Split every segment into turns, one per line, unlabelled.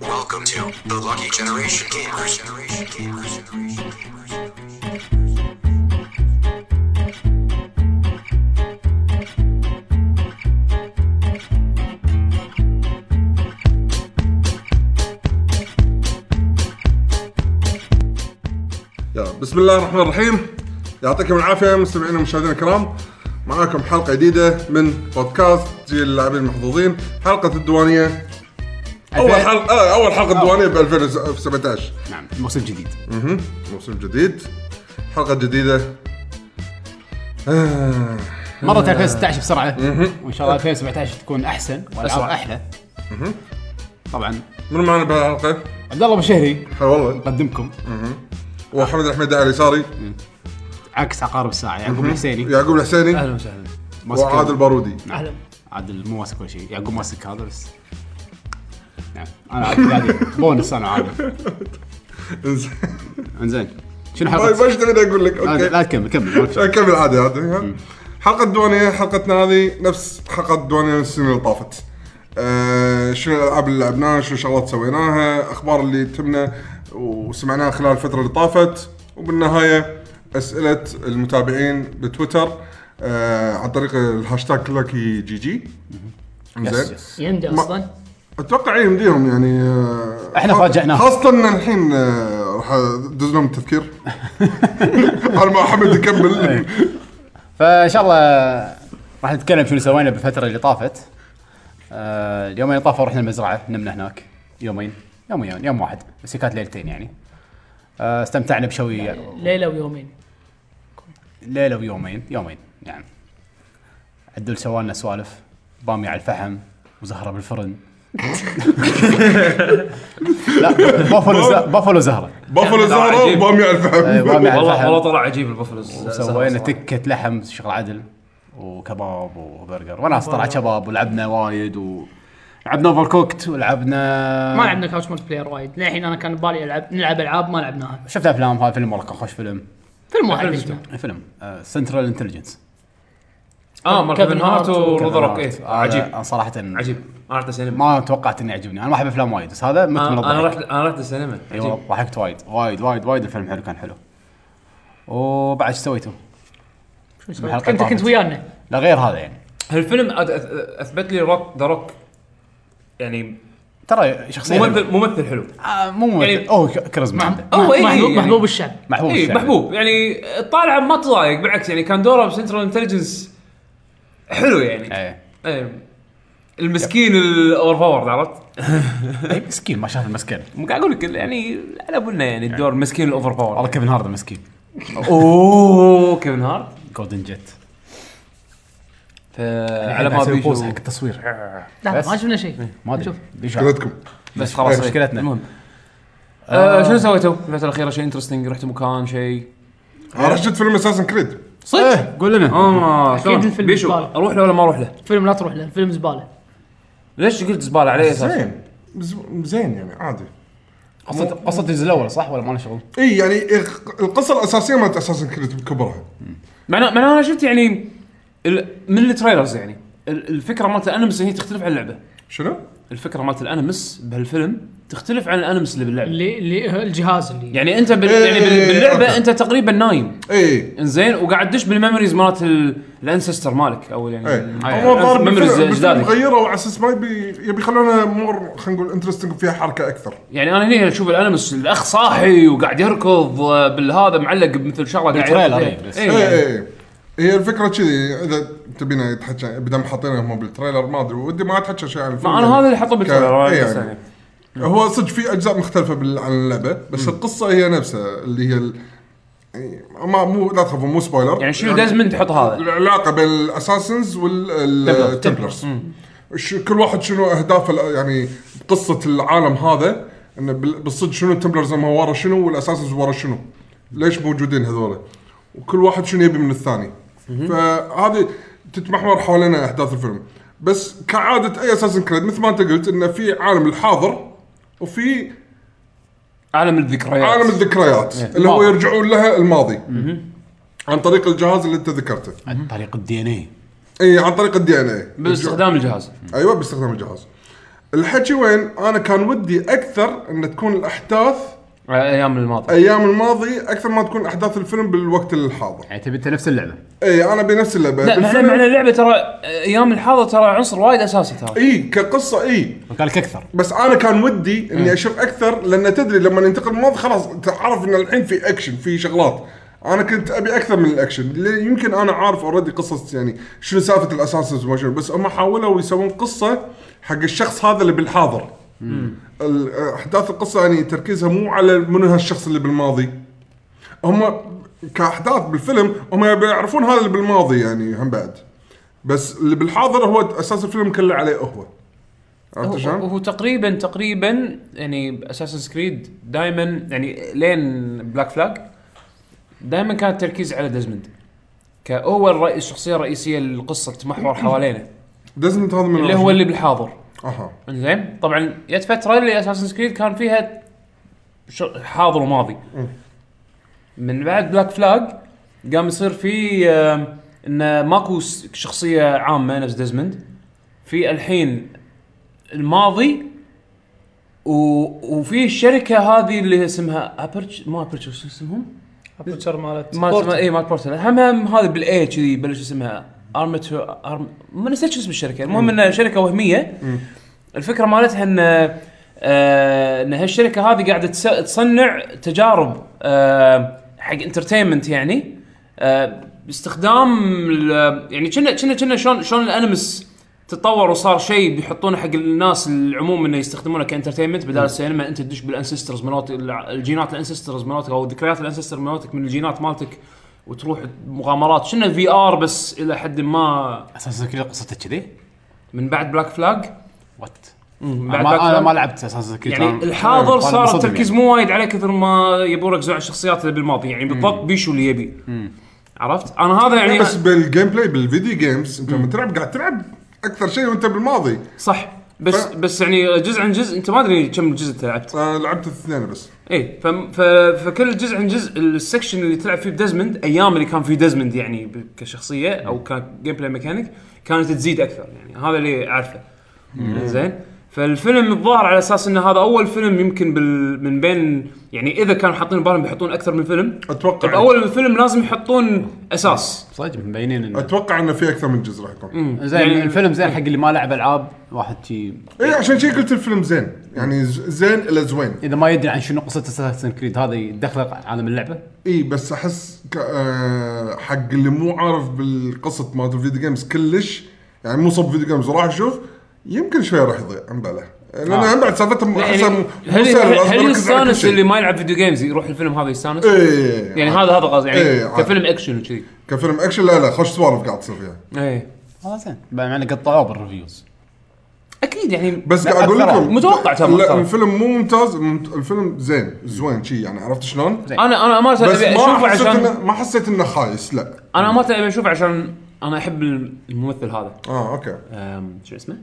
Welcome to the Lucky Generation Gamers.
يلا بسم الله الرحمن الرحيم يعطيكم العافيه مستمعينا ومشاهدينا الكرام معاكم حلقه جديده من بودكاست جيل اللاعبين المحظوظين حلقه الديوانيه اول
ألفين-
حلقه آه، اول حلقه الديوانيه ب 2017
نعم موسم جديد
اها موسم جديد حلقه جديده آه،
مرت 2016 بسرعه وان شاء الله 2017 تكون احسن والاسرع احلى طبعا
من معنا بهالحلقه؟
عبد الله بشهري
هلا والله
نقدمكم
وحمد احمد على اليساري
عكس عقارب الساعه يعقوب الحسيني
يعقوب الحسيني
اهلا وسهلا
ماسك
وعادل بارودي
نعم.
اهلا
عادل مو ماسك ولا شيء يعقوب ماسك هذا بس نعم انا عادل عادل. بونس انا عادل
انزين
انزين شنو
طيب
حلقه
ايش تبيني اقول لك؟
لا-
اوكي
لا تكمل كمل
كمل عادي عادي حلقة الديوانية حلقتنا هذه نفس حلقة الديوانية السنة اللي طافت. آه شنو الالعاب اللي لعبناها، شنو الشغلات سويناها، اخبار اللي تهمنا وسمعناها خلال الفترة اللي طافت، وبالنهاية اسئلة المتابعين بتويتر آه عن طريق الهاشتاج لكي جي جي. زين
يندي
ما-
اصلا
اتوقع يمديهم يعني آه،
إحنا
خ-
فاجأناهم.
خاصه ان الحين آه، راح ادز لهم تذكير على ما حمد يكمل
فان شاء الله راح نتكلم شنو سوينا بالفتره اللي طافت آه، اليومين اللي طافوا رحنا المزرعه نمنا هناك يومين يوم يوم يوم واحد بس هي كانت ليلتين يعني آه، استمتعنا بشوي
ليله ويومين
ليله ويومين يومين يعني عدل سوالنا سوالف باميه على الفحم وزهره بالفرن لا بافلو ز- بافلو زهره
بافلو زهره
عجيب.
أيوة، بامي على
أي،
الفحم
باميه على
والله والله
الفحم
طلع عجيب البفلز
وسوينا تكه لحم شغل عدل وكباب وبرجر وناس طلع شباب ولعبنا وايد و لعبنا اوفر كوكت ولعبنا
ما لعبنا كاوتش مولتي بلاير وايد للحين انا كان ببالي العب نلعب العاب ما لعبناها
شفت افلام هذا فيلم والله كان خوش فيلم
فيلم واحد
فيلم
لعبناه.
فيلم آه، سنترال انتليجنس
اه مال كيفن
كيفن
هارت
هارت
وروذر روك إيه. عجيب
صراحه
عجيب انا رحت السينما
آه، ما توقعت انه يعجبني انا ما احب افلام وايد بس هذا مثل من
آه، انا
الضحك.
رحت انا رحت السينما
اي
عجيب
والله ضحكت وايد وايد وايد وايد الفيلم حلو كان حلو وبعد ايش سويتوا؟
شو اسمه؟
الحلقة
كنت كنت
طافت.
ويانا
لا غير هذا يعني
هالفيلم أت- أت- اثبت لي روك ذا روك يعني
ترى شخصيه
ممثل ممثل حلو
آه مو ممثل
يعني-
اوه ك- كاريزما عنده
أوه، إيه،
محبوب
يعني-
محبوب الشعب
محبوب
اي
الشعب.
محبوب يعني طالع ما تضايق بالعكس يعني كان دوره بسنترال انتليجنس حلو يعني
ايه
إيه. المسكين الاوفر باورد عرفت؟
إيه، مسكين ما شاف المسكين
مو قاعد اقول لك يعني على بنا يعني الدور المسكين الاوفر باورد
والله كيفن هارد مسكين
اوه كيفن هارت
جولدن جيت
فعلى ما
قاعد يسوي بوز
بيشوف
حق التصوير
لا
بس. إيه،
ما شفنا شيء
ما ادري
نشوف.
بيشوف.
شكلتكم
بس خلاص
إيه، مشكلتنا.
المهم آه شنو سويتوا الفترة الأخيرة شيء انترستنج رحتوا مكان شيء
انا رحت شفت فيلم اساسن كريد
صدق
إيه، قول لنا
اه
أكيد
شلون
الفيلم
بيشو
زبالة.
اروح له ولا ما اروح له؟
فيلم لا تروح له فيلم زباله
ليش قلت زبالة عليه اساس؟
زين بز- زين يعني عادي
قصه قصه الجزء الاول صح ولا ما لنا شغل؟
اي يعني إخ- القصه الاساسيه مالت اساسن كريد بكبرها
معناه معناه انا شفت يعني ال- من التريلرز يعني ال- الفكرة مالت الانمس هي تختلف عن اللعبة
شنو؟
الفكرة مالت الانمس بهالفيلم تختلف عن الانمس اللي باللعبة
اللي اللي الجهاز اللي
يعني انت بال...
إيه،
يعني بال-
أوكي.
باللعبة انت تقريبا نايم
اي
انزين وقاعد تدش بالميموريز مالت ال- الانسستر مالك او يعني
اي
ال-
إيه. هو الظاهر
memories
بالفيلم- بالفيلم
اجدادك
غيروا على اساس ما يبي يبي يخلونها مور خلينا نقول انترستنج فيها حركه اكثر
يعني انا هنا اشوف الانمس الاخ صاحي وقاعد يركض آه، بالهذا معلق بمثل شغله قاعد
بالتريلر،
يركض.
إيه، بس.
إيه، يعني.
اي اي هي الفكره كذي اذا تبينا نتحكى بدل ما حاطينها هم بالتريلر ما ادري ودي ما اتحكى شيء عن الفيلم
ما انا
يعني.
هذا اللي حطه بالتريلر
ك- إيه
بس
يعني.
يعني.
هو صدق في اجزاء مختلفه بال- عن اللعبه بس القصه هي نفسها اللي هي ال... يعني ما مو لا تخافوا مو سبويلر
يعني شنو دازمن تحط هذا
العلاقه بين الاساسنز والتمبلرز كل واحد شنو اهدافه ال- يعني بقصه العالم هذا انه بال- بالصدق شنو التمبلرز هم ورا شنو والاساسنز ورا شنو ليش موجودين هذول وكل واحد شنو يبي من الثاني فهذه تتمحور حوالين احداث الفيلم بس كعاده اي اساسن كريد مثل ما انت قلت انه في عالم الحاضر وفي
عالم الذكريات
عالم الذكريات اللي هو
الماضي.
يرجعون لها الماضي عن طريق الجهاز اللي انت ذكرته
عن طريق الدي ان اي
اي إيه، عن طريق الدي ان اي
باستخدام الجهاز
ايوه أيوة، باستخدام الجهاز الحكي وين انا كان ودي اكثر ان تكون الاحداث
على ايام الماضي
ايام الماضي اكثر ما تكون احداث الفيلم بالوقت الحاضر
يعني تبي انت نفس اللعبه
اي انا بنفس اللعبه
لا معنى
بالفيلم-
معنى اللعبه ترى ايام الحاضر ترى عنصر وايد اساسي ترى
اي كقصه اي
قال لك اكثر
بس انا كان ودي اني اشوف اكثر لان تدري لما ننتقل الماضي خلاص تعرف ان الحين في اكشن في شغلات انا كنت ابي اكثر من الاكشن ليه- يمكن انا عارف اوريدي قصص يعني شنو سالفه الاساسز وما شنو بس هم حاولوا يسوون قصه حق الشخص هذا اللي بالحاضر ال- احداث القصه يعني تركيزها مو على منو هالشخص اللي بالماضي هم كاحداث بالفيلم هم يبي يعرفون هذا اللي بالماضي يعني هم بعد بس اللي بالحاضر هو اساس الفيلم كله عليه هو عرفت
هو,
إيه، شلون؟
هو تقريبا تقريبا يعني اساسن كريد دائما يعني لين بلاك فلاج دائما كان التركيز على ديزموند كهو الرئيس الشخصيه الرئيسيه للقصه تتمحور حوالينه
دزمنت هذا من
اللي
الأول.
هو اللي بالحاضر
اها
زين طبعا جت فتره اللي اساسن كريد كان فيها ش- حاضر وماضي من بعد بلاك فلاج قام يصير في آم، انه ماكو س- شخصيه عامه نفس ديزموند في الحين الماضي و... وفي الشركه هذه اللي اسمها ابرتش ما ابرتش شو اسمهم؟
ابوتشر مالت
مالت ما اي مالت بورتل هم هم هذا بالاي كذي بلش اسمها ارمتو ارم ما نسيت شو اسم الشركه المهم انها شركه وهميه الفكره مالتها ان آه، ان هالشركه هذه قاعده تس- تصنع تجارب آه، حق انترتينمنت يعني آه، باستخدام ال- يعني كنا كنا كنا شلون شلون الانمس تطور وصار شيء بيحطونه حق الناس العموم انه يستخدمونه كانترتينمنت بدال السينما انت تدش بالانسسترز مالتك الجينات الانسسترز مالتك او ذكريات الانسستر مالتك من الجينات مالتك وتروح مغامرات شنو في ار بس الى حد ما
اساسا كذا قصته كذي
من بعد بلاك فلاج
وات
من بعد Black
ما- انا
Flag.
ما لعبت اساسا كذا
نعم.
يعني الحاضر صار التركيز
يعني.
يعني.
مو وايد عليه كثر ما يبون يركزون على الشخصيات اللي بالماضي يعني بالضبط بيشو اللي يبي عرفت انا هذا يعني
يعني بس بالجيم بلاي بالفيديو جيمز انت لما تلعب قاعد تلعب اكثر شيء وانت بالماضي
صح بس
ف-
بس يعني جزء عن جزء انت ما ادري كم جزء انت لعبت
آه، لعبت الاثنين بس
اي ف... ف... فكل جزء عن جزء السكشن اللي تلعب فيه بدزمند ايام اللي كان فيه دزمند يعني ب... كشخصيه او كجيم بلاي ميكانيك كانت تزيد اكثر يعني هذا اللي اعرفه زين فالفيلم الظاهر على اساس انه هذا اول فيلم يمكن بال... من بين يعني اذا كانوا حاطين بالهم بيحطون اكثر من فيلم
اتوقع
طب اول الفيلم لازم يحطون اساس
صدق مبينين انه
اتوقع انه في اكثر من جزء راح يكون
زين
يعني-
الفيلم زين حق اللي ما لعب العاب واحد شي
اي إيه، عشان شي قلت الفيلم زين يعني ز- زين الى زوين
اذا ما يدري عن شنو قصه اساسن كريد هذا يدخله عالم اللعبه
اي إيه، بس احس ك... آه، حق اللي مو عارف بالقصه مالت الفيديو جيمز كلش يعني مو صب فيديو جيمز وراح يشوف يمكن شوي راح يضيع عن باله لان
آه.
عن بعد سالفتهم احسها مو
يعني
مو
هل
سهلة، لازم
هل
أركز على كل
يستانس
شيء.
اللي ما يلعب فيديو جيمز يروح الفيلم هذا يستانس؟
إيه.
يعني هذا هذا قصدي يعني
إيه، عاد.
كفيلم اكشن وكذي
كفيلم اكشن لا لا خوش سوالف قاعد تصير فيها
ايه
إيه.
هذا زين مع انه قطعوه بالريفيوز
اكيد يعني
بس
لا،
قاعد اقول
أكثر
لكم
متوقع ترى
لا
أكثر.
الفيلم مو ممتاز ممت- الفيلم زين زوين شي يعني عرفت شلون؟
زين.
انا انا امانه
بس
ابي اشوفه
ما حسيت
عشان
انه ما حسيت انه خايس لا
انا امانه ابي اشوفه عشان انا احب الممثل هذا
اه اوكي
أم، شو اسمه؟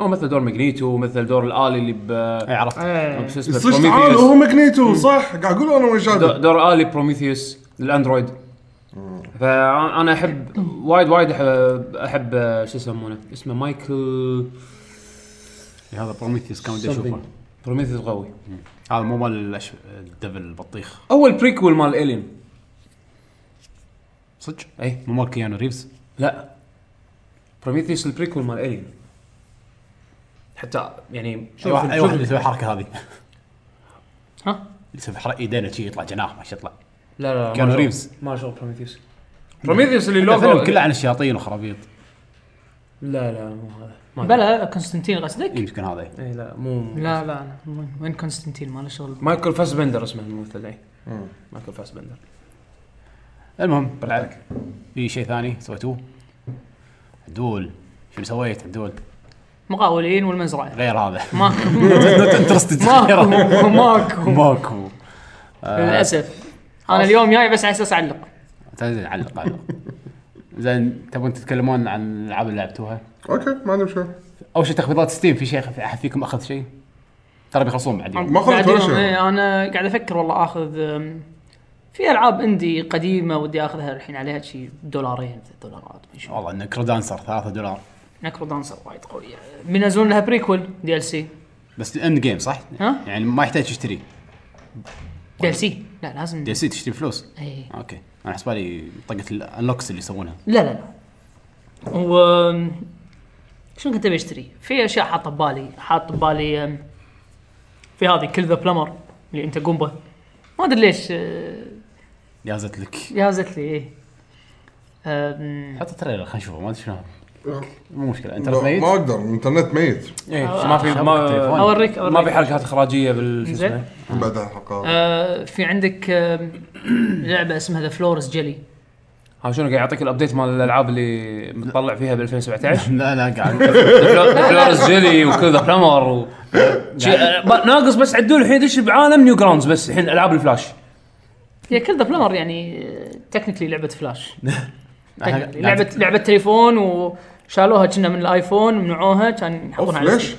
هو مثل دور ماجنيتو مثل دور الالي اللي ب
اي عرفت
إيه.
شو اسمه؟
صدق تعال هو
بروميثيوس
ماجنيتو صح قاعد اقول انا وين
دو-
شايفه
دور الي بروميثيوس الاندرويد فانا احب وايد وايد احب, أحب شو يسمونه اسمه مايكل
هذا بروميثيوس كان ودي اشوفه
بروميثيوس قوي
هذا مو مال الأش- الدبل البطيخ
اول بريكول مال الين
صدق
اي
مو مال كيانو ريفز
إيه. لا بروميثيوس البريكول مال الين حتى يعني
اي
شوف
واحد اي واحد اللي أيوة،
شوف
يسوي الحركه هذه اللي
ها
يسوي حركه ايدينه شي يطلع جناح ما شي يطلع
لا لا
كيانو
ما شاء-
ريفز.
ما شاء الله بروميثيوس بروميثيوس اللي لوجو
الفيلم كله عن الشياطين وخرابيط
لا لا مو هذا ما أدري.
بلا كونستانتين قصدك؟
إي، يمكن هذا
اي لا مو
لا لا أنا. وين- وين كونستانتين ما له شغل
مايكل فاسبندر اسمه الممثل اي مايكل فاسبندر
المهم بالعكس في شيء ثاني سويتوه عدول شنو سويت عدول
مقاولين والمزرعه
غير هذا
ماكو
انترستد
ماكو ماكو
ماكو
للاسف انا اليوم جاي بس على اساس اعلق
زين علق علق زين تبون تتكلمون عن الالعاب اللي لعبتوها
اوكي ما عندي مشكله
اول شيء تخفيضات ستيم في شيء في احد فيكم اخذ شيء ترى بيخلصون بعد يوم.
ما خذت
بعد
ولا
يوم
شيء
يعني إيه، انا قاعد افكر والله اخذ أم، في العاب عندي قديمه ودي اخذها الحين عليها شي دولارين ثلاث دولارات ما شي.
والله انه كرودانسر 3 دولار
نكرو دانسر وايد قويه بينزلون لها بريكول دي ال سي
بس اند جيم صح؟
ها؟
يعني ما يحتاج تشتري
دي ال سي لا لازم
دي سي تشتري فلوس؟
إيه.
اوكي انا حسب بالي طقه الانلوكس اللي يسوونها
لا لا لا و شنو كنت ابي اشتري؟ في اشياء حاطه ببالي، حاط ببالي أم، في هذه كل ذا بلمر اللي انت قنبه ما ادري ليش أه،
جازت لك
جهزت لي ايه أم،
حط تريلر خلينا نشوفه ما ادري شنو هذا. مو مشكله انت
لا،
ميت
ما اقدر الانترنت ميت
ايه ما في
التليفون.
ما
اوريك اوريك
ما في حركات اخراجيه بال شو
زين.
اسمه
بعد الحلقه
آه في عندك آه لعبه اسمها ذا فلورس جيلي
ها شنو قاعد يعطيك الابديت مال الالعاب اللي متطلع فيها ب 2017
لا لا قاعد
فلورس جيلي وكل ذا بلمر و... شي- آه، ناقص بس عدول الحين دش بعالم نيو جراوندز بس الحين العاب الفلاش
هي كل ذا بلمر يعني تكنيكلي لعبه فلاش
قاعد-
technically. لعبه لعبه تليفون وشالوها كنا من الايفون منعوها كان
اوف
يحطونها على
ليش؟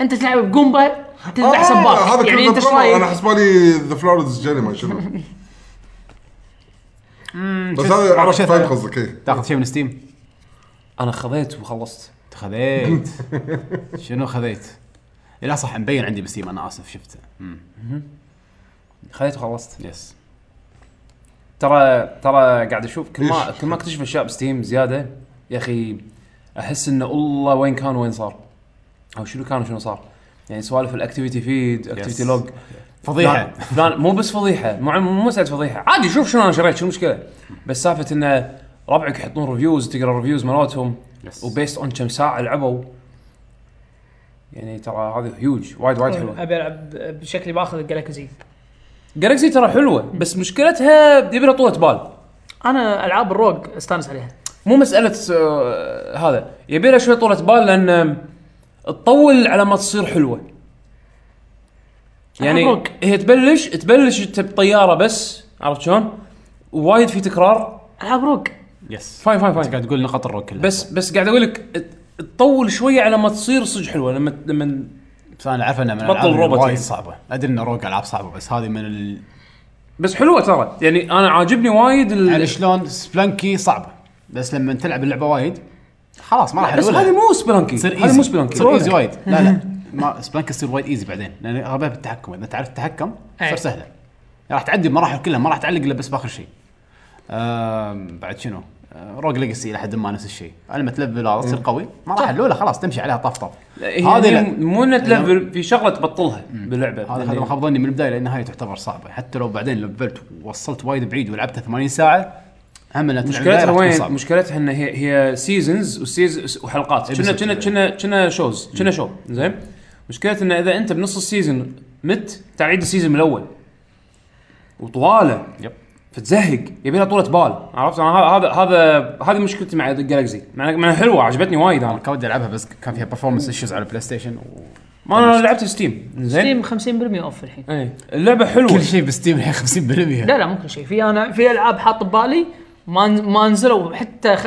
انت تلعب بقنبه تذبح
آه،
سباك
هذا
يعني
كله
انت ايش
بطل. انا
رايك؟
حسبالي ذا فلورز جيلي ما شنو بس هذا عرفت فاهم قصدك ايه
تاخذ شيء من ستيم
انا خذيت وخلصت
خذيت شنو خذيت؟ لا صح مبين عندي بستيم انا اسف شفته أمم،
خذيت وخلصت
يس
ترى ترى قاعد اشوف كل ما
ليش؟
كل ما اكتشف اشياء بستيم زياده يا اخي احس انه الله وين كان وين صار او شنو كان وشنو صار يعني سوالف الاكتيفيتي فيد اكتيفيتي لوج
فضيحه
فلان- فلان مو بس فضيحه مو مو مساله فضيحه عادي شوف شنو انا شريت شو المشكله بس سالفه انه ربعك يحطون ريفيوز تقرا الريفيوز مالتهم
Yes.
وبيست اون كم ساعه لعبوا يعني ترى هذه هيوج وايد وايد حلوه
ابي العب بشكلي باخذ الجلاكسي
جالكسي ترى حلوه بس مشكلتها يبي لها طولة بال
انا العاب الروج استانس عليها
مو مساله آه، هذا يبي لها شوي طولة بال لان آه، تطول على ما تصير حلوه يعني
أبروك.
هي تبلش تبلش انت بطياره بس عرفت شلون؟ وايد في تكرار
العاب روج
يس
فاين فاين فاين
قاعد تقول نقط الروك كلها
بس بس قاعد اقول لك ت- تطول شويه على ما تصير صج حلوه لما لما
بس انا اعرف انها من
بطل
الألعاب اللي
روبوت
وايد
يعني.
صعبه ادري ان روك العاب صعبه بس هذه من ال...
بس حلوه ترى يعني انا عاجبني وايد ال...
يعني شلون سبلانكي صعبه بس لما تلعب اللعبه وايد خلاص ما راح
بس
ألولها.
هذه مو سبلانكي
تصير
هذه مو سبلانكي
تصير ايزي وايد لا لا ما سبلانكي تصير وايد ايزي بعدين لان اغلبها بالتحكم اذا تعرف تتحكم
أي.
إيه.
تصير سهله راح تعدي المراحل كلها ما راح تعلق الا بس باخر شيء آم، بعد شنو آه، روج ليجسي الى حد ما نفس الشيء لما تلفل هذا
إيه.
تصير قوي ما راح الاولى خلاص تمشي عليها طف طف هذه
هذه
لا. يعني
مو انها تلفل في شغله تبطلها باللعبه
هذا
يعني
هذا ما خاب ظني من البدايه للنهايه تعتبر صعبه حتى لو بعدين لفلت ووصلت وايد بعيد ولعبتها 80 ساعه هم انها تلعب البداية
مشكلتها
راح تكون
وين؟
صعبة.
مشكلتها ان هي هي سيزونز وسيز وحلقات
إيه
كنا
بالضبط.
كنا كنا كنا شوز كنا شو زين مشكلتها ان اذا انت بنص السيزون مت تعيد السيزون من الاول وطواله
يب
فتزهق يبي لها طولة بال عرفت انا ه- هذا هذا هذه مشكلتي مع جالكسي مع مع حلوه عجبتني وايد انا
كان ودي العبها بس كان فيها برفورمانس ايشوز على البلاي ستيشن و...
ما انا لعبت ستيم زين
ستيم 50% اوف الحين
ايه اللعبه حلوه
كل شيء بستيم الحين 50%
لا لا مو كل شيء في انا في العاب حاط ببالي ما ما نزلوا حتى 5%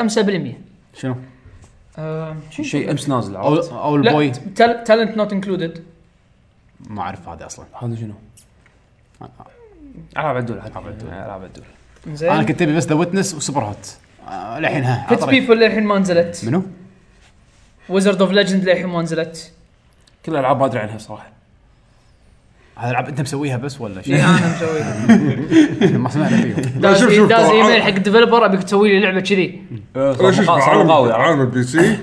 شنو؟
أه،
شيء امس نازل
او
عرفت
او
لا
البوي
تالنت نوت انكلودد
ما اعرف هذا اصلا
هذا شنو؟ العاب عدول العاب عدول العاب عدول
انا
زين
كنت ابي بس ذا ويتنس وسوبر هوت آه، للحين ها
بيت
عطري.
بيبل للحين ما نزلت
منو؟
ويزرد اوف ليجند للحين ما نزلت
كل الالعاب ما ادري عنها صراحه
هذا العاب انت مسويها بس ولا شيء؟
إي، انا مسويها
ما سمعنا فيهم
لا،
داز
شوف- شوف،
إيه، داز
طبعاً.
ايميل حق الديفلوبر ابيك تسوي لي لعبه كذي
إيه،
ليش إيش عالم عالم البي سي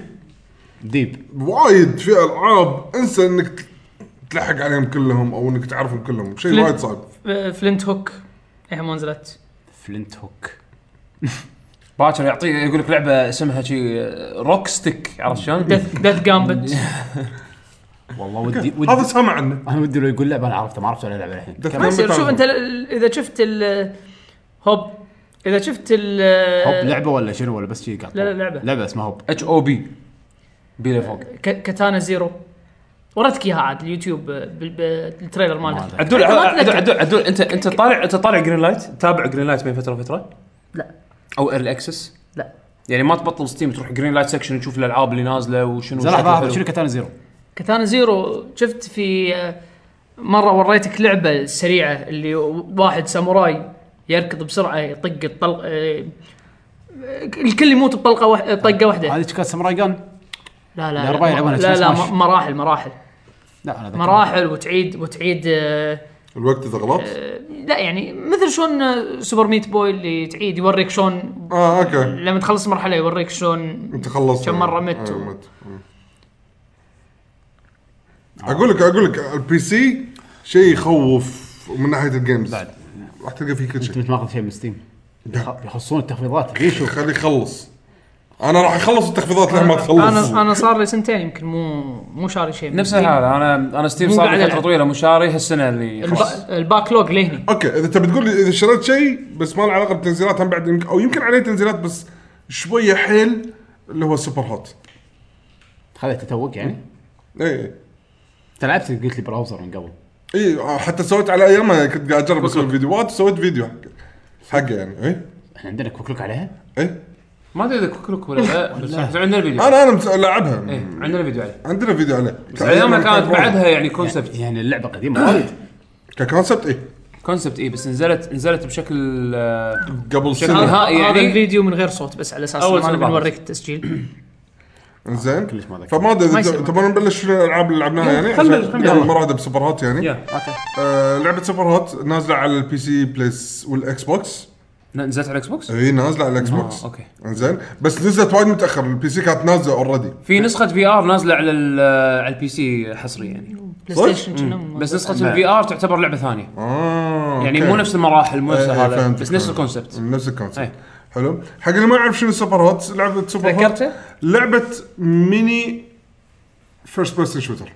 ديب
وايد في العاب انسى انك تلحق عليهم كلهم او انك تعرفهم كلهم شيء
فلن-
وايد صعب
فلنت هوك للحين ما نزلت
فلنت هوك
باكر يعطي يقول لك لعبه اسمها شي روك ستيك عرفت شلون؟
ديث ديث جامبت
والله ودي
هذا
ودي
سامع عنه
انا ودي لو يقول لعبه انا عرفتها ما عرفت ولا لعبه الحين
Death
ما
Note
يصير
تعرفه.
شوف انت ال- ال- اذا شفت الهوب اذا شفت ال
هوب لعبه ولا شنو ولا بس شيء قاعد
آه. لا، لا، لعبة.
لعبه اسمها هوب
اتش او بي بي لفوق
ك- كاتانا زيرو ورتك اياها عاد اليوتيوب بال- بال- التريلر مالها
ما
عدول
أنت ما
عدول
تذكر.
عدول, عدول انت انت طالع انت طالع جرين لايت تابع جرين لايت بين فتره وفتره
لا
او ايرلي اكسس
لا
يعني ما تبطل ستيم تروح جرين لايت سكشن تشوف الالعاب اللي نازله وشنو
زين لحظه
شكلها
هذا
حلو.
شنو كاتانا زيرو؟
كاتانا زيرو شفت في آه، مره وريتك لعبه سريعه اللي واحد ساموراي يركض بسرعه يطق الطلق آه، الكل يموت بطلقه وح... طقه واحده
هذه كانت ساموراي جان
لا لا
الأربعة
لا
يلعبونها
لا, لا
سماش.
م- مراحل مراحل
لا انا أذكر.
مراحل وتعيد وتعيد آه،
الوقت اذا غلط
لا يعني مثل شلون آه، سوبر ميت بوي اللي تعيد يوريك شلون
اه اوكي
لما تخلص مرحله يوريك شلون
انت خلصت
كم مرة مت
آه،
و-
مت. مم. اقول لك اقول لك البي سي شيء يخوف من ناحيه الجيمز
بعد.
راح تلقى فيه كل
انت
شيء
مش ماخذ شيء من ستيم
لا.
يخصون التخفيضات ليش
خليه يخلص انا راح اخلص التخفيضات لما تخلص
انا انا صار لي سنتين يمكن مو مو شاري شيء من
نفس
Steam.
الحاله انا انا ستيف
مو
صار
قاعد
لي فتره
ألعب.
طويله مو شاري هالسنه اللي خلاص
الب- الباك لوج لهني
اوكي اذا تبي تقول لي اذا شريت شيء بس ما له علاقه بتنزيلات هم بعد يمكن او يمكن عليه تنزيلات بس شويه حيل اللي هو سوبر هوت
خذيته توك يعني
اي
انت لعبت قلت لي براوزر من قبل
اي إيه، حتى سويت على ايامها كنت قاعد اجرب اسوي فيديوهات وسويت فيديو حق- حقه يعني إيه. اي
احنا عندنا كوكلوك عليها
اي
ما ادري اذا كوكلوك ولا لا بس بس عندنا فيديو
انا انا مس- لعبها
إيه، عندنا فيديو عليه
عندنا فيديو عليه
ايامها كانت بعدها يعني كونسبت
يعني اللعبه قديمه وايد
ككونسبت إيه. اي
كونسبت اي إيه، بس نزلت نزلت بشكل آه،
قبل
بشكل
سنه
ها-
هذا
يعني-
يعني الفيديو من غير صوت بس على اساس
أول
إنه ما
سنة
نبي
بعد.
نوريك التسجيل
زين
كلش ما ذكر.
فما ادري
ما
إذا-
يصير.
تبون نبلش شنو الالعاب اللي لعبناها يعني
خلنا-
عشان
خلنا.
قبل ما راح أبدأ بسوبر هوت يعني
يا.
اوكي
آه، لعبه سوبر هوت نازله على البي سي بليس والاكس بوكس
نزلت على الاكس بوكس؟
هي نازله على الاكس بوكس
اوكي.
زين بس نزلت وايد متاخر البي سي كانت نازله اوريدي
في نسخه في ار نازله على ال- آه، على البي سي حصري يعني
بلاي ستيشن كنا مو-
بس نسخه الفي ار تعتبر لعبه ثانيه
اه
يعني
أوكي.
مو نفس المراحل مو نفس
إيه، إيه،
هذا
فهمتك،
بس نفس
فهمتك.
الكونسبت
نفس الكونسبت
إيه.
حلو حق اللي ما يعرف شنو سوبر هوت لعبه سوبر هوت
ذكرته؟
لعبه ميني فيرست بيرسون شوتر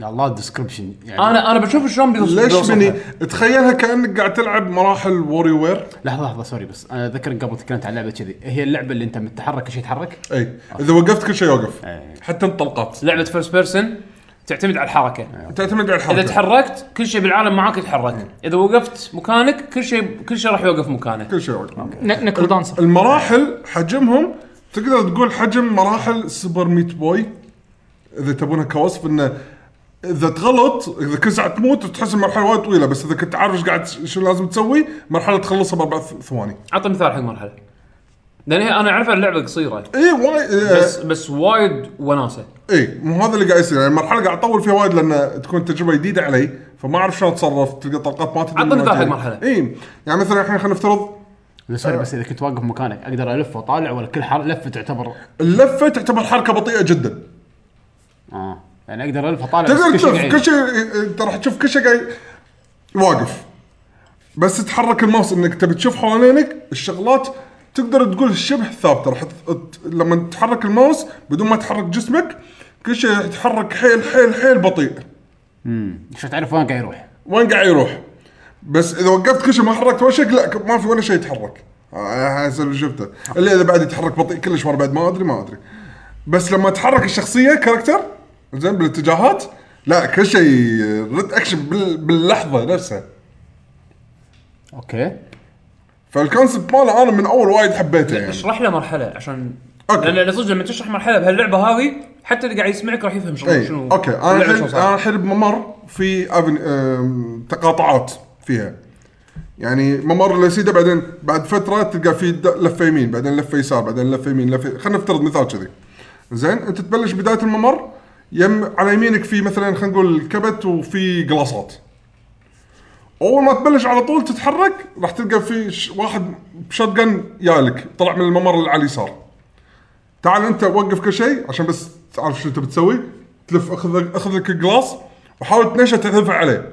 يا الله الديسكربشن يعني
انا انا بشوف شلون بيوص-
ليش
بيوصفها.
ميني تخيلها كانك قاعد تلعب مراحل ووري وير
لحظه لحظه سوري بس انا اتذكر إن قبل تكلمت عن لعبه كذي هي اللعبه اللي انت متحرك شيء يتحرك
اي
آه.
اذا وقفت كل شيء يوقف
إيه.
حتى الطلقات
لعبه فيرست بيرسون تعتمد على الحركه
تعتمد على الحركه
اذا تحركت كل شيء بالعالم معاك يتحرك اذا وقفت مكانك كل شيء كل شيء راح يوقف مكانه
كل شيء يوقف
ن- نكرو دانسر
المراحل حجمهم تقدر تقول حجم مراحل سوبر ميت بوي اذا تبونها كوصف انه اذا تغلط اذا كل ساعه تموت تحس المرحله وايد طويله بس اذا كنت عارف ايش قاعد شو لازم تسوي مرحله تخلصها باربع ث- ثواني
اعطي مثال حق مرحله لان هي انا اعرفها اللعبه قصيره
اي إيه، وايد
بس بس وايد وناسه
اي مو هذا اللي قاعد يصير يعني المرحله قاعد اطول فيها وايد لان تكون تجربه جديده علي فما اعرف شلون اتصرف تلقى طلقات ما تدري
عطني
من وين
مثال حق
جاي.
مرحلة.
اي يعني مثلا الحين خلينا نفترض
لا، سوري بس اذا كنت واقف مكانك اقدر الف واطالع ولا كل حر... لفه تعتبر
اللفه تعتبر حركه بطيئه جدا
اه يعني اقدر الف واطالع بس
تقدر
كل شيء
تشوف
قاعد.
كل شيء انت راح تشوف كل شيء قاعد واقف بس تحرك الماوس انك تبي تشوف حوالينك الشغلات تقدر تقول شبه ثابته راح ت- ت- لما تحرك الماوس بدون ما تحرك جسمك كل شيء يتحرك حيل حيل حيل بطيء
عشان تعرف وين قاعد يروح
وين قاعد يروح بس اذا وقفت كل شيء ما حركت وشك لا ك- ما في ولا شيء يتحرك آه، هذا اللي شفته الا اذا بعد يتحرك بطيء كلش ورا بعد ما ادري ما ادري بس لما تحرك الشخصيه كاركتر زين بالاتجاهات لا كل شيء ريد اكشن بال- باللحظه نفسها
اوكي
فالكونسبت ماله انا من اول وايد حبيته يعني
اشرح له مرحله عشان
أوكي.
لان لأن صدق لما تشرح مرحله بهاللعبه هذه حتى اللي قاعد يسمعك راح يفهم شنو
اي
شنو
اوكي انا إيه،
اللعبة
الحين
شلون
انا
صارت.
الحين بممر في أبن... أم... تقاطعات فيها يعني ممر اليسيده بعدين بعد فتره تلقى في د... لفه يمين بعدين لفه يسار بعدين لفه يمين لفه خلينا نفترض مثال كذي زين انت تبلش بدايه الممر يم على يمينك في مثلا خلينا نقول كبت وفي قلاصات اول ما تبلش على طول تتحرك راح تلقى في ش... واحد بشوت جن يالك طلع من الممر اللي على اليسار تعال انت وقف كل شيء عشان بس تعرف شو انت بتسوي تلف اخذ اخذ لك الجلاس وحاول تنشه تذفع عليه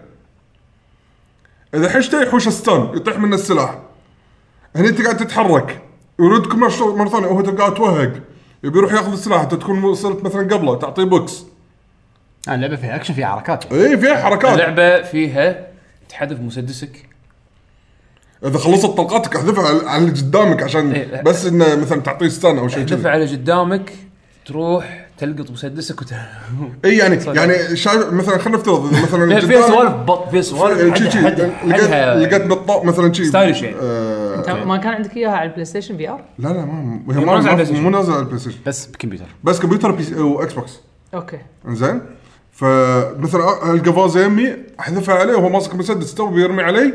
اذا حشته يحوش ستان يطيح منه السلاح هني انت قاعد تتحرك يردك مره شو- مرة ثانيه وهو تلقاه توهق يبي يروح ياخذ السلاح انت تكون وصلت مثلا قبله تعطيه بوكس
آه، اللعبه فيها اكشن فيها حركات
اي فيها حركات
اللعبه فيها تحذف مسدسك
اذا خلصت طلقاتك احذفها على- على اللي قدامك عشان
ايه.
بس انه مثلا تعطيه ستان او شيء
تحذف
كذي
على قدامك تروح تلقط مسدسك وت...
اي يعني يعني شايف مثلا خلينا نفترض اذا مثلا
فيها
قدامك-
سوالف بط فيها
إيه،
سوالف
شي- شي.
حد- حد-
لقيت
حدها
لقيت بالطاق مثلا شي
ستايلش يعني.
آه،
أنت ما كان عندك اياها على البلاي ستيشن في ار؟
لا لا ما هي
نازلة على
ما
البلاي
ما-
ستيشن.
مو نازله على البلاي ستيشن
بس بكمبيوتر
بس كمبيوتر بي سي واكس بوكس
اوكي
انزين فمثلا القى فازه يمي احذفها عليه وهو ماسك مسدس تو بيرمي علي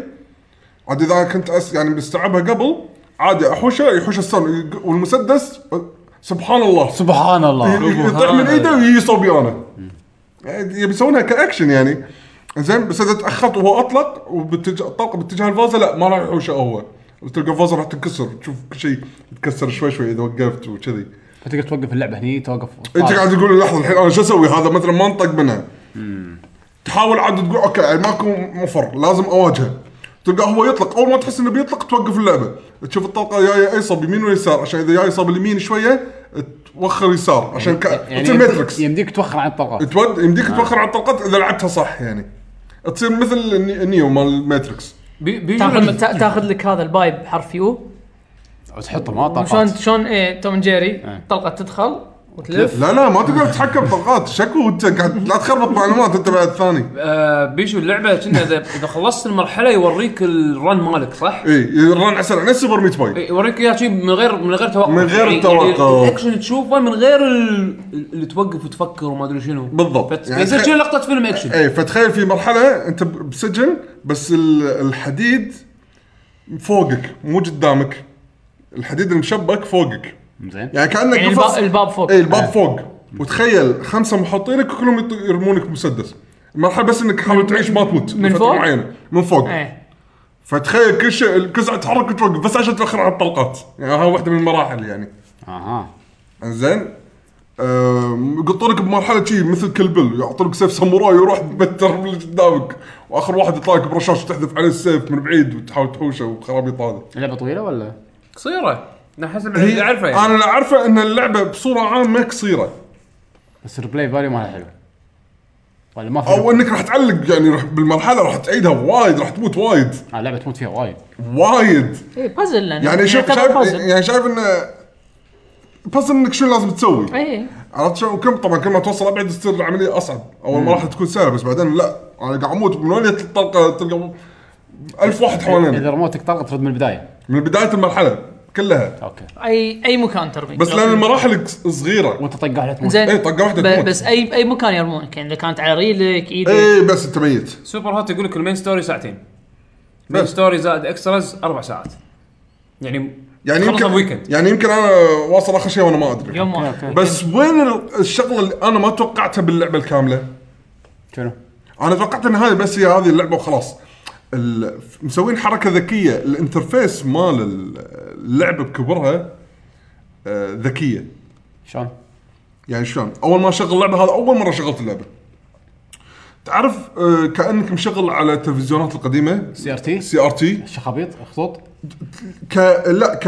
عاد اذا كنت أس يعني مستوعبها قبل عادي احوشه يحوش السن والمسدس سبحان الله
سبحان الله
يطيح طيب، من ايده ويجي صبيانه يبي يسوونها كاكشن يعني زين بس اذا تاخرت وهو اطلق وباتجاه طلقه باتجاه الفازه لا ما راح يحوشه هو تلقى الفازه راح تنكسر تشوف كل شيء يتكسر شوي شوي اذا وقفت وكذي
فتقدر توقف اللعبه هني توقف
انت قاعد تقول لحظه الحين انا شو اسوي هذا مثلا ما انطق منها تحاول عاد تقول اوكي يعني ماكو مفر لازم اواجهه تلقى هو يطلق اول ما تحس انه بيطلق توقف اللعبه تشوف الطلقه جايه اي صب يمين ويسار عشان اذا جاي صب اليمين شويه توخر يسار عشان ك...
يعني
تصير ماتريكس
يمديك توخر عن الطلقات
تود يمديك
آه.
توخر على الطلقات اذا لعبتها صح يعني تصير مثل الني- النيو مال ماتريكس
بي- بيجي
تاخذ
لك-
تا- تاخذ لك هذا البايب حرف يو
وتحطه ما
شلون
طلقات
شلون ايه توم جيري
إيه.
طلقه تدخل وتلف
لا لا ما تقدر تتحكم بطلقات شكو انت قاعد لا تخربط معلومات انت بعد ثاني
آه، بيشو اللعبه كنا اذا اذا خلصت المرحله يوريك الرن مالك صح؟
اي رن على السريع نفس سوبر ميت باي
إيه، يوريك اياه شي من غير من غير توقف
من غير
يعني-
التوقف.
يعني الاكشن تشوفه من غير ال- اللي توقف وتفكر وما ادري شنو
بالضبط.
فت-
يعني
يصير
تخ-
شي لقطه فيلم اكشن
اي فتخيل في مرحله انت ب- بسجن بس ال- الحديد فوقك مو قدامك الحديد المشبك فوقك
زين
يعني كانك
يعني
قفص-
الباب, الباب فوق
اي الباب فوق وتخيل خمسه محاطينك وكلهم يط- يرمونك مسدس المرحله بس انك تحاول تعيش ما تموت
من
لفترة
فوق؟
معينه من فوق
ايه
فتخيل كل شيء كل ساعه تتحرك وتوقف بس عشان توخر على الطلقات يعني ها واحده من المراحل يعني
اها
انزين آم، يقطونك بمرحله شي مثل كل بل يعطونك سيف ساموراي ويروح تبتر من اللي قدامك واخر واحد يطلع لك برشاش تحذف عليه السيف من بعيد وتحاول تحوشه وخرابيط هذه
اللعبه طويله ولا؟
قصيره أنا حسب اللي اعرفه يعني
انا اللي اعرفه ان اللعبه بصوره عامه قصيره
بس الريبلاي فاليو مالها حلو ولا ما في
او انك راح تعلق يعني راح بالمرحله راح تعيدها وايد راح تموت وايد
آه، لعبه تموت فيها وايد
وايد
اي بازل
يعني شوف
إيه، يعتبر
شايف
بازل
يعني شايف انه بس انك شنو لازم تسوي
اي
عرفت شلون وكم طبعا كل ما توصل ابعد تصير العمليه اصعب اول ما راح تكون سهله بس بعدين لا انا قاعد اموت من وين جت الطلقه تلقى ألف واحد حوالينا
اذا رموتك طلقه ترد من البدايه
من بدايه المرحله كلها
اوكي
اي اي مكان ترمي
بس لان المراحل صغيره
وانت طقه على تموت
زين
إيه، طقة واحدة
ب-
تموت. إيه.
بس اي اي مكان يرمونك يعني اذا كانت على ريلك ايدك
اي بس انت ميت
سوبر هوت يقول لك المين ستوري ساعتين المين
بس
ستوري زائد اكستراز اربع ساعات يعني
يعني
تخلصها
يمكن
بويكند
يعني يمكن انا واصل اخر شيء وانا ما ادري
يوم واحد
بس وين ال- الشغله اللي انا ما توقعتها باللعبه الكامله
شنو؟
انا توقعت ان هذه بس هي هذه اللعبه وخلاص ال- مسوين حركه ذكيه الانترفيس مال اللعبه بكبرها آه، ذكيه
شلون؟
يعني شلون؟ اول ما اشغل اللعبه هذا اول مره شغلت اللعبه. تعرف آه، كانك مشغل على التلفزيونات القديمه
سي ار تي
سي ار تي
شخابيط خطوط
ك لا ك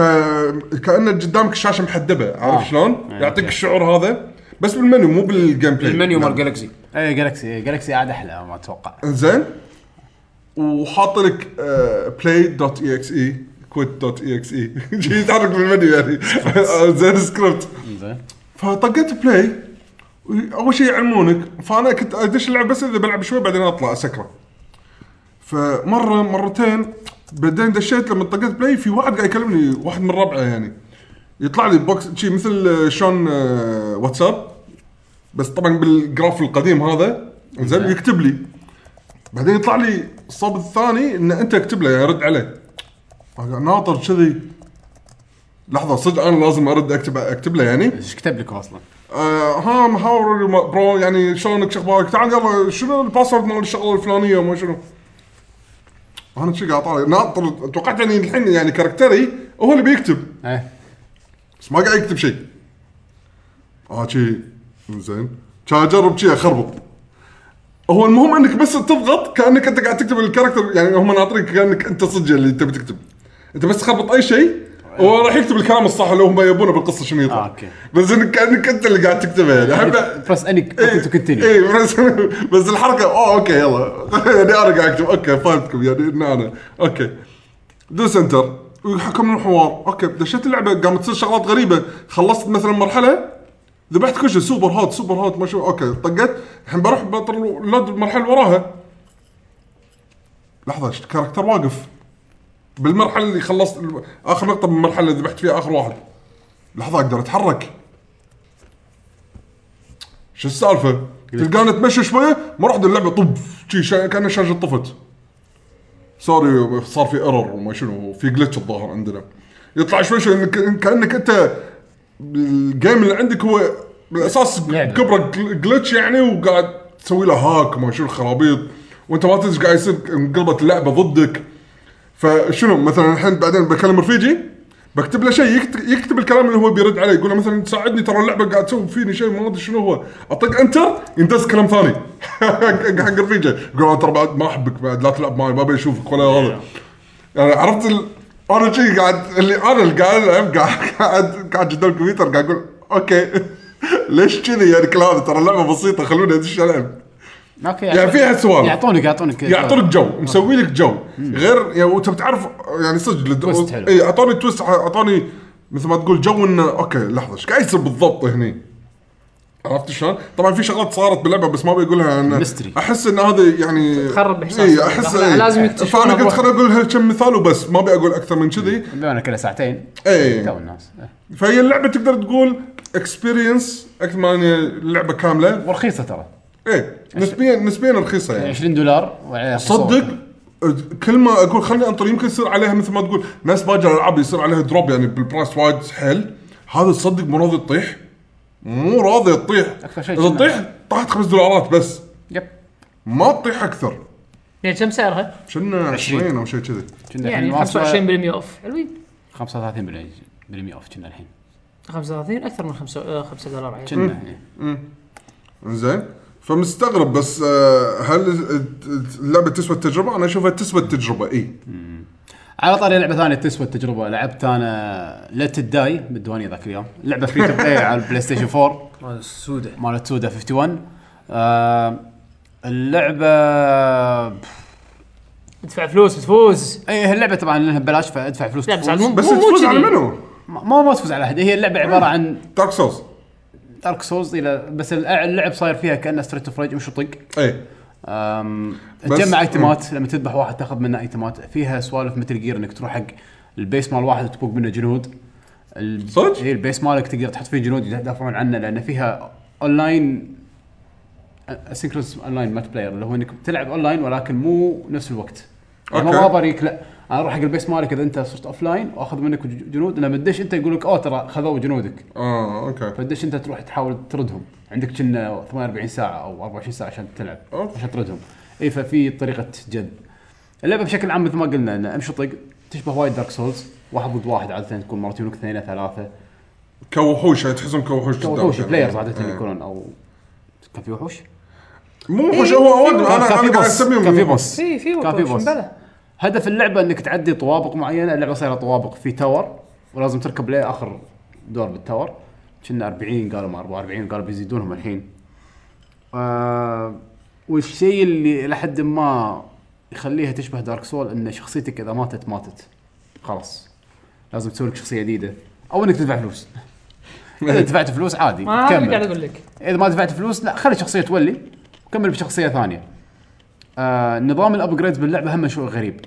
كان قدامك الشاشه محدبه عارف
آه.
شلون؟
يعني
يعطيك
أوكي.
الشعور هذا بس بالمنيو مو بالجيم بلاي
المنيو مال
نعم.
جالكسي
اي جالكسي جالكسي عاد احلى ما اتوقع
انزين وحاط لك بلاي دوت اي اكس اي كويت دوت اي اكس اي يتحرك بالمنيو يعني زين سكريبت
زين
فطقيت بلاي و- اول شيء يعلمونك فانا كنت ادش العب بس اذا بلعب شوي بعدين اطلع اسكره فمره مرتين بعدين دشيت لما طقيت بلاي في واحد قاعد يكلمني واحد من ربعه يعني يطلع لي بوكس شي مثل آه، شلون آه، واتساب بس طبعا بالجراف القديم هذا زين يكتب لي بعدين يطلع لي الصوب الثاني ان انت اكتب له يعني رد عليه أنا ناطر كذي لحظه صدق انا لازم ارد اكتب اكتب له يعني
ايش كتب لكم اصلا؟
آه، ها محاور الم- برو يعني شلونك شو اخبارك تعال يلا شنو الباسورد مال الشغله الفلانيه وما شنو انا شي قاعد طالع ناطر توقعت اني الحين يعني كاركتري هو اللي بيكتب
ايه
بس ما قاعد يكتب شيء اه شي زين كان اجرب شي اخربط هو المهم انك بس تضغط كانك انت قاعد تكتب الكاركتر يعني هم ناطرينك كانك انت صدق اللي تبي تكتب انت بس تخربط اي شيء هو راح يكتب الكلام الصح اللي هم يبونه بالقصه شنو يطلع
آه، أوكي.
بس انك كانك انت اللي قاعد تكتبه يعني أحب-
بس اني كنت كنتني
اي إيه، بس بس الحركه اوه اوكي يلا يعني انا قاعد اكتب اوكي فهمتكم يعني ان انا اوكي دوس انتر ويحكم الحوار اوكي دشيت اللعبه قامت تصير شغلات غريبه خلصت مثلا مرحله ذبحت كل شيء سوبر هوت سوبر هوت ما شو اوكي طقت الحين بروح بطل لود المرحله اللي وراها لحظه شت- كاركتر واقف بالمرحله اللي خلصت اخر نقطه بالمرحله اللي ذبحت فيها اخر واحد لحظه اقدر اتحرك شو السالفه؟ تلقاني اتمشى شويه ما رحت اللعبه طب شي شا- كان الشاشه طفت سوري صار في ايرور وما شنو في جلتش الظاهر عندنا يطلع شوي شوي إنك- كانك انت الجيم اللي عندك هو بالاساس
لعبة.
كبره جلتش يعني وقاعد تسوي له هاك وما شو الخرابيط وانت ما تدري إيش قاعد يصير انقلبت اللعبه ضدك فشنو مثلا الحين بعدين بكلم رفيجي بكتب له شيء يكت- يكتب الكلام اللي هو بيرد عليه يقول له مثلا ساعدني ترى اللعبه قاعد تسوي فيني شيء ما ادري شنو هو اطق انتر يندز كلام ثاني حق رفيجي يقول أنا ترى بعد ما احبك بعد لا تلعب معي ما بشوفك ولا هذا يعني عرفت ال... انا شي قاعد اللي انا اللي قاعد العب قاعد قاعد قاعد قدام الكمبيوتر قاعد اقول اوكي ليش كذي يعني كل هذا ترى اللعبه بسيطه خلوني ادش العب
اوكي
يعني فيها سوالف.
يعطونك يعطونك
يعطونك جو
آه.
مسوي لك جو غير يعني وانت بتعرف يعني صدق إيه، لد-
تويست حلو.
اي اعطوني تويست اعطوني مثل ما تقول جو انه اوكي لحظه ايش قاعد يصير بالضبط هني عرفت شلون؟ طبعا في شغلات صارت باللعبه بس ما بيقولها انا
ميستري.
احس ان هذا يعني
تخرب إحساسك.
اي احس
لا،
إيه.
لازم يكتشفون
فانا قلت
أبوها.
خليني اقول كم مثال وبس ما ابي اقول اكثر من كذي
بما كلها ساعتين
اي
تو الناس إيه.
فهي اللعبه تقدر تقول اكسبيرينس اكثر ما هي لعبه كامله
ورخيصه ترى
ايه نسبيا نسبيا رخيصه يعني
20 دولار وعليها
صدق
صور.
أه، كل ما اقول خلني انطر يمكن يصير عليها مثل ما تقول ناس باجر العاب يصير عليها دروب يعني بالبرايس وايد حيل هذا تصدق مو راضي تطيح مو راضي تطيح
أكثر شيء
اذا
كنا-
تطيح طاحت خمس دولارات بس
يب
ما تطيح اكثر
يعني كم سعرها؟
كنا 20 او شيء كذي
كنا
يعني
الحين واصلة
25% اوف حلوين
35 بالمية- بالمية اوف كنا الحين
35 اكثر من 5 5 دولار يعني
كنا إيه.
زين فمستغرب بس آه، هل اللعبه تسوى التجربه؟ انا اشوفها تسوى التجربه اي
على طاري لعبه ثانيه تسوى التجربه لعبت انا ليت الداي بالديوانيه ذاك اليوم لعبه فري تو بلاي على البلاي ستيشن 4
هذا السوده
مالت سودا 51 آه اللعبه
تدفع فلوس تفوز
اي اللعبه طبعا لانها ببلاش فادفع فلوس
لا بس
تفوز.
عاد مو
بس
مو- مو
تفوز
كذي.
على منو؟
ما ما- ما تفوز على احد هي اللعبه عباره عن
دارك سولز
دارك سولز الى بس الع- اللعب صاير فيها كانه ستريت اوف ريج مش طق
اي
أم،
بس- إيه.
تجمع ايتمات لما تذبح واحد تاخذ منه ايتمات فيها سوالف مثل جير انك تروح حق البيس مال واحد وتبوق منه جنود ال-
صدق؟
اي البيس مالك تقدر تحط فيه جنود يدافعون عنه لان فيها اونلاين اسynchronous اونلاين مات بلاير اللي هو انك تلعب اونلاين ولكن مو نفس الوقت يعني
أوكي.
ما بريك لا انا اروح حق البيس مالك اذا انت صرت اوف لاين واخذ منك ج- جنود لما تدش انت يقول لك اوه ترى خذوا جنودك
اه اوكي
فدش انت تروح تحاول تردهم عندك كنا 48 ساعه او 24 ساعه عشان تلعب
أوف.
عشان تردهم اي ففي طريقه جذب اللعبه بشكل عام مثل ما قلنا ان امشطق تشبه وايد دارك سولز واحد ضد واحد عاده تكون مرتين اثنين ثلاثه
كوحوش يعني تحسهم كوحوش قدامك
وحوش
يعني.
بلايرز عاده
إيه.
يكونون او كان في وحوش
مو وحوش هو هو انا
كان في
انا قاعد
إيه، بوس
اسميهم
كان في بوس
في في
كان في
وحوش،
بوس
بلى.
هدف اللعبه انك تعدي طوابق معينه اللعبه صايره طوابق في تاور ولازم تركب لاخر دور بالتاور كنا 40 قالوا ما 44 قالوا بيزيدونهم الحين آه والشيء اللي لحد ما يخليها تشبه دارك سول ان شخصيتك اذا ماتت ماتت خلاص لازم تسوي لك شخصيه جديده او انك تدفع فلوس اذا دفعت فلوس عادي
ما هذا اللي
تكمل
قاعد اقول لك
اذا ما دفعت فلوس لا خلي شخصيه تولي وكمل بشخصيه ثانيه آه نظام الابجريد باللعبه هم شيء غريب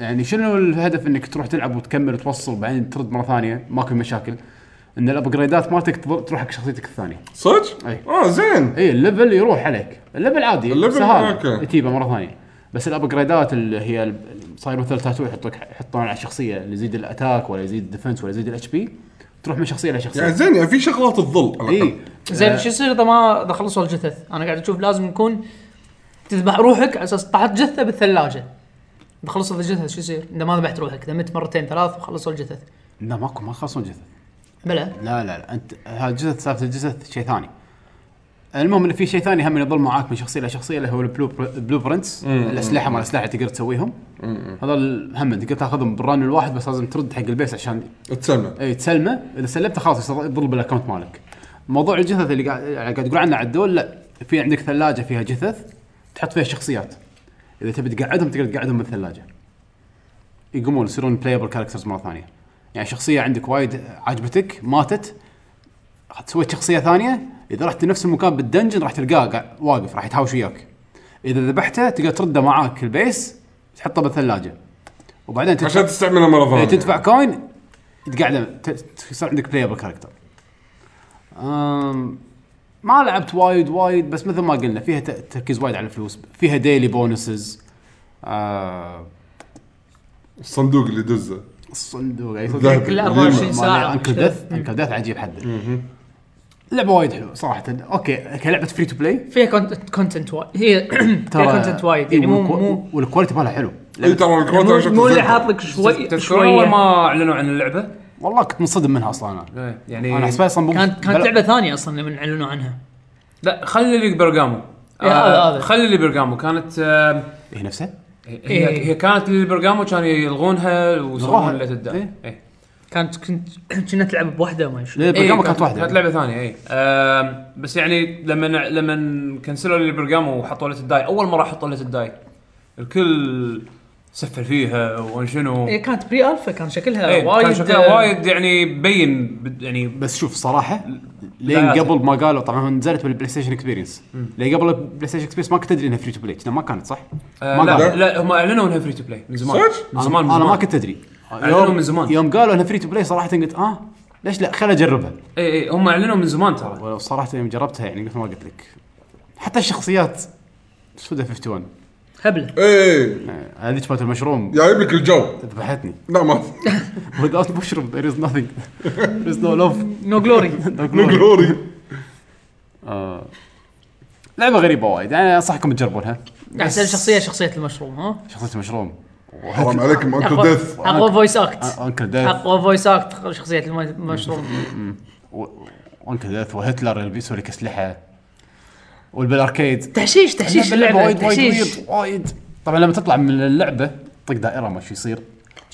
يعني شنو الهدف انك تروح تلعب وتكمل وتوصل بعدين ترد مره ثانيه ماكو مشاكل ان الابجريدات مالتك تظل- تروح حق شخصيتك الثانيه
صدق؟
أي.
اه زين
اي الليفل يروح عليك الليفل عادي
الليفل،
سهالة
أوكي.
تجيبه مره ثانيه بس الابجريدات اللي هي ال- صاير مثل تاتو يحطوك يحطون على الشخصيه اللي يزيد الاتاك ولا يزيد الديفنس ولا يزيد الاتش بي تروح من شخصيه لشخصيه
يعني زين يعني في شغلات تظل على
اي
الأقل.
زين شو يصير اذا ما اذا خلصوا الجثث؟ انا قاعد اشوف لازم يكون تذبح روحك على اساس طحت جثه بالثلاجه. اذا خلصت الجثث شو يصير؟ اذا ما ذبحت روحك اذا مت مرتين ثلاث وخلصوا الجثث.
لا ماكو ما يخلصون جثث
بلى
لا لا لا انت هالجثث سالفه الجثث شيء ثاني المهم ان في شيء ثاني هم يظل معاك من شخصيه لشخصيه اللي هو البلو البلو برنتس الاسلحه مال الاسلحه تقدر تسويهم هذا هم تقدر تاخذهم بالران الواحد بس لازم ترد حق البيس عشان
تسلم
اي تسلمه اذا سلمته خلاص يصير- يضل بالاكونت مالك. موضوع الجثث اللي قاعد قاعد تقول عنه عدول لا في عندك ثلاجه فيها جثث تحط فيها الشخصيات. اذا تبي تقعدهم تقدر تقعدهم بالثلاجه. يقومون يصيرون بلايبل كاركترز مره ثانيه. يعني شخصيه عندك وايد عجبتك ماتت سويت شخصيه ثانيه اذا رحت نفس المكان بالدنجن راح تلقاه قاع- واقف راح يتهاوش وياك. اذا ذبحته تقدر ترده معاك البيس تحطه بالثلاجه. وبعدين تدفع-
عشان تستعملها مره
إيه،
ثانيه
تدفع كوين تقعد يصير عندك بلايبل كاركتر ما لعبت وايد وايد بس مثل ما قلنا فيها ت- تركيز وايد على الفلوس فيها ديلي بونسز آه
الصندوق اللي دزه
الصندوق يعني
ذهب.
كل 24
مال
ساعه
انكل ديث انكل ديث عجيب حد لعبه وايد حلوه صراحه اوكي كلعبه فري تو بلاي
فيها كونتنت وايد هي فيها كونتنت
إيه،
وايد يعني مو مو
والكواليتي مالها حلو
اي ترى الكواليتي
مو-
شكله
مو اللي
زين.
حاط لك شوي
تذكرون اول
شويه
ما اعلنوا عن اللعبه
والله كنت منصدم منها اصلا انا
إيه، يعني
انا حسبها اصلا مو-
كانت
بلا-
كانت لعبه ثانيه اصلا لما اعلنوا عنها
لا خلي اللي برقامو آه،
إيه، هذا- هذا.
خلي اللي برقامو كانت آه،
هي نفسها
هي
إيه.
هي كانت اللي برقامو كانوا يلغونها ويسوون
لغوها.
لها تبدا
إيه.
إيه.
كانت كنت كنا تلعب بوحده ما شنو
لا البرنامج
إيه،
كانت واحده
كانت لعبه ثانيه اي آم، بس يعني لما لما كنسلوا لي البرقامو وحطوا لي الداي اول مره حطوا لي الداي الكل سفل فيها وان شنو
هي كانت بري الفا كان شكلها
إيه،
إيه، وايد آه،
كان شكلها وايد يعني بين بد- يعني
بس شوف صراحه لين
لا، لا.
قبل ما قالوا طبعا نزلت بالبلاي ستيشن اكسبيرينس لين قبل البلاي ستيشن اكسبيرينس ما كنت ادري انها فري تو بلاي ما كانت صح؟
آه،
قالوا.
لا لا هم اعلنوا انها فري تو بلاي من زمان
صدق؟
من زمان من
انا ما
زمان
كنت ادري
أعلنوا من زمان.
يوم قالوا انها فري تو بلاي صراحه قلت اه ليش لا خليني اجربها
اي اي إيه، هم اعلنوا من زمان ترى
وصراحه يوم جربتها يعني مثل ما قلت لك حتى الشخصيات سودا 51
هبله
ايه
آه، هذيك مالت المشروم
جايب لك الجو
ذبحتني
لا ما
without mushroom there is nothing there is no love
نو جلوري
no glory.
نقلوري
آه. لعبه غريبه وايد يعني انصحكم تجربونها
احسن شخصيه شخصيه المشروم ها
شخصيه المشروم
حرام عليكم انكل ديث
اقوى اقوى فويس اكت
انكل ديث
اقوى فويس اكت شخصيه الم- المشروم
وانكل ديث وهتلر يلبسوا لك اسلحه والبالاركيد
تحشيش تحشيش اللعبه
وايد وايد
تحشيش
weird، وايد طبعا لما تطلع من اللعبه تطق دائره ما شو يصير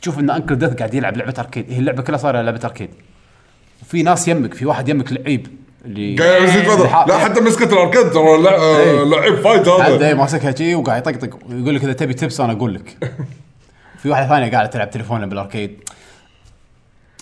تشوف ان انكل ديث قاعد يلعب لعبه اركيد هي اللعبه كلها صايره لعبه اركيد وفي ناس يمك في واحد يمك لعيب اللي
قاعد يزيد وضع لا حتى مسكت الاركيد ترى لا- آه،
إيه.
لعيب فايت
هذا
هذا
ايه ماسكها شي وقاعد يطقطق ويقول لك اذا تبي تبس انا اقول لك في واحده ثانيه قاعده تلعب تليفونها بالاركيد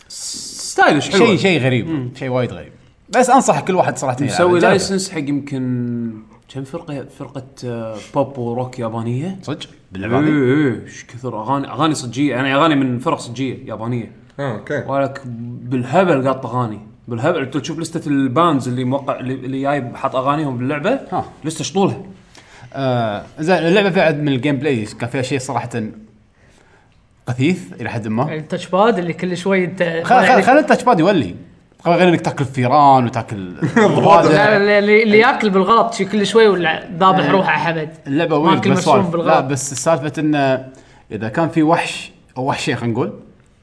ستايلش حلوه
شيء شيء غريب شيء وايد غريب بس انصح كل واحد صراحه يلعب.
مسوي
جربه.
لايسنس حق يمكن كم فرقه فرقه آه، بوب وروك يابانيه
صدق باللعبه هذه
ايه ايش كثر اغاني اغاني صجيه يعني اغاني من فرق صجيه يابانيه
آه، اوكي
ولك بالهبل قاط اغاني بالهبل انت تشوف لسته الباندز اللي موقع اللي- اللي جايب حط اغانيهم باللعبه
ها.
لسته شطوله
آه زين اللعبه فيها عد من الجيم بلاي كان فيها شيء صراحه قثيث الى حد ما
التاتش باد يعني اللي كل شوي انت
خل- خل-
يعني-
خلي التاتش باد يولي خل- غير انك تاكل فيران وتاكل
لا،
ضفادع.
لا، اللي اللي ياكل بالغلط شي كل شوي ولا ذابح روحه حمد
اللعبه
ماكل
ويرد بس
مشروم
سوالف.
بالغلط.
لا بس سالفه انه اذا كان في وحش او وحشين خلينا نقول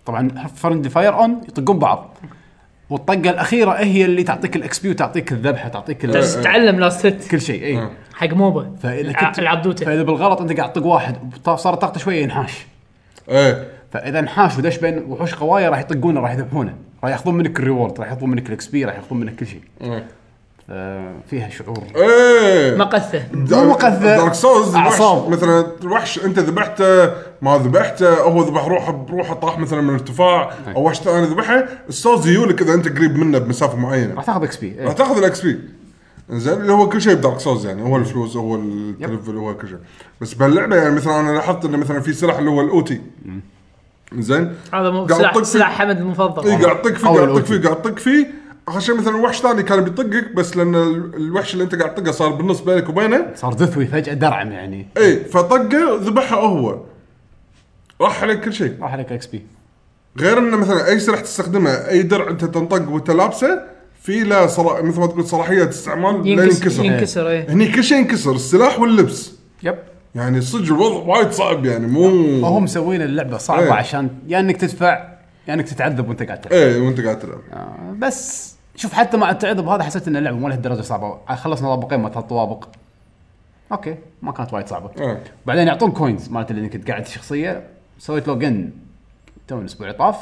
طبعا فرند فاير اون يطقون بعض والطقه الاخيره هي اللي تعطيك الاكس بي وتعطيك الذبحه تعطيك ال-
بس تعلم لاست هيت
كل شيء اي
حق موبا
فاذا
الع-
كنت
العبدوته
فاذا بالغلط انت قاعد تطق واحد وط- صارت طاقته شويه ينحاش
ايه
فاذا انحاش ودش بين وحوش قوايا راح يطقونه راح يذبحونه راح ياخذون منك الريورد راح ياخذون منك الاكس بي راح ياخذون منك كل شيء آه، فيها شعور
ايه
مقثه
مو مقذى.
دارك سولز
أعصاب.
اعصاب مثلا الوحش انت ذبحته ما ذبحته هو ذبح روحه بروحه طاح مثلا من ارتفاع او وحش ثاني ذبحه السولز يجولك اذا انت قريب منه بمسافه معينه
راح تاخذ اكس بي إيه.
راح تاخذ الاكس بي زين اللي هو كل شيء بدارك سولز يعني هو الفلوس هو التلفل هو كل شيء بس بهاللعبه يعني مثلا انا لاحظت انه مثلا في سلاح اللي هو الاوتي زين
هذا مو
قاعد إيه،
سلاح
يطق
سلاح
فيك.
حمد المفضل
اي قاعد تطق فيه
أو
قاعد تطق
الأوتي.
فيه قاعد تطق فيه اخر شيء مثلا وحش ثاني كان بيطقك بس لان ال- الوحش اللي انت قاعد تطقه صار بالنص بينك وبينه
صار دثوي فجاه درعم يعني
اي إيه، فطقه ذبحه هو راح عليك كل شيء
راح عليك اكس بي
غير انه مثلا اي سلاح تستخدمه اي درع انت تنطق وانت لابسه في له صرا... مثل ما تقول صلاحيه استعمال لين
ينكسر
ينكسر
ينكسر اي
هني كل شيء ينكسر السلاح واللبس
يب
يعني صدق الوضع وايد صعب يعني مو
وهم مسوين اللعبه صعبه
إيه.
عشان يا انك تدفع يا انك تتعذب وانت قاعد تلعب
ايه وانت قاعد تلعب
آه، بس شوف حتى مع التعذب هذا حسيت ان اللعبه مو لهالدرجه صعبه خلصنا طابقين ما ثلاث طوابق اوكي ما كانت وايد صعبه
ايه
بعدين يعطون كوينز مالت اللي كنت قاعد شخصيه سويت لوجن تو من اسبوع طاف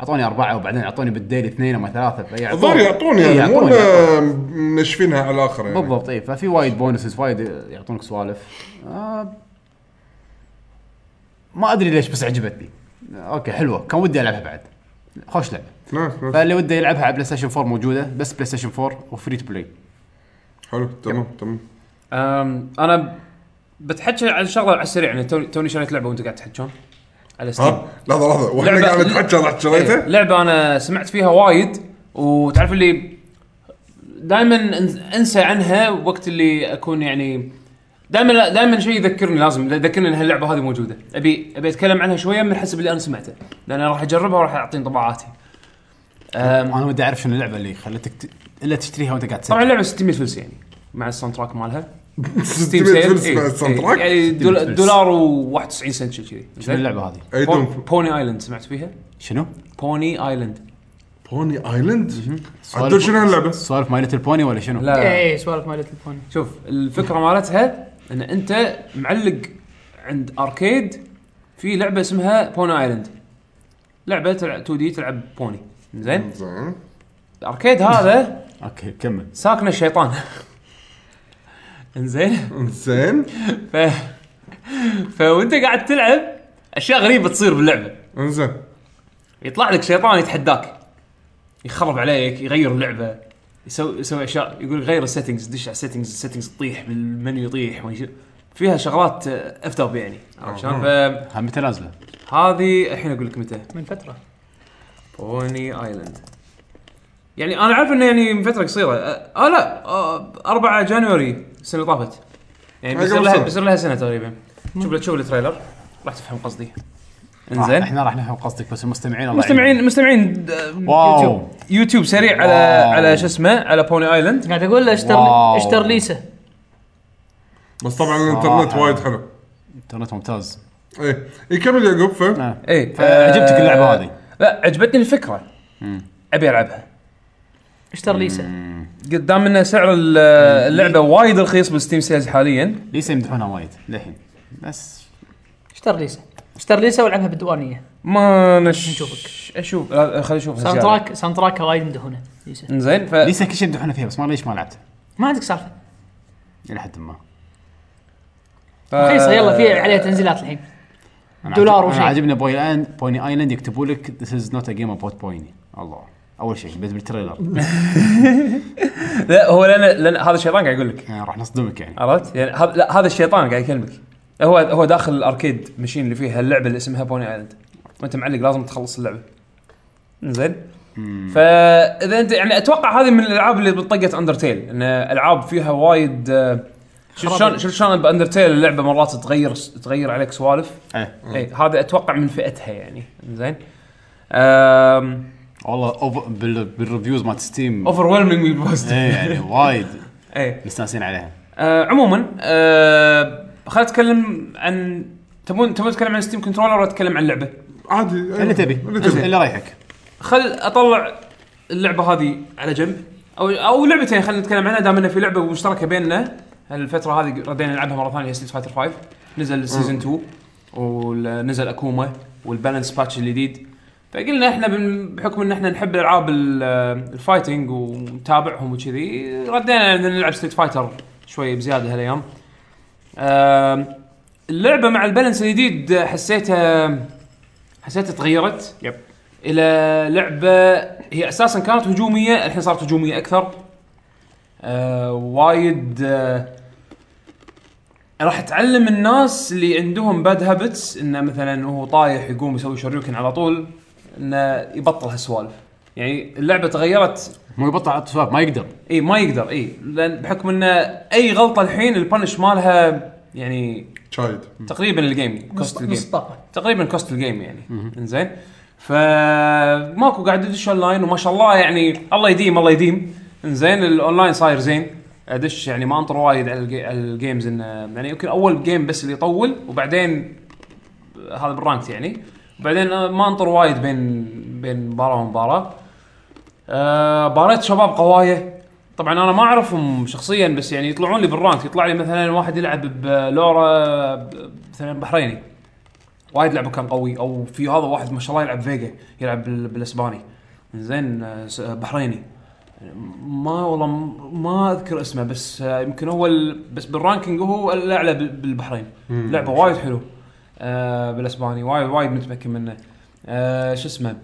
اعطوني اربعه وبعدين اعطوني بالديلي اثنين او ثلاثه فهي يعطون-
الظاهر يعطون
إيه،
يعني مو
يعطون
إنه منشفينها على الاخر يعني
بالضبط اي ففي وايد بونسز وايد يعطونك سوالف آه ما ادري ليش بس عجبتني اوكي حلوه كان ودي العبها بعد خوش لعبه
نايس نايس
فاللي وده يلعبها على بلاي ستيشن 4 موجوده بس بلاي ستيشن 4 وفري تو بلاي
حلو تمام تمام
أم، انا ب- بتحكي عن شغله على السريع يعني توني- توني شريت لعبه وانتم قاعد تحكون على ستيم
ها لحظه لحظه واحنا
لعبة-
قاعد نتحكى رحت
إيه،
شريته
لعبه انا سمعت فيها وايد وتعرف اللي دائما انسى عنها وقت اللي اكون يعني دائما دائما شيء يذكرني لازم يذكرني ان هاللعبه هذه موجوده ابي ابي اتكلم عنها شويه من حسب اللي انا سمعته لان راح اجربها وراح اعطي انطباعاتي أم،
انا ودي اعرف شنو اللعبه اللي خلتك ت... الا تشتريها وانت قاعد
طبعا
تسوي
اللعبه 600 فلس يعني مع الساوند تراك مالها ستيم
600 فلس
إيه،
مع الساوند
إيه،
تراك؟
يعني
ستيم
دول-
فلس.
دولار و91 سنت شيء كذي
شنو اللعبه هذه؟
اي دون
بوني ايلاند سمعت فيها؟
شنو؟
بوني ايلاند
بوني ايلاند عدل شنو هاللعبه؟
سوالف ماي ليتل بوني ولا شنو؟
لا
اي إيه، سوالف مال التليفون
شوف الفكره مالتها ان انت معلق عند اركيد في لعبه اسمها بوني ايلاند لعبه تلعب 2 دي تلعب بوني زين
زين
الاركيد هذا
اوكي كمل
ساكنه الشيطان انزين
زين
ف فوانت قاعد تلعب اشياء غريبه تصير باللعبه
انزين
يطلع لك شيطان يتحداك يخرب عليك يغير اللعبه يسوي يسوي اشياء يقول لك غير السيتنجز دش على السيتنجز السيتنجز تطيح بالمنيو يطيح ما يشوف. فيها شغلات آه، افتر بي يعني عرفت شلون؟
ها متى نازله؟
فهذه الحين اقول لك متى
من فتره
بوني ايلاند يعني انا عارف انه يعني من فتره قصيره اه آه، لا آه 4 جانوري السنه اللي طافت يعني
هاي
بيصير
قبل
لها
سنة.
بيصير لها سنه تقريبا شوف لك شوف التريلر راح تفهم قصدي
راح-
انزين
احنا آه، راح نفهم قصدك بس المستمعين الله
مستمعين مستمعين د-
واو.
يوتيوب يوتيوب سريع على
واو.
على شو اسمه على بوني ايلاند
قاعد اقول له اشتر
واو.
اشتر ليسه
بس طبعا الانترنت
صراحة.
وايد حلو
انترنت ممتاز
ايه يكمل يعقوب ف
آه.
اي
فعجبتك اللعبة هذه؟
إيه، لا عجبتني الفكره ابي العبها
اشتر ليسه
قدام انه سعر ال- اللعبه وايد رخيص بالستيم سيلز حاليا
ليس يمدحونها وايد للحين بس
اشتر ليسه اشتر ليسه والعبها بالديوانيه
ما نش
نشوفك.
اشوف لا، خليني اشوف
ساوند تراك ساوند تراكها وايد مدهونه ليسه
زين ف
ليس كل شيء يمدحونه فيها بس ما ليش ما لعبتها
ما عندك سالفه
الى حد ما
ف-
رخيصه يلا في عليها تنزيلات الحين
أنا
دولار
عجب-
وشيء.
انا عاجبني بوي ايلاند بوني ايلاند يكتبوا لك ذيس از نوت ا جيم اباوت بوني الله اول شيء بس بالتريلر
لا هو لان لان هذا الشيطان قاعد يقول لك
يعني راح نصدمك يعني
عرفت؟ يعني هذا لا هذا الشيطان قاعد يكلمك هو هو داخل الاركيد مشين اللي فيها اللعبه اللي اسمها بوني ايلاند وانت معلق لازم تخلص اللعبه زين فاذا انت يعني اتوقع هذه من الالعاب اللي طقت اندرتيل ان العاب فيها وايد آه، شوف شلون شوف شلون باندرتيل اللعبه مرات تغير تغير عليك سوالف
ايه
اي هذا اتوقع من فئتها يعني زين امم
والله أوف- بال- بالريفيوز مالت ستيم
اوفر ويلمنج بوست
ايه يعني وايد
اي
مستانسين عليها
آه عموما آه خلينا نتكلم عن تبون تبون نتكلم عن ستيم كنترولر ولا اتكلم عن اللعبه؟
عادي إيه.
اللي تبي
اللي تبي
اللي رايحك
خل اطلع اللعبه هذه على جنب او او لعبتين خلينا نتكلم عنها دام انه في لعبه مشتركه بيننا هالفتره هذه ردينا نلعبها مره ثانيه ستريت فايتر 5 نزل سيزون 2 ونزل اكوما والبالانس باتش الجديد فقلنا احنا بن- بحكم ان احنا نحب الالعاب ال- الفايتنج ونتابعهم وكذي ردينا إن نلعب ستريت فايتر شوي بزياده هالايام آم، اللعبه مع البالانس الجديد حسيتها حسيتها تغيرت
يب.
الى لعبه هي اساسا كانت هجوميه الحين صارت هجوميه اكثر آه وايد آه راح تعلم الناس اللي عندهم باد هابتس انه مثلا هو طايح يقوم يسوي شريوكن على طول انه يبطل هالسوالف يعني اللعبه تغيرت
مو يبطل على السوالف ما يقدر
اي ما يقدر اي لان بحكم انه اي غلطه الحين البنش مالها يعني
شايد
تقريبا الجيم كوست
نص
الجيم
نص طاقه
تقريبا كوست الجيم يعني انزين فماكو قاعد ادش اونلاين وما شاء الله يعني الله يديم الله يديم انزين الاونلاين صاير زين ادش يعني ما انطر وايد على الجي- على الجيمز انه يعني يمكن اول جيم بس اللي يطول وبعدين هذا بالرانكت يعني وبعدين أنا ما انطر وايد بين بين مباراه ومباراه آه، باريت شباب قوايه طبعا انا ما اعرفهم شخصيا بس يعني يطلعون لي بالرانك يطلع لي مثلا واحد يلعب بلورا ب- مثلا بحريني وايد لعبه كان قوي او في هذا واحد ما شاء الله يلعب فيجا يلعب بال- بالاسباني زين آه، س- آه، بحريني ما والله م- ما اذكر اسمه بس آه، يمكن هو ال- بس بالرانكينج هو الاعلى بال- بالبحرين لعبه وايد حلو آه، بالاسباني وايد وايد متمكن منه آه، شو اسمه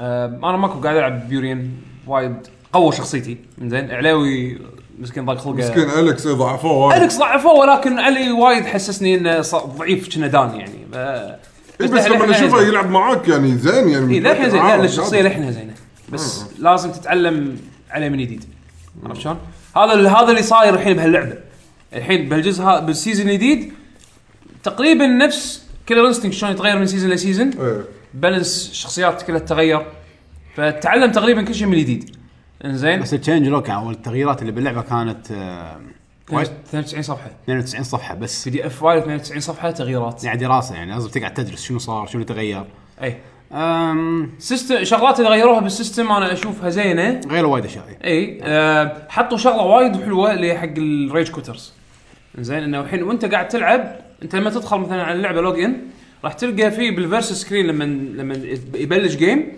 آه، انا ماكو قاعد العب بيورين وايد قوى شخصيتي زين علاوي مسكين ضاق خلقه
مسكين اليكس إيه، ضعفوه وايد
اليكس ضعفوه ولكن علي وايد حسسني انه ص- ضعيف كنا دان يعني ف-
إيه، بس لما
لحنه
نشوفه
زين.
يلعب معاك يعني زين يعني
اي للحين زين
معاه
إيه، لا، الشخصيه
شاطر.
لحنها زينه بس
آه.
لازم تتعلم عليه من جديد عرفت شلون؟ هذا ال- هذا اللي صاير الحين بهاللعبه الحين بالجزء ها- بالسيزون الجديد تقريبا نفس كيلر انستنكت شلون يتغير من سيزون لسيزون
إيه.
بالانس شخصيات كلها تغير فتعلم تقريبا كل شيء من جديد انزين
بس التشينج لوك او التغييرات اللي باللعبه كانت آه، وايد-
92 صفحه
92 صفحه بس
بي دي اف وايد 92 صفحه تغييرات
نعم.
إيه.
يعني دراسه يعني لازم تقعد تدرس شنو صار شنو تغير
اي
أم،
سيستم شغلات اللي غيروها بالسيستم انا اشوفها زينه
غيروا وايد اشياء
اي آه حطوا شغله وايد حلوه اللي هي حق الريج كوترز زين انه الحين وانت قاعد تلعب انت لما تدخل مثلا على اللعبه لوج ان راح تلقى في بالفيرس سكرين لما لما يبلش جيم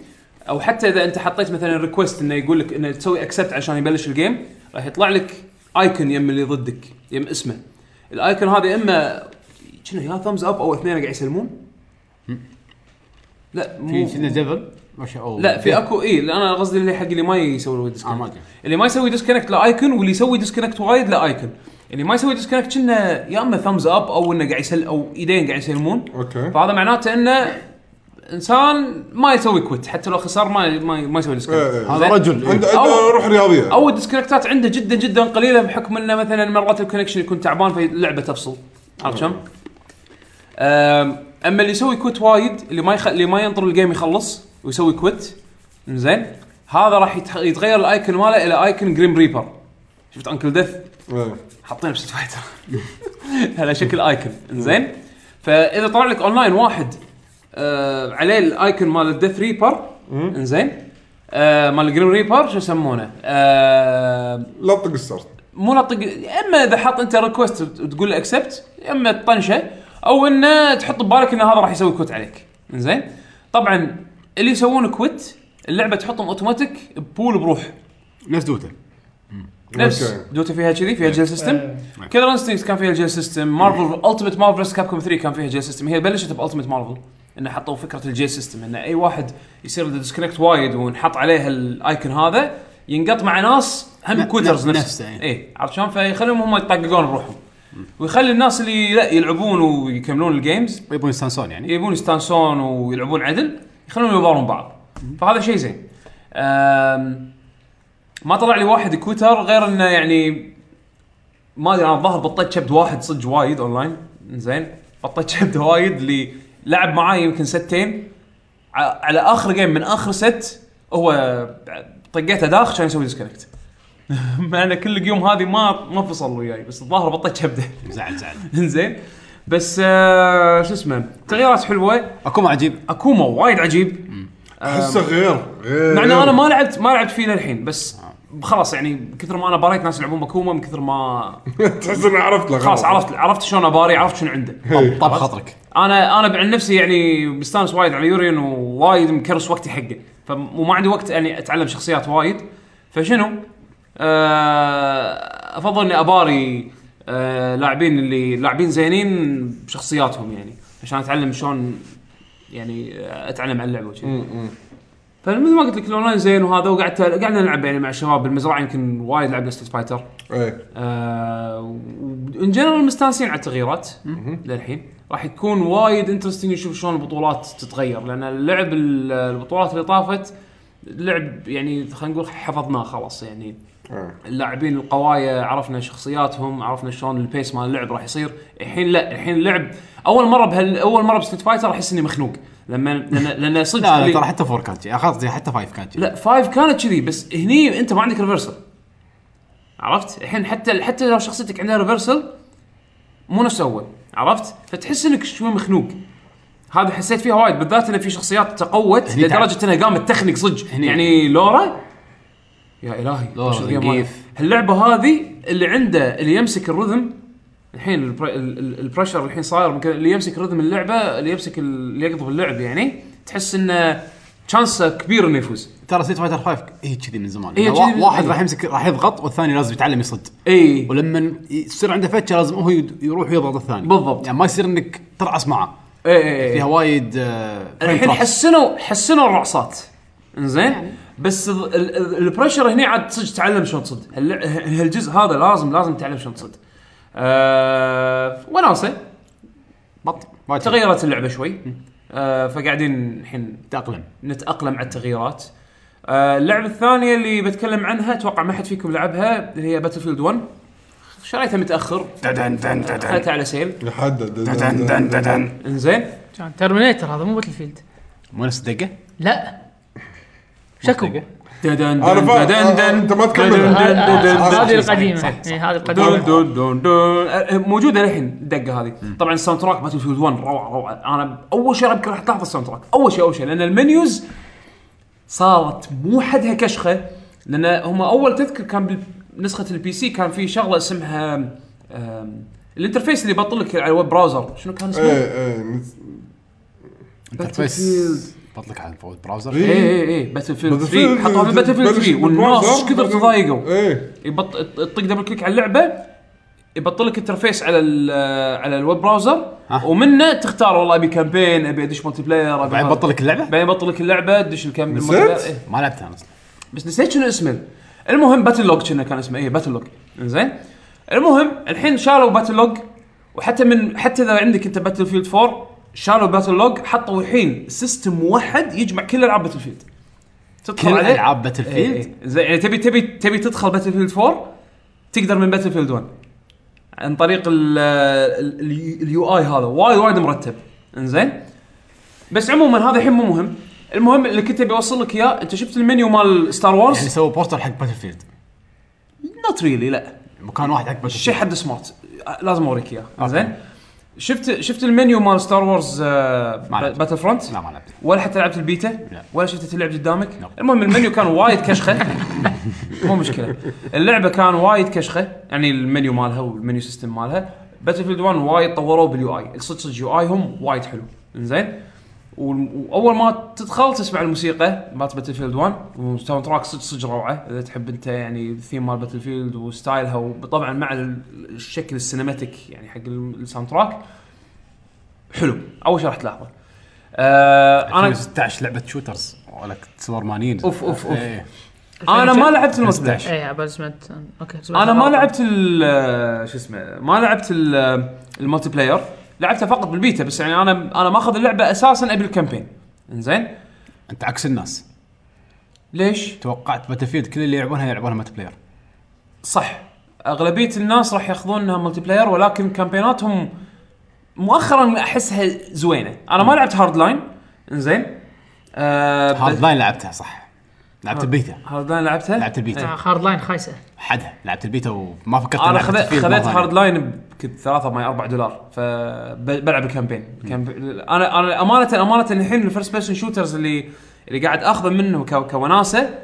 او حتى اذا انت حطيت مثلا ريكوست انه يقول لك انه تسوي اكسبت عشان يبلش الجيم راح يطلع لك ايكون يم اللي ضدك يم اسمه الايكون هذا اما شنو يا ثامز اب او اثنين قاعد يسلمون لا مو
في كنا ديفل ما شاء الله إيه.
لا في اكو اي لا انا قصدي اللي حق اللي ما يسوي
آه، ما
ديسكونكت
أدري.
اللي ما يسوي ديسكونكت لا ايكون واللي يسوي ديسكونكت وايد لا ايكون اللي ما يسوي ديسكونكت كنا يا اما ثامز اب او انه قاعد يسل او ايدين قاعد يسلمون
اوكي
فهذا معناته انه انسان ما يسوي كويت حتى لو خسر ما ما, ما يسوي ديسكونكت
إيه.
هذا رجل إيه.
عنده عنده
أو-
روح رياضيه
او الديسكونكتات عنده جدا جدا قليله بحكم انه مثلا مرات الكونكشن يكون تعبان فاللعبه تفصل عرفت شلون؟ أم- اما اللي يسوي كوت وايد اللي ما يخ... اللي ما ينطر الجيم يخلص ويسوي كوت زين هذا راح يتح... يتغير الايكون ماله الى ايكون جريم ريبر شفت انكل ديث
إيه.
حاطينه بست فايتر على شكل ايكون زين فاذا طلع لك اونلاين واحد آه عليه الايكون مال الديث ريبر انزين آه مال الجريم ريبر شو يسمونه؟ آه
لا تطق السرد
مو نطق يا اما اذا حاط انت ريكوست وتقول اكسبت يا اما تطنشه او انه تحط ببالك ان هذا راح يسوي كوت عليك زين طبعا اللي يسوون كوت اللعبه تحطهم اوتوماتيك ببول بروح
نفس دوتا
نفس
أوكي.
دوتا فيها كذي فيها جيل سيستم كيلر انستنكت كان فيها الجيل سيستم مارفل التيمت مارفل كاب كوم 3 كان فيها جيل سيستم E هي بلشت بالتيمت مارفل انه حطوا فكره الجيل سيستم انه اي واحد يصير له ديسكونكت وايد ونحط عليه الايكون هذا ينقط مع ناس هم
ن-
كوترز
نفس-
نفس
نفسه، إيه.
اي عرفت شلون فيخليهم هم يطققون بروحهم ويخلي الناس اللي لا يلعبون ويكملون الجيمز
يبون يستانسون يعني
يبون يستانسون ويلعبون عدل يخلون يبارون بعض فهذا شيء زين أم، ما طلع لي واحد كوتر غير انه يعني ما ادري انا الظاهر بطيت شبد واحد صدق وايد اونلاين زين بطيت شبد وايد اللي لعب معاي يمكن ستين ع- على اخر جيم من اخر ست هو طقيته داخ عشان يسوي ديسكونكت مع ان كل يوم هذه ما ما فصل وياي بس الظاهر بطيت شبده
إيه. زعل زعل
زين بس آه شو اسمه تغييرات حلوه
اكو ما عجيب
اكوما وايد عجيب آه،
احسه غير غير
مع انه انا ما لعبت ما لعبت فيه للحين بس خلاص يعني من كثر ما انا باريت ناس يلعبون باكوما من كثر ما
تحس اني عرفت له
خلاص عرفت عرفت شلون اباري عرفت شنو عنده
طب طب خاطرك
انا انا عن نفسي يعني مستانس وايد على يورين ووايد مكرس وقتي حقه فم- وما عندي وقت يعني اتعلم شخصيات وايد فشنو؟ آه افضل اني اباري آه لاعبين اللي لاعبين زينين بشخصياتهم يعني عشان اتعلم شلون يعني آه، اتعلم على اللعبه وكذي. فمثل ما قلت لك الاونلاين زين وهذا وقعدت قعدنا نلعب يعني مع الشباب بالمزرعه يمكن وايد لعبنا ستريت فايتر
ايه
وان جنرال آه، مستانسين على التغييرات للحين راح يكون وايد انترستنج نشوف شلون البطولات تتغير لان اللعب ال- البطولات اللي طافت لعب يعني خلينا نقول حفظناه خلاص يعني
إيه.
اللاعبين القوايا عرفنا شخصياتهم عرفنا شلون البيس مال اللعب راح يصير الحين لا الحين اللعب اول مره بهال اول مره بستريت فايتر احس اني مخنوق لما لان لان صدق
لا لا
اللي-
ترى حتى فور كانت شي. خلاص حتى فايف كانت شي.
لا فايف كانت كذي بس هني انت ما عندك ريفرسل عرفت الحين حتى حتى لو شخصيتك عندها ريفرسل مو نفس اول عرفت فتحس انك شوي مخنوق هذا حسيت فيها وايد بالذات ان في شخصيات تقوت
هني تعب.
لدرجه انها قامت تخنق صدق
هني.
يعني لورا يا الهي
لورا
وش الجيم هذا؟
نقيف.
هاللعبه هذه اللي عنده اللي يمسك الرذم الحين البر- ال- ال- البريشر الحين صاير ممكن اللي يمسك رذم اللعبه اللي يمسك ال- اللي يقضب اللعب يعني تحس انه شانسه كبير انه يفوز
ترى سيت فايتر 5 هي كذي من زمان
هي
إيه
كذي من-
واحد
إيه.
راح يمسك راح يضغط والثاني لازم يتعلم يصد
اي
ولما يصير عنده فتشه لازم هو يد- يروح يضغط الثاني
بالضبط.
يعني ما يصير انك ترعص معه
اي
فيها
اي
وايد آه،
إيه. الحين
frame traps.
حسنوا حسنوا الرعصات انزين بس ال- ال- ال- البريشر هنا عاد صدق تعلم شلون تصد هال- ه- هالجزء هذا لازم لازم تعلم شلون تصد أه وناسه
بط وايد
تغيرت اللعبه شوي أه فقاعدين الحين
تاقلم
نتاقلم على التغييرات آه، اللعبه الثانيه اللي بتكلم عنها اتوقع ما حد فيكم لعبها اللي هي باتل فيلد 1 شريتها متاخر
ددن دن ددن
حطيتها على سيل
يحدد
ددن دن ددن
انزين
كان ترمينيتر هذا مو باتل فيلد
مو نفس الدقه
لا شكو
دقة.
ددن
انا فاهم
ددن
آه،
دن
انت ما
دن
تكمل
دن.
هذه
صح، صح،
القديمه
صح.
إيه، هذه
دون
القديمه
دون دون دون أه، موجوده للحين الدقه هذه طبعا الساوند تراك باتل فيلد 1 روعه روعه انا اول شيء يمكن راح تلاحظ الساوند تراك اول شيء اول شيء لان المنيوز صارت مو حدها كشخه لان هم اول تذكر كان بنسخه البي سي كان في شغله اسمها أم، الانترفيس اللي يبطل لك على الويب براوزر شنو كان اسمه؟
ايه ايه
انترفيس بطلق على الفوت براوزر
إيه.
اي اي اي باتل فيلد 3
Battlefield-
حطوها في باتل فيلد 3
Battlefield
والناس
Browser.
كثر تضايقوا
ايه
يبط يطق دبل كليك على اللعبه يبطل لك انترفيس على ال على الويب براوزر ومنه تختار والله ابي كامبين ابي ادش ملتي بلاير ابي
بعدين
هذا.
بطل لك اللعبه
بعدين يبطل لك اللعبه تدش الكامبين
نسيت؟
الملتي بلاير. إيه.
ما لعبتها انا اصلا
بس نسيت شنو اسمه المهم باتل لوج كنا كان اسمه اي باتل لوج زين المهم الحين شالوا باتل لوج وحتى من حتى اذا عندك انت باتل فيلد 4 شالوا باتل لوج حطوا الحين سيستم موحد يجمع كل العاب باتل فيلد تدخل
كل
عليه-
العاب باتل
إيه، إيه.
فيلد
زين يعني تبي تبي تبي تدخل باتل فيلد 4 تقدر من باتل فيلد 1 عن طريق ال- ال- ال- اليو اي هذا وايد وايد مرتب انزين بس عموما هذا الحين مو مهم المهم اللي كنت ابي اوصل لك اياه انت شفت المنيو مال ستار
يعني
وورز
سووا بوستر حق باتل فيلد
نوت ريلي لا
مكان واحد حق باتل
شيء
فيلد
حد سمارت لازم اوريك اياه زين شفت شفت المنيو مال ستار وورز
ما نعم. لعبت.
باتل فرونت
لا ما لعبت
ولا حتى لعبت البيتا
لا.
ولا شفت تلعب قدامك
لا.
المهم المنيو كان وايد كشخه مو مشكله اللعبه كان وايد كشخه يعني المنيو مالها والمنيو سيستم مالها باتل فيلد 1 وايد طوروه باليو اي صدق صدق يو اي هم وايد حلو زين واول ما تدخل تسمع الموسيقى مالت باتل فيلد 1 والساوند تراك صدق صدق روعه اذا تحب انت يعني الثيم مال باتل فيلد وستايلها وطبعا مع ال- الشكل السينماتيك يعني حق الساوند تراك حلو اول شيء راح تلاحظه آه انا
2016 لعبه شوترز ولا سوبرمانيين
أوف، أوف، أوف.
إيه.
انا ما لعبت الملتي
15.
بلاير
اي عبال سمعت اوكي سمعت
انا ما
غلط.
لعبت ال- آه، شو اسمه ما لعبت ال- الملتي بلاير لعبتها فقط بالبيتا بس يعني انا انا ماخذ اللعبه اساسا قبل الكامبين انزين
انت عكس الناس
ليش؟
توقعت باتل فيلد كل اللي يلعبونها يلعبونها ملتي بلاير
صح اغلبيه الناس راح ياخذونها ملتي بلاير ولكن كامبيناتهم مؤخرا احسها زوينه انا ما لعبت هارد لاين انزين آه
هارد
بس-
لاين لعبتها صح
آه.
لعبت البيتا
هارد لاين لعبتها؟
لعبت البيتا
آه، هارد لاين خايسه
حدها لعبت البيتا وما فكرت
انا
ألعب
خذ-
باتل فيلد
خذيت
مرة
هارد
ثانية.
لاين يمكن ثلاثة ماي 4 دولار فبلعب الكامبين كامب- انا انا امانه امانه الحين الفيرست بيرسون شوترز اللي اللي قاعد اخذه منه ك- كوناسه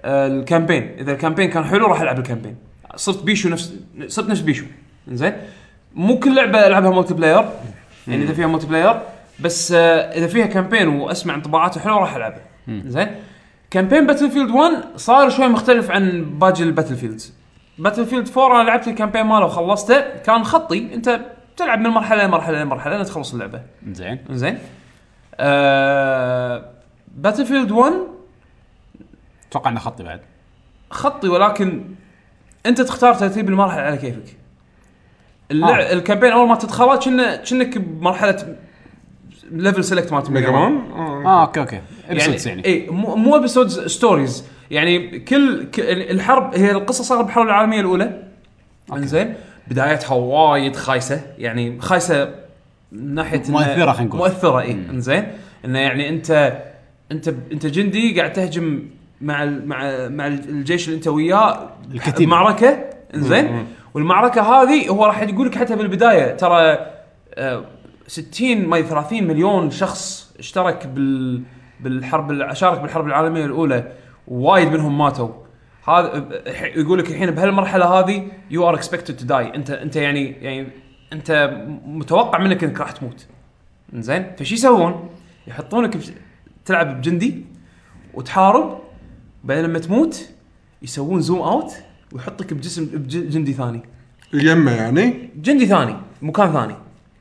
آه، الكامبين اذا الكامبين كان حلو راح العب الكامبين صرت بيشو نفس صرت نفس بيشو زين مو كل لعبه العبها ملتي بلاير يعني اذا فيها ملتي بلاير بس آه، اذا فيها كامبين واسمع انطباعاته حلوه راح العبها زين كامبين باتل فيلد 1 صار شوي مختلف عن باقي الباتل فيلدز باتل فيلد 4 انا لعبت الكامبين ماله وخلصته كان خطي انت تلعب من مرحله لمرحله لمرحله لين تخلص اللعبه
زين
زين آه باتل فيلد 1
اتوقع انه خطي بعد
خطي ولكن انت تختار ترتيب المرحله على كيفك اللع...
آه.
آه. الكامبين اول ما تدخله كنا كأنك بمرحله ليفل سيلكت مالت
ميجا مان
اه اوكي اوكي ابسودز يعني
اي مو مو ابيسودز ستوريز يعني كل ك- الحرب هي القصه صارت بالحرب العالميه الاولى انزين بدايتها وايد خايسه يعني خايسه من ناحيه إنه-
مؤثرة خلينا نقول.
مؤثره اي انزين انه إيه، يعني انت انت انت جندي قاعد تهجم مع ال- مع مع الجيش اللي انت وياه
الكتيبة.
معركه انزين والمعركه هذه هو راح يقول لك حتى بالبدايه ترى آه، 60 ما 30 مليون شخص اشترك بال بالحرب الع- شارك بالحرب العالميه الاولى وايد منهم ماتوا هذا ح- يقول لك الحين بهالمرحله هذه يو ار اكسبكتد تو داي انت انت يعني يعني انت متوقع منك انك راح تموت زين فشو يسوون؟ يحطونك بس- تلعب بجندي وتحارب بعدين لما تموت يسوون زوم اوت ويحطك بجسم بجندي ثاني
يمه يعني
جندي ثاني مكان ثاني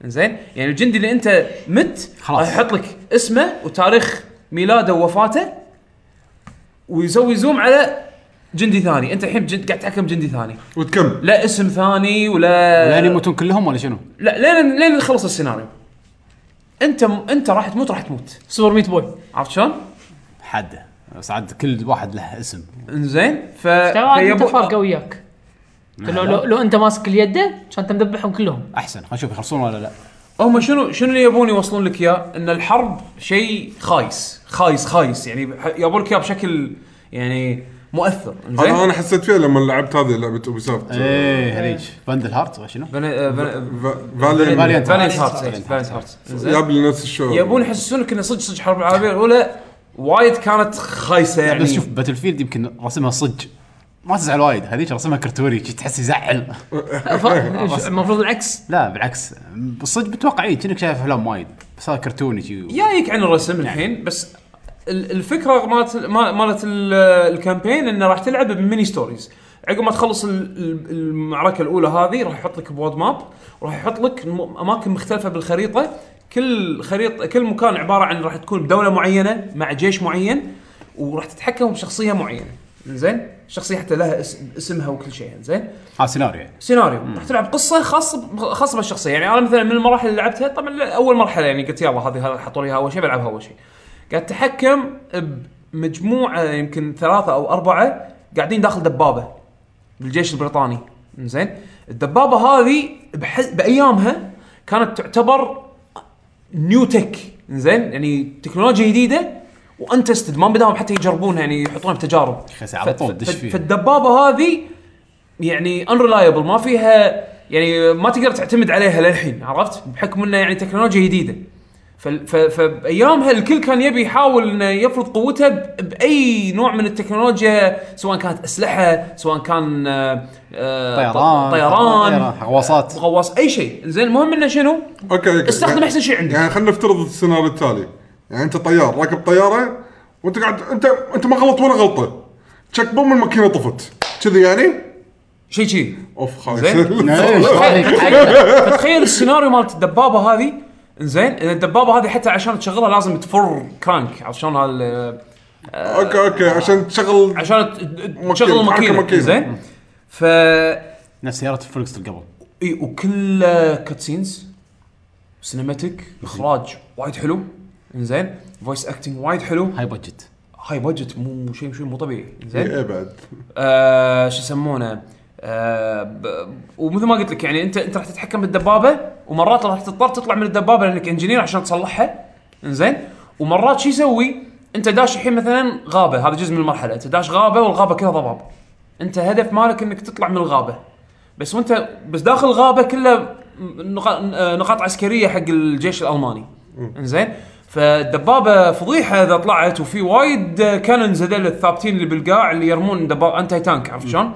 زين يعني الجندي اللي انت مت
خلاص.
راح يحط لك اسمه وتاريخ ميلاده ووفاته ويسوي زوم على جندي ثاني انت الحين بجند قاعد تحكم جندي ثاني
وتكمل
لا اسم ثاني ولا
لين يموتون كلهم ولا شنو؟
لا لين لين نخلص السيناريو انت انت راح تموت راح تموت
سوبر ميت بوي
عرفت شلون؟
حده ساعات كل واحد له اسم
انزين ف إيه،
ترى انت
فيبو-
فرقه وياك لو لو, لو انت ماسك اليده كان تمذبحهم كلهم
احسن خلينا نشوف يخلصون ولا لا
هم شنو شنو اللي يبون يوصلون لك اياه؟ ان الحرب شيء خايس، خايس خايس يعني بح- يبون لك اياه بشكل يعني مؤثر
انا
زين؟ إيه.
انا حسيت فيها لما لعبت هذه لعبه اوبي سوفت
ايه هريج فاندل هارت شنو؟
آه،
فاليان
Valiant.
فالينت
Hearts.
هارت فالينت هارت
جاب لي نفس الشعور
يبون يحسسونك انه صدق صدق حرب العالميه الاولى وايد كانت خايسه يعني
بس شوف باتل فيلد يمكن رسمها صج ما تزعل وايد هذيك رسمها كرتوري شي تحس يزعل
ف- المفروض العكس
لا بالعكس بالصج بتوقع اي كأنك شايف افلام وايد بس هذا كرتوني شي
جايك عن الرسم الحين بس ال- الفكره مالت ما- مالت ال- الكامبين انه راح تلعب بميني ستوريز عقب ما تخلص ال- ال- المعركه الاولى هذه راح يحط لك بواد ماب وراح يحط لك م- اماكن مختلفه بالخريطه كل خريطه كل مكان عباره عن راح تكون بدوله معينه مع جيش معين وراح تتحكم بشخصيه معينه زين شخصيه حتى لها اسم اسمها وكل شيء زين
ها سيناريو يعني.
سيناريو راح تلعب قصه خاصه خاصه بالشخصيه يعني انا مثلا من المراحل اللي لعبتها طبعا اول مرحله يعني قلت يلا هذه هذا حطوا لي إياها اول شيء بلعبها اول شيء قاعد اتحكم بمجموعه يمكن ثلاثه او اربعه قاعدين داخل دبابه بالجيش البريطاني زين الدبابه هذه بح... بايامها كانت تعتبر نيو تك زين يعني تكنولوجيا جديده وانتستد ما بداهم حتى يجربونها يعني يحطونها بتجارب
أخي على طول
ف-
دش
ف-
فيه.
فالدبابه هذه يعني انريلايبل ما فيها يعني ما تقدر تعتمد عليها للحين عرفت بحكم انه يعني تكنولوجيا جديده فال- ف- فبايامها الكل كان يبي يحاول انه يفرض قوته ب- باي نوع من التكنولوجيا سواء كانت اسلحه سواء كان آه، آه،
طيران
طيران
غواصات
غواص اي شيء زين المهم انه شنو
اوكي اوكي
استخدم احسن شيء عندك.
يعني خلينا نفترض السيناريو التالي يعني انت طيار راكب طياره وانت قاعد انت انت ما غلط ولا غلطه تشك بوم الماكينه طفت كذي يعني
شيء شيء
اوف
زين. نعم.
خايس
إيه.
فتخيل السيناريو مالت الدبابه هذه زين الدبابه هذه حتى عشان تشغلها لازم تفر كرانك عرفت شلون هال
اوكي اوكي عشان تشغل
عشان ت- تشغل
تحرك
الماكينه
الماكينة.
زين ف
نفس سياره فولكس قبل
اي وكل كاتسينز سينماتيك اخراج وايد حلو زين فويس اكتنج وايد حلو
هاي بادجت
هاي بادجت مو شيء شيء مو طبيعي زين
ايه بعد
آه، شو يسمونه آه، ب- ومثل ما قلت لك يعني انت انت راح تتحكم بالدبابه ومرات راح تضطر تطلع من الدبابه لانك انجينير عشان تصلحها زين ومرات شو يسوي انت داش الحين مثلا غابه هذا جزء من المرحله انت داش غابه والغابه كلها ضباب انت هدف مالك انك تطلع من الغابه بس وانت بس داخل الغابه كلها نقاط, نقاط عسكريه حق الجيش الالماني زين فالدبابه فضيحه اذا طلعت وفي وايد كانونز هذول الثابتين اللي بالقاع اللي يرمون دبا انتي تانك عرفت شلون؟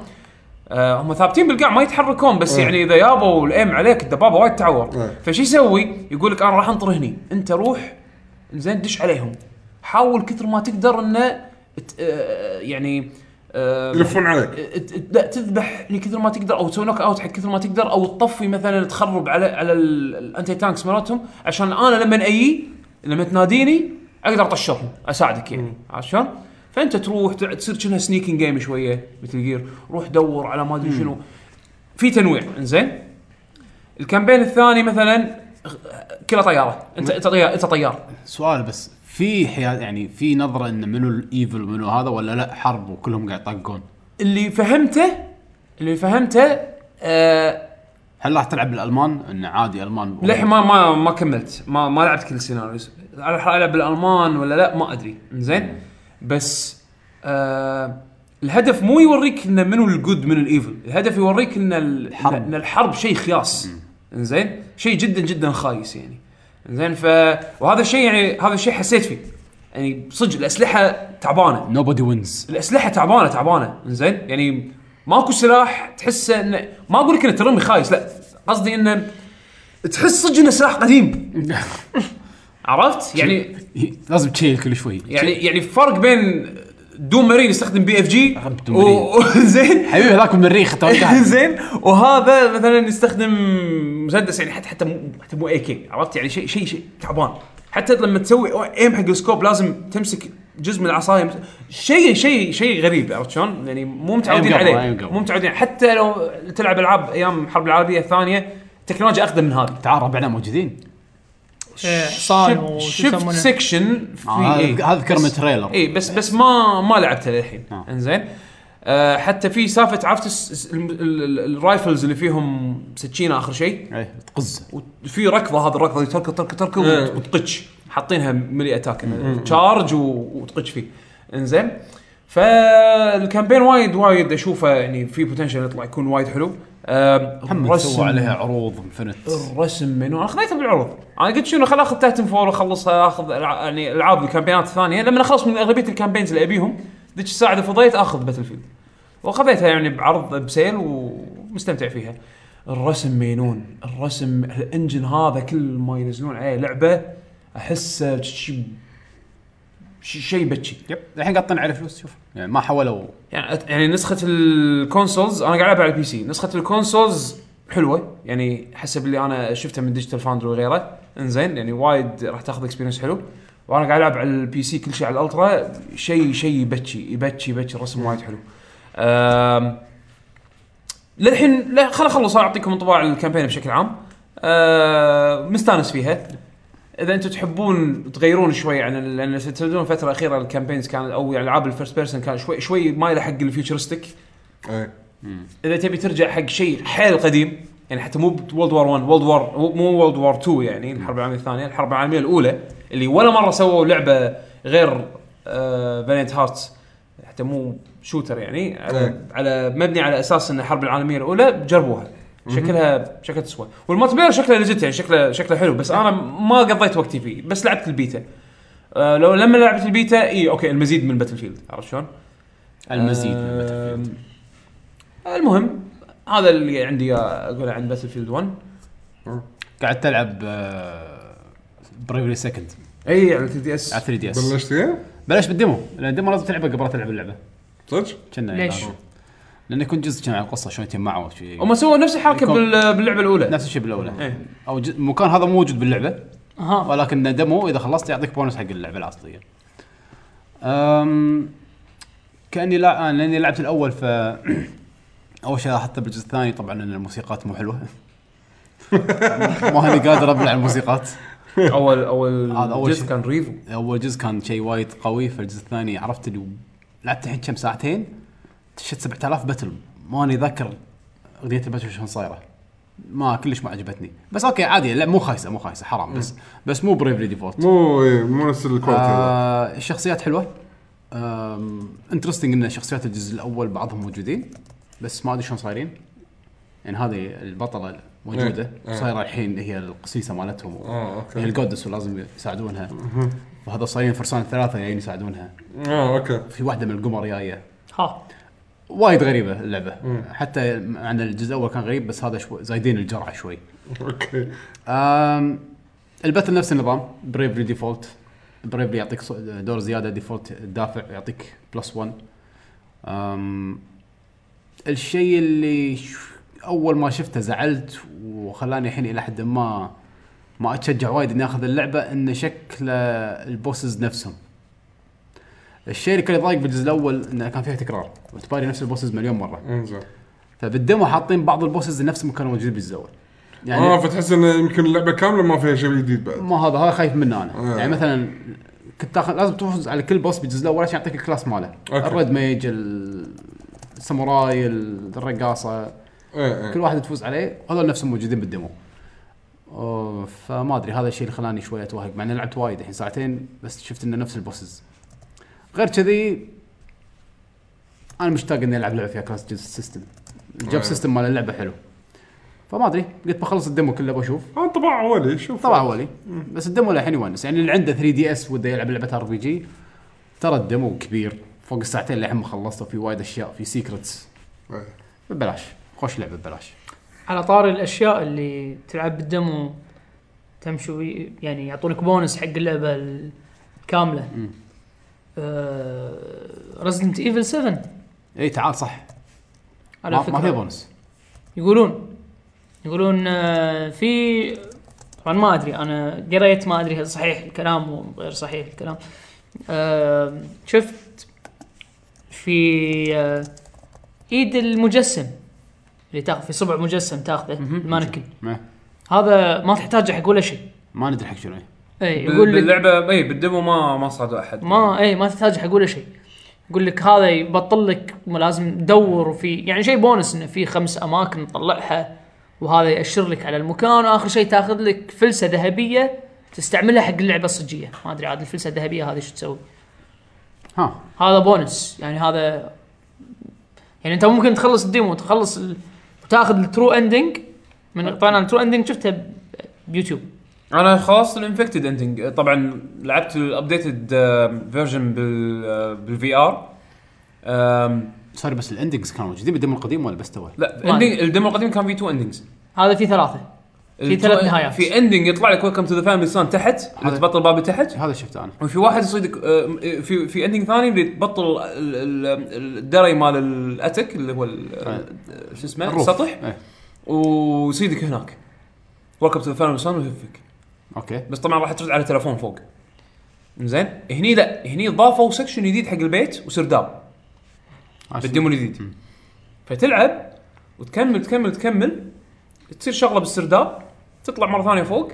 آه هم ثابتين بالقاع ما يتحركون بس يعني اذا يابوا الايم عليك الدبابه وايد تعور
إيه.
فشي يسوي؟ يقول لك انا راح انطر هني انت روح زين دش عليهم حاول كثر ما تقدر انه ت- آه، يعني آه،
يلفون عليك
ت- ت- لا تذبح لكثر ما تقدر او تسوي نوك اوت حق كثر ما تقدر او تطفي مثلا تخرب على على ال- الانتي تانكس مالتهم عشان انا لما اجي لما تناديني اقدر اطشرهم اساعدك يعني عرفت شلون؟ فانت تروح ت- تصير كأنها سنيكينج جيم شويه مثل جير روح دور على ما ادري شنو في تنويع انزين الكامبين الثاني مثلا غ- كله طياره انت انت طيار انت طيار
سؤال بس في حياد يعني في نظره ان منو الايفل ومنو هذا ولا لا حرب وكلهم قاعد يطقون
اللي فهمته اللي فهمته آه
هل راح تلعب بالالمان انه عادي المان
للحين ما ما ما كملت ما ما لعبت كل السيناريوز انا راح العب بالالمان ولا لا ما ادري زين بس آه الهدف مو يوريك ان منو الجود من الايفل الهدف يوريك ان ال-
الحرب.
ان الحرب شيء خياس زين شيء جدا جدا خايس يعني زين ف وهذا الشيء يعني هذا الشيء حسيت فيه يعني صدق الاسلحه تعبانه
نوبدي وينز
الاسلحه تعبانه تعبانه زين يعني ماكو سلاح تحسه انه ما اقول لك انه ترمي خايس لا قصدي انه تحس صدق انه سلاح قديم عرفت يعني
لازم تشيل كل شوي
يعني يعني فرق بين دوم مارين يستخدم بي اف جي
دوم مارين.
زين
حبيبي هذاك المريخ تو قاعد.
زين وهذا مثلا يستخدم مسدس يعني حتى حتى مو حتى مو اي كي عرفت يعني شيء شيء شيء تعبان حتى لما تسوي ايم حق السكوب لازم تمسك جزء من العصايه مس- شيء شيء شيء غريب عرفت شلون؟ يعني مو متعودين
أيام قبل،
عليه
أيام قبل.
مو متعودين حتى لو تلعب العاب ايام الحرب العالميه الثانيه تكنولوجيا اقدم من هذه
تعال ربعنا موجودين
إيه، حصان وش
شفت
يسمونه
سكشن إيه.
آه، هذا- هذا ذكر من تريلر
اي بس بس ما ما لعبته للحين
آه.
انزين آه، حتى في سالفه عرفت الس- الس- الم- ال- ال- الرايفلز اللي فيهم سكينه اخر شيء
ايه تقز
وفي ركضه هذه الركضه اللي تركض تركض تركض
إيه.
وت- وتقتش حاطينها ملي
إيه.
اتاك تشارج وتقتش فيه انزين فالكامبين وايد وايد اشوفه يعني في بوتنشل يطلع يكون وايد حلو آم،
هم سووا عليها عروض انفنت
الرسم منو انا خذيتها بالعروض انا قلت شنو خل اخذ تايتن فور واخلصها اخذ الع- يعني العاب الكامبينات الثانيه لما اخلص من اغلبيه الكامبينز اللي ابيهم ذيك الساعه اذا فضيت اخذ باتل فيلد وخذيتها يعني بعرض بسيل ومستمتع فيها الرسم مينون الرسم الانجن هذا كل ما ينزلون عليه لعبه احسه شيء شيء بتشي
يب الحين قاطين على فلوس شوف يعني ما حولوا
يعني يعني نسخه الكونسولز انا قاعد العب على البي سي نسخه الكونسولز حلوه يعني حسب اللي انا شفته من ديجيتال فاندر وغيره انزين يعني وايد راح تاخذ اكسبيرينس حلو وانا قاعد العب على البي سي كل شيء على الالترا شيء شيء يبكي يبكي يبكي الرسم وايد حلو أم، للحين لا خل اخلص اعطيكم انطباع الكامبين بشكل عام أه، مستانس فيها اذا انتم تحبون تغيرون شوي عن ال- لان تدرون الفتره الاخيره الكامبينز كان يعني او العاب الفيرست بيرسون كان شوي شوي مايله حق الفيوتشرستيك
إيه.
اذا تبي ترجع حق شيء حيل قديم يعني حتى مو وولد وار 1 وولد وار مو وولد وار 2 يعني الحرب العالميه الثانيه الحرب العالميه الاولى اللي ولا مره سووا لعبه غير فالنت هارتس حتى مو شوتر يعني على,
إيه.
على مبني على اساس ان الحرب العالميه الاولى جربوها شكلها شكلها تسوى والمالتي بلاير شكله ليجيت يعني شكله شكله حلو بس انا ما قضيت وقتي فيه بس لعبت البيتا آه، لو لما لعبت البيتا اي اوكي المزيد من باتل فيلد عرفت شلون؟
المزيد من
آه.
الباتل فيلد.
آم، المهم هذا اللي عندي اقوله عن باتل فيلد 1
قاعد تلعب بريفري سكند
اي على 3 دي اس
على 3 دي اس
بلشت إيه؟ فيها؟
بلاش بالديمو لان الديمو لازم تلعبه قبل لا تلعب اللعبه
صدق؟
كنا يعني
ليش؟
لازم. لانه كنت جزء كان على القصه شلون يتجمعوا وشي-
هم سووا نفس الحركه
يكون-
بال- باللعبه الاولى
نفس الشيء بالاولى
إيه.
او ج- المكان هذا مو موجود باللعبه
ها
ولكن ديمو اذا خلصت يعطيك بونس حق اللعبه الاصليه. أم كاني لا أنا لاني لعبت الاول ف اول شيء لاحظته بالجزء الثاني طبعا ان الموسيقات مو حلوه. ما هني قادر ابلع الموسيقات.
اول اول
هذا أول
جزء
شيء.
كان ريفو
اول جزء كان شيء وايد قوي فالجزء الثاني عرفت اللي لعبت الحين كم ساعتين دشيت 7000 باتل ماني ذاكر اغنيه الباتل شلون صايره ما كلش ما عجبتني بس اوكي عادي لا مو خايسه مو خايسه حرام بس بس مو بريفلي ديفولت
مو إيه، مو نفس الكواليتي
آه الشخصيات حلوه انترستنج ان شخصيات الجزء الاول بعضهم موجودين بس ما ادري شلون صايرين يعني هذه البطله موجوده
إيه.
صايره الحين هي القسيسه مالتهم
آه، أوكي.
هي الجودس ولازم يساعدونها وهذا صايرين فرسان ثلاثه جايين يساعدونها
اه اوكي
في واحده من القمر جايه
ها
وايد غريبه اللعبه حتى عن الجزء الاول كان غريب بس هذا شوي زايدين الجرعه شوي
اوكي
أم الباتل نفس النظام بريفلي ديفولت بريفلي يعطيك ص- دور زياده ديفولت دافع يعطيك بلس 1 أم الشيء اللي ش- اول ما شفته زعلت وخلاني الحين الى حد ما ما اتشجع وايد اني اخذ اللعبه ان شكل البوسز نفسهم الشيء اللي كان يضايق بالجزء الاول انه كان فيها تكرار وتباري نفس البوسز مليون مره
انزين
فبالدمو حاطين بعض البوسز نفسهم كانوا موجودين بالجزء الاول يعني
اه فتحس انه يمكن اللعبه كامله ما فيها شيء جديد بعد
ما هذا هذا خايف منه انا
آه.
يعني مثلا كنت تاخذ لازم تفوز على كل بوس بالجزء الاول عشان يعطيك الكلاس ماله
أوكي.
الريد ميج ال- الساموراي ال- الرقاصه
ايه ايه
كل واحد تفوز عليه هذول نفسهم موجودين بالديمو أوه، فما ادري هذا الشيء اللي خلاني شوي اتوهق مع اني لعبت وايد الحين ساعتين بس شفت انه نفس البوسز غير كذي انا مشتاق اني العب لعبه فيها كلاس جيز سيستم
آه.
الجوب سيستم مال اللعبه حلو فما ادري قلت بخلص الديمو كله بشوف
آه، طبع اولي شوف
طبعا اولي بس الدمو للحين يونس يعني اللي عنده 3 دي اس وده يلعب لعبه ار بي جي ترى الدمو كبير فوق الساعتين للحين ما خلصته في وايد اشياء في سيكرتس
إيه.
ببلاش خوش لعبه ببلاش
على طاري الاشياء اللي تلعب بالدمو تمشي وي- يعني يعطونك بونس حق اللعبه الكامله ريزدنت ايفل 7
اي تعال صح
على
ما, ما فيها
فكره
بونس
يقولون يقولون آه، في طبعا ما ادري انا قريت ما ادري هل صحيح الكلام وغير صحيح الكلام آه، شفت في آه، ايد المجسم اللي تاخذ في صبع مجسم تاخذه المانكن
ما,
هذا ما تحتاجه حق ولا شيء
ما ندري حق شنو هي.
اي
بال-
يقول لك
باللعبه اي بالديمو ما ما صعدوا احد
إيه، ما اي ما تحتاج حق ولا شيء يقول لك هذا يبطل لك لازم تدور وفي يعني شيء بونس انه في خمس اماكن تطلعها وهذا ياشر لك على المكان واخر شيء تاخذ لك فلسه ذهبيه تستعملها حق اللعبه الصجيه ما ادري عاد الفلسه الذهبيه هذه شو تسوي
ها
هذا بونس يعني هذا يعني انت ممكن تخلص الديمو تخلص ال... وتاخذ الترو اندنج من طبعا الترو اندنج شفتها ب- بيوتيوب
انا خلصت الانفكتد اندنج طبعا لعبت الابديتد فيرجن بال بالفي ار
سوري بس الاندنجز كانوا موجودين بالدم القديم ولا بس تو؟
لا
ما
ending- الديمو القديم كان فيه تو اندنجز
هذا في ثلاثه في ثلاث نهايات.
في اندنج يطلع لك ويلكم تو ذا فاميلي سان تحت اللي
هذا-
تبطل بابي تحت
هذا شفته انا
وفي واحد يصيدك آه، في في اندنج ثاني اللي تبطل ال- ال- الدري مال الاتك اللي هو ال- آه، شو اسمه
الروف.
السطح
إيه.
ويصيدك هناك ويلكم تو ذا فاميلي سان ويهفك
اوكي
بس طبعا راح ترد على تلفون فوق زين هني لا هني ضافوا سكشن جديد حق البيت وسرداب
عشان-
بالديمو الجديد فتلعب وتكمل تكمل تكمل تصير شغله بالسرداب تطلع مره ثانيه فوق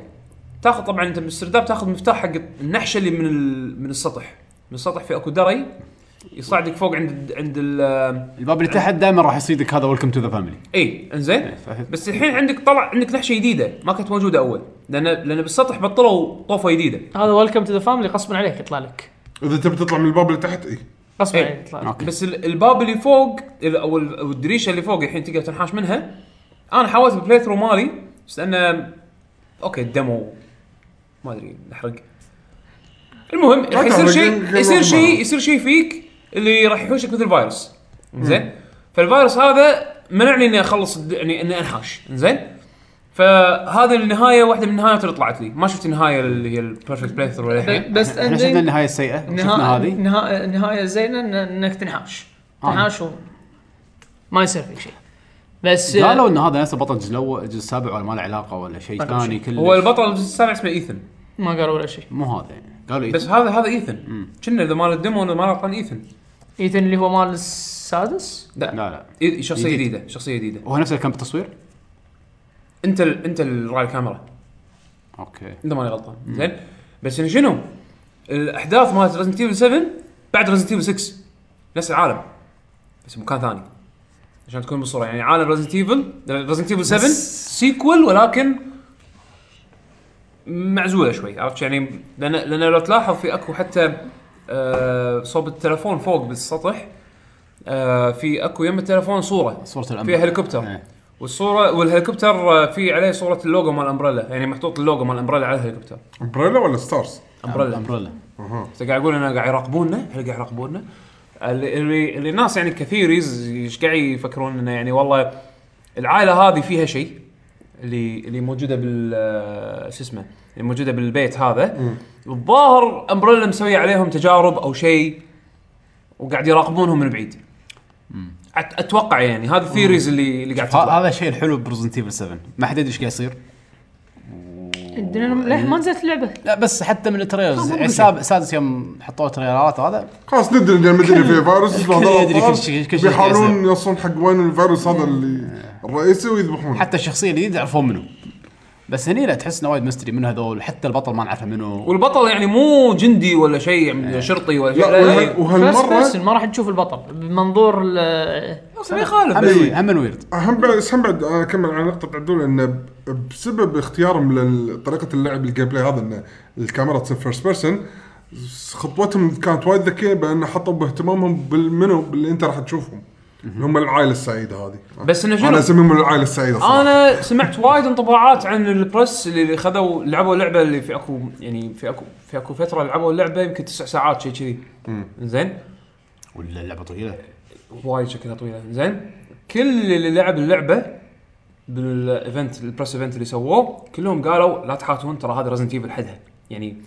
تاخذ طبعا انت بالسرداب تاخذ مفتاح حق النحشه اللي من ال... من السطح من السطح في اكو دري يصعدك فوق عند عند ال...
الباب اللي تحت دائما راح يصيدك هذا ويلكم تو ذا فاميلي
اي انزين
فهمت.
بس الحين عندك طلع عندك نحشه جديده ما كانت موجوده اول لان لان بالسطح بطلوا طوفه جديده
هذا ويلكم تو ذا فاملي غصبا عليك يطلع لك
اذا تبي تطلع من الباب اللي تحت اي
غصبا
إيه.
عليك يطلع لك
أوكي.
بس ال- الباب اللي فوق ال- او ال- أو الدريشه اللي فوق الحين تقدر تنحاش منها انا حاولت البلاي ثرو مالي بس لانه اوكي الدمو ما ادري نحرق المهم راح يصير
تحرق،
شيء
يمكن
يصير
ما-
شيء يصير شيء فيك اللي راح يحوشك مثل فيروس زين فالفيروس هذا منعني اني اخلص الد- يعني اني انحاش زين فهذه النهايه واحده من النهايات اللي طلعت لي ما شفت النهايه اللي هي البيرفكت بلاي ثرو للحين
إيه، بس
احنا إيه؟ شفنا النهايه السيئه شفنا
نهاية
هذه
نهاية نهاية زينة إن- انك تنحاش
آه.
تنحاش و... ما يصير فيك شيء بس آه،
قالوا ان هذا نفسه بطل الجزء الأول- الجزء السابع ولا ما له علاقه ولا شيء
ما له
ثاني
شيء.
كله
هو البطل السابع اسمه ايثن
ما قالوا ولا شيء
مو هذا يعني قالوا إيه.
بس هذا هذا ايثن كنا اذا مال الدمو انه ما غلطان ايثن
ايثن اللي هو مال السادس
لا لا
إي- شخصيه
جديد.
جديده شخصيه جديده
هو نفسه اللي كان بالتصوير
انت ال... انت اللي راعي الكاميرا
اوكي
انت ماني غلطان زين بس إن شنو الاحداث مالت ريزنت ايفل 7 بعد ريزنت ايفل 6 نفس العالم بس مكان ثاني عشان تكون بالصوره يعني عالم ريزنت ايفل ريزنت ايفل 7 سيكول ولكن معزوله شوي عرفت شو يعني لان لان لو تلاحظ في اكو حتى آه صوب التلفون فوق بالسطح آه في اكو يم التلفون صوره
صوره الامر
فيها هليكوبتر
إيه.
والصوره والهليكوبتر آه، في عليه صوره اللوجو مال امبريلا يعني محطوط اللوجو مال امبريلا على الهليكوبتر
امبريلا ولا ستارز؟
امبريلا
امبريلا
بس قاعد اقول انه قاعد يراقبوننا هل قاعد يراقبوننا اللي- اللي اللي الناس يعني كثيريز ايش قاعد يفكرون انه يعني والله العائله هذه فيها شيء اللي اللي موجوده بال آه، شو اسمه اللي موجوده بالبيت هذا الظاهر امبريلا مسوي عليهم تجارب او شيء وقاعد يراقبونهم من بعيد أت- اتوقع يعني هذه الثيريز اللي اللي قاعد
ه-
تطلع
هذا الشيء الحلو بريزنت ايفل 7 ما حد يدري ايش قاعد يصير
الدنيا للحين
إيه.
ما نزلت اللعبه
لا بس حتى من التريلرز يعني الساب- سادس يوم حطوا تريلرات وهذا
خلاص ندري ان المدري في فيروس يصبح
كل
ضرر
يدري كل
خلاص.
شيء- كل شيء قاعد
بيحاولون يوصلون حق وين الفيروس هذا اللي الرئيسي ويذبحونه
حتى الشخصيه الجديده يعرفون منو بس هني لا تحس انه وايد مستري من هذول حتى البطل ما نعرفه منو
والبطل يعني مو جندي ولا شيء يعني شرطي ولا شيء
لا
لا، لا
وهال-
إيه.
يعني-
فيرست
وهالمره
بيرسون ما راح تشوف البطل بمنظور ال-
أصلاً ما يخالف
هم الوي- هم الويرد
اهم بعد بس آه، هم بعد انا اكمل على نقطه عبدول انه ب- بسبب اختيارهم لطريقه اللعب الجيم بلاي هذا ان الكاميرا تصير فيرست بيرسون خطوتهم كانت وايد ذكيه بان حطوا باهتمامهم بالمنو اللي انت راح تشوفهم اللي هم العائله السعيده هذه
بس إنه شنو؟
انا اسميهم العائله السعيده صراحه انا
انا سمعت وايد انطباعات عن البرس اللي خذوا لعبوا اللعبه اللي في اكو يعني في اكو في اكو فتره لعبوا اللعبه يمكن تسع ساعات شيء كذي زين
ولا اللعبه طويله
وايد شكلها طويله زين كل اللي لعب اللعبه بالايفنت البرس ايفنت اللي سووه كلهم قالوا لا تحاتون ترى هذا رزنت ايفل حدها يعني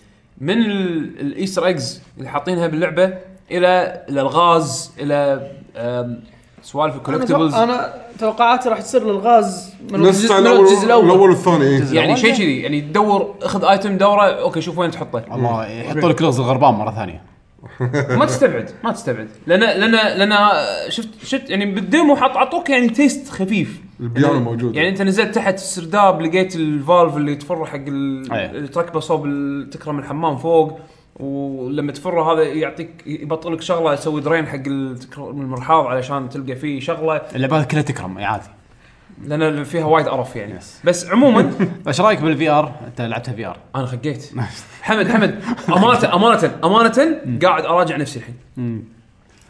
من ال- الايستر ايجز اللي حاطينها باللعبه الى الى الغاز الى أم، سوالف الكولكتبلز
انا توقعاتي راح تصير للغاز من
نفس
الجزء من
الاول
الجزء
الاول
الاول
والثاني إيه.
يعني شيء كذي يعني تدور اخذ ايتم دوره اوكي شوف وين تحطه
الله يحطوا لك لغز الغربان مره ثانيه
ما تستبعد ما تستبعد لان لان لان شفت شفت يعني بالديمو حط عطوك يعني تيست خفيف
البيانو
يعني-
موجود.
يعني انت نزلت تحت السرداب لقيت الفالف اللي تفر حق ال-
أيه.
التركبه صوب ال- تكرم الحمام فوق ولما تفر هذا يعطيك يبطل لك شغله يسوي درين حق التكر- المرحاض علشان تلقى فيه شغله
اللعبات كلها تكرم اي عادي
لان فيها وايد قرف يعني
Yes.
بس عموما
ايش رايك بالفي ار؟ انت لعبتها في ار
انا خقيت حمد حمد امانه امانه امانه قاعد اراجع نفسي الحين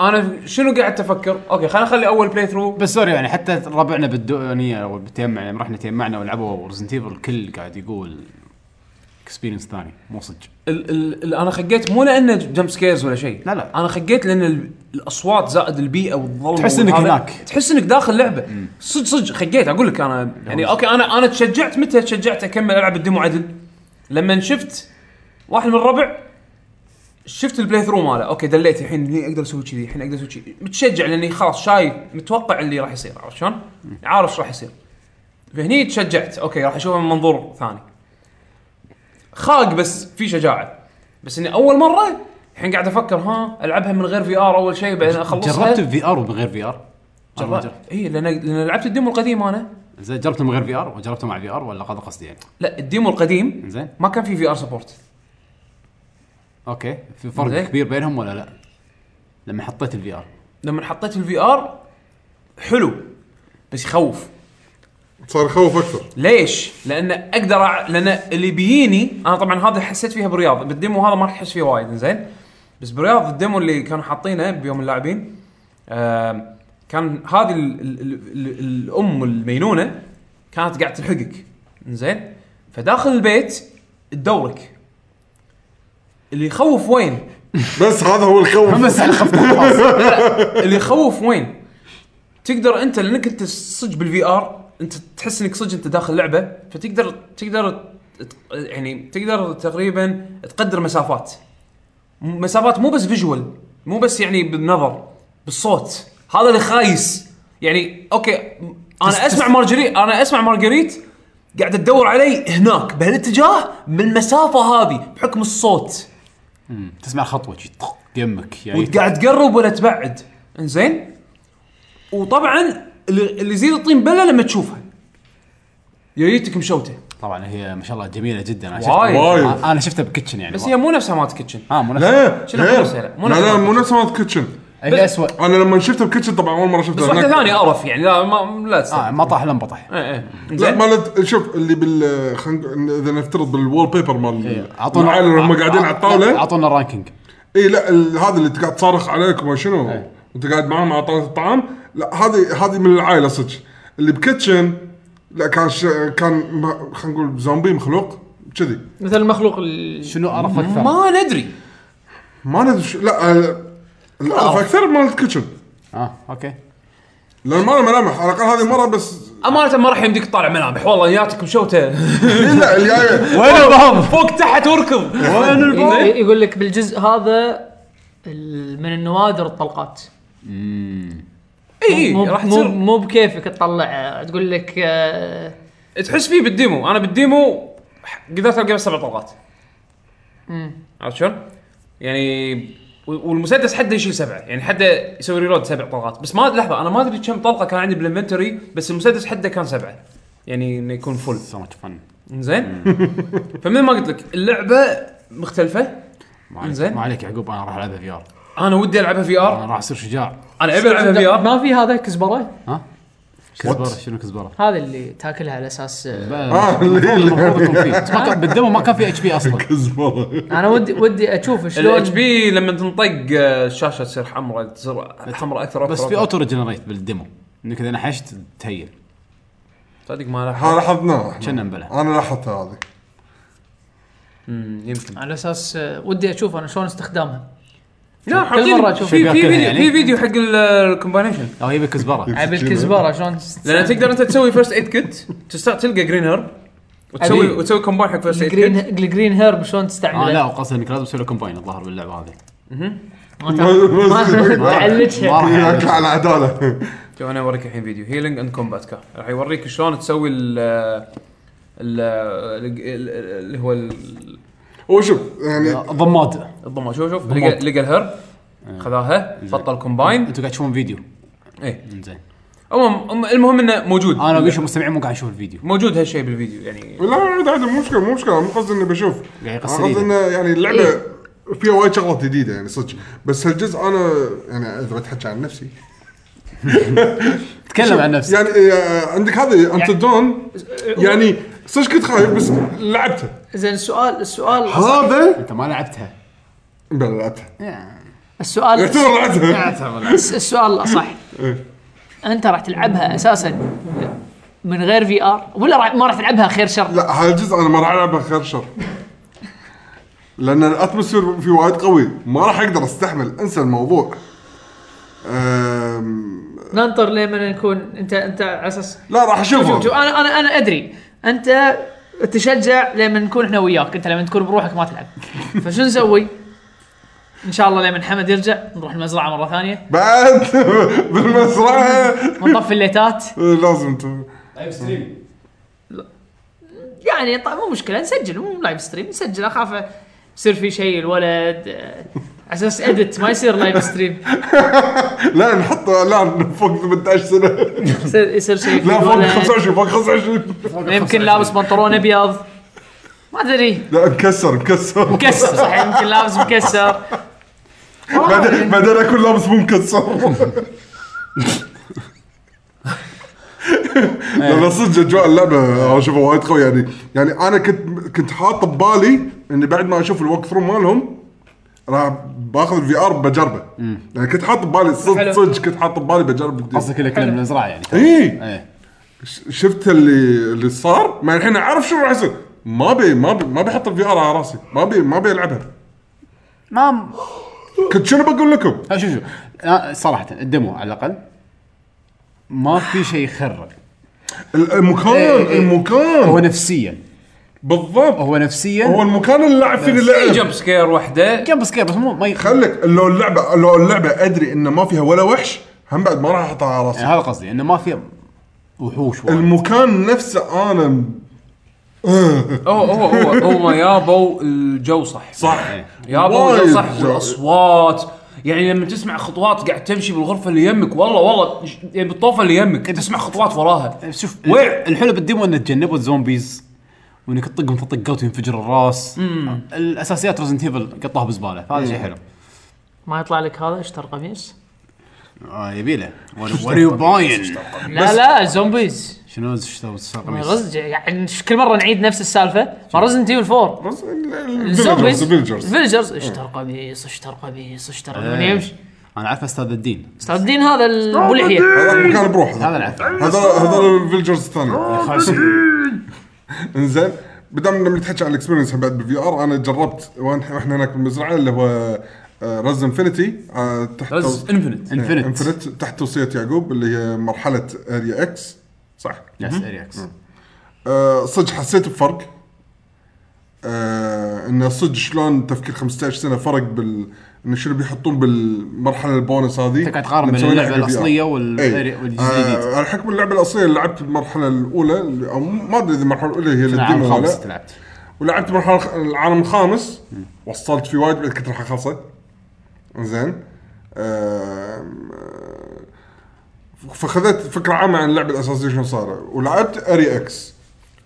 انا شنو قاعد افكر اوكي خلينا نخلي اول بلاي ثرو
بس سوري يعني حتى ربعنا بالدونيه او بالتيمع لما رحنا تيمعنا ولعبوا ريزنت ايفل الكل قاعد يقول اكسبيرينس ثاني مو صدق
ال ال ال انا خقيت مو لانه جمب سكيرز ولا شيء
لا لا.
انا خقيت لان ال الاصوات زائد البيئه والظلمه
تحس إنك
والهذا-
هناك.
تحس انك داخل لعبه صدق صدق خقيت اقول لك انا يعني اوكي انا انا تشجعت متى تشجعت اكمل العب الديمو عدل لما شفت واحد من الربع شفت البلاي ثرو ماله اوكي دليت الحين هني اقدر اسوي كذي الحين اقدر اسوي كذي متشجع لاني خلاص شايف متوقع اللي راح يصير عرفت شلون؟ عارف ايش راح يصير فهني تشجعت اوكي راح اشوفها من منظور ثاني خاق بس في شجاعه بس اني اول مره الحين قاعد افكر ها العبها من غير في ار اول شيء بعدين أه، اخلصها
جربت في ار وبغير في ار؟
اي لان لان لعبت الديمو القديم انا
زين جربته من غير في ار وجربته مع في ار ولا هذا قصدي يعني
لا الديمو القديم
زين
ما كان في في ار سبورت
اوكي في فرق
زين.
كبير بينهم ولا لا؟ لما حطيت الفي ار
لما حطيت الفي ار حلو بس يخوف
صار يخوف اكثر
ليش؟ لان اقدر أع... لان اللي بيجيني انا طبعا هذا حسيت فيها بالرياض بالديمو هذا ما راح تحس فيه وايد زين بس بالرياض الديمو اللي كانوا حاطينه بيوم اللاعبين آم، كان هذه ال... ال... ال... ال... الام المينونه كانت قاعده تلحقك زين فداخل البيت تدورك اللي يخوف وين؟
بس هذا هو الخوف
بس الخفت
اللي يخوف وين؟ تقدر انت لانك انت صج بالفي ار انت تحس انك صج انت داخل لعبه فتقدر تقدر ت- يعني تقدر تقريبا تقدر مسافات م- مسافات مو بس فيجوال مو بس يعني بالنظر بالصوت هذا اللي خايس يعني اوكي م- انا اسمع مارجريت انا اسمع مارجريت قاعده تدور علي هناك بهالاتجاه من المسافه هذه بحكم الصوت
تسمع خطوه شي طق يمك يعني
وقاعد تقرب ولا تبعد انزين وطبعا اللي اللي يزيد الطين بله لما تشوفها يريتك مشوته
طبعا هي ما شاء الله جميله جدا انا
وايد.
وايد.
شفتها انا شفتها بكيتشن يعني
بس هي مو نفسها مالت كيتشن
اه مو نفس
لا
شنو
غير.
نفسها؟ لا، مو
لا
نفس
لا
مالت
مو نفس مالت كيتشن
اللي اسوء
انا لما شفته بكيتشن طبعا اول مره شفته
بس واحده
هناك.
ثانيه قرف يعني لا ما لا تستاهل
اه مطح لم بطح
ايه ايه
لا
زين
مالت شوف اللي بال خلينا اذا نفترض بالوول بيبر مال
اعطونا
العائله هم قاعدين على الطاوله
اعطونا رانكينج
اي لا ال- هذا اللي انت قاعد تصارخ عليك وما
إيه.
شنو وانت قاعد معاهم على طاوله الطعام لا هذه هذه من العائله صدق اللي بكيتشن لا كان ش... كان ما- خلينا نقول زومبي مخلوق كذي
مثل المخلوق ال-
شنو قرف اكثر؟
ما ندري
ما ندري شو- لا آه، القرف اكثر مال الكيتشن
اه اوكي
لان ما له ملامح على الاقل هذه مره بس
امانه ما راح يمديك تطالع ملامح والله ياتك مشوته
إي إيه، لا الجايه
وين الباب؟
فوق تحت وركض وين
ي- ي- يقول لك بالجزء هذا ال- من النوادر الطلقات
اي
مو
إيه، راح
مو
تصير
مو بكيفك تطلع تقول لك آه،
تحس فيه بالديمو انا بالديمو قدرت القى بس سبع طلقات عرفت شلون؟ يعني و- والمسدس حده يشيل سبعه يعني حده يسوي ريلود سبع طلقات بس ما لحظه انا ما ادري كم طلقه كان عندي بالانفنتوري بس المسدس حده كان سبعه يعني انه يكون فل
سو ماتش فن
زين فمثل ما قلت لك اللعبه مختلفه إنزين.
ما عليك يعقوب انا راح العبها في ار
انا ودي العبها في ار
انا راح اصير شجاع
انا ابي العبها في ار
ما في هذا كزبره
ها؟ كزبره شنو كزبره؟
هذا اللي تاكلها على اساس آه،
اه اللي اللي-
المفروض يكون فيه بس ما كان بالدمو ما كان في اتش بي اصلا
كزبره
انا ودي ودي اشوف شلون
الاتش بي لما تنطق آه، الشاشه تصير حمراء تصير حمراء اكثر
بس
أكثر
في
أكثر.
اوتو ريجنريت بالدمو انك اذا نحشت تهيل
صدق ما
ها
لاحظت
لاحظناه إحنا.
كنا مبلى
انا لاحظتها هذه
مم، يمكن
على اساس آه، ودي اشوف انا شلون استخدامها
لا
مرة
حاطين في
أشوف.
في
شبيها كذا
فيديو
يعني.
في فيديو حق ال- الكومباينيشن
او يبي كزبره
عيب الكزبره شلون تست-
لان تقدر انت تسوي فيرست ايد كيت تستطيع تلقى جرين هيرب وتسوي
أبي.
وتسوي كومباين حق فيرست ايد
الجرين
كيت
الجرين هيرب شلون
اه لا
تستعمله؟
وقصد انك لازم تسوي له كومباين الظاهر باللعبه هذه
ما تعرف- ما-
ما
تعلجها
راح
ياكل
يعجبك.
على العداله
شوف انا اوريك الحين فيديو هيلينج اند كومبات كار راح يوريك شلون تسوي ال ال- ال- ال- اللي هو ال-
وشوف
آه،
يعني
ضماد
الضمه شوف شوف لقى لقى الهرب خذاها بطل كومباين
انتم قاعد تشوفون فيديو
ايه
زين
المهم المهم انه موجود
انا وبيشو المستمعين مو قاعد نشوف الفيديو
موجود هالشيء بالفيديو يعني
لا عادي عادي مو مشكله مو مشكله مو قصدي اني بشوف
قاعد
انا
يقصر
قصدي
ايده
انه يعني اللعبه فيها وايد شغلات جديده يعني صدق بس هالجزء انا يعني اذا بتحكي عن نفسي
تكلم عن نفسك
يعني آه، عندك هذه انت دون يعني صدق كنت خايف بس لعبته
زين السؤال السؤال
هذا
انت ما لعبتها
بلا لعبته
السؤال
يعتبر لعبته
الس- السؤال الاصح انت راح تلعبها اساسا من غير في ار ولا راح ما راح تلعبها خير شر
لا هالجزء انا ما راح العبه خير شر لان الاتموسفير فيه وايد قوي ما راح اقدر استحمل انسى الموضوع أم...
ننطر لما نكون انت انت على اساس
لا راح
شوف شوف
اشوفها
انا انا انا ادري انت تشجع لما نكون احنا وياك انت لما تكون بروحك ما تلعب فشو نسوي؟ ان شاء الله لما حمد يرجع نروح المزرعه مره ثانيه
بعد بالمزرعه
ونطفي الليتات
لازم ت-
لايف ستريم
يعني طيب مو مشكله نسجل مو لايف ستريم نسجل اخاف يصير في شيء الولد آه، على اساس ادت ما يصير لايف ستريم
لا نحط لا فوق 18 سنه
يصير يصير شيء في
لا فوق
الولد.
25 فوق 25
يمكن لابس بنطلون ابيض ما ادري
لا مكسر مكسر
مكسر صحيح يمكن لابس مكسر
بعدين بعدين اكون لابس مو مكسر لان صدق اجواء اللعبه اشوفها وايد قوي يعني يعني انا كنت كنت حاط ببالي اني بعد ما اشوف الوك ثرو مالهم راح باخذ الفي ار بجربه يعني كنت حاط ببالي صدق
حلو.
صدق كنت حاط ببالي بجرب
قصدك اللي كلام المزرعه يعني
اي
ايه
شفت اللي اللي صار ما الحين اعرف شو راح يصير ما بي ما بي ما بحط الفي ار على راسي ما بي ما بيلعبها
ما
كنت شنو بقول لكم
لا، شوف شوف أنا صراحه الدمو على الاقل ما في شيء يخرب
المكان
إيه، هو
المكان
نفسيا
بالضبط
هو إيه، نفسيا
هو
هو
المكان اللي لعب فيه اللعب
جمب سكير واحده
كم بس كم بس مو ما يخ...
خلك لو اللعبه لو اللعبه ادري انه ما فيها ولا وحش هم بعد ما راح احطها على
يعني
راسي
هذا قصدي انه ما في وحوش وايد.
المكان نفسه انا م-
هو هو هو هم يابوا الجو صح
صح
إيه.
يابوا
وايد
الجو صح
جو.
والاصوات يعني لما تسمع خطوات قاعد تمشي بالغرفه اللي يمك والله والله يعني بالطوفه اللي يمك تسمع خطوات وراها
شوف
ويع.
الحلو بالديمو انه تجنبوا الزومبيز وانك تطقهم ثلاث طقات وينفجر الراس الاساسيات ريزنت ايفل قطوها بزباله فهذا شيء حلو
ما يطلع لك هذا اشتر قميص
اه يبي له وات يو باين
لا لا زومبيز
شنو اشتروا الساق قميص
رز يعني ش- كل مره نعيد نفس السالفه ما رزنت ايفل 4
بس ال- ال-
الزومبيز
الفيلجرز الفيلجرز
الفيلجرز
إيه.
اشتر قميص اشتر قميص اشتر من يمشي
انا عارف استاذ الدين
استاذ هذا ال- ابو لحيه
هذاك مكان بروح
هذا
هذا
العفو
هذا هذا الفيلجرز
آه،
الثاني انزين بدام لما تحكي عن الاكسبيرينس بعد بالفي ار انا جربت وأنا- واحنا هناك بالمزرعه اللي هو آه، رز انفنتي آه، تحت
رز
انفنت
انفنت
انفنت
انفنت تحت توصيه يعقوب اللي هي مرحله اريا اكس صح
يس اريكس
أه، صدق حسيت بفرق أه انه صدق شلون تفكير 15 سنه فرق بال انه شنو بيحطون بالمرحله البونس هذه
انت قاعد تقارن
اللي
بين
مسوينها
اللعبه
حق ال VR.
الاصليه وال-
اي
والجزء الجديد
آه على حكم اللعبه الاصليه اللي لعبت المرحله الاولى اللي- او ما ادري اذا المرحله الاولى هي
انا عام
الديمو ولا
خامس
لا.
لعبت
ولعبت مرحله الخ- العالم الخامس وصلت فيه وايد بعد كنت راح اخلصه زين آم، آه، فخذت فكره عامه عن اللعبه الاساسيه شنو صار ولعبت اري اكس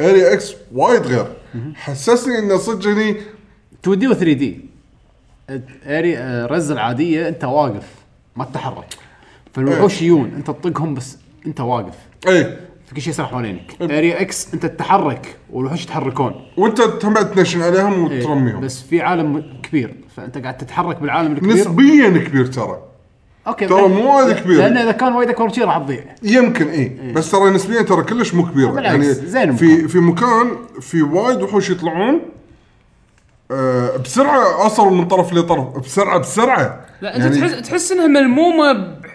اري اكس وايد غير حسسني انه صدق هني
2 دي و 3 دي اري آه، رز العاديه انت واقف ما تتحرك
إيه.
فالوحوش يجون انت تطقهم بس انت واقف
اي
فكل شيء صار حوالينك
إيه.
اريا اكس انت تتحرك والوحوش يتحركون
وانت تم تنشن عليهم
إيه،
وترميهم
بس في عالم كبير فانت قاعد تتحرك بالعالم الكبير
نسبيا كبير ترى
اوكي
ترى مو وايد كبير.
لان اذا كان وايد اكبر شيء راح تضيع
يمكن اي بس ترى نسبيا ترى كلش مو كبيره
إيه. بالعكس،
يعني
زين
في
المكان.
في مكان في وايد وحوش يطلعون آه بسرعه اصلوا من طرف لطرف يعني بسرعه بسرعه
لا انت تحس تحس انها ملمومه ب-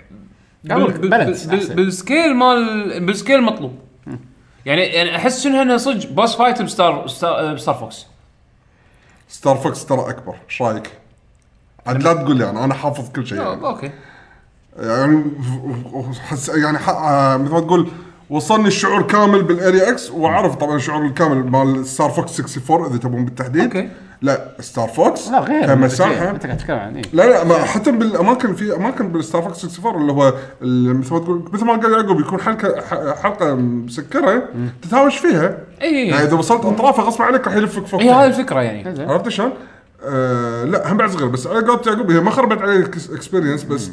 بال- بال-
بالانس
بال-
أحسن.
بالسكيل مال بالسكيل المطلوب يعني يعني احس انها انها صدق باس فايت بستار ستار, بستار فوكس
ستار فوكس ترى اكبر ايش رايك؟ عاد لا تقول لي انا انا حافظ كل شيء يعني,
اوكي
يعني حس يعني ح- آه، مثل ما تقول وصلني الشعور كامل بالاريا اكس واعرف طبعا الشعور الكامل مال ستار فوكس 64 اذا تبون بالتحديد
أوكي.
لا ستار فوكس
لا غير
كمساحه
غير. انت قاعد تتكلم عن ايه
لا لا ما حتى بالاماكن في اماكن بالستار فوكس 64 اللي هو ال- مثل ما تقول مثل ما قال يعقوب يكون حلقه ح- حلقه مسكره تتهاوش فيها
إي.
يعني اذا وصلت اطرافها غصب عليك راح يلفك فوق
إيه، هي هذه الفكره يعني
عرفت شلون؟ آه لا هم بعد صغير بس على قولت يعقوب هي ما خربت عليه اكسبيرينس بس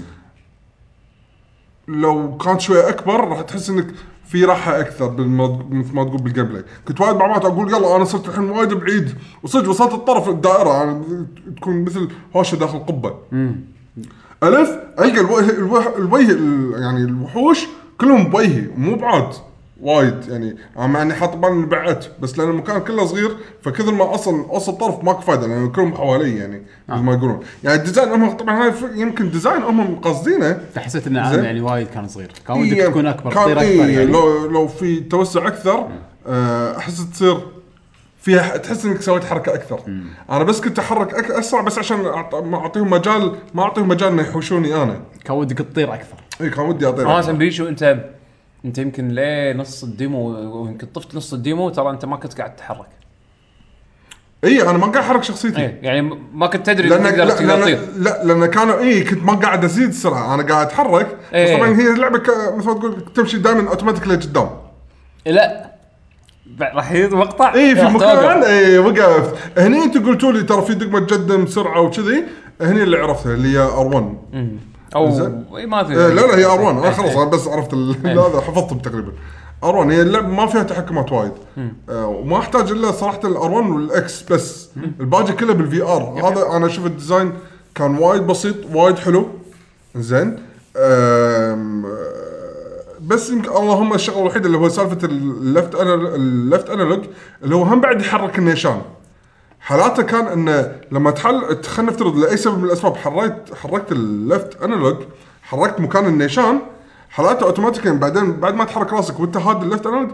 لو كانت شويه اكبر راح تحس انك في راحه اكثر بالمض... مثل ما تقول بالجيم بلاي كنت وايد معلومات اقول يلا انا صرت الحين وايد بعيد وصدق وصلت الطرف الدائره يعني تكون مثل هوشه داخل قبه الف القى الوجه الوجه الوجه ال- يعني الوحوش كلهم بوجهي مو بعاد وايد يعني مع اني حاط بالي إني بعت بس لان المكان كله صغير فكثر ما اصلا اوصل طرف ماكو فايده لان كلهم حوالي يعني مثل ما يقولون يعني الديزاين هم طبعا هاي ف- يمكن ديزاين هم قصدينه
فحسيت ان عام
زين.
يعني وايد كان صغير كان ودك
إيه،
تكون اكبر
كان
تصير اكبر
إيه،
يعني
لو لو في توسع اكثر آه، احس تصير فيها ح- تحس انك سويت حركه اكثر انا بس كنت احرك أك- اسرع بس عشان أعط- ما اعطيهم مجال ما اعطيهم مجال انه يحوشوني انا
كان ودك تطير اكثر
اي كان ودي اعطيه
امانه بيشو انت انت يمكن ليه نص الديمو ويمكن طفت نص الديمو ترى انت ما كنت قاعد تتحرك
اي انا ما قاعد احرك شخصيتي
ايه يعني ما كنت تدري
لان
انك تقدر
لا
تقدر
لان
تطير
لا لان كانوا اي كنت ما قاعد ازيد سرعه انا قاعد اتحرك بس
إيه.
طبعا هي اللعبه ك- مثل ما تقول تمشي دائما اوتوماتيكلي قدام
لا ب- راح يجي مقطع
اي إيه، في
راح
مكان
توقف.
اي وقفت هني انتم قلتوا لي ترى في دقمه تقدم سرعه وكذي هني اللي عرفتها اللي هي ار 1 زين.
او اي إيه، ما إيه. في
إيه، لا لا هي ار 1 انا خلاص انا بس عرفت ال- هذا حفظتهم تقريبا ار 1 هي اللعبه ما فيها تحكمات وايد آه، وما احتاج الا صراحه الار 1 والاكس بس الباقي كله بالفي ار هذا انا اشوف الديزاين كان وايد بسيط وايد حلو زين آم، آه، بس يمكن اللهم الشغله الوحيده اللي هو سالفه اللفت اللفت انالوج اللي هو هم بعد يحرك النيشان حالاته كان انه لما تحل خلينا نفترض لاي سبب من الاسباب حركت حركت اللفت انالوج حركت مكان النيشان حالاته اوتوماتيكيا بعدين بعد ما تحرك راسك وانت هاد اللفت انالوج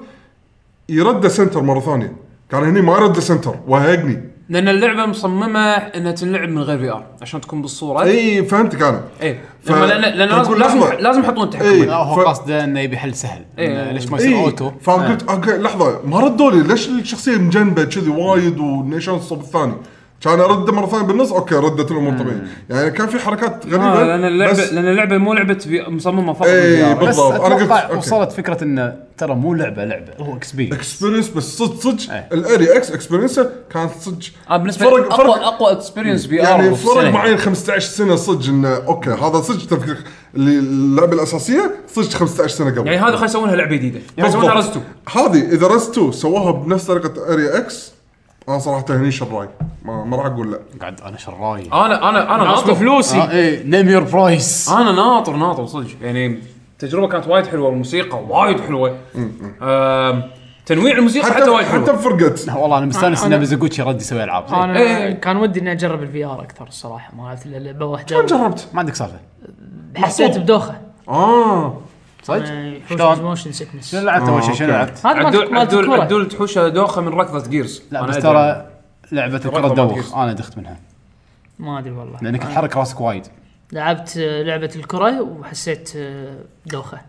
يرد سنتر مره ثانيه كان هني ما يرد سنتر وهقني
لان اللعبه مصممه انها تنلعب من غير في ار عشان تكون بالصوره
اي إيه، فهمتك انا
اي
ف-
لما لان لان
كنت
لازم
أقول
لازم
لحظة.
لازم يحطون
إيه.
تحكم
لا
ف-
هو قصده انه يبي حل سهل
إيه.
إنه ليش ما يصير
اي
اوتو
فقلت اوكي لحظه ما ردوا لي ليش الشخصيه مجنبه كذي وايد والنيشان الصوب الثاني كان ارده مره ثانيه بالنص اوكي ردت الامور طبيعي يعني كان في حركات غريبه
آه، لان اللعبه
إيه، بس-
لان اللعبه مو لعبه في- مصممه فقط
إيه، بس-
للVR.
بس
بالضبط. أنا قلت-
اتوقع
أوكي.
وصلت فكره انه ترى مو لعبه لعبه هو اكسبيرينس
اكسبيرينس بس صدق صدق
أي.
الاري اكس اكسبيرينس كانت صدق
إيه. آه بالنسبه
فرق-
فرق اقوى
فرق-
اقوى اكسبيرينس في ار
يعني فرق معين 15 سنه صدق انه اوكي هذا صدق تفكير اللي- اللعبه الاساسيه صدق 15 سنه قبل
يعني هذا خلينا نسوونها لعبه جديده يعني
بالضبط.
سوونها رزتو
هذه اذا رستو سووها بنفس طريقه اري اكس انا صراحه هني شراي ما, ما راح اقول لا
قاعد انا شراي
انا انا انا
ناس
ناطر
بفلوسي
إيه،
آه ايه نيم يور برايس
انا ناطر ناطر صدق يعني التجربه كانت وايد حلوه والموسيقى وايد حلوه آم، تنويع الموسيقى حتى نعم.
حتى
وايد
حتى
حلو
بفرقت
والله انا مستانس
أنا-
ان ميزوغوتشي رد يسوي العاب زين.
انا
إيه.
كان ودي اني اجرب الفي ار اكثر الصراحه ما لعبت الا لعبه واحده
كم جربت؟
ما عندك سالفه
حسيت بدوخه
اه
صدق؟
إيه،
شلون؟
شلون؟ موشن سكنس
شنو لعبت اول شيء شنو
أوكي.
لعبت؟
هذا مالت-
عدول
مالت
عدول
الكرة.
عدول تحوشه دوخه من ركضه جيرز
لا
أنا
بس
أدري.
ترى لعبة الكرة
رقم
تدوخ
الكيس.
انا دخت منها
ما ادري والله
لانك
أنا
تحرك راسك وايد
لعبت آه، لعبه الكره وحسيت آه، بدوخه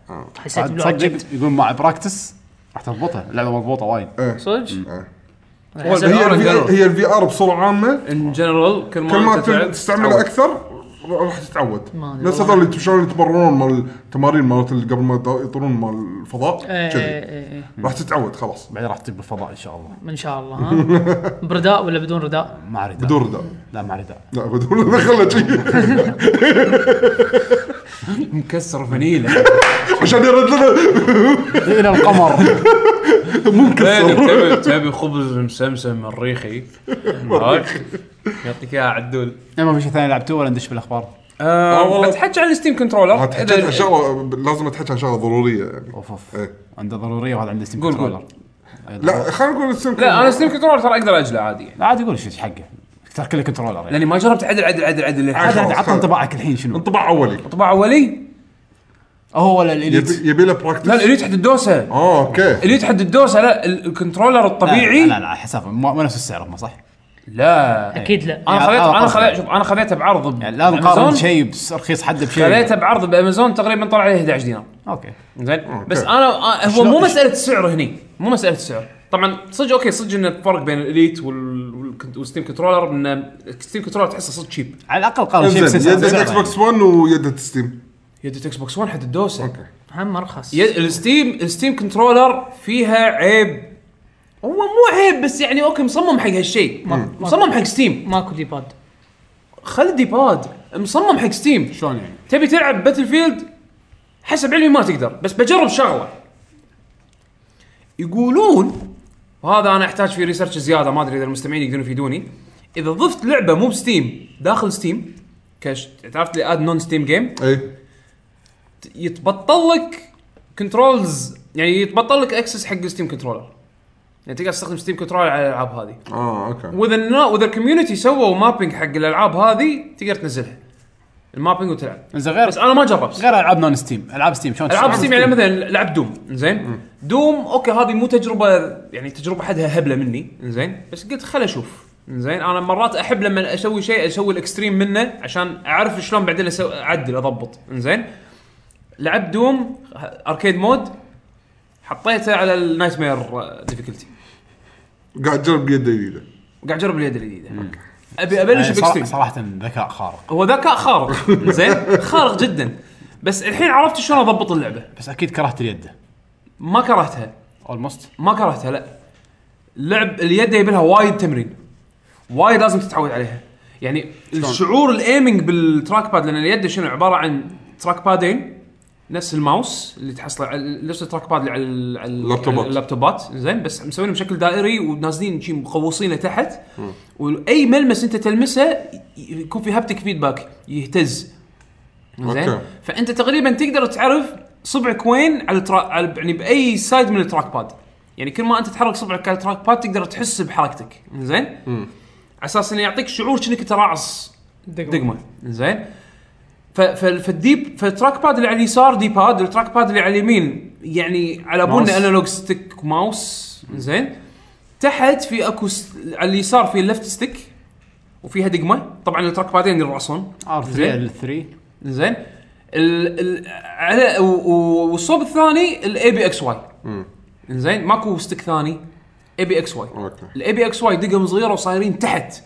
حسيت
بعد
بلعجة
تصدق يقول مع براكتس راح تضبطها اللعبة مضبوطة وايد
آه.
صدق
إيه.
هو
هي
الVR
الفي
قالوا.
هي الفي ار بصوره عامه
ان جنرال كل ما
كل ما
أنت تلعب
تل- تستعمله
تعود.
اكثر راح تتعود
ما أدري
نفس
والله.
هذول اللي شلون يتمرنون مال التمارين مالت اللي قبل ما يط- يطيرون مال الفضاء
إيه.
كذي راح تتعود خلاص
بعدين راح تجيب الفضاء ان شاء الله
ان شاء الله ها برداء ولا بدون رداء؟
ما اريد
بدون رداء
لا ما اريد
لا بدون رداء خله شي
مكسر فنيله
عشان يرد لنا
الى القمر
مو
زين،
مكسر
يعني تبي تبي خبز مسمسم مريخي عرفت؟ يعطيك اياها عدول
إيه، ما في شيء ثاني لعبتوه ولا ندش بالاخبار
والله.
بتحكي عن الستيم كنترولر
آه، تحكي عن
إذا-
شغله لازم اتحكي عن شغله ضروريه يعني
اوف اوف
إيه.
عنده ضرورية وهذا عنده ستيم
قول، قول.
كنترولر
لا خلينا نقول السم
لا انا ستيم كنترولر ترى اقدر اجله عادي يعني.
لا عاد يقول شيء حقه ترى كله كنترولر يعني
لاني ما جربت عدل عدل عدل عدل
عاد
للحين.
عاد عطنا انطباعك الحين شنو
انطباع اولي
طبع اولي
هو ولا الاليت
يبي يبي له براكتس
لا الاليت حد الدوسه
اه اوكي
الاليت حد الدوسه لا ال- الكنترولر
لا،
الطبيعي
لا لا حسافة مو مو نفس السعر ما صح
لا آه،
اكيد لا
انا
يعني
خذيت
هذا
انا
قصدي.
خذيت شوف انا خذيته بعرض
يعني لا
بأمازون.
نقارن شيء بس رخيص حده بشيء
خذيته بعرض بامازون تقريبا طلع عليه 11 دينار
اوكي
زين بس
أوكي.
انا آه، هو
شلون-
مو
ش-
مساله السعر هني مو مساله السعر طبعا صدق اوكي صدق ان الفرق بين الاليت وال- والكنت- والستيم كنترولر ان الستيم كنترولر تحسه صدق شيب
على الاقل قارن شيء
انزين
بسلسلة
يدة
سعر
اكس
يعني.
بوكس 1 ويدة ستيم
يد اكس بوكس 1 حد الدوسه
اوكي
هم ارخص
يد الستيم الستيم كنترولر فيها عيب هو مو عيب بس يعني اوكي مصمم حق هالشيء مصمم حق ستيم
ماكو دي باد
خلي الديباد مصمم حق ستيم
شلون يعني؟
تبي تلعب باتل فيلد حسب علمي ما تقدر بس بجرب شغله يقولون وهذا انا احتاج فيه ريسيرش زياده ما ادري اذا المستمعين يقدرون يفيدوني اذا ضفت لعبه مو بستيم داخل ستيم كش تعرفت لي اد نون ستيم جيم
اي
يتبطل لك كنترولز يعني يتبطل لك اكسس حق الستيم كنترولر يعني تقدر تستخدم ستيم كنترولر على الالعاب هذه
اه اوكي
واذا النا- واذا الكوميونتي سووا مابينج حق الالعاب هذه تقدر تنزلها المابينج وتلعب
زين غير
بس انا ما جربت
غير العاب نون ستيم العاب ستيم شلون
العاب
تشتغل؟
ستيم يعني مثلا لعب دوم زين دوم اوكي هذه مو تجربه يعني تجربه حدها هبله مني زين بس قلت خل اشوف زين انا مرات احب لما اسوي شيء اسوي الاكستريم منه عشان اعرف شلون بعدين أسو- اعدل اضبط زين لعبت دوم اركيد مود حطيته على النايت مير ديفيكولتي
قاعد اجرب بيد جديده
قاعد اجرب اليد الجديده ابي ابلش
يعني
باكستريم
صراحة- صراحه ذكاء خارق
هو ذكاء خارق زين خارق جدا بس الحين عرفت شلون اضبط اللعبه
بس اكيد كرهت اليد
ما كرهتها
اولموست
ما كرهتها لا لعب اليد يبي لها وايد تمرين وايد لازم تتعود عليها يعني الشعور الايمنج بالتراك باد لان اليد شنو عباره عن تراك بادين نفس الماوس اللي تحصله على نفس التراك باد اللي على ال- على ال-
اللابتوبات.
اللابتوبات زين بس مسوينه بشكل دائري ونازلين شي مخوصينه تحت واي ملمس انت تلمسه ي- يكون في هابتك فيدباك يهتز زين
أوكي.
فانت تقريبا تقدر تعرف صبعك وين على, الترا... على يعني باي سايد من التراك باد يعني كل ما انت تحرك صبعك على التراك باد تقدر تحس بحركتك زين على اساس انه يعطيك شعور كأنك تراعص دقمه زين ف... ف... فالديب فالتراك باد اللي على اليسار دي باد والتراك باد اللي على اليمين يعني على بولنا
ماوس.
انالوج ستيك ماوس زين تحت في اكو س... على اليسار في اللفت ستيك وفيها دقمه طبعا التراك بادين يرعصون
ار
زين.
3 ال 3
زين ال ال على و- و- والصوب الثاني الاي بي اكس واي زين ماكو ستيك ثاني اي بي اكس واي
اوكي
الاي بي اكس واي دقم صغيره وصايرين تحت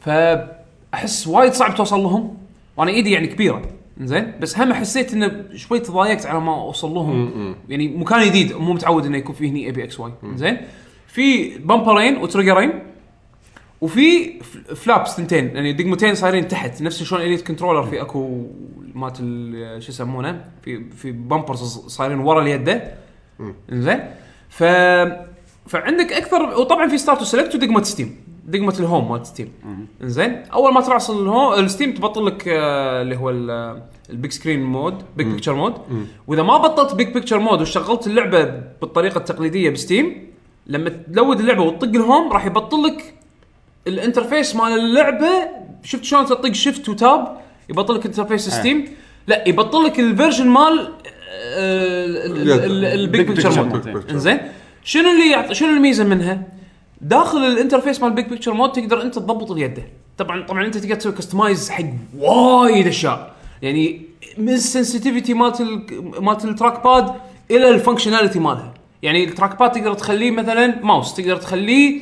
فاحس وايد صعب توصل لهم وانا ايدي يعني كبيره زين بس هم حسيت انه شوي تضايقت على ما اوصل لهم يعني مكان جديد مو متعود انه يكون فيه هني اي بي اكس واي زين في بامبرين وتريجرين وفي ف- فلابس ثنتين يعني دقمتين صايرين تحت نفس شلون اليت كنترولر في اكو مات ال- شو يسمونه في في بامبرز صايرين ورا اليده زين ف فعندك اكثر وطبعا في ستارت وسلكت ودقمه ستيم دقمه الهوم مالت ستيم زين اول ما ترعص الهوم الستيم تبطل لك آه، اللي هو ال- البيج سكرين مود بيج بيكتشر مود واذا ما بطلت بيج بيكتشر مود وشغلت اللعبه بالطريقه التقليديه بستيم لما تلود اللعبه وتطق الهوم راح يبطل لك الانترفيس مال اللعبه شفت شلون تطق شيفت وتاب يبطل لك انترفيس ستيم لا يبطل لك الفيرجن مال آه، ال- ال- ال- البيج
Big Picture
بيكتشر مود
Mode.
انزين شنو اللي يعط... شنو الميزه منها؟ داخل الانترفيس مال بيج بيكتشر مود تقدر انت تضبط اليده طبعا طبعا انت تقدر تسوي كستمايز حق وايد اشياء يعني من السنسيتيفيتي مالت ال... مالت التراك باد الى الفانكشناليتي مالها يعني التراك باد تقدر تخليه مثلا ماوس تقدر تخليه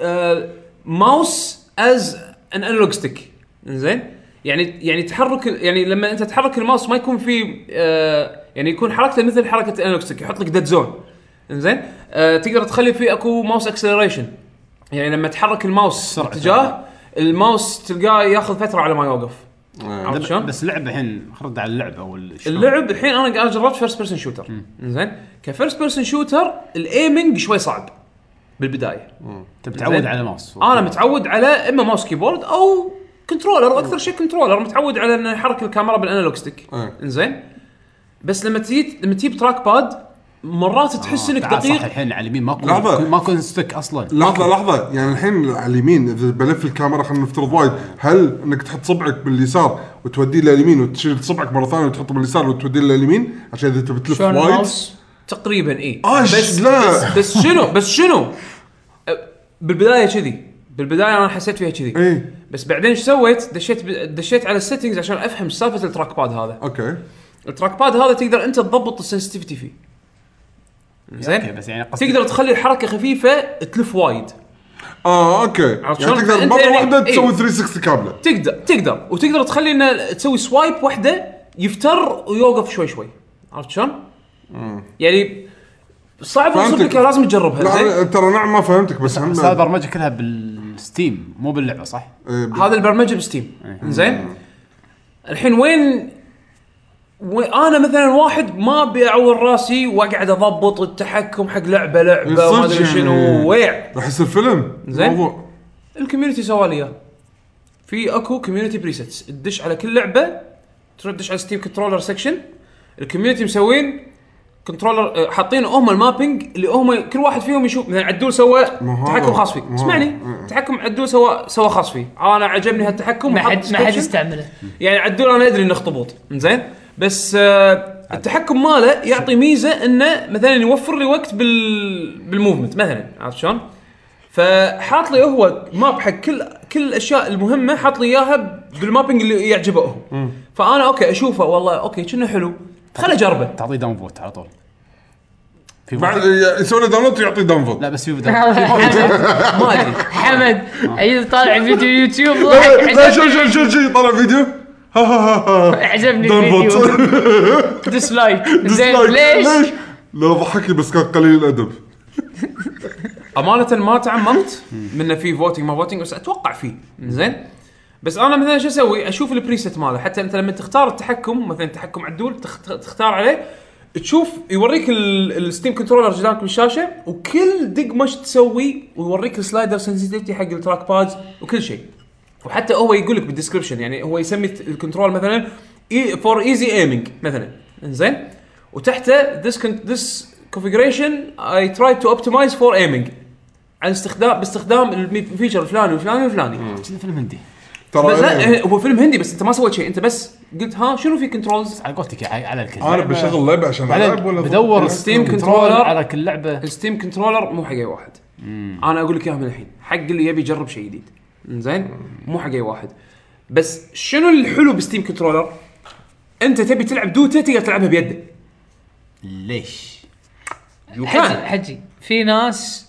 آه ماوس از ان انالوج ستيك زين يعني يعني تحرك يعني لما انت تحرك الماوس ما يكون في آه يعني يكون حركته مثل حركه الانالوج ستيك يحط لك ديد زون زين آه تقدر تخلي في اكو ماوس اكسلريشن يعني لما تحرك الماوس
سرعة.
اتجاه الماوس تلقاه ياخذ فتره على ما يوقف عرفت شلون؟
بس اللعبه الحين خرد على اللعبه او
اللعب الحين انا قاعد جربت فيرست بيرسون شوتر زين كفيرست بيرسون شوتر الايمنج شوي صعب بالبدايه
تتعود
زين.
على ماوس
انا متعود على اما ماوس كيبورد او كنترولر اكثر شيء كنترولر متعود على ان احرك الكاميرا بالانالوج ستيك
أي.
انزين بس لما تجي لما تجيب تراك باد مرات تحس انك
تعال صح
دقيق
الحين على اليمين ماكو
لحظة.
ماكو ستيك اصلا
لحظه لحظه يعني الحين على اليمين اذا بلف الكاميرا خلينا نفترض وايد هل انك تحط صبعك باليسار وتوديه لليمين وتشيل صبعك مره ثانيه وتحطه باليسار وتوديه لليمين عشان اذا تبي تلف
شلون
وايد
الماوس؟
تقريبا اي
أش،
إيه. بس
لا.
بس, بس شنو بس شنو أه، بالبدايه كذي بالبدايه انا حسيت فيها كذي
إي.
بس بعدين ايش سويت؟ دشيت ب- دشيت على السيتنجز عشان افهم سالفه التراك باد هذا
اوكي
التراك باد هذا تقدر انت تضبط السنسitivity فيه
أوكي،
زين
بس يعني قصدي
تقدر تخلي الحركه خفيفه تلف وايد
اه اوكي يعني
عرفت شلون؟
تقدر
فأنت
مره
يعني-
واحده
إي.
تسوي 360 كامله
تقدر تقدر وتقدر تخلي انه تسوي سوايب واحده يفتر ويوقف شوي شوي عرفت شلون؟ يعني صعب
فهمتك.
وصدق لازم تجربها
لا
زين
أنا- ترى نعم ما فهمتك بس هم
بس هذه البرمجه كلها بالستيم مو باللعبه صح؟
إيه، ب-
هذا البرمجه بستيم زين الحين وين وين انا مثلا واحد ما ابي اعور راسي واقعد اضبط التحكم حق لعبه لعبه وما
صدق
ادري
يعني.
شنو ويع
راح يصير فيلم
زين.
الموضوع
الكوميونتي سوالي اياه في اكو كوميونتي بريسيتس تدش على كل لعبه تروح تدش على ستيم كنترولر سكشن الكوميونتي مسوين كنترولر آه، حاطين هم المابينج اللي هم كل واحد فيهم يشوف مثلا عدول سوى
ما هو-
تحكم خاص
ما
فيه
هو-
اسمعني
مم.
تحكم عدول سوى سوى خاص فيه انا عجبني هالتحكم
ما
وحط
حد ما حد
description.
يستعمله
يعني عدول انا ادري انه اخطبوط زين بس آه التحكم ماله يعطي ميزه انه مثلا يوفر لي وقت بال بالموفمنت مثلا عرفت شلون؟ فحاط لي هو ماب حق كل كل الاشياء المهمه حاط لي اياها بالمابينج اللي يعجبه هو فانا اوكي اشوفه والله اوكي كأنه حلو خليني اجربه
تعطيه داون فوت على طول في
بعد
فوت؟
يسوي له داونلود ويعطيه داونلود
لا بس في فوت.
ما ادري
حمد عيل طالع فيديو يوتيوب
لا لا،
عجبني-
شو شو شو شو طلع فيديو ها ها ها ها
عجبني
داونلود
الفيديو ديسلايك زين
ديسلايك.
ليش؟
ليش؟ لا ضحكني بس كان قليل الادب
امانه ما تعممت منه في فوتنج ما فوتنج بس اتوقع فيه زين بس انا مثلا شو اسوي؟ اشوف البريست ماله حتى انت لما تختار التحكم مثلا تحكم عدول تخت- تختار عليه تشوف يوريك ال- الستيم كنترولر قدامك بالشاشه وكل دق مش تسوي ويوريك السلايدر سنسيتيفيتي حق التراك بادز وكل شيء وحتى هو يقول لك بالدسكربشن يعني هو يسمي الكنترول مثلا فور ايزي ايمنج مثلا انزين وتحته this con- this configuration I tried to optimize for aiming عن استخدام باستخدام الفيشر الفلاني والفلاني والفلاني
شنو فيلم هندي
ترى
بس
إيه.
لا هو فيلم هندي بس انت ما سويت شيء انت بس قلت ها شنو في كنترولز
على قولتك يا- على الكل
انا بشغل لعبه عشان العب
بعدين
ولا
بدور
ستيم
ستيم كنترول
كنترولر.
على كل لعبه
الستيم كنترولر مو حق اي واحد انا اقول لك اياها من الحين حق اللي يبي يجرب شيء جديد زين مو حق اي واحد بس شنو الحلو بستيم كنترولر انت تبي تلعب دوتا تقدر تلعبها بيدك
ليش؟
يو
حجي
كان
حجي في ناس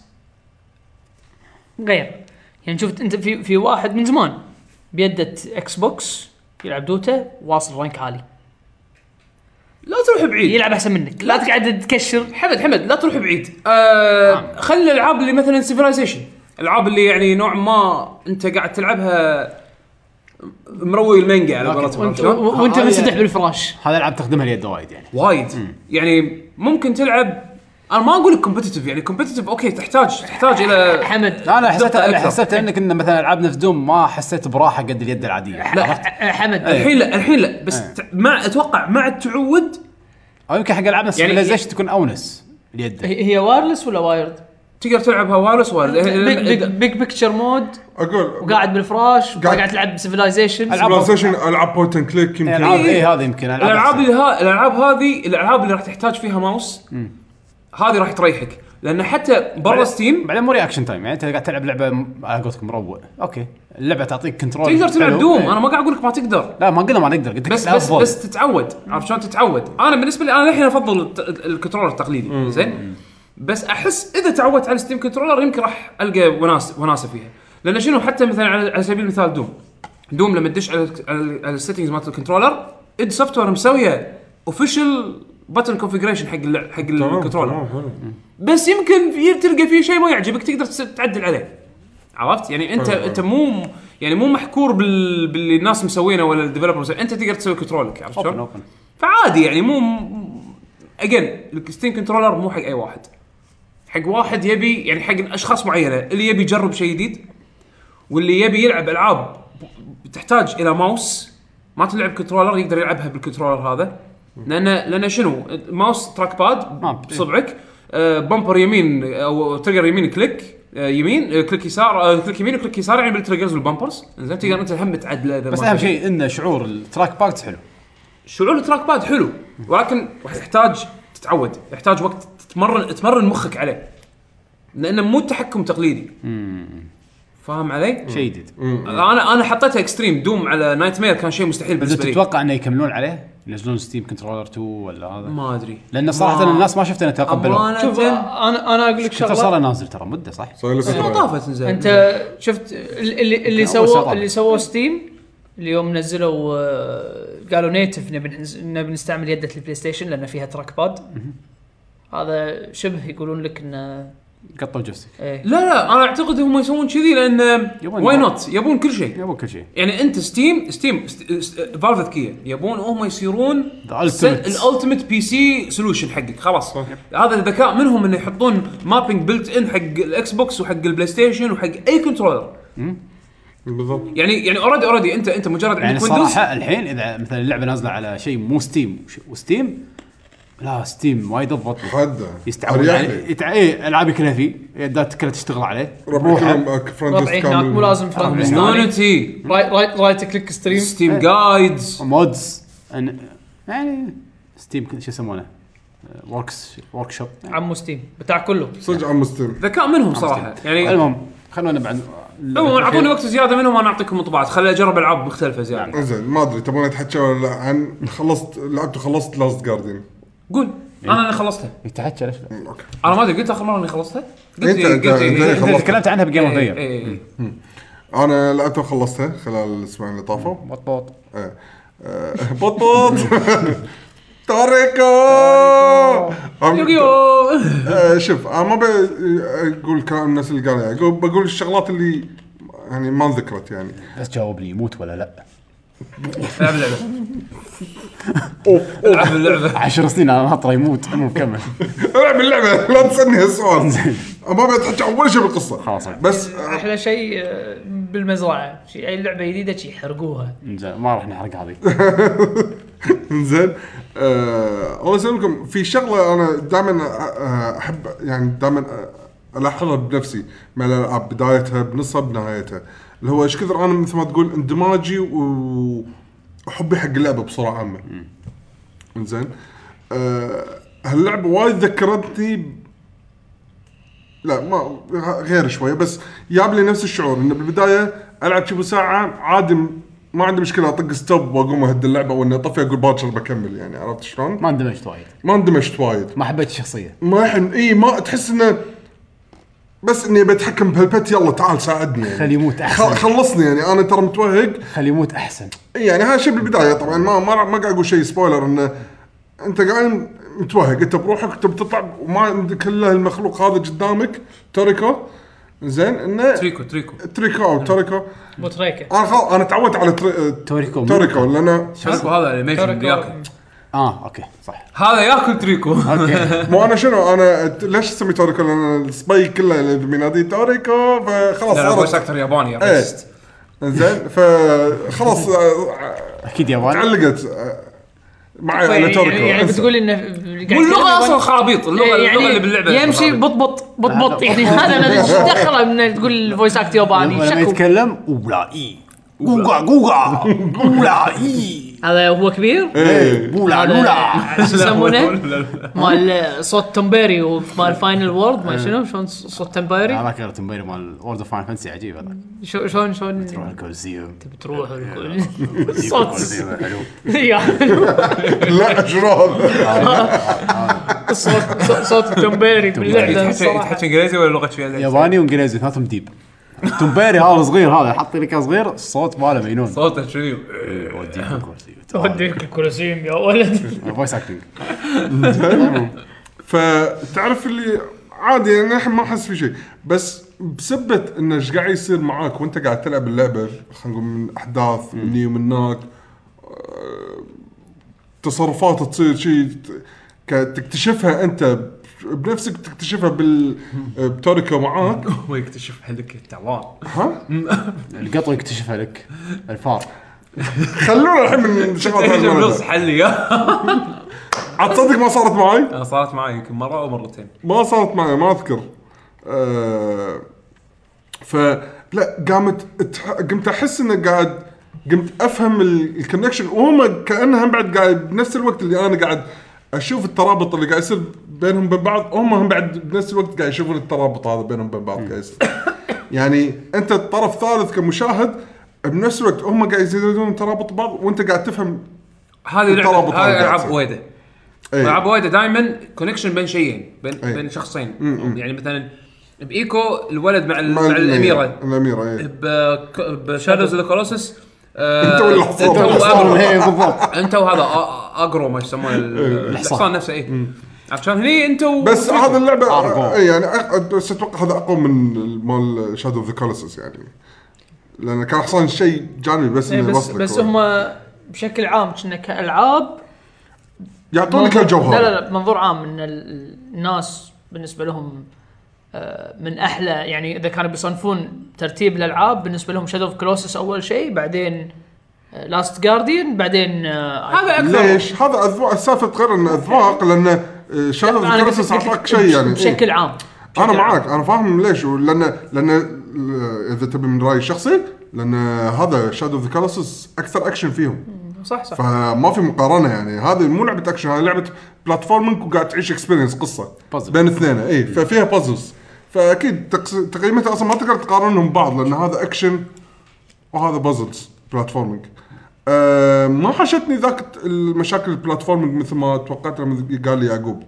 غير يعني شفت انت في في واحد من زمان بيده اكس بوكس يلعب دوتا واصل رانك عالي
لا تروح بعيد
يلعب احسن منك لا تقعد تكشر
حمد حمد لا تروح بعيد آه خلي الالعاب اللي مثلا سيفلايزيشن الالعاب اللي يعني نوع ما انت قاعد تلعبها مروي المانجا على
لكن
قولتهم
وانت,
عرفت شلون؟
و- وانت
آه،
هذه-
منسدح بالفراش
هذا العاب تخدمها اليد وايد يعني
وايد يعني ممكن تلعب انا ما اقول لك كومبتتف يعني كومبتتف اوكي تحتاج تحتاج الى
حمد
لا انا حسيت
دقة
انا
أكثر.
حسيت انك ان مثلا العاب نفس دوم ما حسيت براحه قد اليد العاديه عرفت؟
لا
إيه.
حمد
الحين لا الحين لا بس
إيه.
ت- مع اتوقع مع التعود
او يمكن حق العاب نفس
يعني-
سيفلايزيشن تكون اونس اليد
هي هي وايرلس ولا وايرد؟
تقدر تلعبها وايرلس
بيج
وايرلس
بيج بيكتشر مود
اقول
وقاعد بالفراش
قاعد-
وقاعد تلعب بسيفلايزيشن
ألعاب-
بلاي ستيشن العاب بوينت اند كليك
إيه،
يمكن
العاب
إيه.
اي هذا يمكن
الالعاب
أحسن.
اللي ها... الالعاب هذه الالعاب اللي راح تحتاج فيها ماوس هذه راح تريحك لان حتى برا ستيم
بعدين مو رياكشن تايم يعني انت قاعد تلعب لعبه م- على قولتكم مروع اوكي اللعبه تعطيك كنترول
تقدر تلعب
حلو.
دوم
إيه.
انا ما قاعد اقول لك ما تقدر
لا ما قلنا ما نقدر قلت لك
بس
لا
بس
أفضل.
بس تتعود عرفت شلون تتعود انا بالنسبه لي انا الحين افضل الت- الكنترولر التقليدي زين بس احس اذا تعودت على الستيم كنترولر يمكن راح القى وناس وناسه فيها لان شنو حتى مثلا على على سبيل المثال دوم دوم لما تدش على ال- على ال- على السيتنجز مالت الكنترولر اد سوفت وير مسويه اوفيشال بتن كونفجريشن حق اللع- حق الكنترولر بس يمكن في- تلقى فيه شيء ما يعجبك تقدر تس- تعدل عليه عرفت يعني انت
حلو، حلو.
انت مو يعني مو محكور بال... باللي الناس مسوينه ولا الديفلوبرز انت تقدر تسوي كنترولك عرفت
اوبن
شلون؟
اوبن
فعادي يعني مو اجين الستيم كنترولر مو حق اي واحد حق واحد يبي يعني حق اشخاص معينه اللي يبي يجرب شيء جديد واللي يبي يلعب العاب تحتاج الى ماوس ما تلعب كنترولر يقدر يلعبها بالكنترولر هذا لان لان شنو ماوس تراك باد
نعم.
بصبعك آه بامبر يمين او تريجر يمين كليك آه يمين آه كليك يسار آه كليك يمين وكليك يسار يعني بالتريجرز والبامبرز زين تقدر انت هم تعدله إذا
بس
ما
اهم
تبي.
شيء انه شعور التراك باكت حلو
شعور التراك باد حلو ولكن راح تحتاج تتعود يحتاج وقت تتمرن تمرن مخك عليه لانه مو تحكم تقليدي فاهم علي؟
شيء جديد
انا انا حطيتها اكستريم دوم على نايت مير كان شيء مستحيل
بس
بالنسبه لي
تتوقع انه يكملون عليه ينزلون ستيم كنترولر 2 ولا هذا
ما ادري
لان صراحه
ما-
الناس ما شفت انها تقبلوا
امانه
شوف انا انا اقول لك
ترى
شغله
صار نازل ترى مده صح؟
صار لي
بس ما
فترة.
طافت زين
انت شفت ال- اللي اللي
أول شغلة.
سووا اللي سووا ستيم اليوم نزلوا آه، قالوا نيتف نبي نز- نبي نستعمل يده البلاي ستيشن لان فيها تراك باد هذا شبه يقولون لك انه
قطوا جبسك
ايه
لا لا انا اعتقد هم يسوون كذي لان
يبون
واي
نوع.
نوت يبون كل شيء
يبون كل شيء
يعني انت ستيم ستيم فالف ذكيه يبون هم يصيرون
The ultimate.
الالتيميت بي سي سولوشن حقك خلاص هذا الذكاء منهم انه يحطون مابينج بلت ان حق الاكس بوكس وحق البلاي ستيشن وحق اي كنترولر
بالضبط
يعني يعني اوريدي اوريدي انت انت مجرد
يعني
عندك ويندوز
الصراحه الحين اذا مثلا اللعبه نازله على شيء مو ستيم وش- وستيم لا ستيم وايد اضبط
حدا
يستعملون عليه يتع... ايه العابي كلها فيه يدات كلها تشتغل عليه روحها
ربعهم فرندس
ربعي هناك مو
كامل
لازم فرند
ربعي.
ليست.
يونيتي
رايت رايت رايت كليك ستريم
إيه.
ستيم جايدز
مودز أن... يعني ستيم كن- شو يسمونه وركس ورك شوب
عمو ستيم بتاع كله
صدق عم ستيم
ذكاء منهم صراحه يعني
إيه، المهم خلونا بعد
عموما اعطوني وقت زياده منهم انا اعطيكم انطباعات خليني اجرب العاب مختلفه
نعم.
زياده
زين ما ادري تبون اتحكى ولا لا عن خلصت لعبت خلصت لاست جاردين
قول
إيه.
انا اللي خلصتها
يتحكى ليش لا؟
اوكي
انا ما ادري قلت اخر مره اني خلصتها؟
أنت-
قلت إيه، قلت
أنت-
إيه.
أنت
إيه،
خلصت.
تكلمت عنها بجيم اوف
إيه،
ذا
إيه، إيه.
انا لعبتها وخلصتها خلال الاسبوعين اللي طافوا
بطبط
إيه. آه، بطبط تاريكو عم-
يوغيو
آه، شوف انا ما بقول كلام الناس اللي قالوا يعني أقول- بقول الشغلات اللي يعني ما انذكرت يعني
إيه. بس جاوبني يموت ولا لا؟
العب اللعبه العب اللعبه
عشر سنين انا ناطره يموت المهم كمل
العب اللعبه لا تسالني هالسؤال ما بتحكي عن ولا شيء بالقصه
خلاص.
بس آه،
احلى شيء آه، بالمزرعه شي اي لعبه جديده شي يحرقوها
إنزين، ما راح نحرق هذه
انزين آه، الله يسلمكم في شغله انا دائما احب آه، يعني دائما الاحظها بنفسي مع الالعاب بدايتها بنصها بنهايتها اللي هو ايش كثر انا مثل ما تقول اندماجي وحبي حق اللعبه بصوره عامه انزين آه، هاللعبه وايد ذكرتني ب- لا ما غير شويه بس جاب لي نفس الشعور انه بالبدايه العب شبه ساعه عادي م- ما عندي مشكله اطق ستوب واقوم اهد اللعبه واني اطفي اقول باكر بكمل يعني عرفت شلون؟
ما اندمجت وايد
ما اندمجت وايد
ما حبيت الشخصيه
ما حن اي ما تحس انه بس اني بتحكم بهالبت يلا تعال ساعدني يعني.
خليه يموت
خل-
احسن
خلصني يعني انا ترى متوهق
خليه يموت احسن
يعني هذا شيء بالبدايه طبعا ما ما, ما قاعد اقول شيء سبويلر انه انت قاعد متوهق انت بروحك انت بتطلع وما عندك الا المخلوق هذا قدامك توريكو زين انه
تريكو تريكو
تريكو او توريكو
بوتريكا
انا خل... انا تعودت على تري...
توريكو مو-
توريكو لان
تريكو هذا الانيميشن اللي ياكل
اه اوكي صح
هذا ياكل تريكو
اوكي
مو انا شنو انا ت- ليش اسمي توريكو لان السباي كله اللي بيناديه توريكو فخلاص
لا فويس
صارت
اكتر ياباني يا
إيه.
racist.
زين فخلاص آه،
اكيد ياباني
تعلقت آه، معي
طيب،
على
يعني,
توريكو
يعني بتقول انه
واللغه اصلا خرابيط اللغه
يعني
اللغه اللي باللعبه
يمشي
خرابيط.
بطبط بطبط
لا،
يعني هذا ما ادري ايش دخله من تقول الفويس اكت ياباني
لما
شكو
يتكلم وبلا اي جوجا جوجا بولا اي
هذا هو كبير
إيه.
بولا لولا
شو يسمونه؟
لا، لا، لا.
مال صوت تمبيري ومال فاينل وورد ما شنو شلون صوت تمبيري
هذاك التمبيري مال وورد اوف فاين فانسي عجيب هذاك
شو- شلون شلون
تروح الكولزيوم
بتروح والكل.
الكولزيوم، الكولزيوم حلو
يا حلو.
لا شنو هذا؟
صوت صوت- صوت تمبيري باللعبه
تحكي تحكي
الصراحه
انجليزي ولا يعني؟ لغه شويه
ياباني وانجليزي ثلاثهم ديب تمبيري هذا صغير هذا حط لك إياه صغير الصوت ماله طيب. مجنون
صوته شنو
يوديك الكولزيوم
اوديك الكولوسيوم يا ولد
فويس اكتنج
فتعرف اللي عادي يعني الحين ما احس في شيء بس بسبه انه ايش قاعد يصير معاك وانت قاعد تلعب اللعبه خلينا نقول من احداث مني ومن هناك آه، تصرفات تصير شيء ت- ك- تكتشفها انت بنفسك تكتشفها بال بتوريكا معاك
هو يكتشف حلك التعبان
ها
القطو يكتشفها لك الفار
خلونا الحين من شغلات
تهجم
هالمرة.
نص حل يا
عاد تصدق ما صارت معي
أنا صارت معي يمكن مره او مرتين
ما صارت معي ما اذكر آه ف لا قامت اتح... قمت احس انه قاعد قمت افهم ال- الكونكشن وهم كانهم بعد قاعد بنفس الوقت اللي انا قاعد اشوف الترابط اللي قاعد يصير بينهم وبين بعض هم هم بعد بنفس الوقت قاعد يشوفون الترابط هذا بينهم وبين بعض قاعد يصير يعني انت الطرف ثالث كمشاهد بنفس الوقت هم قاعد يزيدون ترابط بعض وانت قاعد تفهم
هذه لعبه
الترابط هذا
هذه
قاعد
العاب
يصير.
وايده
إيه.
العاب وايده دائما كونكشن بين شيئين بين
أي.
بين شخصين يعني مثلا بايكو الولد مع, ال-
مع
مع الاميره
الاميره
إيه.
ايه
بشادوز اوف ذا كولوسس آه،
أنت ولا الحصان. أنت
الفار، إيه، بالضبط
انت وهذا آ- اجرو ما يسمونه ال-
الحصان.
الحصان نفسه اي عشان هني انت و...
إيه، بس هذه اللعبه
Argo.
إي يعني أق- بس اتوقع هذا اقوى من مال شادو اوف ذا كولسس يعني لان كان حصان شيء جانبي بس
إيه
انه
بس
يوصلك
بس هم بشكل عام كنا كالعاب
يعطونك
منظور-
الجوهر
لا لا لا منظور عام ان ال- الناس بالنسبه لهم آه، من احلى يعني اذا كانوا بيصنفون ترتيب الالعاب بالنسبه لهم شادو اوف كلوسس اول شيء بعدين لاست جارديان بعدين آه، هذا
ليش؟ هذا اذواق السالفه غير ان اذواق لان شادو اوف كولسس اعطاك شيء يعني
بشكل عام
إيه. انا
بشكل عام.
معاك انا فاهم ليش لان لان آه، اذا تبي من رايي الشخصي لان هذا شادو اوف ذا كولسس اكثر اكشن فيهم
صح صح
فما في مقارنه يعني هذه مو لعبه اكشن هذه لعبه بلاتفورمينج وقاعد تعيش اكسبيرينس قصه
Puzzle.
بين اثنين اي ففيها بازلز فاكيد تقس- تقييمتها اصلا ما تقدر تقارنهم ببعض لان هذا اكشن وهذا بازلز بلاتفورمينج أه ما حشتني ذاك المشاكل البلاتفورمينج مثل ما توقعت لما قال لي يعقوب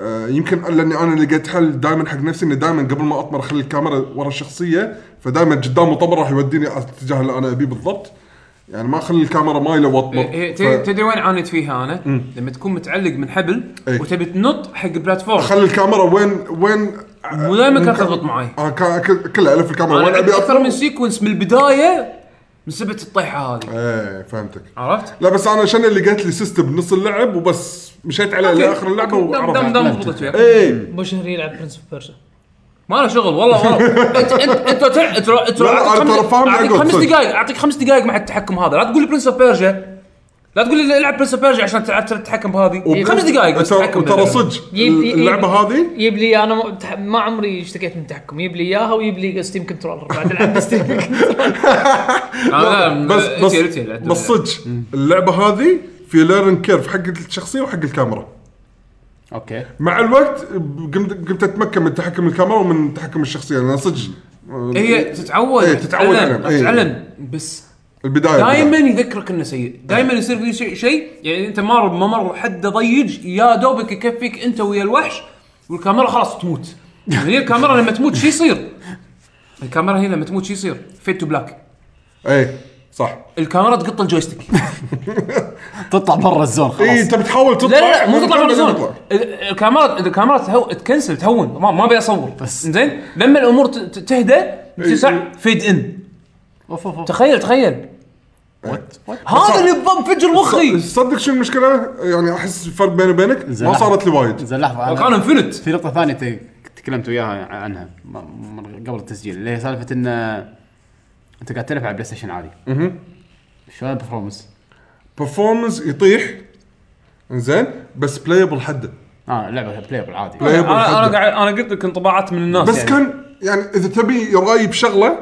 آه، يمكن لاني انا لقيت حل دائما حق نفسي اني دائما قبل ما اطمر اخلي الكاميرا ورا الشخصيه فدائما قدامه طمر راح يوديني على الاتجاه اللي انا ابيه بالضبط يعني ما اخلي الكاميرا مايله واطمر
إيه، إيه،
ف-
تدري وين عانيت فيها انا؟ لما تكون متعلق من حبل
إيه.
وتبي تنط حق البلاتفورم
اخلي الكاميرا وين وين
مو دائما كانت تضبط معي
آه كا- ك- كلها الف الكاميرا وين
انا
ابي
عندي
اطلع
اكثر من سيكونس من البدايه من سبه الطيحه هذه
ايه فهمتك
عرفت؟
لا بس انا عشان اللي قالت لي سيستم بنص اللعب وبس مشيت عليه لاخر اللعبه
دم دم
وعرفت
دم ضبطت وياك
ايه
مو شهري يلعب برنس اوف بيرجا
ما له شغل والله والله انت انت انت تع- انت انت
لا، أنا
أعطيك
ترى
خمس-
فاهم
اعطيك
عقب،
خمس
صدق.
دقائق اعطيك خمس دقائق مع التحكم هذا لا تقول لي برنس اوف بيرجا لا تقول لي العب برنس اوف بيرجا عشان تع- تتحكم بهذه إيه، خمس دقائق بس
وترى
تتحكم
وترى
باللعبة.
صدق
يب- يب-
اللعبه هذه
يجيب لي انا ما- تح- ما عمري اشتكيت من التحكم يجيب لي اياها ويجيب لي ستيم كنترولر بعد العب ستيم
آه، لا،
بس
إتي-
بس
إتي- إتي-
بس صدق اللعبه هذه في ليرن كيرف حق الشخصيه وحق الكاميرا
اوكي
مع الوقت قمت قمت اتمكن من تحكم الكاميرا ومن تحكم الشخصيه لان صدق
هي تتعود
إيه، تتعود
تتعلم
عليهم، إيه.
تتعلم بس
البدايه
دائما يذكرك انه سيء دائما يصير في شيء شي يعني انت مار بممر حد ضيق يا دوبك يكفيك انت ويا الوحش والكاميرا خلاص تموت يعني هي الكاميرا لما تموت شو يصير الكاميرا هي لما تموت شو يصير فيت تو بلاك
اي إيه، صح
الكاميرا تقط الجويستيك
تطلع برا الزون
اي
خلاص
انت بتحاول إيه، تطلع
لا لا لا مو
من
تطلع
الكاميرا
بالزون
تطلع.
الكاميرا الكاميرا تهو... تكنسل تهون ما, ما ابي اصور
بس.
زين لما الامور ت- ت- تهدى تسع فيد ان
اوف اوف أوف.
تخيل تخيل
وات وات
هذا اللي بنفجر مخي
تصدق شو المشكله؟ يعني احس الفرق بيني وبينك ما
زين.
صارت لي وايد
زين لحظه أنا-
كان انفنت
في نقطة ثانية ت- تكلمت وياها عنها م- من قبل التسجيل اللي هي سالفة ان آه، انت قاعد تلعب على بلاي ستيشن عادي. شلون البرفورمنس؟
برفورمنس يطيح زين بس بلايبل حده
اه لعبة بلايبل عادي.
بلايبل
انا
حده
انا قاعد انا قلت لك انطباعات من الناس
بس
يعني.
كان يعني اذا تبي رايي بشغله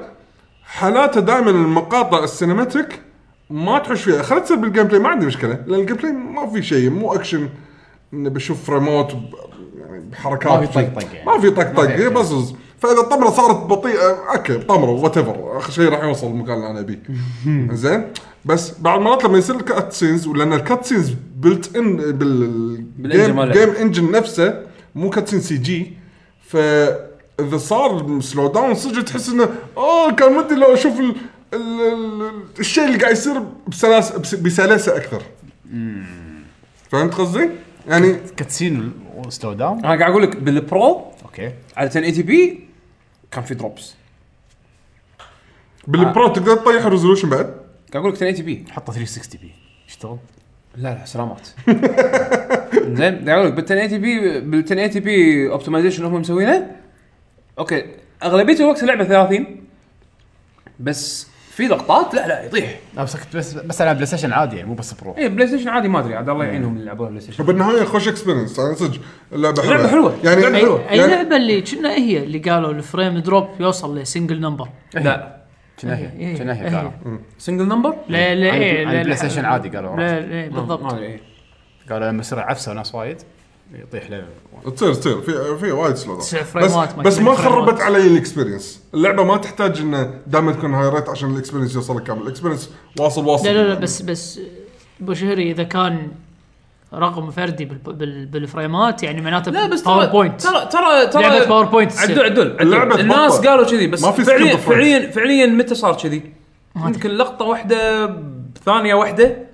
حالاته دائما المقاطع السينماتيك ما تحش فيها خلت تصير بالجيم بلاي ما عندي مشكله لان الجيم بلاي ما في شيء مو اكشن إني بشوف فريمات ب- يعني بحركات
ما في طقطق يعني.
ما في طقطق هي بزز فاذا الطمره صارت بطيئه اوكي طمره وات ايفر اخر شيء راح يوصل المكان اللي انا ابيه زين بس بعض المرات لما يصير الكات سينز ولان الكات سينز بلت ان
بالإنجن
بالجيم
ماله.
جيم انجن نفسه مو كات سين سي جي فاذا صار سلو داون صدق تحس انه اوه كان ودي لو اشوف ال... ال... ال... الشيء اللي قاعد يصير بسلاس... بس... بسلاسه اكثر فهمت قصدي؟ يعني
كاتسين وسلو داون
انا قاعد اقول لك بالبرو
اوكي
عاده اي تي بي كان في دروبس
بالبرو تقدر تطيح الريزولوشن بعد
قاعد اقول لك 1080 بي
حطه 360 بي يشتغل
لا لا سلامات زين قاعد اقول لك بال 1080 بي بال 1080 بي اوبتمايزيشن هم مسوينه اوكي اغلبيه الوقت اللعبه 30 بس في لقطات لا لا يطيح
لا بس كنت بس بس العب بلاي ستيشن عادي يعني مو بس
إيه،
برو
اي بلاي ستيشن عادي ما ادري عاد الله يعينهم اللي يلعبوها بلاي ستيشن
بالنهايه خوش اكسبيرينس يعني صدق اللعبه حلوه
اللعبة حلوة.
يعني
اللعبة حلوة.
اي
يعني-
لعبه اللي كنا هي اللي قالوا الفريم دروب يوصل لسنجل نمبر
لا
كنا
إيه،
هي كنا
إيه.
هي قالوا
سنجل نمبر
لا لا
على-
إيه،
على
لا-
البلاي
لا-
ستيشن عادي قالوا
لا لا
ما
بالضبط
ادري إيه.
قالوا لما يصير عفسه وناس وايد يطيح له
تصير تصير في في وايد سلو
تسع
بس
فريمات، ما
بس
يكون
ما
فريمات.
خربت علي الاكسبيرينس اللعبه ما تحتاج انه دائما تكون هاي ريت عشان الاكسبيرينس يوصل كامل الاكسبيرينس واصل واصل
لا لا لا بس بس ابو شهري اذا كان رقم فردي بال- بال- بالفريمات يعني معناته
لا بس ترى
باوربوينت
ترى ترى ترى
لعبة PowerPoint تصير.
عدل عدل
اللعبة
عدل الناس
تبطل.
قالوا كذي بس
ما في
فعليا
skill difference.
فعليا فعليا متى صار كذي؟ يمكن لقطه واحده ثانيه واحده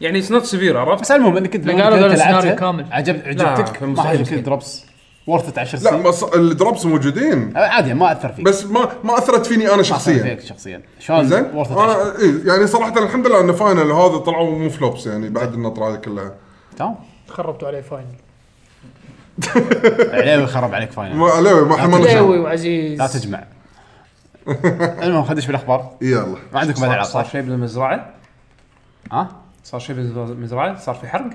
يعني اتس نوت سيفير عرفت؟
بس المهم انك انت
لان قالوا
أنت
قالوا
لعبتها،
سيناريو كامل.
عجب عجبتك
مستحيل،
ما عجبتك
مستحيل.
الدروبس ورثت 10
لا
سنين
بس الدروبس موجودين
عادي ما اثر فيك
بس ما ما اثرت فيني انا
ما أثر
شخصيا
فيك شخصيا شلون
زين
ورثت 10
انا إيه يعني صراحه الحمد لله ان فاينل هذا طلعوا مو فلوبس يعني بعد النطره هذه كلها
تمام
خربتوا عليه فاينل
عليوي خرب عليك فاينل
ما عليوي ما حملنا
ليوي
شيء
وعزيز
لا تجمع المهم خدش بالاخبار
إيه، يلا
ما عندكم بعد العاب
صار
صح؟
شيء بالمزرعه
ها؟
صار شيء بالمزرعه صار في حرق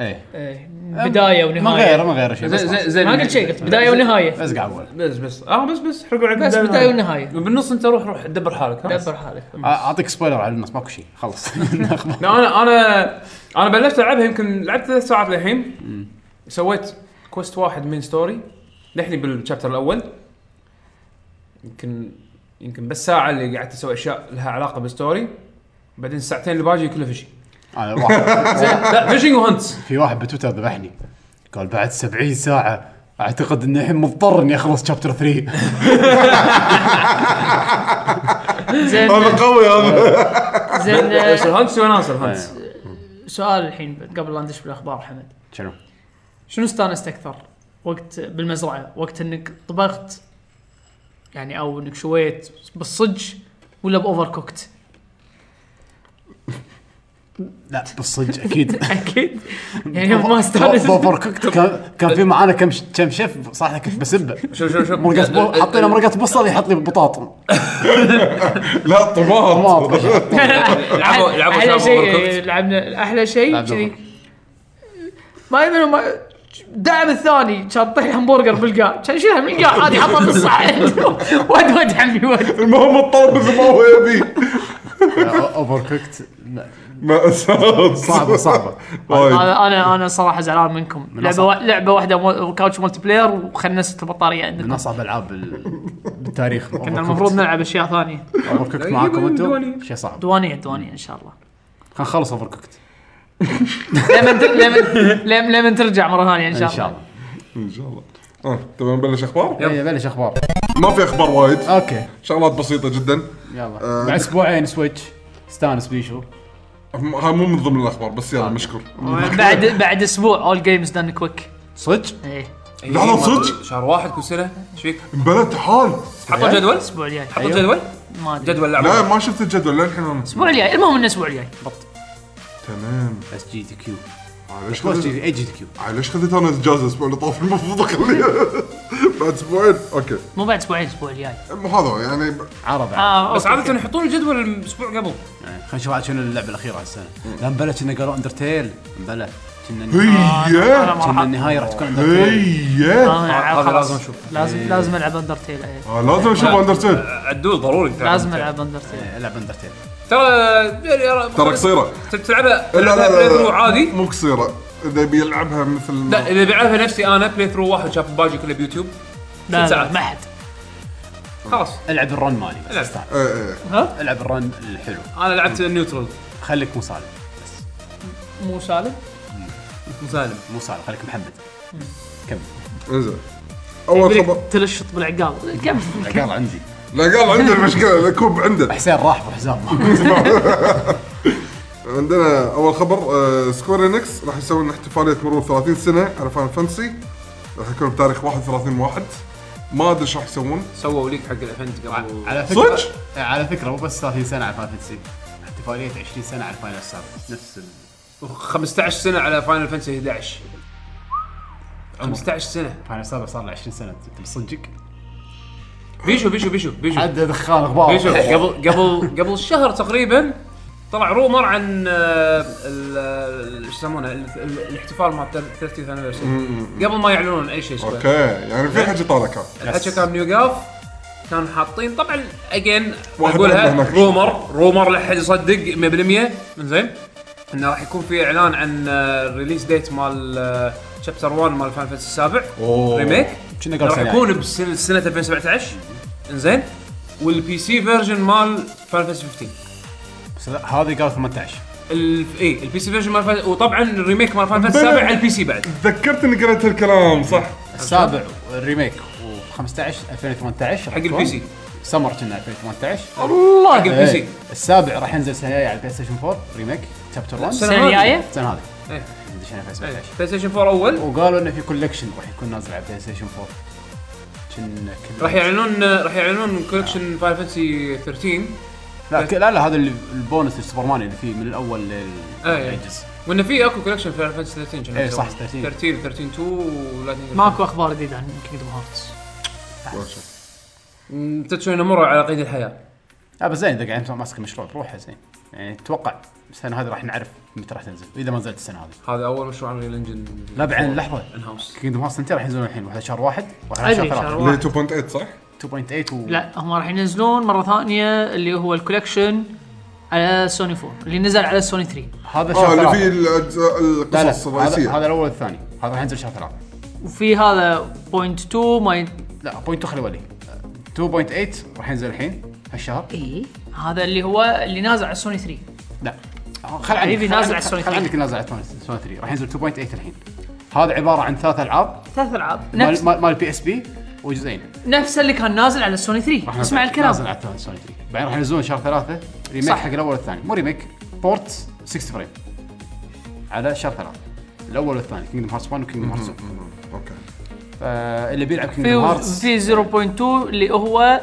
ايه
إيه، بدايه ونهايه
ما غير ما غير شيء بس
زين
خلاص.
زين
ما قلت شيء قلت بدايه ونهايه
بس قاعد اقول
بس بس اه بس بس حرقوا على
بس بدايه ونهايه
بالنص انت روح روح دبر حالك ها؟
دبر حالك
أ- اعطيك سبويلر على النص ماكو شيء خلص الأخبار.
لا انا انا انا بلشت العبها يمكن لعبت ثلاث ساعات للحين سويت كويست واحد من ستوري لحني بالشابتر الاول يمكن يمكن بس ساعه اللي قعدت اسوي اشياء لها علاقه بالستوري بعدين الساعتين اللي باجي كله فيشنج
أنا واحد-
لا فيشنج وهنتس
في واحد بتويتر ذبحني قال بعد 70 ساعه اعتقد اني الحين مضطر اني اخلص شابتر 3
زين
هذا قوي هذا
زين
بس
آه،
الهنتس وناس الهنتس
إيه.
سؤال الحين قبل لا ندش بالاخبار حمد
شنو؟
شنو استانست اكثر وقت بالمزرعه وقت انك طبخت يعني او انك شويت بالصج ولا باوفر كوكت
لا بالصدق اكيد
اكيد يعني ما استانست
اوفر كوكت كان كان في معانا كم ش- كم شيف صح كنت بسبه
شوف شوف شوف
مرقة بو- حطينا مرقة بصل يحط لي بطاط
لا
طماط
طماط
لعبوا لعبوا
احلى
شعب
شيء
overcooked.
لعبنا احلى شيء
لعبنا
كذي ما يبين ما الدعم الثاني كان طيح همبرجر بالقاع كان يشيلها من القاع عادي حطها بالصحن ود ود عمي ود
المهم الطلب مثل ما هو يبي
اوفر كوكت
مأساة
صعبه صعبه
وايد
انا انا انا صراحه زعلان منكم لعبه وا- لعبه واحده مو- كاوتش مولتي بلاير وخنست البطاريه
من
عندكم
اصعب العاب ال- بالتاريخ
كنا المفروض نلعب اشياء ثانيه
اوفر كوكت معاكم انتم
دواني.
شيء صعب
دوانية دوانية ان شاء الله
خلينا نخلص اوفر كوكت
لما تر- لما- لما لما ترجع مره ثانيه ان
ان
شاء
شاء
الله
الله
ان شاء الله اه تبي نبلش اخبار؟
اي بلش اخبار
ما في اخبار وايد
اوكي
شغلات بسيطه جدا
يلا بعد اسبوعين سويتش استانس بيشو
ها مو من ضمن الاخبار بس يلا مشكور
بعد بعد اسبوع اول جيمز دان كويك
صدق
إيه،
لحظة، صدق؟
إيه، شهر واحد كل سنه ايش فيك؟
بلد حال
إيه.
حطوا جدول
الاسبوع الجاي
حطوا
أيوه.
جدول
ما ادري
جدول
لا
لعبه
ما شفت الجدول للحين انا
الاسبوع الجاي المهم انه الاسبوع الجاي
تمام
بس جي تي كيو
ليش
بس
خذت
جي اي جي تي كيو
ليش خذت انا اجازه الاسبوع اللي طاف المفروض اخليها بعد اسبوعين اوكي
مو بعد اسبوعين الاسبوع الجاي
هذا يعني
عرض عرض.
اه
بس
أوكي.
عاده يحطون الجدول الاسبوع قبل
يعني. خلينا نشوف عاد شنو اللعبه الاخيره هالسنه لا مبلى كنا قالوا اندرتيل مبلى كنا
انا
هي
ما راح
كنا النهايه راح تكون اندرتيل
هي
أنا ألعب
هذا
خلاص.
لازم أشوفه.
لازم لازم العب اندرتيل إيه.
آه، لازم اشوف اندرتيل
عدول ضروري
لازم العب
إيه.
اندرتيل
العب اندرتيل
ترى
ترى قصيره
تلعبها
لا لا
بلاي
لا,
ثرو
لا.
عادي
مو قصيره اذا بيلعبها مثل
لا اللي بيعرفها نفسي انا بلاي ثرو واحد شاف الباجي كله بيوتيوب
لا
ست
لا
ساعات.
ما حد
خلاص
العب الرن مالي بس
العب.
استانس.
ايه ايه
العب الرن الحلو
انا لعبت نيوترال
خليك مو سالم
مو سالم
مسالم
مو سالم خليك محمد كمل
انزين اول إيه، خبر
تلشط بالعقال كم
العقال عندي
لا قال عنده المشكله الكوب عنده
حسين راح بحزام
عندنا اول خبر آه سكوير انكس راح يسوون احتفاليه مرور 30 سنه على فان فانسي راح يكون بتاريخ 31 واحد ما ادري ايش راح يسوون
سووا ليك حق الايفنت قبل
على فكره
صدق؟
على فكره مو بس 30 سنه على فاينل فانتسي احتفاليه 20 سنه على الفاينل السابق نفس ال...
15 سنه على فاينل فانتسي 11 15 سنه
الفاينل السابق صار له 20 سنه انت بصدق
بيشو بيشو بيشو بيشو
عدى دخان غبار
بيشو قبل قبل قبل شهر تقريبا طلع رومر عن آه، ال- ال- ايش يسمونه ال- ال- الاحتفال مال 30 انيفرسري قبل ما يعلنون اي شيء
اوكي يعني في حاجه طالعه كان
الحكي كان نيو جاف كان حاطين طبعا اجين
واحد
اقولها
عندنا هناك.
رومر رومر لا احد يصدق 100% زين انه راح يكون في اعلان عن الريليس ديت مال شابتر 1 مال فان فانتسي السابع
أوه.
ريميك
كنا قبل
راح
سنة.
يكون بسنه سنة 2017 انزين والبي سي فيرجن مال فان فانتسي 15
بس لا، هذه قالوا 18
ال- اي البي سي فيرجن مال Final- وطبعا الريميك مال فان فانتسي السابع على البي سي بعد
تذكرت اني قريت الكلام صح
السابع والريميك 15 2018
حق البي سي
سمر كنا 2018
الله حق البي سي
إيه. السابع راح ينزل السنه الجايه على البلاي ستيشن 4 ريميك شابتر 1
السنة
السنه
السنه
هذه.
الجايه
هذه
إيه.
عشان 2017
إيه. بلاي ستيشن 4 اول
وقالوا انه في كولكشن راح يكون نازل على بلاي ستيشن 4 كنا كل-
راح يعلنون راح يعلنون كولكشن فاينل فانتسي 13
لا ك- لا لا هذا اللي- البونس السوبرمان اللي فيه من الاول لل
إيه.
للعجز.
وانه في اكو كولكشن فاينل فانتسي 13 كان
إيه، صح،
مسوي.
13.
13 13 2 ولايتنج
ماكو اخبار جديده عن كينجدم هارتس
تتسوي نمره على قيد الحياه
اه بس زين اذا قاعد ماسك المشروع بروحه زين يعني اتوقع السنه هذه راح نعرف متى راح تنزل واذا ما نزلت السنه هذه
هذا اول مشروع انريل انجن
لا بعدين لحظه
ان هاوس
كينجدم هارتس 2 راح ينزلون الحين واحد شهر واحد واحد على
ادري شهر
شهر
اللي
واحد
2.8 صح؟
آه، 2.8 و
لا هم راح ينزلون مره ثانيه اللي هو الكولكشن على سوني 4 اللي نزل على سوني 3
هذا
اه
شهر
اللي
ثلاثة.
فيه الأجزاء-
لا
القصص
لا هذا,
الرئيسيه
هذا الاول والثاني هذا راح ينزل شهر ثلاثة
وفي هذا بوينت 2 ما ي...
لا بوينت خلي ولي 2.8 راح ينزل الحين هالشهر
اي هذا اللي هو اللي نازل على سوني 3
لا آه، خل عني
حبيبي
خل
نازل
عني-
على سوني
خل
3.
عنك نازل على سوني 3 راح ينزل 2.8 الحين هذا عباره عن ثلاث العاب
ثلاث العاب
مال
نفس
مال- مال بي اس بي وجزئين
نفس اللي كان نازل على سوني 3
راح
اسمع
نازل-
الكلام
نازل على سوني 3 بعدين راح ينزلون شهر ثلاثة ريميك
صح.
حق الاول والثاني مو ريميك بورت 60 فريم على شهر ثلاثة الاول والثاني كينجدم هارتس 1 وكينجدم هارتس 2
اوكي
فاللي آه، بيلعب
في
كينجدم هارتس
في 0.2 اللي هو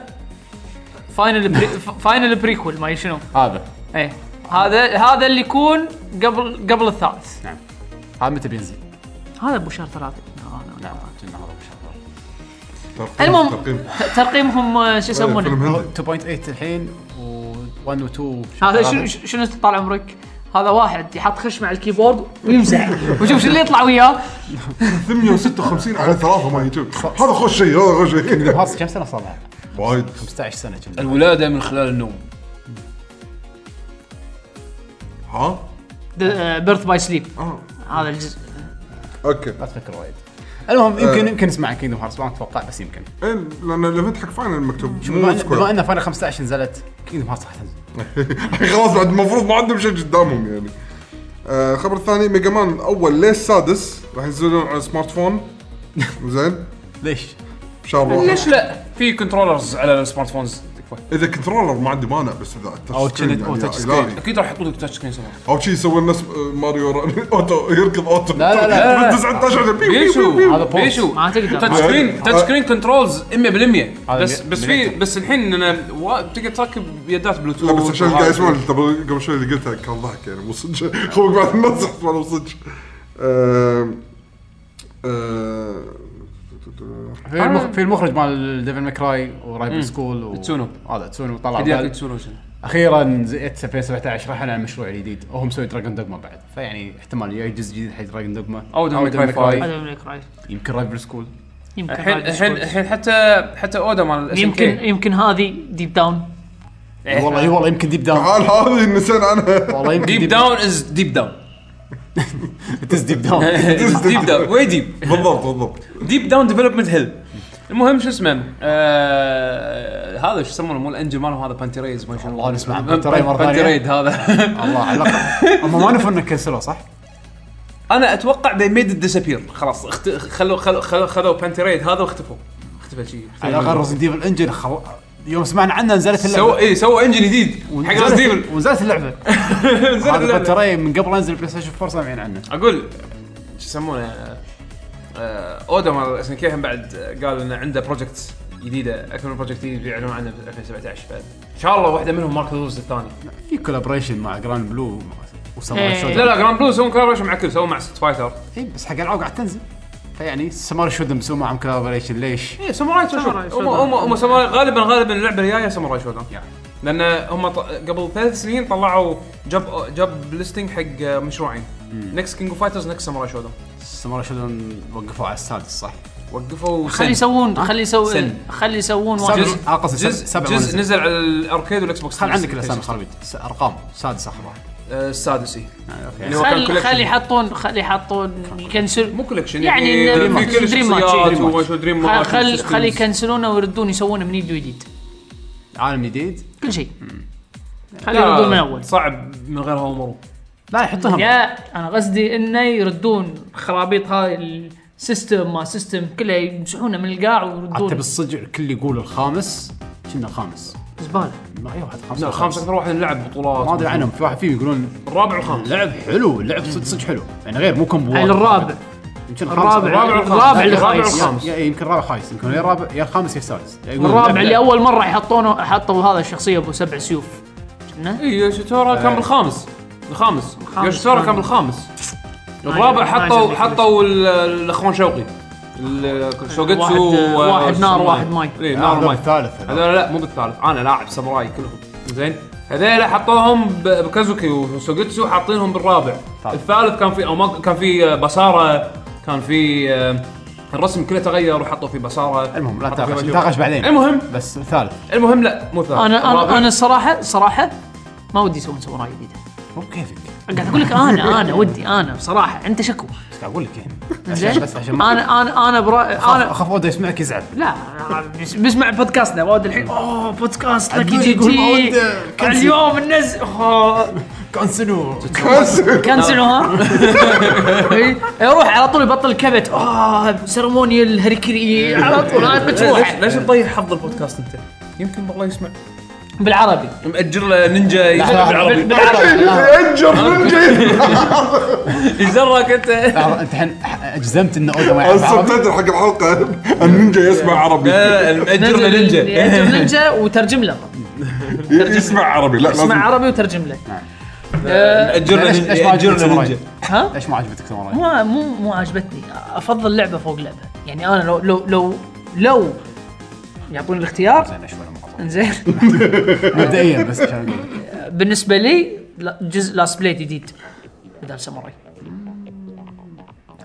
فاينل بري فاينل بريكول ما شنو
هذا
ايه هذا هذا اللي يكون قبل قبل الثالث
نعم هذا متى بينزل؟
هذا ابو شهر ثلاثة آه، أنا-
نعم كنا هذا بشهر ثلاثة
ترقيم-
المهم.
ترقيم.
ترقيمهم آه، شو
فيلم
يسمونه
هندي
2.8 الحين و1 و2
هذا شنو شنو طال عمرك هذا واحد يحط خشمه على الكيبورد ويمزح وشوف شو اللي يطلع وياه
856 على ثلاثه مال يوتيوب هذا خوش شيء هذا خوش شيء
هارتس كم سنه صار لها؟
وايد
15 سنه كنا
الولاده من خلال النوم
ها
بيرث باي سليب
آه.
هذا الجزء
اوكي
لا تفكر وايد المهم يمكن يمكن نسمع عن كينجدم هارتس ما اتوقع بس يمكن
إيه، لان الايفنت حق فاينل مكتوب
شوف
مو
بما إن- بما
سكوير
ان فاينل 15 نزلت كينجدم هارتس راح تنزل
خلاص بعد المفروض ما عندهم شيء قدامهم يعني آه، خبر الثاني ميجا مان اول ليه السادس راح ينزلون على سمارت فون زين
ليش؟
شهر واحد
ليش لا في كنترولرز على السمارت فونز تكفى
اذا كنترولر ما عندي مانع بس اذا التاتش
أو
سكرين
تشنت- أو
يعني
تاتش
يا
سكرين.
إلهي.
اكيد إيه. راح يحطوا لك تاتش سكرين سمارت
او شي يسوي الناس ماريو ران- اوتو يركض اوتو
لا، لا، لا، لا.
بال 19 بيو، بيو، بيو، بيو.
بيشو
هذا بوز.
بيشو
ما تقدر.
تاتش سكرين تاتش
آه.
سكرين كنترولز 100%
هذا
بس
مي-
بس في
مليتري.
بس الحين انا وا- تقدر تركب يدات بلوتوث
لا بس عشان
وهذا.
قاعد يسمع اللي قبل قبل شوي اللي قلتها كان ضحك يعني مو صدق خوك بعد المسح مو صدق آم، آم،
في,
آه.
المخ... في المخرج مال ديفل ماكراي ورايبل سكول و...
تسونو.
هذا تسونو طلع
قاعد ياكل
بال-
تسونو شنو.
اخيرا زئت بلاي 17 راح على المشروع الجديد وهو مسوي دراجون دوجما بعد فيعني احتمال يجي جزء جديد حق دراجون دوجما
أو Devil May
Devil May
Cry five.
Cry.
هذا من Cry.
يمكن رايفل سكول
يمكن
الحين
هذا
الحين
Discord.
الحين حتى حتى اودا مال ال
يمكن
SNK.
يمكن هذه ديب داون
إيه.
والله اي والله يمكن ديب داون
تعال هذه نسينا عنها
والله يمكن
ديب داون از ديب داون
تز ديب داون
ديب داون وي ديب
بالضبط بالضبط
ديب داون ديفلوبمنت هيل المهم شو اسمه آه، هذا شو يسمونه مو الانجل مالهم هذا بانتيريز ما شاء
والله نسمع عن Panteray مرة ثانية.
بانتيريد هذا
الله على الاقل هم ما نفوا انه كنسلوه صح؟
انا اتوقع they made it disappear خلاص اخت... خلوا خلوا خلوا خذوا بانتيريد هذا واختفوا اختفى شيء
على الاقل رزن ديفل انجن خل... يوم سمعنا عنه نزلت
سووا
اللعبه
اي سووا انجن جديد حق
ونزلت-
ريزديفل
ونزلت اللعبه هذا ترى من قبل انزل بلاي ستيشن 4 سامعين عنه
اقول شو يسمونه آه، آه، اودا مال اس ان كي هم بعد آه، قال انه عنده بروجكت جديده اكثر من بروجكت جديد بيعلنون عنه ب 2017 فان شاء الله واحده منهم مارك لوز الثاني
في كولابريشن مع جراند بلو وساموراي
إيه.
شودن
لا لا جراند بلو سوون كولابريشن مع كل سووا مع ست فايتر
اي إيه، بس حق العاب قاعد تنزل فيعني ساموراي شودن مسوي معهم كولابريشن ليش؟
اي ساموراي شودن إيه، هم هم هم ساموراي غالبا غالبا اللعبه الجايه ساموراي شودن لان هم ط... قبل ثلاث سنين طلعوا جاب جاب ليستنج حق آه، مشروعين نكست كينج اوف فايترز نكست ساموراي شودن
ساموراي شودن وقفوا على السادس صح؟
وقفوا
خلي
سن. آه.
يسوون خلي
سن.
يسوون خلي يسوون واحد
جزء
على قصة
جزء,
سبع
جزء
ونزل.
نزل على الاركيد والاكس بوكس
خل عندك الاسامي خرابيط س- ارقام سادس اخر واحد
آه، السادس إي.
يعني اوكي
اللي هو
خلي
كان collection.
خلي يحطون خلي يحطون يكنسل
مو كولكشن
يعني
يعني
إنه
في كل
دريم ماتش،
الشخصيات
دريم
وما شو دريم
خل-
ماتش
خل
وسيستمز.
خلي يكنسلونه ويردون يسوونه من جديد وجديد
عالم جديد
كل شيء خلي
لا،
يردون من اول
صعب من غير هومرو
لا يحطهم
يا انا قصدي انه يردون خرابيط هاي ال- سيستم ما سيستم كله يمسحونه من القاع
حتى
ويردون
بالصدق الكل يقول الخامس كنا خامس
زباله
ما اي واحد خامس
لا الخامس اكثر واحد لعب بطولات
ما ادري عنهم في واحد فيهم يقولون
الرابع والخامس
لعب حلو لعب صدق صدق حلو يعني غير مو كومبو
يعني الرابع
يمكن
الرابع
الرابع والخامس.
الرابع اللي
الرابع
خايس
والخامس.
يا- إيه، يمكن الرابع خايس يمكن يا الرابع يا الخامس يا السادس يقولون
الرابع
لعب-
اللي اول مره يحطونه حطوا هذا الشخصيه ابو سبع سيوف شفنا؟
اي شتورا إيه،
آه.
كان بالخامس الخامس يوشيتورا كان بالخامس الرابع
ما
حطوا
عجبني
حطوا ال- الاخوان شوقي ال-
واحد-
شوقتسو و-
واحد نار،
وسماي.
واحد ماي.
اي
لا،
نار
هذول نعم،
وماي
الثالث هذول.
هذول لا مو بالثالث انا لاعب ساموراي كلهم زين هذيلا حطوهم ب- بكازوكي وسوجيتسو حاطينهم بالرابع
طيب.
الثالث كان في أوما- كان في بصاره كان في آه، الرسم كله تغير وحطوا فيه بصاره
المهم لا
حطوا فيه
تناقش
وجوه.
نتناقش بعدين
المهم
بس الثالث
المهم لا مو ثالث
انا
الرابع.
انا انا الصراحه صراحه ما ودي يسوون ساموراي جديده
مو بكيفك
قاعد اقول لك انا انا ودي انا بصراحه انت شكو
بس قاعد اقول لك يعني
زين
بس عشان ما-
انا انا انا برا
انا
انا
اخاف اودا يسمعك يزعل
لا بس- بسمع بودكاستنا واود الحين اوه بودكاست لك جي
يقول
جي
واود كنسل. أه،
اليوم ننزل أوه،
كونسنو
كنسلوا ها آه. إي، يروح على طول يبطل كبت اه سيرموني الهركري على طول آه،
ليش
بتروح
ليش تضيع حظ البودكاست انت؟ يمكن والله يسمع
بالعربي
مأجر له نينجا يسمع
بال-
بالعربي
بالعربي
انجر من جيد
ايش درك انت؟
لحظه انت الحين اجزمت ان اودا ما يعرف
اصلا
عربي
تدري حق الحلقه النينجا يسمع عربي
مأجر له
ننزل
نينجا
ينزل نينجا وترجم له
يسمع عربي لا لازم
اسمع عربي وترجم له
مأجر له
ليش- ليش ما
نينجا مأجر له
عجبتك
نينجا
ها
ليش ما عجبتك ساموراي؟
ما مو مو عجبتني افضل لعبه فوق لعبه يعني انا لو لو لو لو يعطوني الاختيار
زين ليش ولا مقاطع؟
انزين
مبدئيا بس عشان اقول لك.
بالنسبه لي لا- جزء لاست بليد جديد بدل ساموراي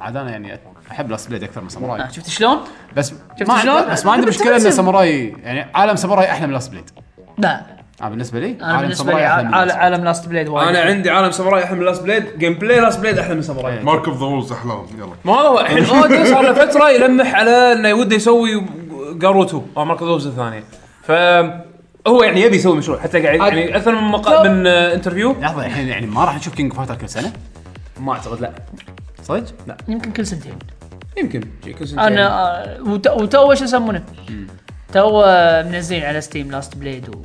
عاد انا يعني احب لاست بليد اكثر من
آه،
ساموراي
شفت شلون؟
بس
شفت
ما
شلون؟
بس ما عندي مشكله ان
بالتوازن.
ساموراي يعني عالم ساموراي احلى من لاست بليد
لا
انا بالنسبه لي
انا بالنسبه لي
أحلى من
عال-
Last Blade.
عالم لاست بليد وايد
انا عندي عالم ساموراي احلى من لاست بليد جيم بلاي لاست بليد احلى من ساموراي
مارك اوف ذا وولز احلاهم يلا
ما هو الحين اودا صار له فتره يلمح على انه وده يسوي جاروتو او مارك دوبز الثانيه ف هو يعني يبي يسوي مشروع حتى قاعد يعني اكثر من مقا... من آه، انترفيو
لحظه الحين يعني ما راح نشوف كينج فايتر كل سنه
ما اعتقد لا
صدق؟ لا
يمكن كل سنتين
يمكن يمكن سنتين.
انا آه، وت- وتو ايش يسمونه؟ تو آه، منزلين على ستيم لاست بليد و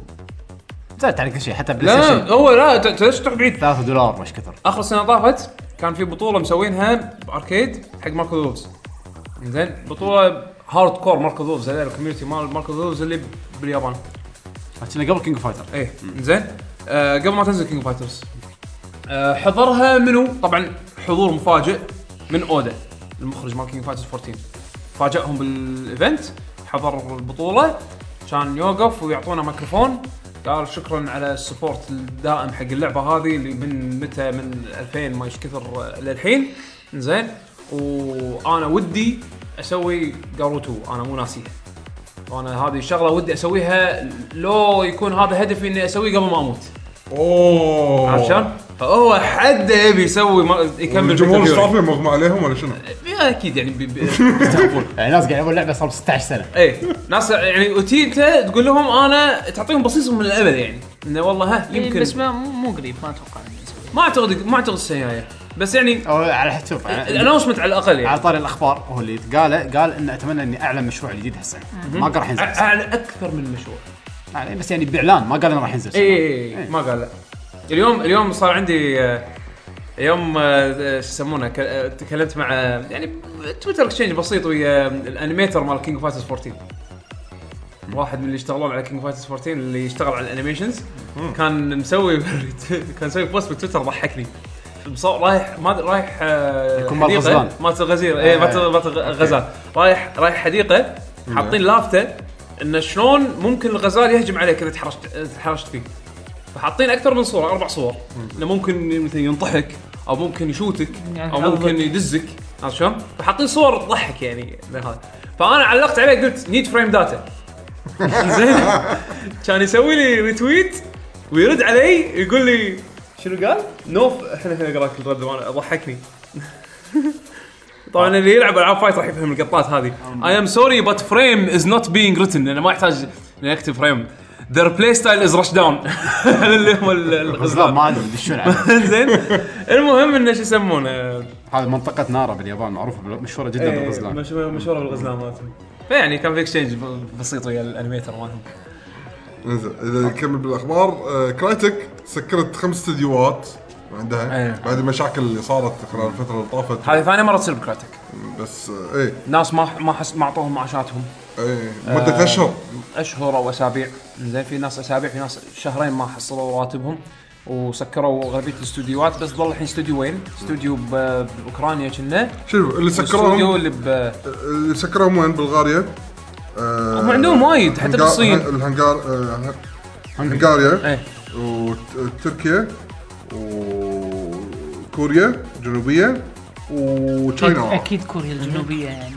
زادت على كل شيء حتى بلاي
لا
ستيشن
هو لا ت- ت- ليش تروح بعيد
3 دولار مش كثر
اخر سنه طافت كان في بطوله مسوينها باركيد حق ماركو دوفز زين بطوله هارد كور ماركو دوفز هذا الكوميونتي مال ماركو دوفز اللي باليابان
كنا قبل كينج فايتر
ايه زين آه قبل ما تنزل كينج فايترز آه حضرها منو طبعا حضور مفاجئ من اودا المخرج مال كينج فايترز 14 فاجئهم بالايفنت حضر البطوله كان يوقف ويعطونا ميكروفون قال شكرا على السبورت الدائم حق اللعبه هذه اللي من متى من 2000 ما ايش كثر آه، للحين زين وانا ودي اسوي جاروتو انا مو ناسيها وانا هذه الشغله ودي اسويها لو يكون هذا هدفي اني اسويه قبل ما اموت
اوه
عرفت شلون؟ فهو حد يبي يسوي ما يكمل
الجمهور
Victor
ايش
Fury.
عارفين مغمى عليهم ولا شنو؟
يا اكيد يعني بي- بي- بيستخفون
يعني ناس قاعد يلعبون لعبه صار 16 سنه
اي ناس يعني وتي انت تقول لهم انا تعطيهم بصيص من الامل يعني انه والله ها يمكن
إيه، بس ما مو مو قريب ما اتوقع إنه يسوي.
ما اعتقد ما اعتقد السنه الجاية. بس يعني
او على حسب شوف على-
الانونسمنت على الاقل يعني
على طاري الاخبار هو اللي قاله قال ان اتمنى اني اعلن مشروع جديد هالسنه ما قال راح ينزل
أ- على اكثر من مشروع
يعني بس يعني باعلان ما قال انه راح ينزل السنة.
اي إي، إي، إيه، ما قال لا اليوم اليوم صار عندي آه، اليوم آه، شو يسمونه ك- آه، تكلمت مع آه، يعني تويتر اكسشينج بسيط ويا الانيميتر مال كينج فايترز 14 واحد من اللي يشتغلون على كينج فايترز 14 اللي يشتغل على الانيميشنز كان مسوي كان مسوي بوست بتويتر ضحكني مصور رايح ما أدري- رايح آه،
يكون مال
حديقة.
غزلان.
مالت الغزير اي مالت مالت الغزال رايح رايح حديقه حاطين لافته انه شلون ممكن الغزال يهجم عليك اذا تحرشت تحرشت فيه فحاطين اكثر من صوره اربع صور انه ممكن مثلا ينطحك او ممكن يشوتك
يعني
او ممكن يدزك عرفت شلون؟ فحاطين صور تضحك يعني من هذا فانا علقت عليه قلت نيد فريم داتا زين كان يسوي لي ريتويت ويرد علي يقول لي شنو قال؟ نوف احنا الحين اقرا لك الرد وانا ضحكني طبعا اللي يلعب العاب فايت راح يفهم القطات هذه اي ام سوري بت فريم از نوت بينج ريتن انا ما يحتاج اني اكتب فريم their play style is rush down اللي هم ال-
غزلان
الغزلان
ما ادري يدشون عليه
زين المهم انه شو يسمونه
هذه منطقه نارا باليابان معروفه بال- مشهوره جدا
إيه،
بالغزلان
مشهوره مشهوره بالغزلان مالتهم فيعني كان في اكسشينج بسيط ويا الانيميتر مالهم
انزين اذا نكمل بالاخبار آه، كرايتك سكرت خمس استديوهات عندها
إيه.
بعد المشاكل اللي صارت خلال الفتره اللي طافت
هذه ثاني مره تصير بكراتك
بس آه، ايه
ناس ما ما حس ما اعطوهم معاشاتهم
ايه مده اشهر
اشهر او اسابيع زين في ناس اسابيع في ناس شهرين ما حصلوا راتبهم وسكروا اغلبيه الاستوديوهات بس ظل الحين استوديوين استوديو ب- باوكرانيا كنا
شوف اللي
الاستوديو
سكروهم
اللي ب
اللي سكروهم وين بلغاريا آه،
هم عندهم وايد حتى
هنغا-
بالصين
هن- الهنغار آه، هنغاريا
ايه
وتركيا وكوريا الجنوبيه
إيه،
وتشاينا
اكيد كوريا الجنوبيه يعني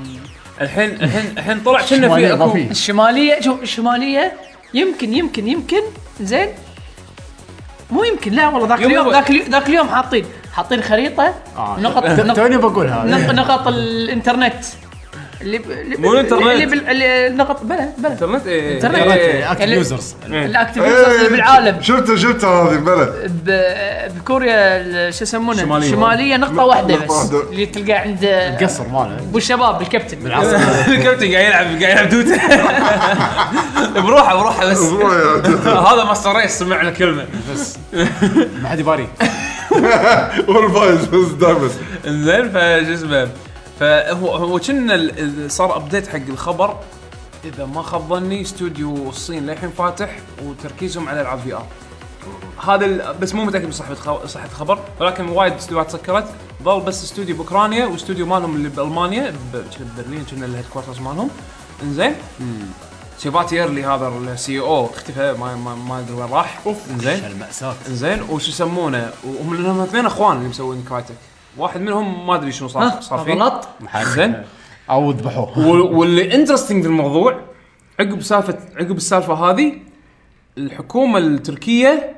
الحين الحين الحين طلع كنا في
شمالية ما
اكو
في.
الشماليه شوف الشماليه يمكن يمكن يمكن زين مو يمكن لا والله ذاك
يلا
اليوم
بقى.
ذاك اليوم ذاك اليوم حاطين حاطين خريطه
آه.
نقط نقط
توني بقول هذا
نق- نقط الانترنت اللي ب- اللي ب-
مو الإنترنت.
اللي بال- اللي نقط بلا بلا
انترنت ايه
انترنت.
إيه.
اكتف يوزرز
الاكتيف
إيه،
اللي بالعالم
شفته شفته هذه بلى
إيه.
ب- بكوريا ال- شو يسمونه
شمالية.
الشماليه نقطه واحده
نقطة
بس
واحدة.
اللي تلقاه عند
القصر ماله
ابو الشباب الكابتن
الكابتن قاعد يلعب قاعد يلعب دوتا بروحه بروحه بس هذا ماستر ريس سمع له كلمه
ما حد يباري
والفايز بس دايما
انزين فشو اسمه فهو هو كنا ال- ال- صار ابديت حق الخبر اذا ما خاب ظني استوديو الصين للحين فاتح وتركيزهم على العاب في ار هذا ال- بس مو متاكد من صحه خ- صحه الخبر ولكن وايد استوديوهات سكرت ظل بس استوديو باوكرانيا واستوديو مالهم اللي بالمانيا ب- كنا ببرلين كنا الهيد كوارترز مالهم انزين سيبات يرلي هذا السي او اختفى ما ما, ما ادري وين راح انزين
المأساة
زين وش يسمونه وهم لانهم اثنين اخوان اللي مسوين كرايتك واحد منهم ما ادري شنو صار صار فيه
غلط
زين
او ذبحوه
وال- واللي انترستنج في الموضوع عقب سالفه عقب السالفه هذه الحكومه التركيه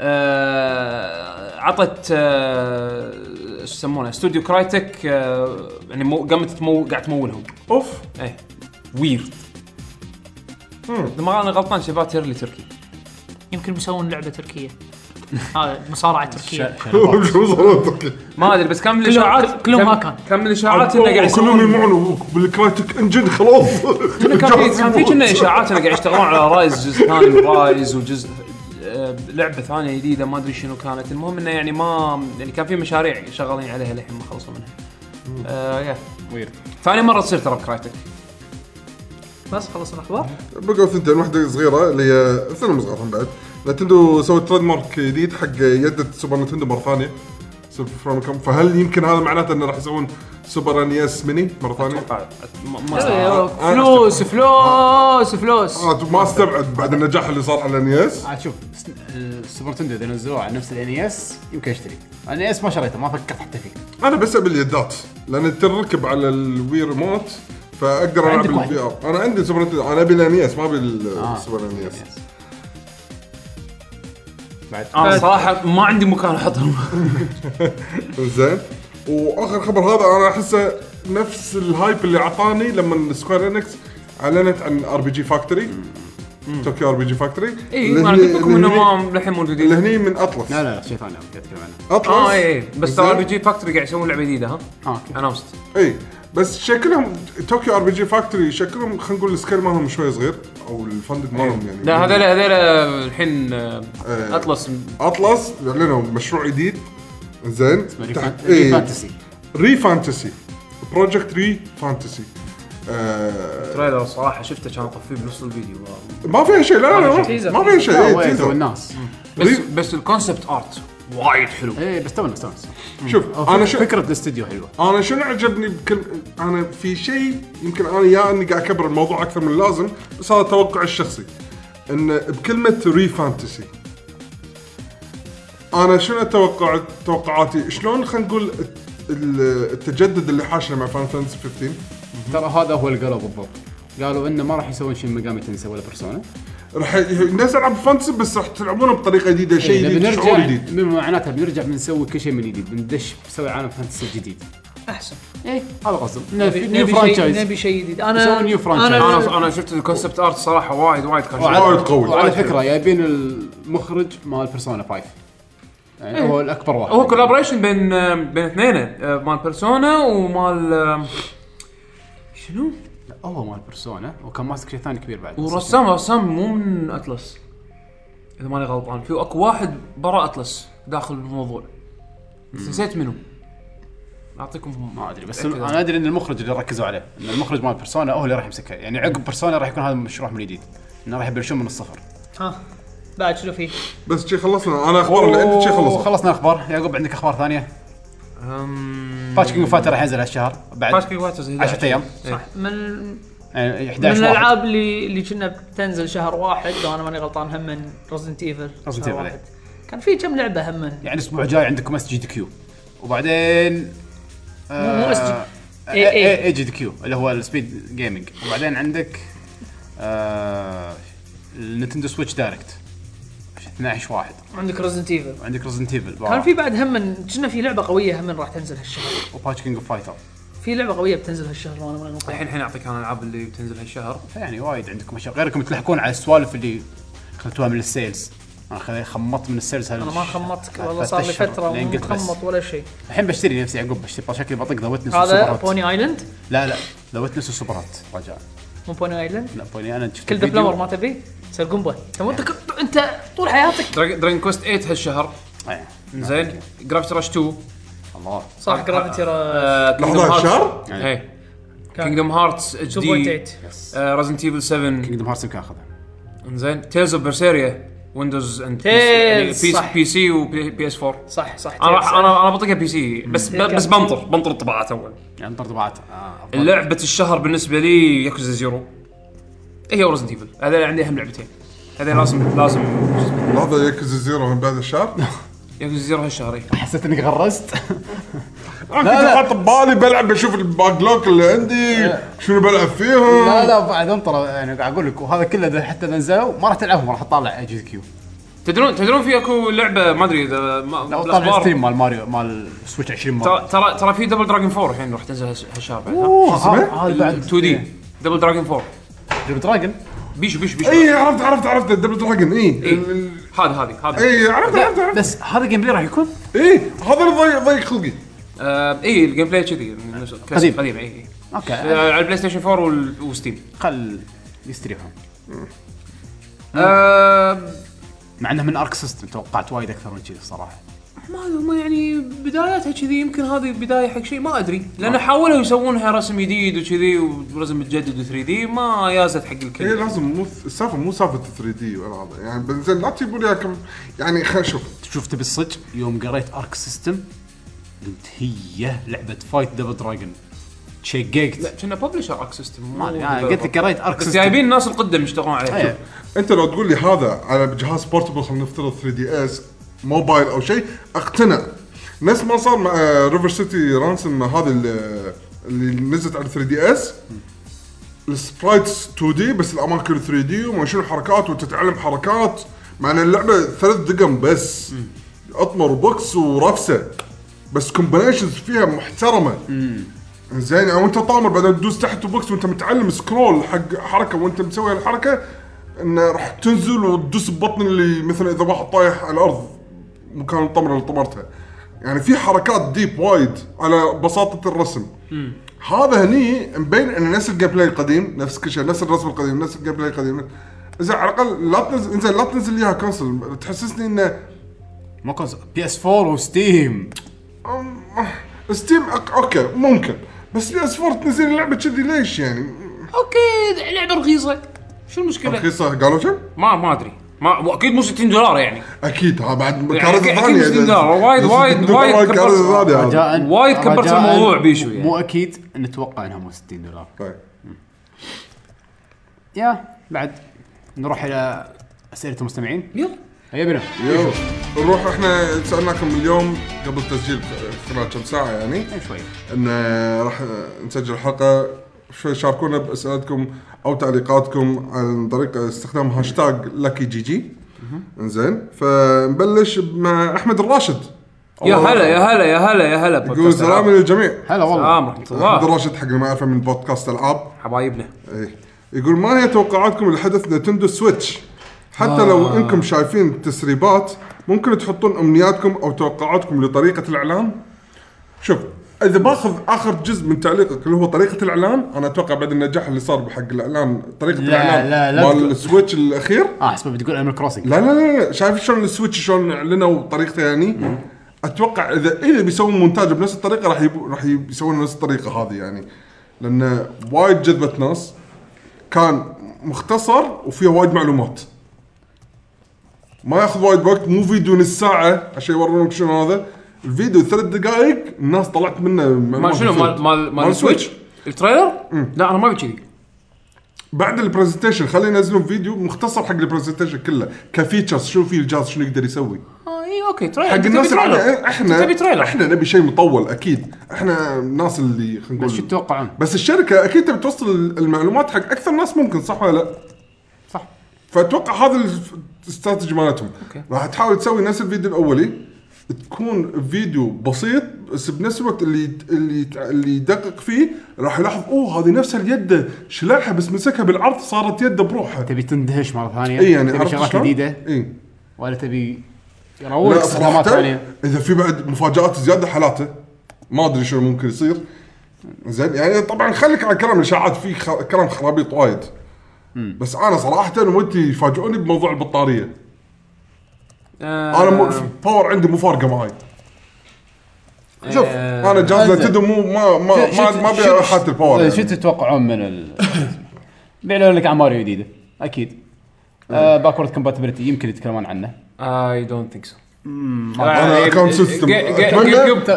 آه، عطت آه، شو يسمونه استوديو كرايتك آه، يعني مو- قامت تمو قاعد تمولهم
اوف
ايه ويرد اذا ما انا غلطان شباب تيرلي تركي
يمكن مسوون لعبه تركيه هذا مصارعه تركيه
شو صار تركي
ما ادري بس كان من
كلهم-
الاشاعات
كلهم
كان-
هاكر.
كان من الاشاعات انه قاعد
كلهم
يسوون
يجمعون بالكرايتك انجن خلاص
كان في كان في كنا اشاعات انه قاعد يشتغلون على رايز جزء ثاني من رايز وجزء آه، لعبه ثانيه جديده ما ادري شنو كانت المهم انه يعني ما يعني كان في مشاريع شغالين عليها للحين ما خلصوا منها آه يا.
ويرد
ثاني مره تصير ترى بكرايتك
بس خلصنا الاخبار
بقوا ثنتين واحده صغيره اللي هي فيلم صغير هم بعد نتندو سوت تريد مارك جديد حق يدة سوبر نتندو مره ثانيه سوبر فرومكم فهل يمكن هذا معناته انه راح يسوون E سوبر انيس ميني مره ثانيه؟
أتوقع. ما- ما
أيوه،
آه،
فلوس فلوس فلوس
آه، ما استبعد بعد النجاح اللي صار على E الانيس
عاد شوف سن- السوبر تندو اذا نزلوه على نفس الان اس يمكن اشتري الان اس E ما شريته ما فكرت حتى فيه
انا بس ابي اليدات لان تركب على الوي ريموت فاقدر العب
عندك واحد.
الفي ار انا عندي سوبر نتندو انا ابي الانيس E ما ابي السوبر انيس
بعد
آه.
انا صراحه ما عندي مكان احطهم
زين واخر خبر هذا انا احسه نفس الهايب اللي اعطاني لما سكوير انكس اعلنت عن ار بي جي فاكتوري طوكيو ار بي جي فاكتوري
اي ما انا قلت لكم انه ما للحين
اللي
موجودين
هني من اطلس
لا لا لا شيء ثاني أنا قاعد اتكلم عنه
اطلس
اه اي إي. نعم. بس
زين؟
ترى بي جي فاكتوري قاعد يسوون لعبه جديده ها
اه اوكي
اناونست
اي بس شكلهم طوكيو ار بي جي فاكتوري شكلهم خلينا نقول السكيل مالهم شوي صغير او الفندق مالهم يعني
إيه. لا هذول هذول الحين آه،
إيه.
اطلس
اطلس اعلنوا مشروع جديد زين تحت-
ري
إيه.
فانتسي
ري فانتسي بروجكت ري فانتسي آه،
تريلر صراحه شفته كان طفيه بنص الفيديو
ما فيها شيء لا لا لا ما فيها شيء
لا، نعم.
إيه،
وين تو
تيزر.
الناس
بس
ري-
بس الكونسبت ارت وايد حلو
ايه بس تو الناس تو الناس
شوف
انا
انا شو
فكره الاستديو حلوه
انا شنو عجبني بكل انا في شيء يمكن انا يا اني قاعد اكبر الموضوع اكثر من اللازم بس هذا توقعي الشخصي ان بكلمه ري فانتسي انا شنو اتوقع توقعاتي شلون خلينا نقول الت- ال- التجدد اللي حاشنا مع فان فانتسي 15
ترى هذا هو اللي قالوا بالضبط قالوا انه ما راح يسوون شيء ميجامي تنسى ولا بيرسونا
راح ي- الناس تلعب فانتسي بس راح تلعبونه بطريقه جديده شيء
إيه،
جديد شعور جديد
من معناتها بنرجع بنسوي كل شيء من جديد بندش بنسوي عالم فانتسي جديد
احسن
ايه هذا قصدي نبي نيو
نبي شيء
فرانشايز
نبي شيء جديد
يسوون
انا
new franchise.
انا
انا انا شفت الكونسبت ارت صراحه وايد وايد كان
وايد قوي
وعلى فكره جايبين المخرج مال بيرسونا 5
إيه.
يعني هو الاكبر واحد
هو كولابريشن بين بين اثنين آه، مال بيرسونا ومال آه، شنو؟
هو مال بيرسونا وكان ماسك شيء ثاني كبير بعد
ورسام رسام مو من اتلس اذا ماني غلطان في اكو واحد برا اتلس داخل الموضوع بس نسيت منو اعطيكم
ما ادري بس انا ادري ان المخرج اللي ركزوا عليه ان المخرج مال بيرسونا هو اللي راح يمسكها يعني عقب بيرسونا راح يكون هذا مشروع من جديد انه راح يبلشون من الصفر
ها بعد شنو في؟
بس شي خلصنا انا اخبار اللي عندي شي خلصنا
خلصنا الاخبار يعقوب عندك اخبار ثانيه باتشكينج فاتر راح ينزل هالشهر بعد
باتشكينج فاترز
10 ايام
من
يعني
من
11 واحد.
الالعاب اللي اللي كنا بتنزل شهر واحد لو انا ماني غلطان هم من رزنت ايفل
Resident Evil.
كان في كم لعبه هم من
يعني الاسبوع الجاي عندكم اس جي دي كيو وبعدين
مو- مو SG
اي
إيه، إيه.
اي جي دي كيو اللي هو السبيد جيمنج وبعدين عندك آه، النتندو سويتش دايركت 12 واحد
عندك رزنت ايفل
وعندك ريزنت ايفل
كان في بعد هم من كنا في لعبه قويه هم من راح تنزل هالشهر
وباتش كينج اوف فايتر
في لعبه قويه بتنزل هالشهر لو انا ماني غلطان
الحين الحين اعطيك انا الالعاب اللي بتنزل هالشهر
فيعني وايد عندكم اشياء غيركم تلحقون على السوالف اللي خذتوها من السيلز انا خ- خمطت من السيلز هال
انا ما خمطتك والله صار لي
هالشهر،
فتره
لين
مو
قلت بس.
مخمط ولا شيء
الحين بشتري نفسي عقب بشتري شكلي بطق ذا ويتنس
هذا
والسوبرات.
بوني ايلاند
لا لا ذا ويتنس والسوبرات رجاء
مو بوني ايلاند
لا بوني انا شفت
كل ذا
الفيديو.
بلمر ما تبي تصير قنبه أنت مو- انت انت طول حياتك
دراجون كوست 8 هالشهر
إيه.
زين جرافيتي راش 2
الله
آه،
صح جرافيتي
لحظه هالشهر
إيه.
اي كينجدم هارتس اتش
2.8
دي رزنت ايفل 7
كينجدم هارتس يمكن اخذها
زين تيلز اوف برسيريا ويندوز اند
Tales،
بي
صح.
بي سي وبي اس 4
صح صح إيه،
انا راح انا انا بطقها بي سي بس ب- بس بنطر بنطر الطباعات اول
يعني انطر طبعات آه، أفضل.
لعبة الشهر بالنسبة لي ياكوزا زيرو هي ورزنت ايفل هذول عندي اهم لعبتين هذول لازم لازم
لحظه يكز زيرو من بعد الشهر
ياكوزا زيرو هالشهر إيه. إي.
حسيت انك غرزت
انا كنت حاط ببالي بلعب بشوف الباك لوك اللي عندي شنو بلعب
لا
فيهم
لا بعد انطر يعني قاعد اقول لك وهذا كله إذا حتى نزلوا ما راح تلعبهم راح تطالع جي كيو
تدرون تدرون في اكو لعبة ما ادري اذا ما-
لا طالع
الأخبار.
ستريم مال ماريو مال سويتش 20 مره
ترى ترى ترى في دبل دراجون 4 الحين راح تنزل هالش- هالشهر بعد ها؟
اوه ها- آه، هذا بعد إيه.
2 دي دبل دراجون 4
دريم دراجون
بيشو بيشو بيشو
إيه.
اي إيه، عرفت عرفت عرفت الدبل دراجون اي ال- ال-
هذه هذه
إيه.
هذه
اي إيه. عرفت عرفت عرفت
بس هذا جيم بلاي راح يكون
اي هذا اللي ضيق ضيق خلقي
آه، اي الجيم بلاي كذي من نفس الكلاسيك،
قديم.
قديم اي إي.
اوكي
آه، على البلاي ستيشن 4 وال- وستيم
يعني خل يستريحون
آه،
مع انه من ارك سيستم توقعت وايد اكثر من كذي الصراحه
ما أدري، هم يعني بداياتها كذي يمكن هذه بدايه حق شيء ما ادري
آه.
لان حاولوا يسوونها رسم جديد وكذي ورسم متجدد و3 دي ما يازت حق
إيه،
اي
الكل
إيه، لازم مو السالفه مو سالفه 3 دي ولا هذا يعني بنزين لا تجيبوا لي كم يعني خلينا نشوف
شوف تبي الصج يوم قريت ارك سيستم قلت هي لعبه فايت دبل دراجون شققت
لا كنا ببلشر ارك سيستم
ما أدري، أنا قلت لك قريت ارك
بس
سيستم
جايبين الناس القدم يشتغلون عليها
إيه.
انت لو تقول لي هذا على جهاز بورتبل خلينا نفترض 3 دي اس موبايل او شيء اقتنع نفس ما صار مع آه، ريفر سيتي رانسن هذا ال- آه، اللي نزلت على 3 دي اس السبرايتس 2 دي بس الاماكن 3 دي وما شنو حركات وتتعلم حركات مع ان اللعبه ثلاث دقم بس اطمر بوكس ورفسه بس كومبينيشنز فيها محترمه زين او انت طامر بعدين تدوس تحت بوكس وانت متعلم سكرول حق حركه وانت مسوي الحركه انه راح تنزل وتدوس ببطن اللي مثلا اذا واحد طايح على الارض مكان الطمره اللي طمرتها يعني في حركات ديب وايد على بساطه الرسم هذا هني مبين انه نفس الجيم بلاي القديم نفس كل شيء نفس الرسم القديم نفس الجيم بلاي القديم زين على الاقل لا تنزل انزين لا تنزل لي اياها كونسل تحسسني انه
مو بي اس 4 وستيم
أم- أه، ستيم أك- اوكي ممكن بس بي اس 4 تنزل لعبه كذي ليش يعني
اوكي لعبه رخيصه شو المشكله؟
رخيصه قالوا كم؟
ما ما ادري ما مو- اكيد مو 60 دولار يعني
اكيد ها بعد
أكيد-
كارثه
يعني أكيد
ثانيه
مسلم
إذا-
دار، وايد-
إذا
وايد-
صدق
وايد
والله كارثة
كبرت.
ثانية هذا.
وايد كبرت
رجاءً،
الموضوع بيشو يعني.
مو اكيد نتوقع انها مو 60 دولار
طيب.
يا بعد نروح الى اسئله المستمعين
يلا
أيوة
يبينا
يلا نروح احنا سالناكم اليوم قبل التسجيل خلال كم ساعه يعني
إيه، شوي
ان راح نسجل حلقه شوي شاركونا باسئلتكم او تعليقاتكم عن طريق استخدام هاشتاج لكي جي جي انزين فنبلش مع احمد الراشد
يا هلا يا هلا يا هلا يا هلا آه،
يقول سلام للجميع
هلا والله
سلام ورحمه
احمد
الله
الراشد حق اللي ما يعرفه من بودكاست العاب
حبايبنا
إيه. يقول
آه.
ما هي توقعاتكم لحدث نتندو سويتش؟ حتى لو انكم شايفين تسريبات ممكن تحطون امنياتكم او توقعاتكم لطريقه الاعلان شوف اذا باخذ اخر جزء من تعليقك اللي هو طريقه الاعلان انا اتوقع بعد النجاح اللي صار بحق الاعلان طريقه
لا،
الاعلان
لا، لا
مال
تقول-
السويتش الاخير
اه حسب بتقول انيمال كروسنج
لا لا لا, لا. شايف شلون السويتش شلون اعلنوا طريقته يعني اتوقع اذا اذا بيسوون مونتاج بنفس الطريقه راح يبو- راح يب- يسوون نفس الطريقه هذه يعني لان وايد جذبت ناس كان مختصر وفيه وايد معلومات ما ياخذ وايد وقت مو فيديو نص ساعه عشان يورونك شنو هذا الفيديو ثلاث دقائق الناس طلعت منه
مال شنو مال مال مال السويتش التريلر؟ لا انا ما ابي كذي
بعد البرزنتيشن خلينا ينزلون فيديو مختصر حق البرزنتيشن كله كفيتشرز شنو فيه الجهاز شنو يقدر يسوي
اه اي اوكي تريلر
حق
أنت تبي
الناس
تريلر.
العادية
أنت تبي
احنا
تريلر
احنا نبي شيء مطول اكيد احنا الناس اللي خلينا
بس شو
نقول
تتوقعون؟
بس الشركه اكيد تبي توصل المعلومات حق اكثر ناس ممكن صح ولا لا؟
صح.
فاتوقع هذا الف- الاستراتيجي مالتهم راح تحاول تسوي نفس الفيديو الاولي تكون فيديو بسيط بس بنفس الوقت اللي اللي اللي يدقق فيه راح يلاحظ اوه هذه نفسها اليد شلاحها بس مسكها بالعرض صارت يده بروحها
تبي تندهش مره ثانيه
اي يعني
تبي
عرفت
شغلات
شلون؟ إيه.
جديده
اي
ولا تبي
لا
يروج
صراحة
صدمات ثانيه
اذا في بعد مفاجات زياده حالاته ما ادري شنو ممكن يصير زين يعني طبعا خليك على كلام الاشاعات في خ... كلام خرابيط وايد بس انا صراحه ودي يفاجئوني بموضوع البطاريه
آه،
آه.
انا مو... باور عندي مو فارقه معاي شوف انا جهاز
آه.
نتندو مو ما ما ما ما ابي حاط الباور
شو
يعني.
تتوقعون من ال بيعلنون لك عن ماريو جديده اكيد
إيه.
باكورد كومباتبلتي آه، يمكن يتكلمون عنه
اي دونت ثينك سو
آه،
آه،
أنا
إيه،
account system. أتمنى- أتمنى-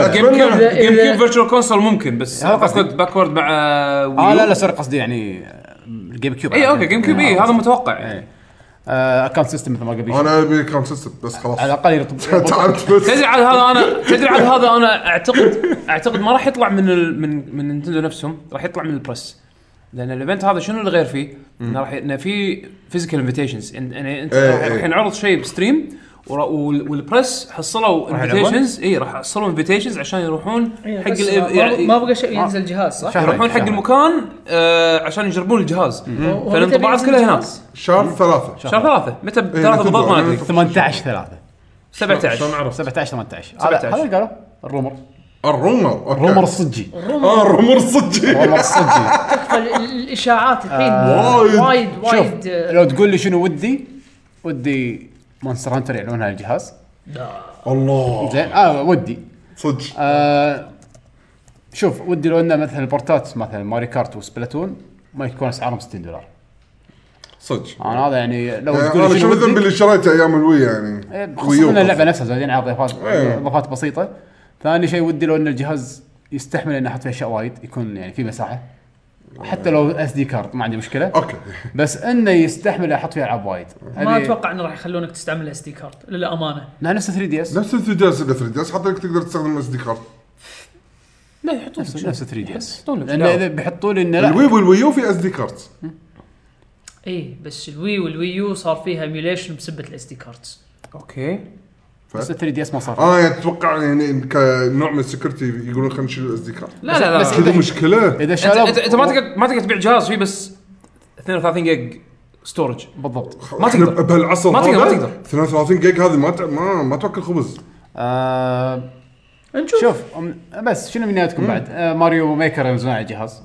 أتمنى.
جيم كيوب فيرتشوال كونسول ممكن بس
هذا قصدي.
اقصد باكورد مع
اه
آه،
لا لا سوري قصدي يعني آه، الجيم كيوب
اي اوكي جيم كيوب
إيه،
اي هذا متوقع يعني
اكونت سيستم آه، مثل ما قبل
انا ابي كام سيستم بس خلاص
على الاقل يرطب
تعبت بس
تدري على هذا انا تدري على هذا انا اعتقد اعتقد ما راح يطلع من ال... من من نينتندو نفسهم راح يطلع من البرس لان الايفنت هذا شنو اللي غير فيه؟ انه راح ي- انه في فيزيكال انفيتيشنز يعني انت
إيه،
راح-
إيه.
راح ينعرض شيء بستريم ورا- وال- والبرس حصلوا
يلعبون؟
انفيتيشنز اي راح حصلوا انفيتيشنز عشان يروحون
إيه،
حق
إيه، بس
ال-
ما-
يعني-
ما بقى شيء ينزل جهاز صح؟
يروحون حق المكان آه عشان يجربون الجهاز
هو- هو
فالانطباعات
متى
كلها
بينزل
هناك
الجهاز؟
شهر ثلاثة
شهر ثلاثة متى
إيه،
ثلاثة
نتندو،
بالضبط ما
أنا
ادري
نتندو.
18 3
17
عرفت
17 18 هذا
17.
هذا قالوا الرومر
الرومر أوكي.
الرومر الصجي
اه الرومر صجي
الرومر الصجي
فال- الاشاعات الحين
آه.
وايد.
وايد
شوف
وايد آه،
لو تقول لي شنو ودي ودي مونستر هانتر يعلنونها على الجهاز
الله
زين اه ودي
صدق
آه شوف ودي لو انه مثلا البورتات مثلا ماري كارت وسبلاتون ما يكون اسعارهم 60 دولار
صدق
انا هذا يعني لو تقول
انا
لي
شنو
شنو
الذنب
ودي
اللي شريته ايام الوي يعني
إيه،
ويو
خصوصا ان اللعبه نفسها زايدين على اضافات
إيه.
اضافات بسيطه ثاني شيء ودي لو ان الجهاز يستحمل اني احط فيه اشياء وايد يكون يعني في مساحه حتى لو اس دي كارد ما عندي مشكله
اوكي
بس انه يستحمل احط فيه العاب وايد
ما اتوقع انه راح يخلونك تستعمل الاس دي كارد للامانه
لا نفس 3 دي اس
نفس الثجاج اللي 3 دي اس حتى انك تقدر تستخدم اس دي كارد
لا يحطون
نفس نفس 3 دي اس
يحطون لك
لان
لا.
اذا بيحطوا لي انه لا
الوي والويو في اس دي كارد
إيه،
ايه بس الوي والوي يو صار فيها ايميوليشن بسبه الاس دي كاردز
اوكي
بس 3 دي اس ما صار
اه يعني اتوقع يعني كنوع من السكيورتي يقولون خلينا نشيل الاس دي كارد
لا لا لا
هذه مشكله
اذا
انت انت,
شالوا
انت ما تقدر ما تقدر تبيع جهاز فيه بس 32 جيج ستورج
بالضبط
ما
إحنا
تقدر.
بهالعصر
ما تقدر، ما
هذا
تقدر.
32 جيج هذه ما ت- ما ما توكل خبز
آه
نشوف
شوف أم- بس شنو منياتكم بعد آه ماريو ميكر ينزلون على الجهاز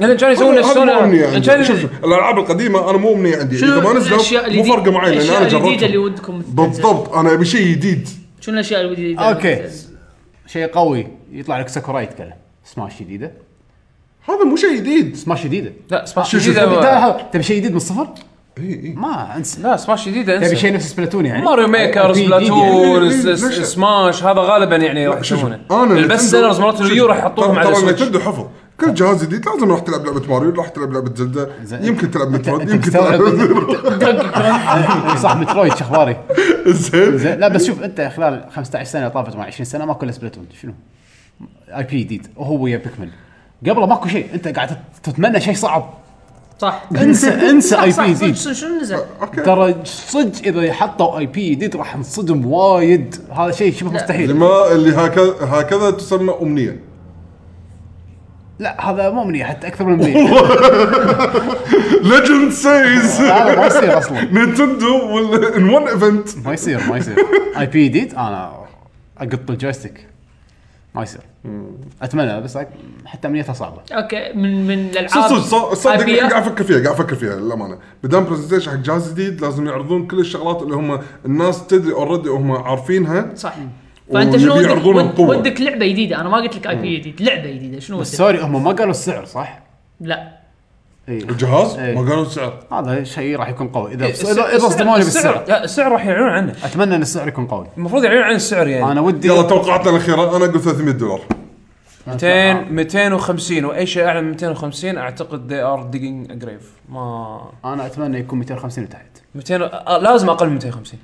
لان كانوا يسوون
هذا
شلون
مو أمنية عندي.
كان-
يعني. شوف شوف، الالعاب القديمه انا مو امنيه عندي اذا ما نزلوا مو
الجديد-
فارقه معي لان
الاشياء
انا
الجديده اللي
جربتهم
ودكم تنزل؟
بالضبط انا ابي شيء جديد
شنو الاشياء الجديده اللي
اوكي
تنزل؟
شيء قوي يطلع لك ساكوراي يتكلم سماش جديده
هذا مو شيء جديد
سماش جديده
لا سماش
شوف، شوف،
جديده
تبي-
ما-
تبي- تبي شيء جديد من الصفر؟
اي اي
ما انسى
لا سماش جديده
تبي
انسى
شيء نفس سبلاتون يعني
ماريو ميكر
جديد يعني.
سبلاتون
ليش-
س-
ليش-
س- سماش هذا غالبا يعني راح
شوف
يسوونه
انا
البست سيلرز مرات اليو راح يحطوهم على
السويتش
السويتش
تبدو حفظ كل جهاز جديد لازم راح تلعب لعبه ماريو راح تلعب لعبه زلدا
زين.
يمكن تلعب مترويد
أنت
يمكن
مستوعب؟
تلعب
صح مترويد شو اخباري؟
زين
زين لا بس شوف انت خلال 15 سنه طافت مع 20 سنه ماكو الا سبلاتون شنو؟ اي بي جديد وهو ويا بيكمن قبله ماكو شيء انت قاعد تتمنى شيء صعب
صح
انسى انسى
صح
اي
صح
بي جديد
صدق، شنو نزل؟
ترى صدق اذا حطوا اي بي جديد راح نصدم وايد هذا شيء شبه مستحيل
لما اللي هكذا هكذا تسمى امنيه
لا هذا مو مني حتى اكثر من مني
ليجند سيز
هذا ما يصير اصلا
نينتندو ان ون ايفنت
ما يصير ما يصير اي بي جديد انا اقط الجويستيك ما يصير اتمنى بس حتى عمليتها صعبه
اوكي من من الالعاب
صدق صدق صدق
IPS.
قاعد افكر فيها قاعد افكر فيها للامانه مدام برزنتيشن حق جهاز جديد لازم يعرضون كل الشغلات اللي هم الناس تدري اوريدي هم عارفينها
صح فانت شنو
ويبي
ودك
يعرضونها
ود-
بقوه
ودك لعبه جديده انا ما قلت لك اي بي جديد لعبه جديده شنو
بس
ودك؟
سوري هم ما قالوا السعر صح؟
لا
اي
الجهاز
إيه.
ما قالوا السعر
هذا شيء راح يكون قوي اذا
إيه، السعر-
اذا اذا صدموني بالسعر
لا، السعر راح يعلنون عنه
اتمنى ان السعر يكون قوي
المفروض يعلنون عن السعر يعني
انا ودي
يلا توقعاتنا الاخيره انا اقول 300 دولار
200 250 واي شيء اعلى من 250 اعتقد they are digging a grave ما
انا اتمنى يكون 250 وتحت
200 آه، لازم اقل من 250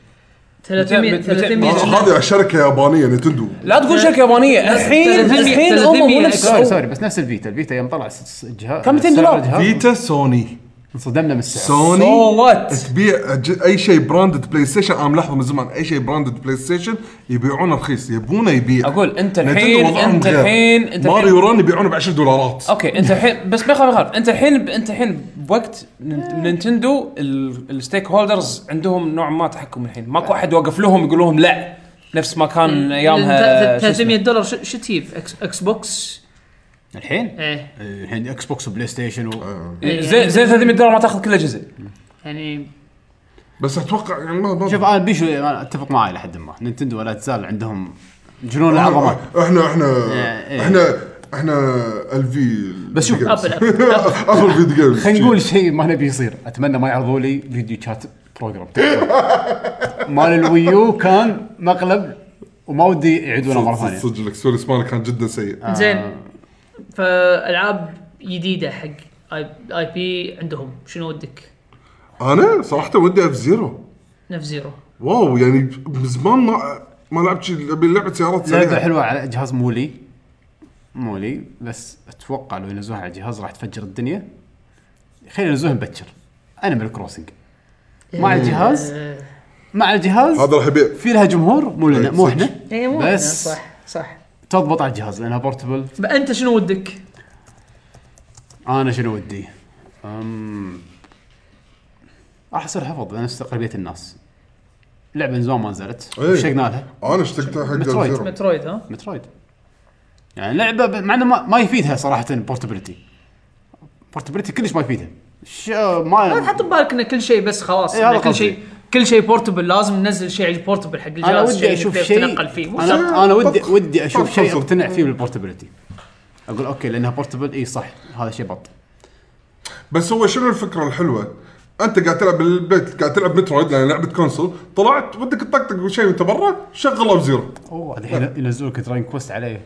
300
متى- متى-
300
متى-
هذه شركه يابانيه نينتندو
لا تقول شركه يابانيه الحين
300
الحين هم
300
مو نفس
سوري
السعر.
سوري بس نفس الفيتا الفيتا يوم طلع س- س- الجهاز
كم 200
سعر
دولار؟
الجهاز،
فيتا سوني
انصدمنا من السعر
So
سوني
what؟
تبيع ج- اي شيء براندد بلاي ستيشن انا ملاحظه من زمان اي شيء براندد بلاي ستيشن يبيعونه رخيص يبونه يبيع
أقول أنت
نينتندو
الحين-
وضعهم
أنت
غير.
الحين- أنت
ماريو ران يبيعونه ب 10 دولارات
اوكي انت الحين بس ما يخاف ما يخاف انت الحين ب- انت الحين بوقت نن- نينتندو ال- الستيك هولدرز عندهم نوع ما تحكم الحين ماكو احد وقف لهم يقول لهم لا نفس ما كان ايامها
ت-
شو
ت- 300
اسمه.
دولار شو شو تجيب إكس- اكس بوكس
الحين
ايه
إيه،
الحين اكس بوكس وبلاي ستيشن و...
زين زين 300 دولار ما تاخذ كل اجهزه
يعني
بس اتوقع يعني ما ما-
شوف انا بيشو انا اتفق معاه الى حد ما نينتندو لا تزال عندهم جنون العظمه
احنا احنا
إيه.
احنا احنا الفي
بس شوف،
ابل ابل
ابل فيديو جيمز
خلينا نقول شيء ما نبي يصير اتمنى ما يعرضوا لي فيديو شات بروجرام مال الويو كان مقلب وما ودي يعيدونه مره ثانيه
صدق الاكسبيرينس مالك كان جدا سيء
آه.
زين فالعاب جديده حق اي بي عندهم شنو ودك؟
انا صراحه ودي اف زيرو
نف زيرو
واو يعني من زمان ما ما لعبت شي- أبي لعبه سيارات يعني.
لعبه
سريعه
حلوه على جهاز مولي مولي بس اتوقع لو ينزلوها على جهاز راح تفجر الدنيا خلينا ينزلوها مبكر انيمال كروسنج مع الجهاز مع الجهاز
هذا راح يبيع
في لها جمهور مو لنا مو احنا
اي إيه، مو
بس
صح صح
تضبط على الجهاز لانها بورتبل
انت شنو ودك؟
انا شنو ودي؟ أم... راح اصير حفظ انا استقربية الناس لعبه من زمان ما نزلت
إيه.
اشتقنا لها
انا اشتقت حق اف
مترويد.
زيرو
مترويد ها؟
مترويد يعني لعبه ب... مع انه ما... ما يفيدها صراحه بورتبيلتي بورتبيلتي كلش ما يفيدها ش...
لا
ما
تحط ببالك ان كل شيء بس خلاص
إيه، هذا
إن كل
قصدي.
شيء كل شيء بورتبل لازم ننزل شيء على البورتبل حق الجهاز
انا ودي
شيء
اشوف
تقدر
شيء
تتنقل فيه مو شرط.
انا, أنا ودي
طب-
ودي اشوف
طب
شيء
خلص.
اقتنع فيه بالبورتبيلتي اقول اوكي لانها بورتبل اي صح هذا شيء بط
بس هو شنو الفكره الحلوه؟ انت قاعد تلعب بالبيت قاعد تلعب مترويد لان لعبه كونسول طلعت ودك تطقطق وشيء وانت برا شغل اف زيرو
اوه الحين ينزلوا لك دراين كويست عليه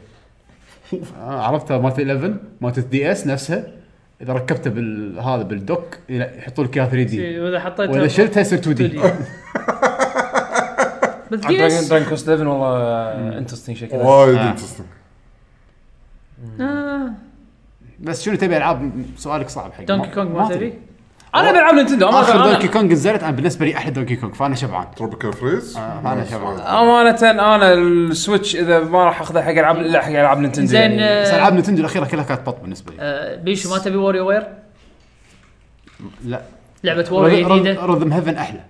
آه، عرفتها مالت 11 مالت الدي اس نفسها اذا ركبتها بال هذا بالدوك يلا- يحطوا لك اياها 3 دي
واذا حطيت
واذا شلتها يصير 2 دي
بس
دراجون
DS
دراجون كوست 11 والله انترستنج شكله
وايد
آه.
interesting.
آه،
بس شنو تبي العاب سؤالك صعب حق
دونكي كونغ ما تبي؟
انا بلعب نينتندو
اخر
أمانة-
دونكي كونغ نزلت انا بالنسبه لي احلى دونكي كونغ فانا شبعان
تروبيكال فريز
آه.
أنا شبعان.
امانه انا السويتش اذا ما راح اخذها حق العاب الا حق العاب نينتندو
زين
يعني.
بس
آه،
العاب نتندو الاخيره كلها كانت بط بالنسبه لي
آه، بيشو ما تبي واريو وير؟
لا
لعبه واريو جديده؟
رذم هيفن احلى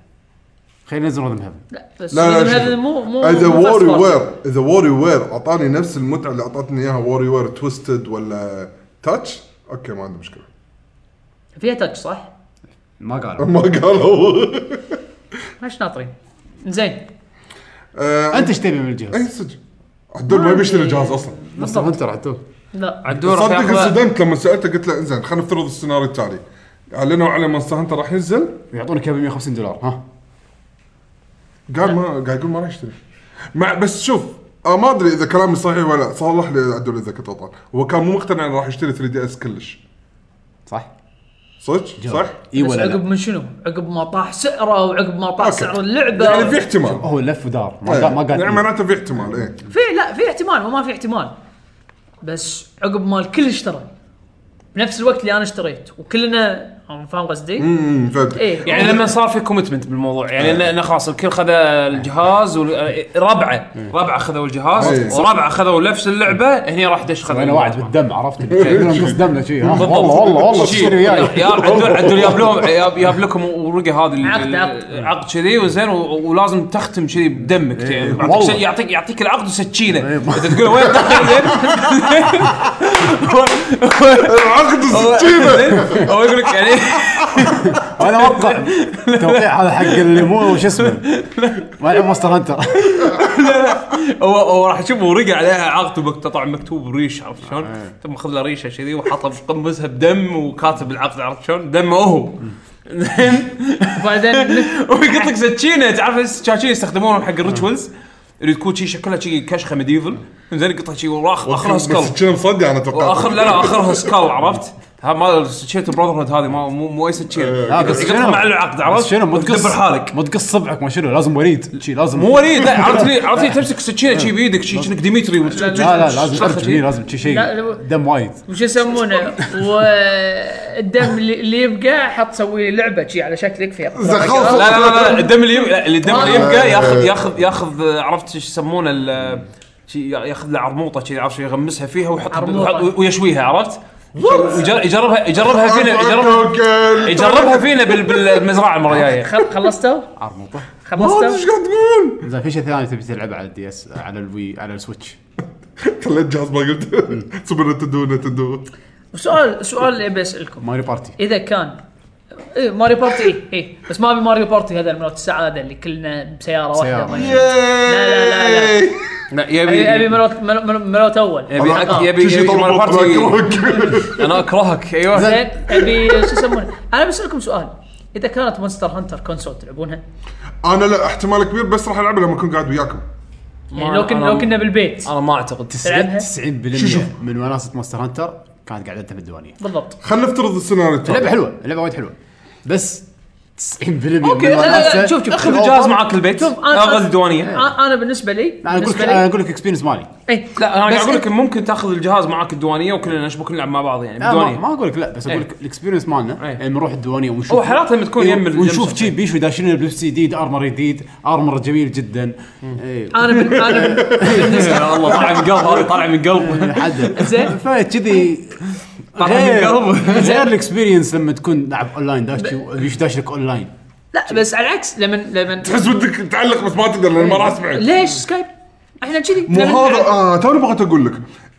خلينا ننزل رذم هيفن
لا بس
لا، لا،
هذا-
شوف.
هذا مو مو
اذا
مو first
واري
party.
وير اذا واري وير اعطاني نفس المتعه اللي اعطتني اياها واري وير تويستد ولا تاتش اوكي ما عندي مشكله
فيها تاتش صح؟
ما قالوا
ما قالوا
ليش ناطرين؟ زين
آه،
انت ايش تبي من
اي
الجهاز؟
صدق عدول ما بيشتري الجهاز اصلا
مصدر هنتر عدول
لا
عدول راح
صدق
ياخذها-
انصدمت لما سالته قلت له انزين خلينا نفترض السيناريو التالي اعلنوا على مونستر هانتر راح ينزل
ويعطونك اياه ب 150 دولار ها
قال ما قاعد يقول ما راح يشتري مع بس شوف أنا ما ادري اذا كلامي صحيح ولا لا صلح لي عدول اذا كنت غلطان هو كان مو مقتنع انه راح يشتري 3 دي اس كلش
صح؟
صدق صح؟
اي
بس
ولا
عقب
لا
من شنو؟ عقب ما طاح سعره وعقب ما طاح
أوكي.
سعر اللعبه
يعني في احتمال
هو لف ودار ما
إيه.
قال ما قال
يعني
إيه.
معناته في احتمال ايه
في لا في احتمال وما في احتمال بس عقب ما الكل اشترى بنفس الوقت اللي انا اشتريت وكلنا فاهم قصدي؟
امم فهمت
ايه
يعني لما صار في كوميتمنت بالموضوع يعني
إيه.
لأن- لأن خلاص الكل خذ الجهاز وربعه
إيه.
ربعه خذوا
أي.
الجهاز وربعه خذوا نفس اللعبه هني راح دش خذ
انا إيه. واعد
اللعبة.
بالدم عرفت كلهم قص دمنا شي ها، والله والله والله
شي.
تصير وياي
يا عدول عدول ياب لهم ياب- ياب لكم ورقه هذه ال-
عقد، عقد.
العقد كذي وزين و- ولازم تختم كذي بدمك يعني بعطيك
إيه، والله. إيه،
س- يعطيك يعطيك العقد وسكينه انت تقول وين تختم زين
العقد السكينه
هو يقول لك يعني
انا اوقع توقيع هذا حق الليمون وش اسمه ما العب ماستر هانتر
هو هو راح تشوف ورقه عليها عقد ومكتوب- طبعا مكتوب ريش عرفت شلون؟
آه.
ثم خذ له ريشه كذي وحطها في قمصها بدم وكاتب العقد عرفت شلون؟ دمه هو زين
وبعدين
ويقط لك سكينه تعرف الس- كان شي يستخدمونهم حق
آه.
الريتشولز اللي تكون شي شكلها شي كشخه ميديفل زين يقطها شي وراخ اخرها سكال
السكينه مصدع انا اتوقع
واخر لا لا اخرها سكال عرفت؟ ها ما سكينه البراذر هود هذه ما مو مو اي سكينه
آه، بس
يقطها
شنو؟
مع العقد
بس
عرفت؟
شنو مو
وتدبر
تقص
حالك
مو تقص صبعك ما شنو لازم وريد شي لازم
مو وليد لا عرفت لي عرفت لي تمسك سكينه شي بايدك شي كأنك ديمتري وت-
لا،
لا لا لازم
تشلخها
أرجل،
شي.
هي لازم شي شيء
لا، لا.
دم وايد
وش يسمونه والدم اللي اللي يبقى حط سوي لي لعبه شي على شكلك فيها
زخارف.
لا لا لا لا الدم اللي يبقى الدم
آه.
اللي يبقى ياخذ ياخذ ياخذ آه، عرفت ايش يسمونه ال- شي ياخذ له عرموطه شي عرفت شي يغمسها فيها ويحط
عرموطة.
يحط- ويشويها عرفت؟ يجر- يجربها يجربها فينا يجربها
يجربها
يجربها فينا بال- بالمزرعه المره الجايه
خل- خلصتوا؟
عرموطه
ايش
خلصتوا؟
قاعد تقول؟
زين في شيء ثاني تبي تلعبه على الدي اس على الوي على السويتش
خليت جهاز ما قلت سوبر نتندو نتندو
سؤال سؤال اللي ابي اسالكم
ماري بارتي
اذا كان إيه ماريو بارتي إيه إيه بس ما ابي ماريو بارتي هذا المنوت السعاده اللي كلنا بسياره واحده
سيارة.
ما يعني. يجي. لا، لا،
لا يبي
ابي ابي منوت منوت- منوت اول
يبي
أنا-
أك- يبي
شي
يبي
طلبوا
ماري بارتي
بلاك.
انا اكرهك ايوه
زين ابي شو يسمونه انا بسالكم سؤال اذا كانت مونستر هانتر كونسول تلعبونها
انا لا احتمال كبير بس راح العبه لما اكون قاعد وياكم
يعني لو كنا
أنا-
لو كنا بالبيت
انا ما اعتقد
تلعبها
90% من وناسه ماستر هانتر كانت قاعده انت بالديوانيه
بالضبط
خلينا نفترض السيناريو التالي.
اللعبه حلوه اللعبه وايد حلوه بس 90% من
أوكي، لا، لا، لا،
وناسة-
شوف، شوف،
خذ الجهاز معك البيت
شوف، أنا-
اخذ الديوانيه
أ- انا بالنسبه لي
لا، انا اقول لك
بالنسبه
انا
لي
اقول لك اكسبيرينس مالي
اي
آه، لا انا قاعد
بس إيه.
اقول
إنت-
لك ممكن تاخذ الجهاز معك الديوانيه وكلنا نشبك نلعب مع بعض يعني
لا، ما,
بالديوانيه
ما اقول لك لا بس اقول
إيه.
لك الاكسبيرينس مالنا
إيه.
يعني نروح الديوانيه ونشوف
هو حالات لما تكون يم ال-
ونشوف
يم
شي بيشو داشين بلبس جديد ارمر جديد ارمر جميل جدا إيه.
انا بال- انا بال-
يا الله طالع من قلب هذا طالع من قلب
حد
زين.
فكذي
طالع من قلب
غير الاكسبيرينس لما تكون لاعب اونلاين داش بيش داش لك اونلاين
لا بس على العكس لما لما
تحس ودك تعلق بس ما تقدر لان ما راح اسمعك
ليش سكايب؟ احنا كذي
مو هذا آه توني بغيت اقول لك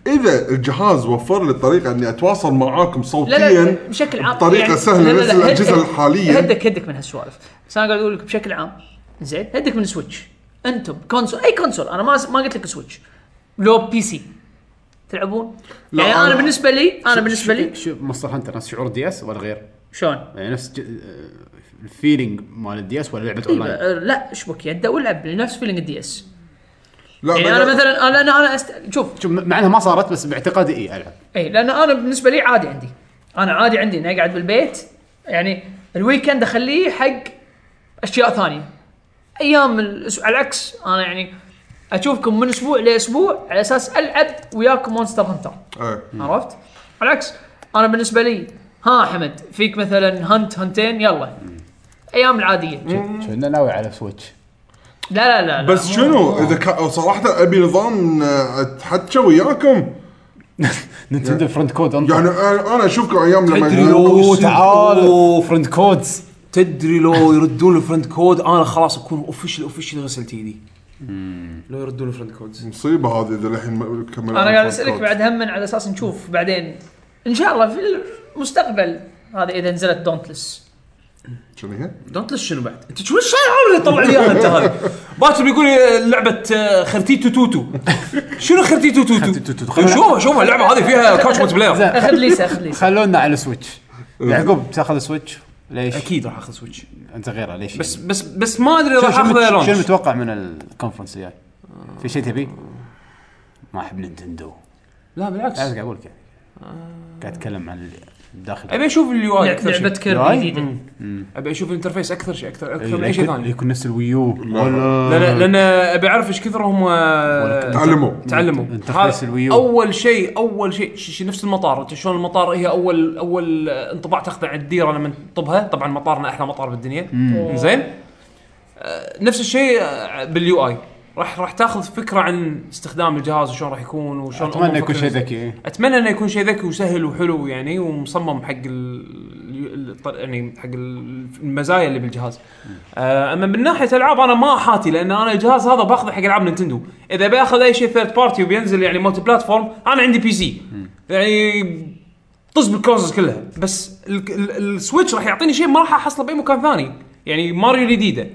اذا الجهاز وفر لي الطريقه اني اتواصل معاكم صوتيا
لا لا بشكل عام
بطريقه
يعني- لا،
سهله
لا،
مثل
لا، هد-
الاجهزه
هد-
الحاليه
هدك هدك من هالسوالف بس انا قاعد اقول لك بشكل عام زين هدك من سويتش انتم كونسول اي كونسول انا ما ما قلت لك سويتش لو بي سي تلعبون
لا،
يعني انا
أنا-
بالنسبه لي انا بالنسبه لي
شوف مصدر هانتر نفس شعور دي اس ولا غير
شلون؟
يعني نفس ج- آه، الفيلينج مال الدي اس ولا لعبه
طيب،
اونلاين
آه، لا اشبك يده والعب نفس فيلينج الدي اس
لا
يعني
بقى-
انا مثلا انا انا, أنا أست... شوف
شوف مع انها ما صارت بس باعتقادي إيه، اي العب
اي لان انا بالنسبه لي عادي عندي انا عادي عندي اني اقعد بالبيت يعني الويكند اخليه حق اشياء ثانيه ايام الأسبوع على العكس انا يعني اشوفكم من اسبوع لاسبوع على اساس العب وياكم مونستر هانتر
إيه.
عرفت؟ على العكس انا بالنسبه لي ها حمد فيك مثلا هنت هنتين يلا ايام العاديه لا
كنا ناوي على سويتش
لا لا, لا.
بس شنو
آه.
اذا كا- صراحه ابي نظام آه، اتحكى وياكم
نتندو فرند كود انطر.
يعني انا أنا اشوفكم ايام لما
تدري لو-
أوه، تعال فرند كودز
تدري لو يردون الفرند كود انا خلاص اكون اوفشل اوفشل غسلت ايدي لو يردون الفرند كود
مصيبه هذه اذا الحين ما- كمل
انا قاعد اسالك بعد هم على اساس نشوف بعدين ان شاء الله في المستقبل هذا اذا نزلت دونتلس
شنو هي؟
أه،
دونت ليش شنو بعد انت شو الشارع اللي طلع لي اياها انت هذه باكر بيقول لي لعبه آه، خرتيتو توتو شنو خرتيتو توتو شوف شوف اللعبه هذه فيها كوتش ملتي بلاير
زين
اخذ ليسا اخذ ليسا
خلونا على سويتش يعقوب تاخذ سويتش ليش؟
اكيد راح اخذ سويتش
انت غيره ليش؟
بس
يعني؟
بس بس ما ادري راح
شنو-
اخذها
شنو
لونش
متوقع من الكونفرنس الجاي؟ في شيء تبي؟ ما احب نينتندو
لا بالعكس
تعرف قاعد اقول لك يعني قاعد اتكلم عن ال- داخل
ابي اشوف اليو اي اكثر شيء
لعبه كيربي
راي؟
جديده
ابي اشوف الانترفيس اكثر شيء اكثر اكثر من اي شيء
إيه، يكون,
ثاني
يكون نفس الويو ولا
لان لأن ابي اعرف ايش كثر هم
تعلموا
آه، تعلموا
انترفيس
هذا
الويو.
اول شيء اول شيء ش- ش- نفس المطار انت شلون المطار هي اول اول انطباع تاخذه عن الديره لما تطبها طبعا مطارنا احلى مطار بالدنيا زين نفس الشيء آه، باليو اي راح راح تاخذ فكره عن استخدام الجهاز وشلون راح يكون وشلون
اتمنى
هم
يكون شيء
مفكرين.
ذكي إيه.
اتمنى انه يكون شيء ذكي وسهل وحلو يعني ومصمم حق ال... ال- الط- يعني حق ال- المزايا اللي بالجهاز. آه، اما من ناحيه العاب انا ما حاتي لان انا الجهاز هذا باخذه حق العاب نينتندو، اذا باخذ اي شيء ثيرد بارتي وبينزل يعني مالتي بلاتفورم انا عندي بي سي. يعني طز بالكونسولز كلها بس ال- ال- السويتش راح يعطيني شيء ما راح احصله باي مكان ثاني يعني ماريو الجديده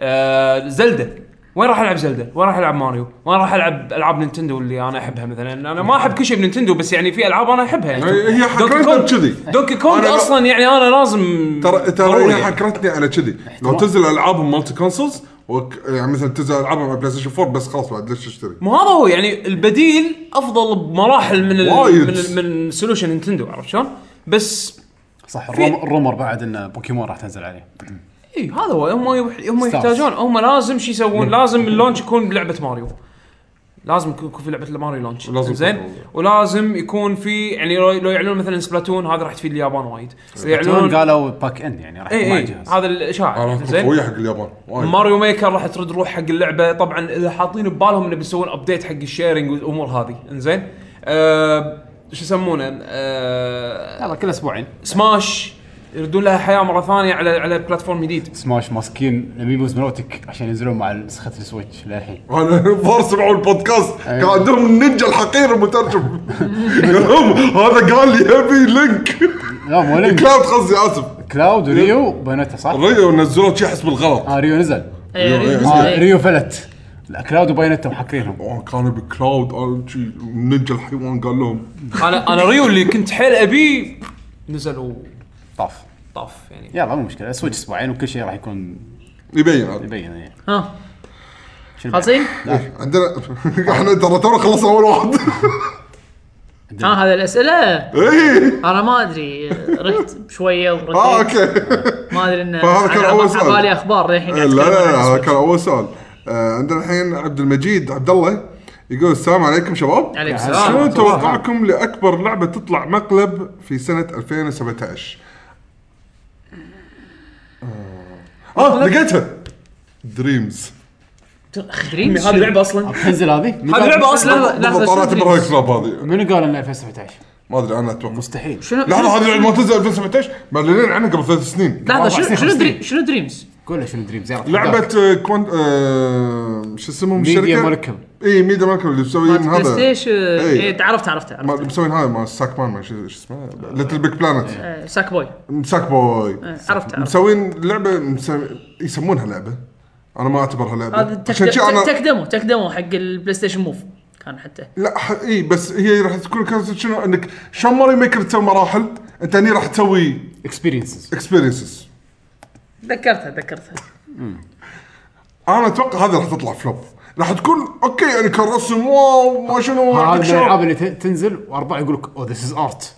آه زلدة وين راح العب زلدة؟ وين راح العب ماريو؟ وين راح العب العاب نينتندو اللي انا احبها مثلا؟ انا ما احب كل شيء بنينتندو بس يعني في العاب انا احبها يعني
هي- هي
دونكي
حكرتنا
كونغ-
بكذي.
دونكي كونج
أنا لا-
اصلا يعني انا لازم
ترى
ضروري
ترى هي
يعني.
حكرتني على كذي لو تنزل العابهم مالتي كونسولز وك... يعني مثلا تنزل العابهم على بلاي ستيشن 4 بس خلاص بعد ليش تشتري؟
مو هذا هو يعني البديل افضل بمراحل من ال
وايد.
من, ال من سولوشن نينتندو عرفت شلون؟ بس
صح الروم- الرومر بعد ان بوكيمون راح تنزل عليه
اي هذا هو هم يح- هم
Stars.
يحتاجون هم لازم شو يسوون لازم اللونش يكون بلعبه ماريو لازم يكون يكون في لعبه ماريو لونش
لازم
زين
يكون.
ولازم يكون في يعني لو لو يعلنون مثلا سبلاتون هذا راح تفيد اليابان وايد إذا
يعلنون
يعلنون
قالوا باك اند يعني راح يكون
اي
مع
اي
الجهاز
هذا
انا
الاشاعه
كنت
زين
قويه حق اليابان وايد
ماريو ميكر راح ترد روح حق اللعبه طبعا اذا حاطين ببالهم انه بيسوون ابديت حق الشيرنج والامور هذه انزين أه شو يسمونه أه
يلا كل اسبوعين
سماش يردون لها حياه مره ثانيه على على بلاتفورم جديد
سماش ماسكين اميبوز مالوتك عشان ينزلون مع نسخه السويتش للحين
انا الظاهر سمعوا البودكاست
أيوه.
كان عندهم النينجا الحقير المترجم قالهم هذا قال لي ابي لينك
لا مو لينك.
كلاود قصدي اسف
إيه، كلاود إيه. وريو بنتها صح؟
ريو نزلوا شي احس بالغلط
اه ريو نزل
إيه،
إيه،
ريزن-
آه
إيه.
ريو فلت لا كلاود وباينتا محكرينهم
أوه، كان بكلاود آه، شي النينجا الحيوان قال لهم
انا انا ريو اللي كنت حيل ابيه نزل وطاف
طاف
يعني
يلا مو مشكله سويتش اسبوعين وكل شيء راح يكون
يبين عاد.
يبين يعني
ها
شنو بعد؟
خالصين؟
عندنا احنا ترى تونا خلصنا اول واحد
ها هذا الاسئله
اي
انا ما ادري رحت شويه ورديت
اه اوكي
ما ادري انه
فهذا كان
أنا
أول
على
سؤال.
بالي اخبار للحين
إيه، لا
قاعد
لا
أتكلم عن
لا، هذا
السويتش.
كان اول سؤال آه، عندنا الحين عبد المجيد عبد الله يقول السلام عليكم شباب
عليك
شنو
السلام
توقعكم لاكبر لعبه تطلع مقلب في سنه 2017 آه. اه لقيتها دريمز
دريم
هذه لعبه اصلا
تنزل هذه؟ منو
هذه
قال-
لعبه اصلا
لا، لا،
لحظه
شنو
طلعت
Dreams؟
براي كلاب هذه
منو قال ان 2017
ما ادري انا اتوقع
مستحيل
شنو
لحظه هذه لعبه ما تنزل 2017 معلنين عنها قبل ثلاث سنين
لحظه شنو
أربع
شنو
سنين،
دريم شنو دريمز؟
قول له شنو دريمز يلا
لعبه آه، كوانت آه، شو اسمهم
Media
الشركه؟
Molecule.
اي ميديا ماركل اللي مسويين
مالت بلاي
هذا
ستيشن
إيه.
إيه، عرفت عرفت
ما-
عرفت
مسوين هذا مال ساك مان ما شو شو اسمه ليتل بيج بلانت
إيه، ساك بوي
ساك بوي
عرفت عرفت
مسوين لعبه مسو- يسمونها لعبه انا ما اعتبرها
هذا
لعبه
تك-
عشان شي
تك- تك
انا
ديمو تك ديمو حق البلاي ستيشن موف كان حتى
لا ح... اي بس هي راح تكون كونسبت شنو انك شلون ماري ميكر تسوي مراحل انت هني راح تسوي
اكسبيرينسز
اكسبيرينسز
تذكرتها تذكرتها
انا اتوقع هذا راح تطلع فلوب راح تكون اوكي يعني كرسم واو ما شنو
هذه من
أكشن.
الالعاب اللي ت- تنزل "Oh, واربعه يقول لك اوه ذيس از ارت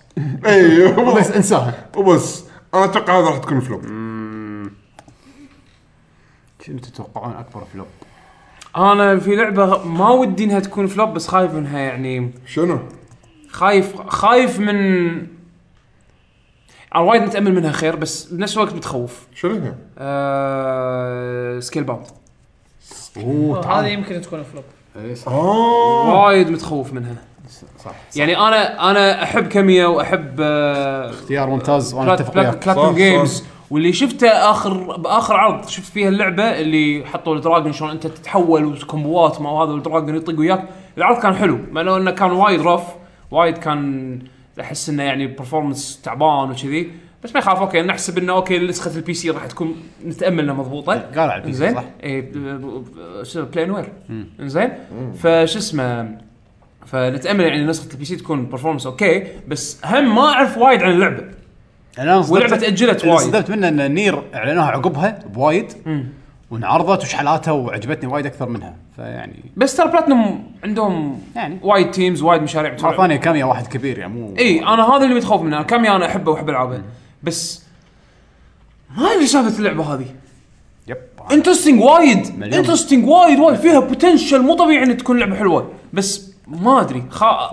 اي
بس انساها
وبس انا اتوقع هذا راح تكون فلوب
شنو تتوقعون اكبر فلوب؟
انا في لعبه ما ودي انها تكون فلوب بس خايف منها يعني
شنو؟
خايف خايف من انا وايد متامل منها خير بس بنفس الوقت متخوف
شنو هي؟
آه... سكيل باوند
اوه
هذه يمكن تكون فلوب
اه
وايد متخوف منها
صح
يعني انا انا احب كاميا واحب آه...
اختيار ممتاز وانا اتفق وياك
بلاتنوم
صح،
جيمز
صح.
واللي شفته اخر باخر عرض شفت فيها اللعبه اللي حطوا الدراجون شلون انت تتحول وكومبوات ما هذا والدراجون يطق وياك العرض كان حلو مع لو انه كان وايد رف وايد كان احس انه يعني برفورمنس تعبان وكذي بس ما يخاف اوكي نحسب انه اوكي نسخه البي سي راح تكون نتامل انها مضبوطه
قال على البي سي،
زين
صح.
اي بلين وير زين فش اسمه فنتامل يعني نسخه البي سي تكون برفورمنس اوكي بس هم ما اعرف وايد عن اللعبه
أنا انصدمت-
واللعبة تأجلت
اللي
وايد.
انصدمت منه ان نير اعلنوها عقبها بوايد وانعرضت وشحلاتها وعجبتني وايد اكثر منها فيعني
بس ترى بلاتنوم عندهم
يعني.
وايد تيمز وايد مشاريع
مره
بتروح
ثانيه كاميا واحد كبير يعني مو
اي انا هذا اللي متخوف منه كم يعني انا احبه واحب العابه بس ما ادري سالفه اللعبه هذه
يب
انترستنج وايد
مليون.
انترستنج وايد وايد فيها بوتنشل مو طبيعي ان تكون لعبه حلوه بس ما ادري خا...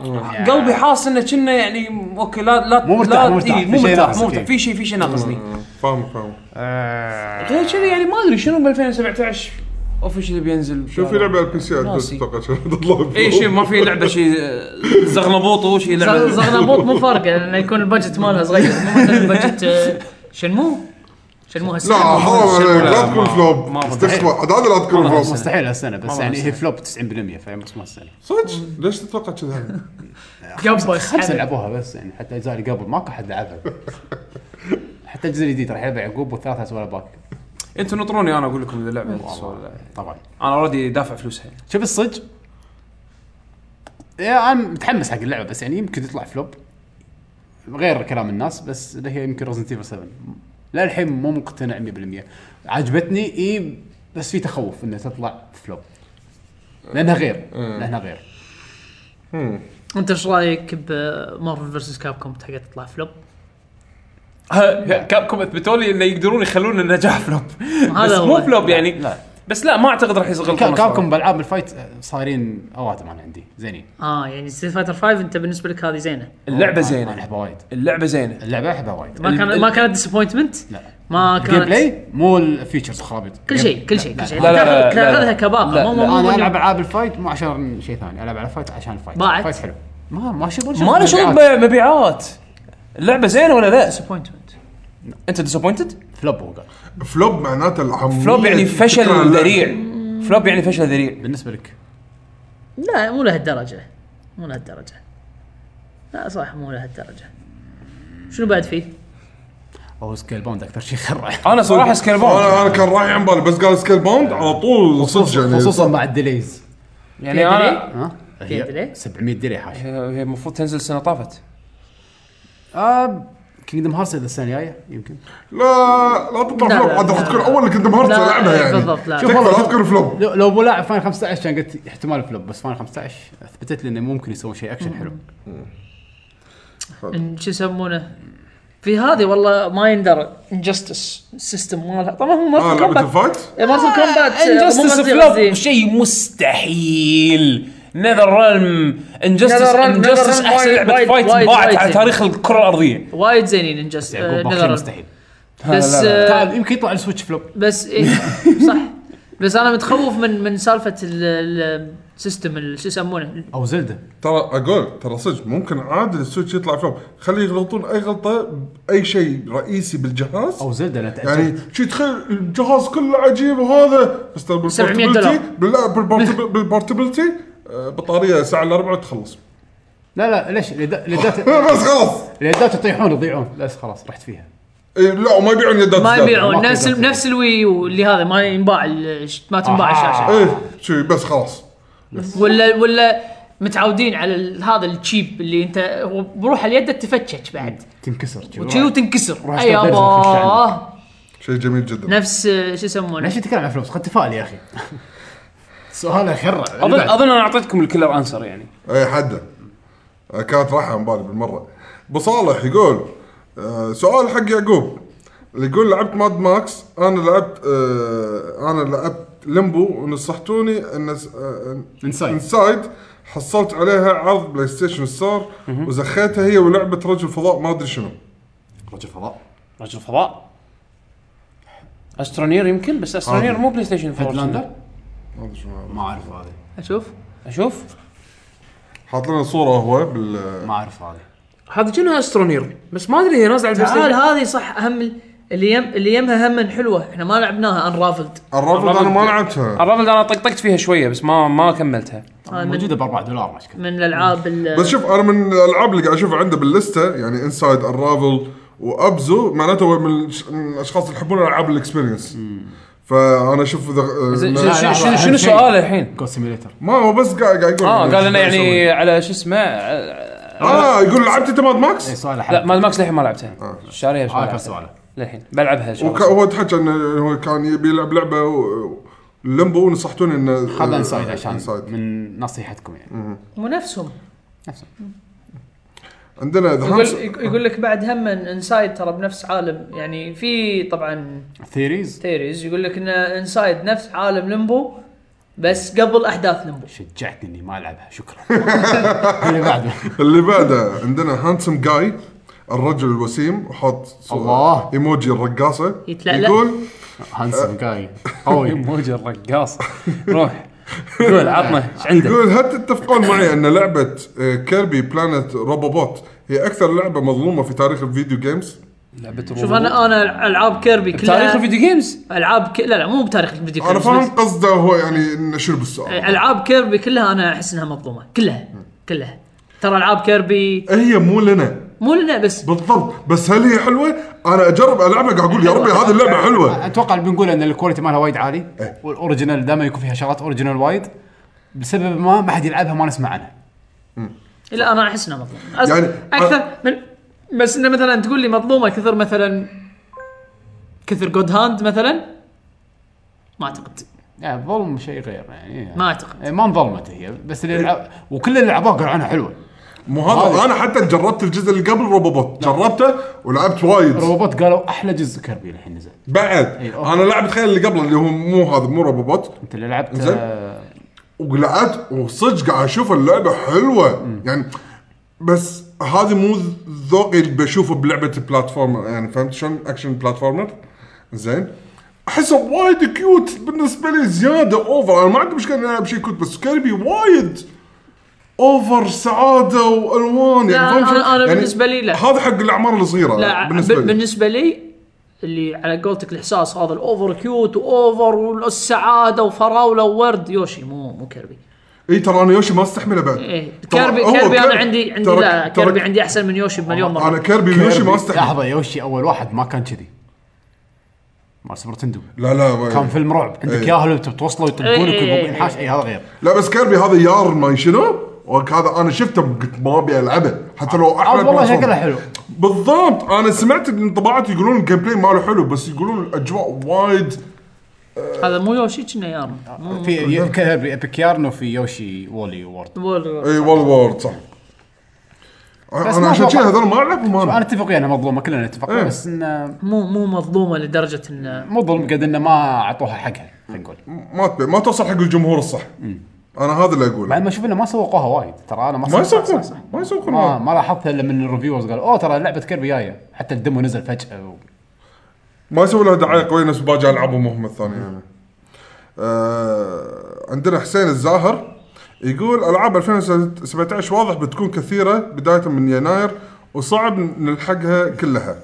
قلبي حاس انه كنا يعني اوكي لا لا
مو مرتاح،
لا
مو مرتاح،
إي،
في
مو
شيء
مرتاح
ناقصك،
مو مرتاح
إي.
في شيء في شيء ناقصني
فاهم فاهم
آه.
غير كذي يعني ما ادري شنو ب 2017 اوفشلي بينزل
شوف في لعبه على البي سي
ناسي.
اتوقع شنو تطلع
اي شيء ما في لعبه شيء زغلبوط وشي
زغ-
لعبه
زغنبوط مو فارقه لانه يكون البجت مالها صغير مو مثل البجت آه، شنمو شنمو
لا
هالسنه
حرام عليك لا
لا،
تكون
ما-
فلوب
ما مستحيل.
استكشف عاد هذا لا تكون فلوب
مستحيل هالسنه بس
والله
يعني هي
مستحيل.
فلوب 90% فاهم بس ما السنه
صدق ليش تتوقع كذا
قبس
خمسه
حبل.
لعبوها بس يعني حتى الاجزاء اللي قبل ماكو حد لعبها حتى الجزء الجديد راح يلعبها يعقوب والثالثه سوالها باك
انتوا نطروني انا اقول لكم اذا لعبه تسوى ولا لا.
طبعا
انا اوريدي دافع فلوسها يعني.
شوف الصج يا انا متحمس حق اللعبه بس يعني يمكن تطلع فلوب غير كلام الناس بس اللي هي يمكن رزنت ايفل 7 للحين مو مقتنع 100% عجبتني اي بس في تخوف انها تطلع فلوب لانها غير لانها غير
انت ايش رايك بمارفل فيرسس كاب كوم حق تطلع فلوب؟
كاب كوم اثبتوا لي انه يقدرون يخلون النجاح فلوب بس
هذا هو.
مو فلوب يعني
لا.
بس لا ما اعتقد راح يصغر
كا- كابكم بالعاب الفايت آه، صايرين اوادم انا عندي زينين
اه يعني ستريت فايتر 5 انت بالنسبه لك هذه زينه
اللعبه
انا
زينه
احبها وايد
اللعبه زينه
اللعبه احبها وايد
ما كان
ال-
ما كانت ديسابوينتمنت
لا
ما
الجيم
كانت
بلاي مو الفيتشرز خرابيط
كل شيء كل شيء كل شيء
لا، لا، لا،
تاخذ-
لا، لا.
تاخذها كباقه
لا،
مو مو مو
انا العب
مو-
العاب الفايت مو عشان شيء ثاني العب على الفايت عشان الفايت
بعد؟
الفايت حلو ما ما شغل
ما له شغل بمبيعات اللعبه زينه ولا لا
disappointment.
انت ديسابوينتد
فلوب هو قال
فلوب معناته العمية
فلوب يعني
تكرار
فشل
اللعبة.
ذريع فلوب يعني فشل ذريع
بالنسبه لك
لا مو لهالدرجه مو لهالدرجه لا صح مو لهالدرجه شنو بعد فيه؟
هو سكيل بوند اكثر شيء خرع
انا صراحه سكيل بوند
انا انا كان رايح عن بالي بس قال سكيل باوند على طول صدق يعني
خصوصا مع الديليز
يعني انا
ها
فيها delay؟
700 ديلي حاشا
هي المفروض تنزل السنه طافت
آه كينجدم هارتس اذا السنه الجايه يمكن
لا لا تطلع
لا،
فلوب
لا،
عاد راح
لا،
تكون
لا.
اول اللي كنت مهارته
لا،
لعبها يعني
بالضبط، لا.
تكفى لا تكون فلوب
لو, لو مو لاعب فاين 15 كان قلت احتمال فلوب بس فاين 15 اثبتت لي انه ممكن يسوي شيء اكشن حلو
آه،
إن- شو يسمونه؟ في هذه والله ما يندرى انجستس السيستم مالها طبعا هو إيه،
اه
مارتل
لعبه
كومبات
الفايت
مارتل كومبات
انجستس فلوب شيء مستحيل نذر ريلم انجستس
Nether Realm- Nether
انجستس
Realm
احسن
وايد-
لعبه
وايد-
فايت
وايد-
باعت
وايد
على
زين.
تاريخ الكره الارضيه
وايد زين انجستس
يعقوب باخشي مستحيل
بس آه،
تعال يمكن يطلع السويتش فلوب
بس إيه صح بس انا متخوف من من سالفه السيستم شو يسمونه
او زلده
ترى اقول ترى صدق ممكن عادي السويتش يطلع فلوب خليه يغلطون اي غلطه باي شيء رئيسي بالجهاز
او زلده لا تاثر
يعني شي تخيل الجهاز كله عجيب وهذا بس ترى
700
بالportability-
دولار.
باللا بالportab- بالبورتبيلتي آه، بطاريه ساعه الا ربع تخلص
لا لا ليش اليدات اليدات-
بس خلاص
اليدات يطيحون يضيعون بس خلاص رحت فيها
إيه، لا وما يبيعون يدات
ما
زيادة.
يبيعون
ما
نفس
في داتا.
نفس الوي واللي هذا ما ينباع ال- ما تنباع الشاشه
ايه شي بس خلاص
ولا ولا متعودين على ال- هذا التشيب اللي انت هو بروح اليد تفتش بعد
تنكسر جوا.
وتشيله وتنكسر
روح
اي
اشتغل درس وخش
يابا
عندك.
شيء جميل جدا
نفس آه، شو يسمونه
ليش تتكلم عن فلوس؟ خد تفائل يا اخي سؤال يخرع
اظن اظن انا اعطيتكم الكلر انسر يعني
اي حده إيه، آه، كانت راحه عن بالي بالمره ابو صالح يقول آه، سؤال حق يعقوب اللي يقول لعبت ماد ماكس انا لعبت آه، انا لعبت لمبو ونصحتوني ان س- آه،
Inside.
انسايد حصلت عليها عرض بلاي ستيشن ستار وزخيتها هي ولعبه رجل فضاء ما ادري شنو
رجل فضاء
رجل فضاء استرونير يمكن بس
آه.
استرونير مو بلاي ستيشن 4
هيدلاندر
ما ادري شنو هذا.
ما اعرف هذه
اشوف
اشوف
حاط لنا صوره هو بال
ما اعرف هذه
هذا كأنها استرونير بس ما ادري هي نازله على البلاي
تعال
ستيشن
هذه صح اهم ال- اللي يم اللي يمها هم حلوه احنا ما لعبناها انرافلد
الرابط انا ما لعبتها
الرابل انا آه، طقطقت فيها شويه بس ما ما كملتها
موجوده ب 4 دولار مشكلة
آه، من الالعاب ال-
بس شوف انا من الالعاب اللي قاعد اشوفها عنده باللسته يعني انسايد الرافل وابزو معناته هو من الش- من الاشخاص اللي يحبون العاب الاكسبيرينس فانا اشوف اذا
زين،
إنه-
شنو- شنو- شنو سؤاله الحين؟
جو سيميليتر
ما هو بس قاعد قاعد يقول
اه قال انه
آه، شو يسوي.
يعني على شو اسمه آه،
اه يقول لعبت انت ماد ماكس
إيه، سؤاله
لا
حلو
آه.
ماد ماكس للحين ما لعبتها شاريها بس ما
هذا كان
لعبتها
سؤاله
للحين بلعبها ان شاء
وك-
الله
هو تحكى انه هو كان يبي يلعب لعبه و- لمبو ونصحتوني انه
هذا انسايد
آه،
عشان
inside.
من نصيحتكم يعني
مو نفسهم
عندنا ذا
يقول
هانس
يقول لك بعد هم انسايد ترى بنفس عالم يعني في طبعا
ثيريز
ثيريز يقول لك ان انسايد نفس عالم لمبو بس قبل احداث لمبو
شجعتني اني ما العبها شكرا اللي بعده
اللي بعده عندنا هانسم جاي الرجل الوسيم وحط صورة-
الله.
ايموجي الرقاصه
يتلألأ.
يقول
هانسم جاي قوي
موجة الرقاص روح قول عطنا ايش عندك
يقول هل تتفقون معي ان لعبه آه، كيربي بلانت روبوبوت هي اكثر لعبه مظلومه في تاريخ الفيديو جيمز؟
لعبة
شوف انا انا العاب كيربي كلها
تاريخ الفيديو جيمز
العاب ك... لا لا مو بتاريخ الفيديو
انا
جيمز
فاهم
بس
قصده هو يعني انه شنو بالسؤال
العاب كيربي كلها انا احس انها مظلومه كلها كلها ترى العاب كيربي
هي مو لنا
مو لنا بس
بالضبط بس هل هي حلوه؟ انا اجرب العبها قاعد اقول يا ربي هذه اللعبه حلوه
اتوقع اللي بنقول ان الكواليتي مالها وايد عالي والاوريجينال دائما يكون فيها شغلات اوريجينال وايد بسبب ما ما حد يلعبها ما نسمع عنها
لا انا احس انها مظلومه
يعني-
يعني اكثر من بس انه مثلا تقول لي مظلومه كثر مثلا كثر جود هاند مثلا ما اعتقد
يعني ظلم شيء غير يعني
ما
آه،
أعتقد.
إيه، ما انظلمت هي بس اللي لعب... وكل اللي لعبوها قالوا عنها حلوه
مو هذا انا حتى جربت الجزء اللي قبل روبوبوت جربته ولعبت وايد
روبوت قالوا احلى جزء كربي الحين نزل
بعد
أوكي.
انا لعبت خيال اللي قبله اللي هو مو هذا مو روبوبوت
انت اللي لعبت
زين.
آه،
ولعبت وصدق قاعد اشوف اللعبه حلوه يعني بس هذه مو ذوقي اللي بشوفه بلعبه بلاتفورمر يعني فهمت شلون اكشن بلاتفورمر زين احسه وايد كيوت بالنسبه لي زياده اوفر انا ما عندي مشكله اني العب شيء كيوت بس كلبي وايد اوفر سعاده والوان
لا،
فاهم
أنا-
يعني شلون؟
أنا بالنسبة لي لا.
هذا حق الاعمار الصغيره
لا
بالنسبه لي
بالنسبه لي اللي على قولتك الاحساس هذا الاوفر كيوت واوفر والسعاده وفراوله وورد يوشي مو مو كيربي
اي ترى انا يوشي ما استحمله بعد
ايه
ترى
كيربي
هو
كيربي
كيربي-
انا عندي عندي
ترى-
لا
ترى-
كيربي عندي احسن من يوشي بمليون مره
انا كيربي ويوشي ما
كيربي.
استحمل
لحظه يوشي اول واحد ما كان كذي مال سوبر تندو
لا لا
كان فيلم رعب عندك
إيه.
ياهل وتوصلوا
إيه،
ويطبقونك
إيه، إيه.
وينحاش اي هذا غير
لا بس كيربي هذا يار ما شنو هذا انا شفته قلت ما ابي العبه حتى لو
عاد
احلى
والله شكلها حلو
بالضبط انا سمعت انطباعات يقولون الجيم بلاي ماله حلو بس يقولون الاجواء وايد
هذا مو يوشي كنا يارا مو
إيه.
في كيربي ابيك يارن وفي يوشي وولي وورد
مو-
اي والله وورد صح
بس
انا
ما
عشان
أتوقع.
كذا هذول ما العبهم
انا
انا
اتفق وياه انها مظلومه يعني، كلنا نتفق
إيه.
بس انه
مو مو مظلومه لدرجه انه
مو ظلم قد انه ما اعطوها حقها خلينا نقول
ما تبي ما توصل حق الجمهور الصح انا هذا اللي اقوله
مع ما اشوف انه ما سوقوها وايد ترى انا ما
ما
سوق-
يسوقون ما يسوقون
ما
هذا.
ما لاحظت الا من الريفيورز قالوا اوه ترى لعبه كيربي جايه حتى الدمو نزل فجاه و...
ما يسوي لها دعايه قويه نفس باقي العابهم هم الثانيه يعني. آه عندنا حسين الزاهر يقول العاب 2017 واضح بتكون كثيره بدايه من يناير وصعب نلحقها كلها.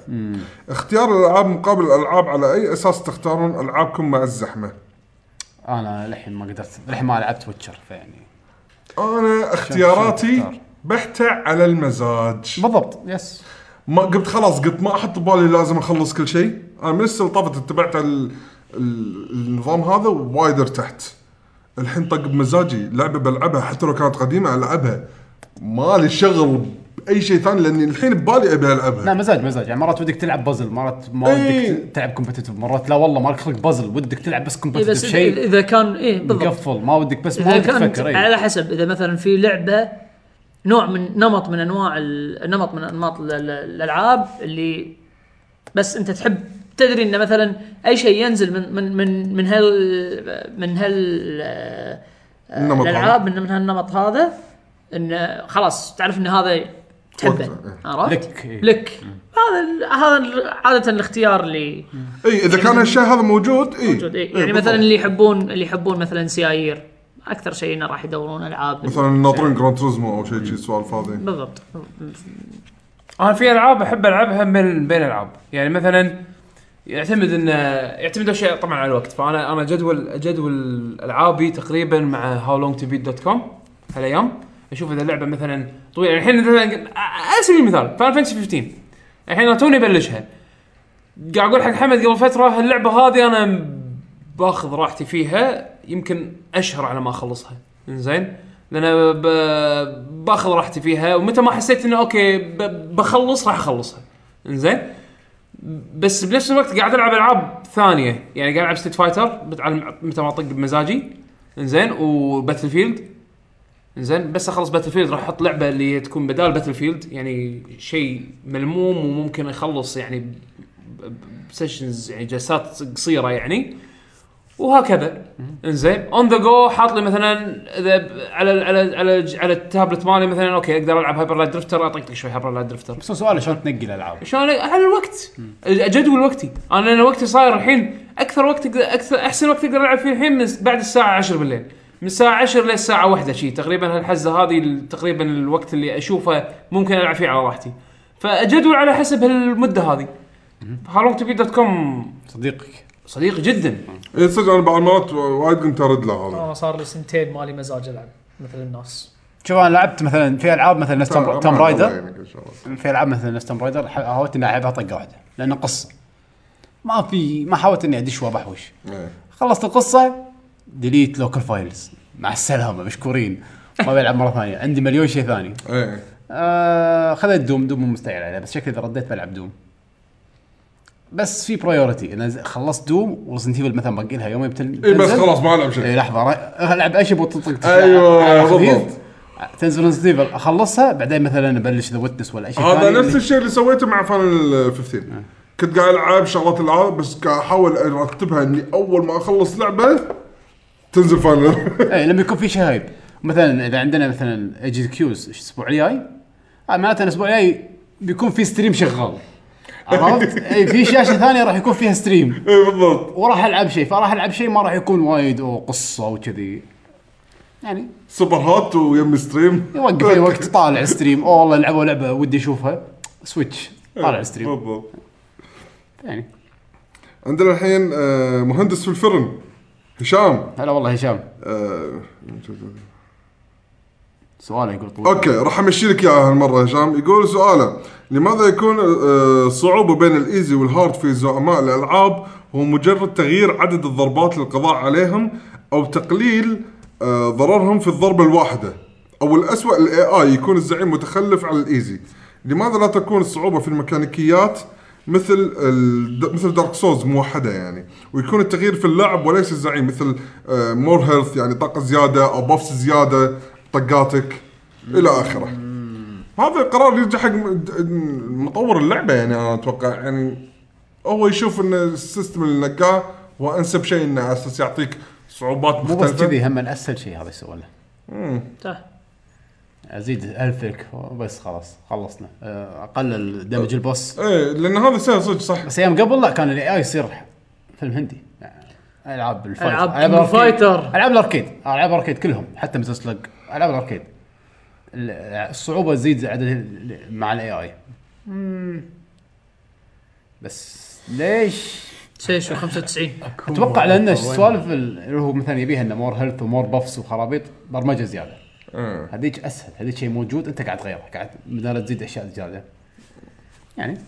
اختيار الالعاب مقابل الالعاب على اي اساس تختارون العابكم مع الزحمه؟
انا للحين ما قدرت للحين ما لعبت ويتشر فيعني
انا
شلون
اختياراتي
تختار؟
بحته على المزاج.
بالضبط يس
ما قلت خلاص قلت ما احط ببالي لازم اخلص كل شيء انا من السنه اللي طافت اتبعت ال- ال- النظام هذا ووايد ارتحت الحين طق بمزاجي لعبه بلعبها حتى لو كانت قديمه العبها مالي شغل باي شيء ثاني لاني الحين ببالي ابي
لا
نعم.
العبها
مزاج مزاج يعني مرات ودك تلعب بازل مرات ما
إيه.
ودك تلعب كومبتتف مرات لا والله مالك خلق بازل ودك تلعب بس
طيب،
إيه
كومبتتف
بس اذا
شيء
إذا كان ايه بالضبط
قفل ما ودك بس ما
اذا
ودك
كان
تفكر
على
اي
حسب اذا مثلا في لعبه نوع من نمط من انواع ال- نمط من انماط ال- ال- الالعاب اللي بس انت تحب تدري ان مثلا اي شيء ينزل من من من من هال من هال
النمط
الالعاب من من هالنمط هذا انه خلاص تعرف ان هذا تحبه
وقته، إيه.
عرفت؟
لك، إيه.
لك هذا ال- هذا ال- عاده الاختيار اللي
اي اذا كان هالشيء هذا موجود اي
يعني موجود إيه؟ يعني مثلا اللي يحبون اللي يحبون مثلا سيايير اكثر شيء انه راح يدورون العاب
مثلا ناطرين جراند توريزمو او شيء شيء سوالف هذه
بالضبط
انا في العاب احب العبها بين بين العاب يعني مثلا يعتمد انه يعتمد اشياء طبعا على الوقت فانا انا جدول جدول العابي تقريبا مع هاو لونج تو بيت دوت كوم هالايام اشوف اذا اللعبه مثلا طويله يعني الحين مثلا على سبيل المثال فان فانتسي 15 الحين انا توني بلشها قاعد اقول حق حمد قبل فتره هاللعبه هذه انا باخذ راحتي فيها يمكن اشهر على ما اخلصها زين لان أنا ب- باخذ راحتي فيها ومتى ما حسيت انه اوكي ب- بخلص راح اخلصها زين بس بنفس الوقت قاعد العب العاب ثانيه يعني قاعد العب ستيت فايتر بتعلم متى ما اطق بمزاجي انزين وباتل فيلد انزين بس اخلص باتل فيلد راح احط لعبه اللي تكون بدال باتل فيلد يعني شيء ملموم وممكن يخلص يعني ب- ب- بسيشنز يعني جلسات قصيره يعني وهكذا انزين اون ذا جو حاط لي مثلا اذا ب- على على على على التابلت مالي مثلا اوكي اقدر العب هايبر لايت درفتر اطقطق شوي هايبر لايت درفتر
بس هو سؤال شلون تنقي الالعاب
شلون على الوقت اجدول وقتي انا انا وقتي صاير الحين اكثر وقت أقدر- اكثر احسن وقت اقدر العب فيه الحين من س- بعد الساعه 10 بالليل من الساعه 10 للساعه 1 شيء تقريبا هالحزه هذه ال- تقريبا الوقت اللي اشوفه ممكن العب فيه على راحتي فاجدول على حسب هالمده هذه هالونج تو بي دوت كوم
صديقك
صديق جدا
إيه، صدق انا بعض المرات وايد قمت ارد له هذا
انا صار لي سنتين مالي مزاج العب مثل الناس
شوف انا لعبت مثلا في العاب مثلا نفس توم توم رايدر
يعني كل شغلة.
في العاب مثلا نفس توم رايدر ح- حاولت اني العبها طقه واحده لان قصه ما في ما حاولت اني ادش وابحوش
إيه.
خلصت القصه ديليت لوكال فايلز مع السلامه مشكورين ما بلعب مره ثانيه عندي مليون شيء ثاني
ايه
آه خذيت دوم دوم مو مستعجل عليه بس شكلي اذا رديت بلعب دوم بس في برايورتي انا ز- خلصت دوم ورزنت ايفل مثلا باقي لها يومين بتن...
إيه، بس
تنزل.
خلاص ما العب
اي
شيء
لحظه را- العب اي شيء بطلطق
أيوة،
على خفيف.
بالضبط.
تنزل ريزنت ايفل اخلصها بعدين مثلا ابلش ذا ويتنس ولا اي شيء
هذا
ثاني
نفس الشيء اللي سويته مع فاينل
آه.
15 كنت قاعد العب شغلات العاب بس قاعد احاول ارتبها اني اول ما اخلص لعبه تنزل فاينل
اي إيه، لما يكون في شيء هايب مثلا اذا عندنا مثلا اجي كيوز الاسبوع الجاي آه، معناته الاسبوع الجاي بيكون في ستريم شغال عرفت؟ اي في شاشه ثانيه راح يكون فيها ستريم
اي إيه، بالضبط
وراح العب شيء فراح العب شيء ما راح يكون وايد وقصه وكذي يعني
سوبر هات ويم ستريم
يوقف اي وقت طالع ستريم اوه والله لعبوا لعبه ودي اشوفها سويتش طالع ستريم
بالضبط
يعني
عندنا الحين آه، مهندس في الفرن هشام
هلا والله هشام
آه،
سؤاله يقول طول
اوكي راح امشي لك اياها هالمره هشام يقول سؤاله لماذا يكون آه، الصعوبه بين الايزي والهارد في زعماء الالعاب هو مجرد تغيير عدد الضربات للقضاء عليهم او تقليل آه، ضررهم في الضربه الواحده او الاسوء الاي اي يكون الزعيم متخلف على الايزي لماذا لا تكون الصعوبه في الميكانيكيات مثل ال... مثل دارك سولز موحده يعني ويكون التغيير في اللعب وليس الزعيم مثل مور هيلث يعني طاقه زياده او بفس زياده طقاتك الى اخره هذا قرار يرجع حق م- د- مطور اللعبه يعني انا اتوقع يعني هو يشوف ان السيستم اللي نقاه هو انسب شيء انه على اساس يعطيك صعوبات
مو بس
مختلفه
كذي هم اسهل شيء هذا السؤال
صح.
ازيد الفك بس خلاص خلصنا آه، اقلل دمج البوس
ايه لان هذا سهل صدق صح
بس ايام قبل لا كان الاي اي يصير فيلم هندي العاب الفايت
ألعاب
ألعاب
كينج
الأركيد.
فايتر.
العاب الاركيد العاب الاركيد كلهم حتى مثل سلج العاب الاركيد ال- الصعوبه تزيد عدد ال- مع الاي اي بس ليش
سيشو 95
اتوقع لان السوالف ال- اللي هو مثلا يبيها انه مور هيلث ومور بفس وخرابيط برمجه زياده
إيه.
هذيك اسهل هذيك شيء موجود انت قاعد تغيره قاعد بدال تزيد اشياء زياده يعني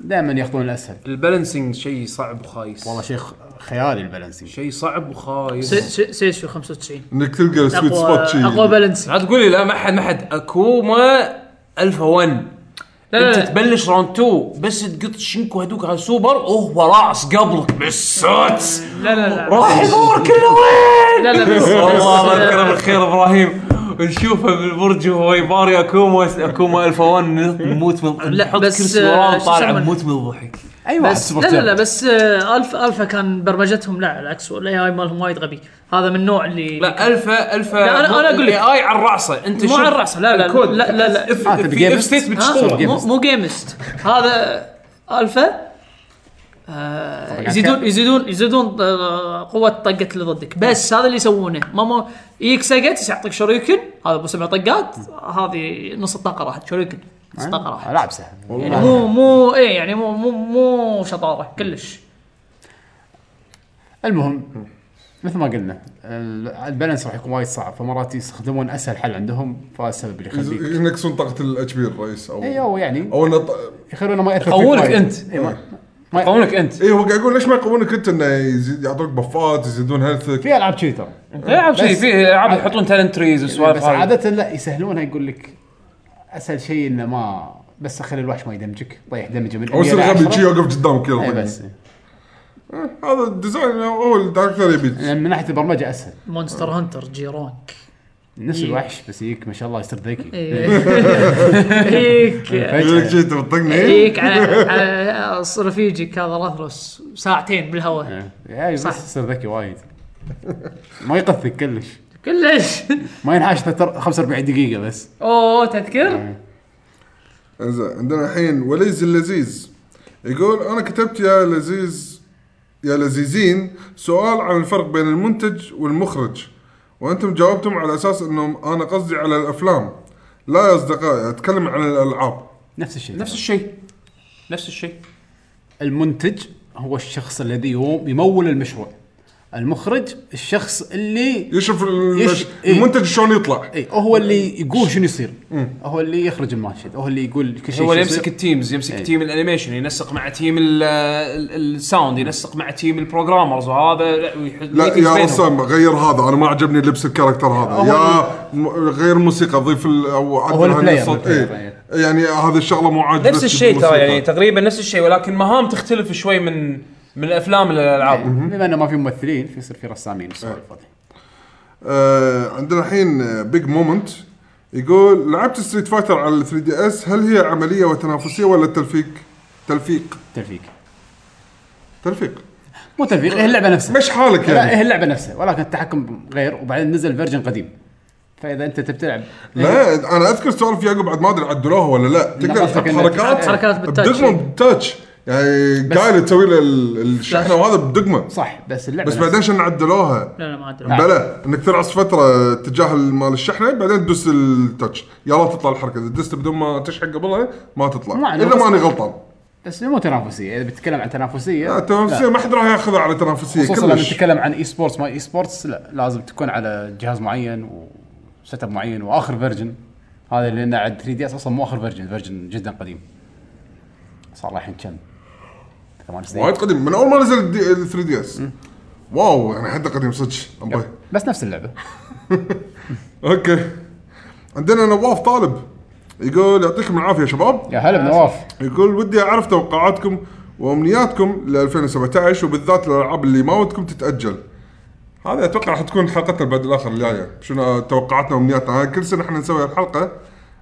دائما ياخذون الاسهل
البالانسنج شيء صعب وخايس
والله شيء خ- خيالي البالانسنج
شيء صعب وخايس
سي- سي- سيشو 95
انك تلقى سويت
اقوى
سبوت
اقوى
شيء
بالانس
لا تقولي لا ما حد ما حد اكوما الفا 1
لا،
انت
لا.
تبلش راوند 2 بس تقط شنك وهدوك على سوبر وهو راس قبلك بالسوتس
لا لا لا
راح يدور كله وين
لا، لا، بس-
والله
بس-
الله يذكره بالخير ابراهيم نشوفه بالبرج وهو يباري اكوما اكوما الفا 1 نموت من
لا،
نحط
بس،
كرسي
آه،
وراه
شو
طالع
يسمونه؟
نموت من الضحك
ايوه
بس أيوة، لا لا لا بس آه، الفا الفا كان برمجتهم لا العكس والاي اي مالهم وايد غبي هذا من النوع اللي
لا الفا الفا
لا، أنا- أنا أقول لك.
اي على راسه انت
مو
شوف
على الرأس، لا، لا،
الكود.
لا، لا، لا.
اف
آه، تبي
في-
gamist؟
اف ستيت
ها؟
بتشتغل
مو مو جيمست هذا الفا آه، يزيدون يزيدون يزيدون آه، قوه طقه اللي ضدك بس هذا اللي يسوونه ما مو يجيك سقط يعطيك شوريكن هذا ابو سبع طقات هذه نص الطاقه راحت شوريكن
آه.
نص الطاقه راحت
العاب سهل
يعني مو مو ايه يعني مو مو مو شطاره كلش
المهم مثل ما قلنا ال- البالانس راح يكون وايد صعب فمرات يستخدمون اسهل حل عندهم فالسبب اللي يخليك
ينقصون طاقه الاتش بي الرئيس او
ايوه يعني
او انه ط-
يخلونه ما ياثر فيك
يقوونك
وايد.
انت
إي، ما- ما-
قومك انت
اي إيه، هو قاعد يقول ليش ما يقوونك انت انه يزيد يعطوك بفات يزيدون هيلثك
في العاب كذي ترى
إيه،
العاب شيء
بس-
في العاب طيب، يحطون تالنت تريز وسوالف
بس
هاي.
عاده لا يسهلونها يقول لك اسهل شيء انه ما بس خلي الوحش ما يدمجك طيح دمجه من
او يصير
100 إلى
غبي
10.
شي يوقف قدامك
يعني إيه
يلا
بس
هذا الديزاين هو الدايركتور يبي
لأن من ناحيه البرمجه اسهل
مونستر هانتر جيرانك إيه.
نفس الوحش بس يجيك ما شاء الله يصير ذكي
هيك
يقول لك
فجاه
شي
إيه،
تبطقني
هيك على على رفيجك هذا راثروس ساعتين بالهواء
إيه. إيه، بس
صح.
يصير ذكي وايد ما يقثك كلش
كلش
ما ينحاش تتر- 45 دقيقه بس
اوه
نعم.
تذكر
زين عندنا الحين وليز اللذيذ يقول انا كتبت يا لذيذ يا لذيذين سؤال عن الفرق بين المنتج والمخرج وانتم جاوبتم على اساس انهم انا قصدي على الافلام لا يا اصدقائي اتكلم عن الالعاب
نفس الشيء
نفس الشيء نفس الشيء
المنتج هو الشخص الذي يو- يمول المشروع المخرج الشخص اللي
يشوف ال-
يش- إيه.
المنتج شلون يطلع
اي هو اللي يقول شنو يصير هو اللي يخرج الماشد هو اللي يقول كل شيء
هو
شو
اللي
يصير.
يمسك التيمز يمسك
إيه.
تيم الانيميشن ينسق مع تيم ال- ال- الساوند ينسق مع تيم البروجرامرز وهذا لا, ويح-
لا
meetings
يا
بينهم.
رسام غير هذا انا ما عجبني لبس الكاركتر هذا يا م- غير موسيقى ضيف ال- او عدل
البلاير،
هالصوت.
البلاير،
إيه. يعني هذه الشغله مو عاجبتك
نفس الشيء ترى
بالموسيقى.
يعني تقريبا نفس الشيء ولكن مهام تختلف شوي من من الافلام
إيه.
للالعاب
بما انه ما في ممثلين فيصير في رسامين والسوالف هذه.
آه عندنا الحين بيج مومنت يقول لعبت ستريت فايتر على 3 دي اس هل هي عمليه وتنافسيه ولا تلفيق؟ تلفيق
تلفيق
تلفيق
مو تلفيق هي اللعبه نفسها
مش حالك
لا
يعني
هي اللعبه نفسها ولكن التحكم غير وبعدين نزل فيرجن قديم فاذا انت تبي تلعب
لا انا اذكر سوالف يعقوب بعد ما ادري عدلوها ولا لا تقدر
قصدك
تحط
إنك-
حركات
حركات بالتاتش.
بدقمه بالتاتش يعني قايل تسوي له ال- الشحنه وهذا بدقمه
صح بس اللعبه
بس بعدين شن عدلوها
لا لا ما ادري
بلا انك ترعص فتره اتجاه مال الشحنه بعدين تدوس التاتش يلا تطلع الحركه اذا دست بدون ما تشحن قبلها ما
ما
تطلع
عليه،
اذا
بس-
ماني غلطان
بس مو تنافسيه اذا بتتكلم عن تنافسيه
لا،
لا.
التنافسيه ما حد راح ياخذها على تنافسيه
خصوصا لما
كلش
نتكلم عن اي سبورتس ما اي سبورتس لا لازم تكون على جهاز معين وسيت اب معين واخر فيرجن هذا لان عاد 3 دي اس اصلا مو اخر فيرجن فيرجن جدا قديم صار له الحين كم؟ ثمان سنين
وايد قديم من اول ما نزل ال 3 دي اس واو يعني حتى قديم صدق أمبي.
بس نفس اللعبه
اوكي عندنا نواف طالب يقول يعطيكم العافيه يا شباب
يا هلا بنواف
يقول ودي اعرف توقعاتكم وامنياتكم ل 2017 وبالذات الالعاب اللي ما ودكم تتاجل. هذا اتوقع راح تكون حلقتنا بعد الاخر الجايه، شنو توقعاتنا وامنياتنا، هاي كل سنه احنا نسوي الحلقه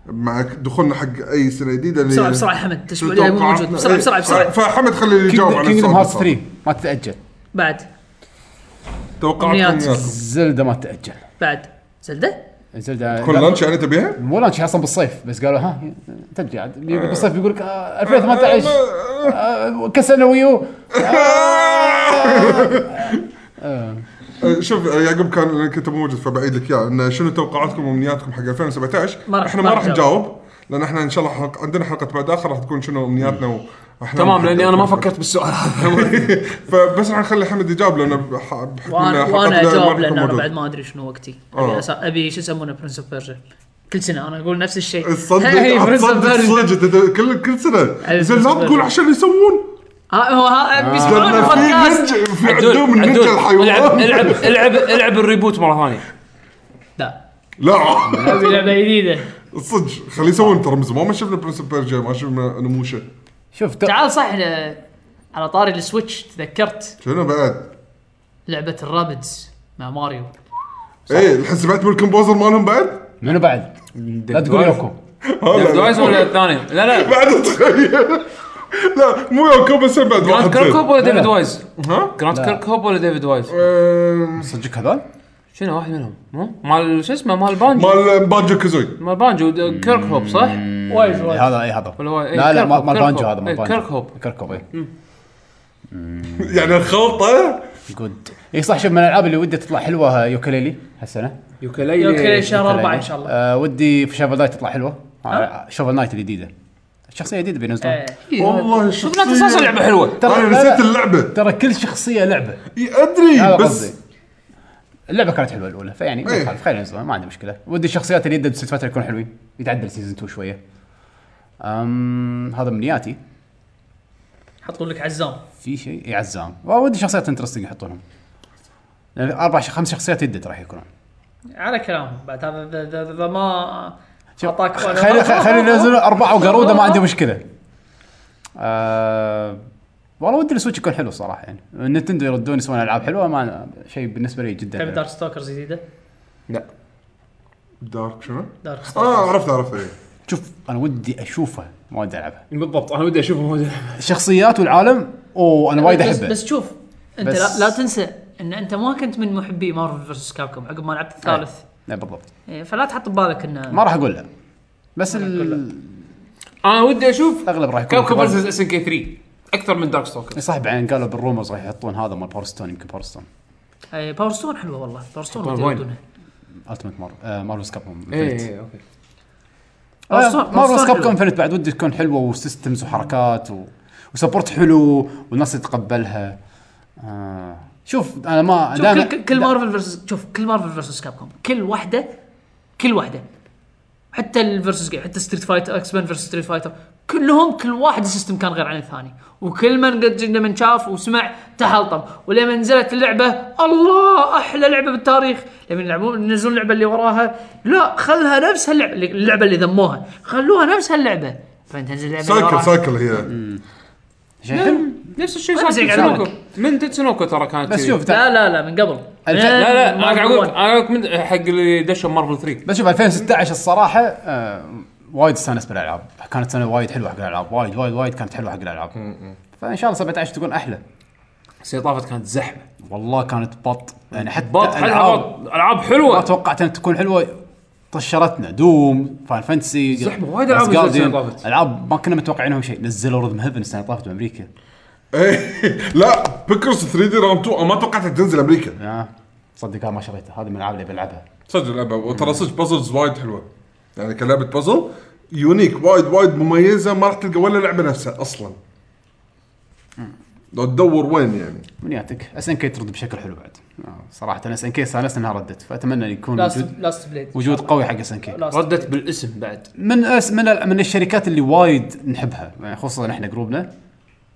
مع دخولنا حق اي سنه جديده اللي-
بسرعة- بسرعة يا حمد، الأسبوع الجاي مو
توقعاتنا-
موجود. بسرعة-
إيه.
بسرعة- بسرعة.
فحمد خلي اللي يجاوب على
كينجدم
السؤال
هارت
بالضبط.
3 ما تتاجل
بعد
توقعاتكم
أمنيات.
وامنياتكم.
زلده ما تتاجل
بعد زلده
زلده
كل لانش يعني تبيها؟
مو لانش اصلا بالصيف بس قالوا ها ترجع عاد. يقول بالصيف يقول لك آه، 2018 آه، كسرنا ويو
آه، شوف آه، يعقوب كان أنا كنت مو موجود فبعيد لك اياه انه شنو توقعاتكم وامنياتكم حق 2017
ما راح-
احنا
ما
ما
راح
راح نجاوب لان احنا ان شاء الله حلق... عندنا حلقه بعد اخر راح تكون شنو امنياتنا واحنا
تمام لاني انا ما فكرت بالسؤال هذا
فبس راح نخلي حمد يجاوب لانه بح- بحكم
وانا
إن
وانا
حلقتنا ما راح
اجاوب
تكون
لان انا
موجودة.
بعد ما ادري شنو وقتي
آه.
ابي أسا- ابي شو يسمونه برنس اوف بيرجا كل سنه انا اقول نفس الشيء
إيه،
تصدق
برنس اوف
تصدق
بيرجا
صدق أنت كل كل سنه
أيوة،
أي
زين لا
بالنسبة
تقول
لي.
عشان يسوون
هو ها بيسمعون
لأن آه. في
البودكاست
نج- في عندهم النجا
العب
الحيوان
العب العب العب الريبوت مره ثانيه
لا
لا
ابي لعبه جديده
صدق خليه يسوون ترى من زمان ما شفنا برنس بيرجا ما شفنا نموشه
شوف ت-
تعال صح ل- على طاري السويتش تذكرت
شنو بعد
لعبه الرابدز مع ماريو
ايه الحين سمعت بالكمبوزر مالهم بعد؟
منو بعد؟ لا تقول يوكو
ها، لا، لا.
جايز ولا الثاني لا لا
بعد تخيل لا مو يوكو بس بعد واحد
جراند كيركوب
زين.
ولا ديفيد وايز
ها؟
جراند كيركوب ولا ديفيد وايز
أم،
صدق هذول؟
شنو واحد منهم مو؟ مال شو اسمه مال بانجو
مال بانجو كازوي
مال بانجو د- كيركهوب صح؟
وايد وايد
هذا اي هذا
ولا هو- إيه،
لا لا ما- إيه.
كيركهوب،
مال بانجو هذا
إيه،
مال بانجو
كيركهوب
كركوب اي
يعني الخلطه
جود اي إيه، صح شوف من الالعاب اللي ودي تطلع آه، حلوه يوكليلي هالسنه
اوكي
إيه،
يوكليلي
شهر اربعه ان شاء الله
آه ودي في شوفل نايت تطلع حلوه آه شوفل نايت الجديده الشخصيه الجديده بينزلونها
إيه.
والله إيه.
لا تنسى
الشخصيه
لعبه حلوه
انا
لا، لا،
نسيت اللعبه
ترى كل شخصيه لعبه
إي، ادري
هذا
بس
قصدي اللعبه كانت حلوه الاولى فيعني ما
إيه.
يخالف خلينا ننزلها ما عندي مشكله ودي الشخصيات اللي يدد فتره يكون حلوين يتعدل سيزون 2 شويه أم هذا امنياتي
حطوا لك عزام
في شيء إي، عزام ودي شخصيات انترستنج يحطونهم يعني لأن اربع ش- خمس شخصيات يدد راح يكونون
على كلامهم بعد هذا اذا ما
اعطاك
خلي خلي- خلي ينزلون اربعه وقروده ما عندي مشكله. آه والله ودي السويتش يكون حلو صراحه يعني النتندو يردون يسوون العاب حلوه ما شيء بالنسبه لي
تبي
جدا
دارك ستوكرز جديده؟
لا دارك شنو؟
دارك ستوكرز
اه عرفت عرفت اي
شوف انا ودي اشوفه ما ودي العبها
بالضبط انا ودي اشوفهم
الشخصيات والعالم اوه انا وايد
بس-
احبه
بس شوف انت
بس-
لا, لا تنسى ان انت ما كنت من محبي مارفل فيرسس كابكوم عقب ما لعبت الثالث
لا بالضبط
إيه، فلا تحط ببالك انه
ما راح اقول لا بس ال-
انا ودي اشوف
الاغلب راح يكون
كابكوم فيرسز اس ان كي 3 اكثر من دارك ستوكر
صح بعدين قالوا بالرومرز راح يحطون هذا مال باور ستون يمكن باور ستون
إيه، باور ستون حلوه والله باور ستون
باور
ودي
وين؟
يردونها.
التيمت مار آه مارفلز كاب
اي اوكي
آه،
مارفلز- مارفلز
مارفلز كاب
حلوة.
كوم انفنت بعد ودي تكون حلوه وسيستمز وحركات و... وسبورت حلو والناس تتقبلها آه. شوف انا ما
شوف
دايماً-
كل- كل, كل
دا-
مارفل فيرسس شوف كل مارفل فيرسس كابكوم كل واحده كل واحده حتى الفيرسس جيم حتى ستريت فايتر اكس مان فيرسس ستريت فايتر كلهم كل واحد السيستم كان غير عن الثاني وكل من قد جد من شاف وسمع تحلطم ولما نزلت اللعبه الله احلى لعبه بالتاريخ لما يلعبون ينزلون اللعبه اللي وراها لا خلها نفس هاللعبه اللعبه اللي ذموها خلوها نفس هاللعبه فتنزل اللعبه اللي
سايكل
وراها
سايكل هي
شيء حلو.
نفس الشيء
ما
صار في
بزيق
تسونوكو
عليك.
من تسونوكو ترى كانت
بس
كذي.
شوف
لا لا لا من قبل
الف-
لا لا انا
من
قاعد اقول
مارفل
انا قاعد أقول من حق اللي دشوا مارفل 3
بس شوف 2016 الصراحه آه وايد استانست بالالعاب كانت سنه وايد حلوه حق الالعاب وايد وايد وايد كانت حلوه حق الالعاب فان شاء الله 17 تكون احلى
السنه طافت كانت زحمه
والله كانت بط يعني حتى
بط حلوة،
العاب
بط. العاب
ما
حلوه
توقعت انها تكون حلوه طشرتنا دوم فان فانتسي
زحمة، وايد ألعاب نزلت السنة اللي طافت.
العاب ما كنا متوقعينهم شيء نزلوا رذم هيفن السنه اللي طافت بامريكا
إيه. لا بيكرز 3 دي راوند 2 أنا ما توقعت تنزل امريكا
آه. تصدق أنا ما شريتها هذه من الالعاب اللي بلعبها
صدق لعبه وترى صدق بازلز وايد حلوه يعني كلعبه بازل يونيك وايد وايد مميزه ما راح تلقى ولا لعبه نفسها اصلا لو تدور وين يعني
من ياتك اس ان كي ترد بشكل حلو بعد آه. صراحه انا اس ان كي استانست انها ردت فاتمنى إن يكون
لاست
وجود,
لاست بليد
وجود قوي حق اس ان كي
لاست
ردت بالاسم بعد
من أس من ال- من الشركات اللي وايد نحبها يعني خصوصا احنا جروبنا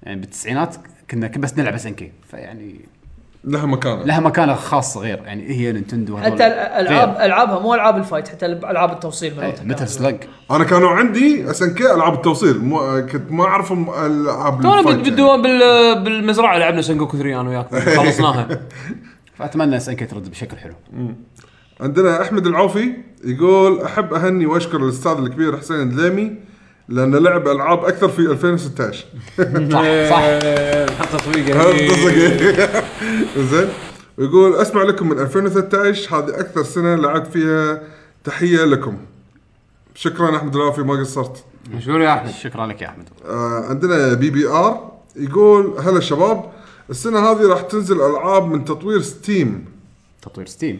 يعني بالتسعينات كنا ك- بس نلعب اس ان كي فيعني
لها مكانها
لها مكانه خاصه غير يعني هي نينتندو هذول.
حتى الالعاب العابها مو العاب الفايت حتى الب- العاب التوصيل
غير.
مالتها
إيه، مثل
كانت-
سلاج
انا كانوا عندي اس ان كي العاب التوصيل مو كنت ما اعرفهم العاب
تونا
الفايت يعني.
بد- بدو بال- بالمزرعه لعبنا سنجوكو 3 انا وياك خلصناها
فاتمنى اس ان كي ترد بشكل حلو
عندنا احمد العوفي يقول احب اهني واشكر الاستاذ الكبير حسين الدليمي لأنه لعب العاب اكثر في 2016
صح صح
حط تطبيق
تصدق؟ زين ويقول اسمع لكم من 2013 هذه اكثر سنه لعبت فيها تحيه لكم شكرا احمد العوفي ما قصرت
مشهور يا احمد
شكرا لك يا احمد
آه، عندنا بي بي ار يقول هلا شباب السنه هذه راح تنزل العاب من تطوير ستيم
تطوير ستيم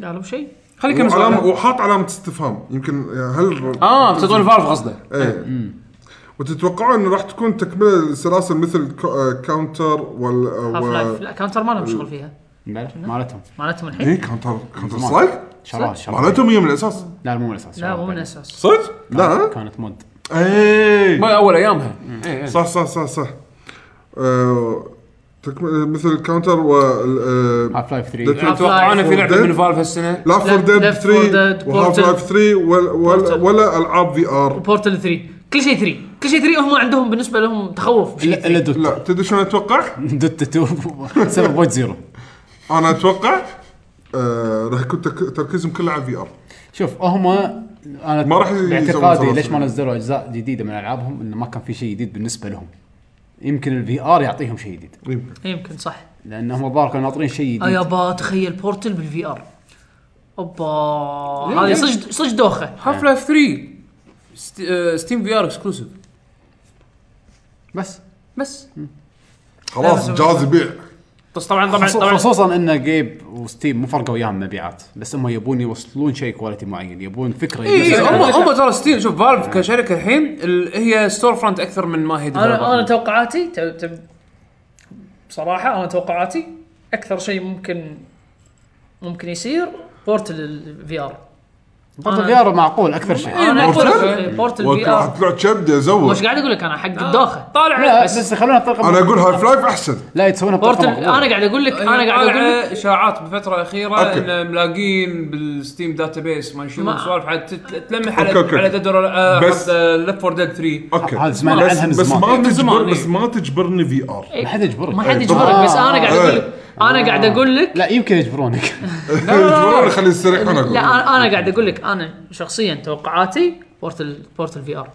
لا لو شيء
خليك كم
وعلامة-
سؤال
وحاط علامه استفهام يمكن آه، هل
اه تطوير فالف قصده
ايه وتتوقعون انه راح تكون تكمله السلاسل مثل كو- آه، كاونتر وال آه،
هاف لايف
و...
لا كاونتر ما لهم شغل فيها
مالتهم
مالتهم الحين
ايه كاونتر كاونتر سترايك
شراء شراء
مالتهم هي من الاساس
لا مو من الاساس
لا
شراء
مو من
بعد.
الاساس
صدق؟ لا
كانت مود
ايه
ما اول ايامها إيه، إيه.
صح صح صح صح آه، تكم- مثل كاونتر و آه،
هاف لايف 3
Dead-
اتوقع انا في لعبه
Dead.
من فالف هالسنه
لاف فور
Left-
ديد
Left 4 Dead،
3 وهاف
Portal.
لايف 3 وال- وال-
Portal.
ولا العاب في ار
وبورتل 3 كل شيء 3 كل شيء 3 هم عندهم بالنسبه لهم تخوف بشيء
الا إلا دوت
لا تدري شنو اتوقع؟
دوت 2 7.0
انا اتوقع آه، راح يكون تك- تركيزهم كله على في ار
شوف هم انا
ما راح يسوون
باعتقادي
سلاسل.
ليش ما نزلوا اجزاء جديده من العابهم انه ما كان في شيء جديد بالنسبه لهم يمكن الفي ار يعطيهم شيء جديد
إيه.
يمكن صح
لان هم الظاهر كانوا ناطرين شيء
آه،
جديد
يابا تخيل بورتل بالفي ار اوبا هذه صج صج دوخه
هاف لايف 3 ست- آه، ستيم في ار اكسكلوسيف
بس
بس
خلاص جاز يبيع
بس طبعا طبعا
خصو-
طبعا
خصوصا ان جيب وستيم مو فرقوا وياهم مبيعات بس هم يبون يوصلون شيء كواليتي معين يبون فكره
إيه،
اي
يبون-
إيه، هم هم ترى ستيم شوف فالف كشركه الحين ال- هي ستور فرونت اكثر من ما هي
انا انا
developer.
توقعاتي تو- تو- بصراحه انا توقعاتي اكثر شيء ممكن ممكن يصير بورتل الفي ار
بورتل في ار معقول اكثر شيء
انا اقول
بورتل؟
لك بورتل في
راح
ار
تطلع كبده
مش
زود
قاعد اقول لك انا حق الدوخه
طالع
لا بس خلونا بطريقه
انا اقول هاي فلايف احسن
لا يسوونها
بورتل
بطريقه
انا
مقبولة.
قاعد اقول لك انا
انا
قاعد اقول لك
اشاعات بالفتره الاخيره
أوكي.
ان ملاقين بالستيم داتا بيس ما شيء
ما-
سوالف على تت- تلمح
أوكي، أوكي.
على على آه، ديد بس
بس-
ليفت فور ديد 3
اوكي
هذا سمعنا
بس-
عنها من
بس
زمان
ما
من زمان،
تجبر بس
إيه.
ما تجبرني في ار
ما حد يجبرك
ما حد
طبعاً.
يجبرك بس انا قاعد اقول لك انا قاعد اقول لك
لا يمكن يجبرونك
يجبروني خلي السريع انا اقول
لا انا انا قاعد اقول لك انا شخصيا توقعاتي بورتل بورتل في ار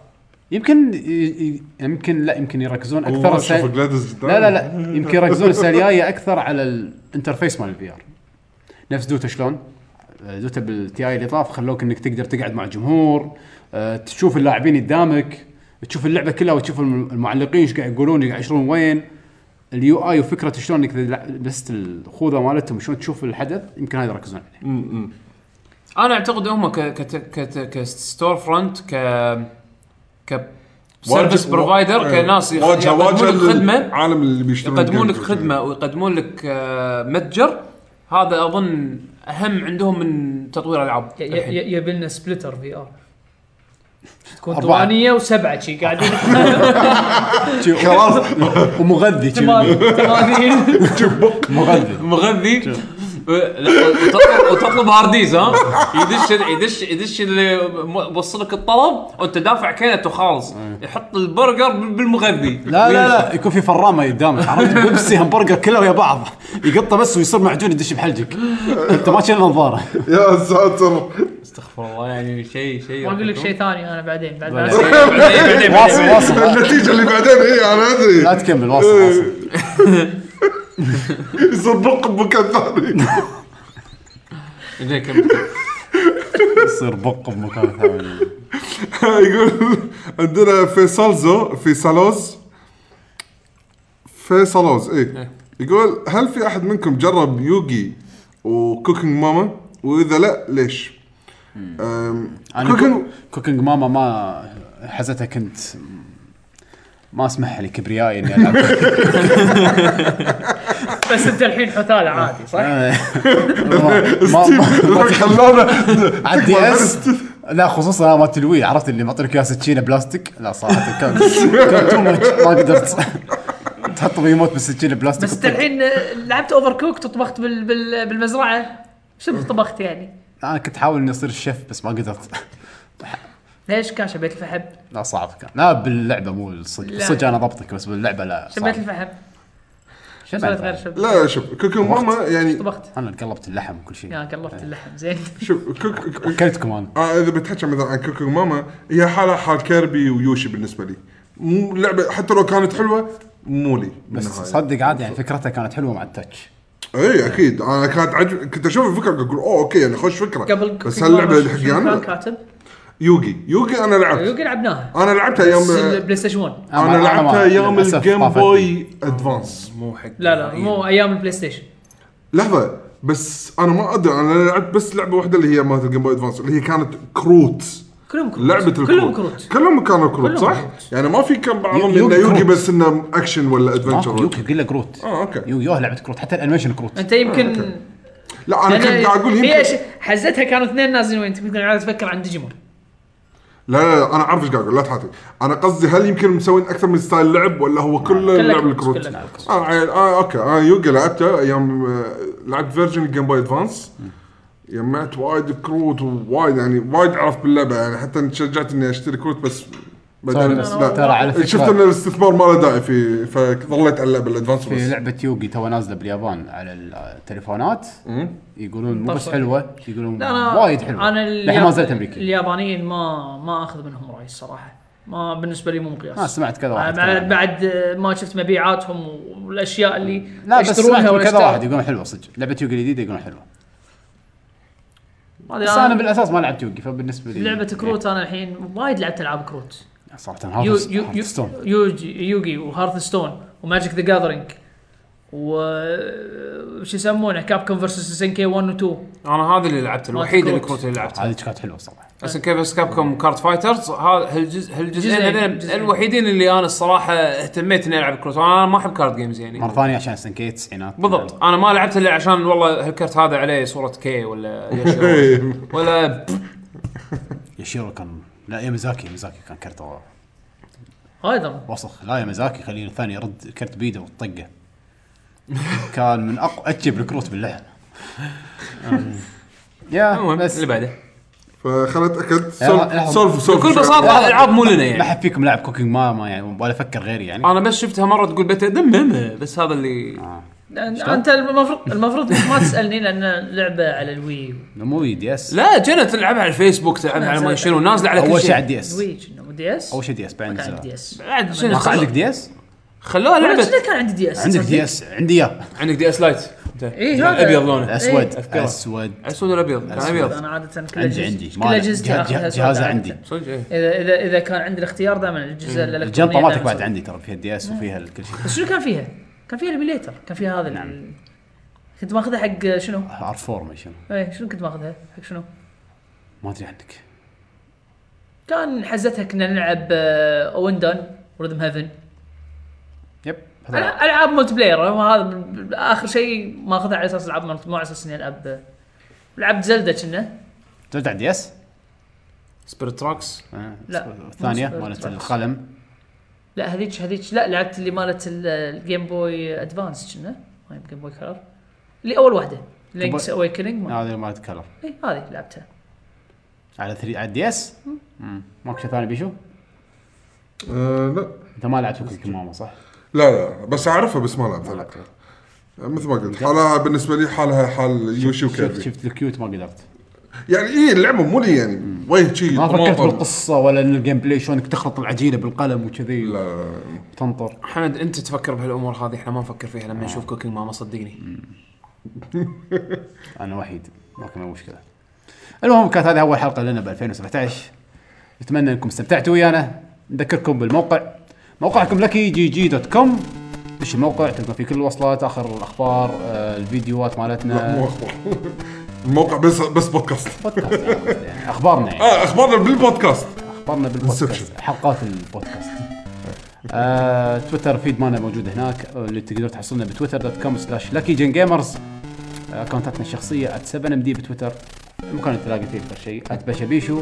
يمكن ي- ي- يمكن لا يمكن يركزون اكثر
والله شوف
السنة-
جلاديز قدام.
لا لا لا يمكن يركزون السنه الجايه اكثر على الانترفيس مال الفي ار نفس دوتا شلون دوتا بالتي اي اللي طاف خلوك انك تقدر تقعد مع الجمهور آه، تشوف اللاعبين قدامك تشوف اللعبه كلها وتشوف الم- المعلقين ايش قاعد يقولون قاعد يشرون وين اليو اي وفكره شلون انك تلع- لست الخوذه مالتهم شلون تشوف الحدث يمكن هذا يركزون عليه
انا اعتقد هم ك ك ك كستور فرونت ك ك
واجه-
سيرفيس بروفايدر
إيه.
كناس يخ-
واجهه
يقدمون
واجهه
لك خدمه
العالم اللي بيشتغل
يقدمون لك خدمه ويقدمون لك آه، متجر هذا اظن اهم عندهم من تطوير العاب الحين.
يبي لنا سبلتر في ار تكون
أربعة.
ثمانية وسبعة شي قاعدين
خلاص ومغذي شي.
ثمانين
مغذي
مغذي وتطلب وتطلب هارديز ها يدش يدش يدش اللي م- وصلك الطلب وانت دافع كينته خالص يحط البرجر بال- بالمغذي
لا لا لا يكون في فرامه قدامك عرفت بيبسي همبرجر كله ويا بعض يقطه بس ويصير معجون يدش بحلجك انت ما تشيل نظاره
يا ساتر
استغفر الله يعني شيء شيء
ما اقول لك شيء ثاني انا بعدين بعد ما
ولا.
أسوي.
واصل واصل لا-
النتيجه اللي بعدين اي انا ادري
لا تكمل واصل واصل
يصبق بمكان ثاني
زين كمل.
يصير بق بمكان ثاني
يقول عندنا فيصلزو فيصلوز فيصلوز
إيه.
اي يقول هل في احد منكم جرب يوغي وكوكينج ماما واذا لا ليش؟ أم،
انا
كوكينج
كوكينج ماما ما حزتها كنت ما اسمح لي كبريائي اني العب
بس انت الحين حثالة عادي صح؟
خلانا
على الدي اس لا خصوصا انا مالت الوي عرفت اللي معطينك اياها سكينه بلاستيك لا صراحه كان كان too much. ما قدرت تحط ريموت بالسكينه بلاستيك
بس انت الحين لعبت اوفر كوكت وطبخت بال بال بالمزرعة شبه طبخت يعني
انا كنت احاول اني اصير الشيف بس ما قدرت
ليش كان شبيت الفحم؟
لا صعب كان لا باللعبه مو الصدق
لا.
الصدق انا ضبطك بس باللعبه لا صعب.
شبيت الفحم
شو
سويت
بعد؟
غير شب
لا شوف كوكينج ماما يعني
طبخت
انا قلبت اللحم وكل شيء
يا قلبت اللحم زين
شوف كوك-
اكلتكم انا
آه اذا بتحكي مثلا عن كوكينج ماما هي حالها حال كيربي ويوشي بالنسبه لي مو لعبه حتى لو كانت حلوه مو لي
بس
بالنهاية.
صدق عادي يعني فكرتها كانت حلوه مع التاتش
اي اكيد انا إيه، كانت عجب كنت اشوف الفكره اقول اوه اوكي يعني خوش فكره
قبل
بس هاللعبه اللي حقي
شنو كان
انا
كاتب
يوغي يوغي انا لعبت
يوقي لعبناها
انا لعبتها
بس
ايام
البلاي ستيشن 1
ما-
انا
ما-
لعبتها ايام
للأسف
الجيم
طافتني.
بوي ادفانس
مو حق
لا لا مو ايام البلاي ستيشن
لحظه بس انا ما ادري انا لعبت بس لعبه واحده اللي هي مالت الجيم بوي ادفانس اللي هي كانت كروت
كلهم كروت
لعبه الكروت
كلهم كروت
كلهم كانوا كروت
كلهم
صح؟
كروت.
يعني ما في كان بعضهم انه
يوغي
يوغي
كروت.
بس انه اكشن ولا ادفنشر
يوكي كلها كروت
أه.
اه اوكي
يو يوه لعبه كروت حتى الانيميشن كروت
انت يمكن
لا انا كنت قاعد اقول
هي
يمكن
ش- حزتها كانوا اثنين نازلين وانت كنت قاعد تفكر عن ديجيمون
لا لا, لا انا عارف ايش قاعد اقول لا تحاتي انا قصدي هل يمكن مسوين اكثر من ستايل لعب ولا هو كله
كله
لعب
كروت،
الكروت؟
كله
آه عيل، آه اوكي انا يوجا لعبته ايام آه، لعبت فيرجن الجيم بوي ادفانس جمعت وايد كروت ووايد يعني وايد عرفت باللعبه يعني حتى تشجعت اني اشتري كروت بس بعدين
بس
لا.
ترى على فكرة-
شفت ان الاستثمار ما له داعي في فظليت العب الادفانس
في
بس.
لعبه يوغي تو نازله باليابان على التليفونات يقولون مو بس
طفرة.
حلوه يقولون
لا، أنا-
وايد حلوه
انا
للحين ما نزلت امريكي
اليابانيين ما ما اخذ منهم راي الصراحه ما بالنسبه لي مو مقياس آه،
ما آه، سمعت كذا واحد
بعد,
كلام.
بعد ما شفت مبيعاتهم والاشياء اللي
لا بس
يشترونها
سمعت من كذا
والأشتاء.
واحد يقولون حلوه صدق لعبه يوغي الجديده يقولون حلوه
ما أدري
بس
آه.
انا بالاساس ما لعبت يوغي فبالنسبه لي يعني
لعبه كروت انا الحين وايد لعبت العاب كروت
صراحه
يو
هارت
يو
هارت
يو
ستون
يوجي يوغي وهارث ستون وماجيك ذا جاذرينج و وش يسمونه كاب كون فيرسس سن كي 1 و 2
انا هذا اللي لعبته الوحيد
كروت.
الكروت اللي لعبته
هذه كانت حلوه صراحه
بس كيف بس كاب كوم كارت فايترز ها- هالجزء هالجزئين
جزئين،
هذين
جزئين.
الوحيدين اللي انا الصراحه اهتميت اني العب كروت انا ما احب كارد جيمز يعني
مره ثانيه عشان سنكي التسعينات
بالضبط انا ما لعبت الا عشان والله هالكرت هذا عليه صوره كي ولا يشو
إيه.
ولا
يشيرو كان لا يامازاكي يامازاكي كان كرته
هاي درا
وسخ لا يامازاكي خليه الثاني يرد كرت بيده وطقه كان من اقوى اتجب الكروت باللعب يا
المهم
بس
اللي بعده
فخلت اكد
لحظة.
سولف سولف
بكل بساطه هذه العاب مو لنا
ما
يعني آه.
حد فيكم لعب كوكينج ما ما يعني ولا افكر غيري يعني
انا بس شفتها مره تقول بيتا دممه بس هذا اللي
انت المفروض المفروض ما تسالني لان لعبه على الوي
مو دي اس
لا كانت تلعبها على الفيسبوك تلعبها على ما شنو نازله على كل
اول شيء على
شيء
الدي اس
الوي كنا دي اس
اول شيء دي اس بعدين
كان عندي
نزلها.
دي اس
بعد شنو
ما عندك دي اس؟
خلوها
ولا
لعبه
شنو كان عندي دي اس
عندك دي اس عندي اياه
عندك دي اس لايت انت
إيه، هذا.
ابيض لونه
اسود
أذكره.
اسود
اسود ولا ابيض؟ كان
أسود.
ابيض
انا عاده كل
عندي
اجهزتي
عندي
كل اجهزتي
جه-
آخذها
جه-
أسود
جهازه
عادة.
عندي
صدق ايه
اذا اذا اذا كان عندي الاختيار دائما الجزء الالكترونيه
الجنطه
دائماً
مالتك بعد
أسود.
عندي ترى فيها الدي اس وفيها كل شيء
بس شنو كان فيها؟ كان فيها الاميليتر كان فيها هذا نعم. كنت ماخذها حق شنو؟
ار 4 ما شنو
ايه شنو كنت ماخذها؟ حق شنو؟
ما ادري عندك
كان حزتها كنا نلعب آه، اوندن وريذم هيفن
يب هذا
العاب ملتي بلاير هو هذا بال- بال- اخر شيء ماخذها على اساس العاب ملتي- مو على اساس اني العب آه، لعبت زلدة كنا
ترجع الدي اس
سبيرت تراكس
لا.
الثانيه
مو
مالت
سبيرت.
القلم
لا هذيك هذيك لا لعبت اللي مالت ال- الجيم بوي ادفانس كنا ما هي جيم بوي كلر اللي اول واحده لينكس اويكننج
هذه مالت كلر
اي هذه لعبتها
على 3 على الدي اس ماكو شيء ثاني بيشو
آه، لا
انت ما لعبت كوكينج ماما صح؟
لا لا بس اعرفها بس ما لعبتها مثل ما قلت حالها بالنسبه لي حالها حال يوشي
شفت
وكيفي
شفت الكيوت ما قدرت
يعني اي اللعبه مو لي يعني وجه شي
ما فكرت
طماطم.
بالقصه ولا ان الجيم بلاي شلون إنك تخلط العجينه بالقلم وكذي
لا
تنطر
حمد انت تفكر بهالامور هذه احنا ما نفكر فيها لما نشوف كوكينج ماما صدقني
انا وحيد لكن مو مشكله المهم كانت هذه اول حلقه لنا ب 2017 نتمنى انكم استمتعتوا ويانا نذكركم بالموقع موقعكم لكي جي جي دوت كوم دش الموقع تلقى فيه كل الوصلات اخر الاخبار آه، الفيديوهات
لا مو
مالتنا
اخبار الموقع بس بس بودكاست
بودكاست يعني يعني اخبارنا يعني
اه اخبارنا بالبودكاست
اخبارنا بالبودكاست
Inception.
حلقات البودكاست آه، تويتر فيد مالنا موجود هناك آه، اللي تقدر تحصلنا بتويتر دوت كوم سلاش لكي جن جيمرز اكونتاتنا الشخصيه ات 7 ام دي بتويتر المكان تلاقي فيه اكثر شيء ات بشبيشو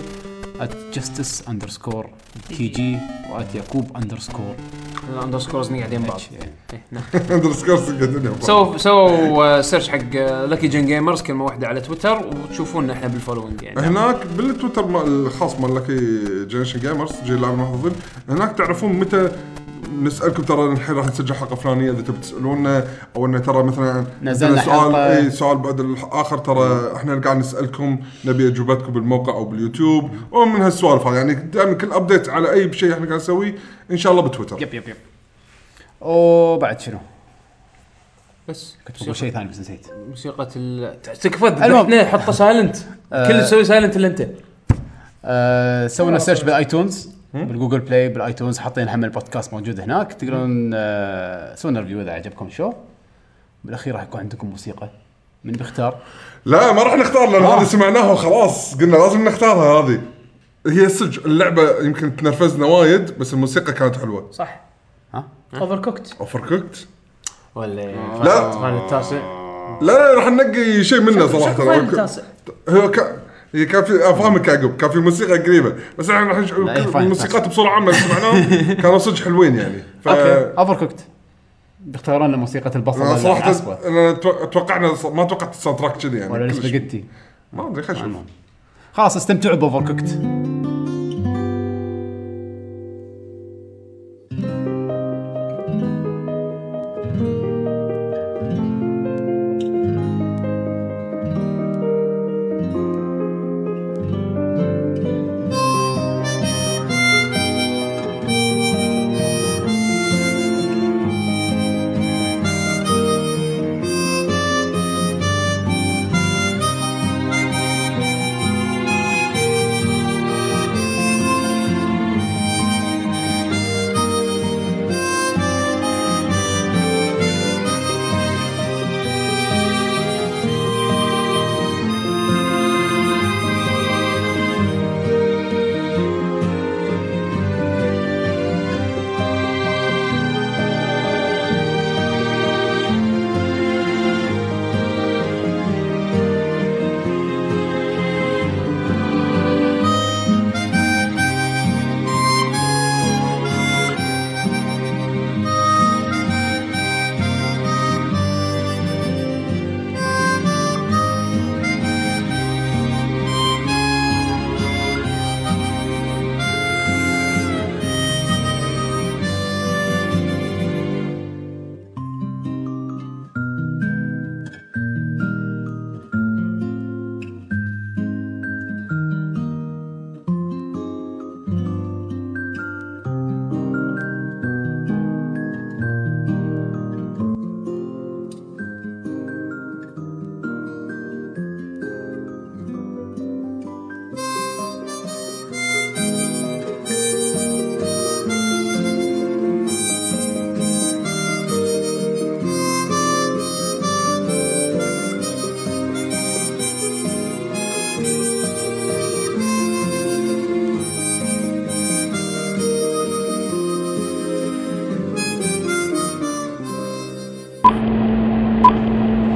ات جستس اندرسكور تي جي وات يعقوب اندرسكور
الاندرسكورزني قاعدين بعض إيه، نعم.
اندرسكور سقة الدنيا
سووا سووا سيرش آه، حق لكي جن جيمرز كلمه واحده على تويتر وتشوفونا احنا بالفولوينج يعني
هناك بالتويتر مال- الخاص مال لكي جنريشن جيمرز جيل اللاعب المحظوظين هناك تعرفون متى نسالكم ترى الحين راح نسجل حلقه فلانيه اذا تبي تسالونا او انه ترى مثلا
نزلنا
عندنا سؤال
حلقة.
اي سؤال بعد الاخر ترى احنا قاعد نسالكم نبي اجوبتكم بالموقع او باليوتيوب ومن هالسوالف هذه يعني دائما كل ابديت على اي شيء احنا قاعد نسويه ان شاء الله بتويتر
يب يب يب وبعد شنو؟
بس
كنت بقول شيء ثاني بس نسيت
موسيقى ال تكفى
المهم.
احنا حطه سايلنت كل سوي سايلنت الا انت
آه، سوينا سيرش بالايتونز بالجوجل بلاي بالايتونز حاطين هم البودكاست موجود هناك تقدرون آه، سوينا ريفيو اذا عجبكم الشو بالاخير راح يكون عندكم موسيقى من بيختار
لا ما راح نختار لان
آه.
هذه سمعناها وخلاص قلنا لازم نختارها هذه هي صدق اللعبه يمكن تنرفزنا وايد بس الموسيقى كانت حلوه
صح
ها؟
اوفر كوكت
اوفر كوكت
ولا
لا.
الفاينل التاسع
لا راح ننقي شيء منه
شكو
صراحه
فاينل تاسع
هو ك... هي كان في افهمك يعقوب كان في موسيقى قريبه بس احنا راح نش-
هي
كل
فاين
الموسيقات بصوره عامه اللي سمعناهم كانوا صدق حلوين يعني ف...
اوكي اوفر كوكت بيختارون لنا موسيقى البصل
أنا
ولا
صراحه
العصفه
انا تو- توقعنا ص- ما توقعت الساوند تراك كذي يعني
ولا
كلش.
الاسباجيتي
ما ادري خلينا نشوف
المهم. خلاص استمتعوا باوفر كوكت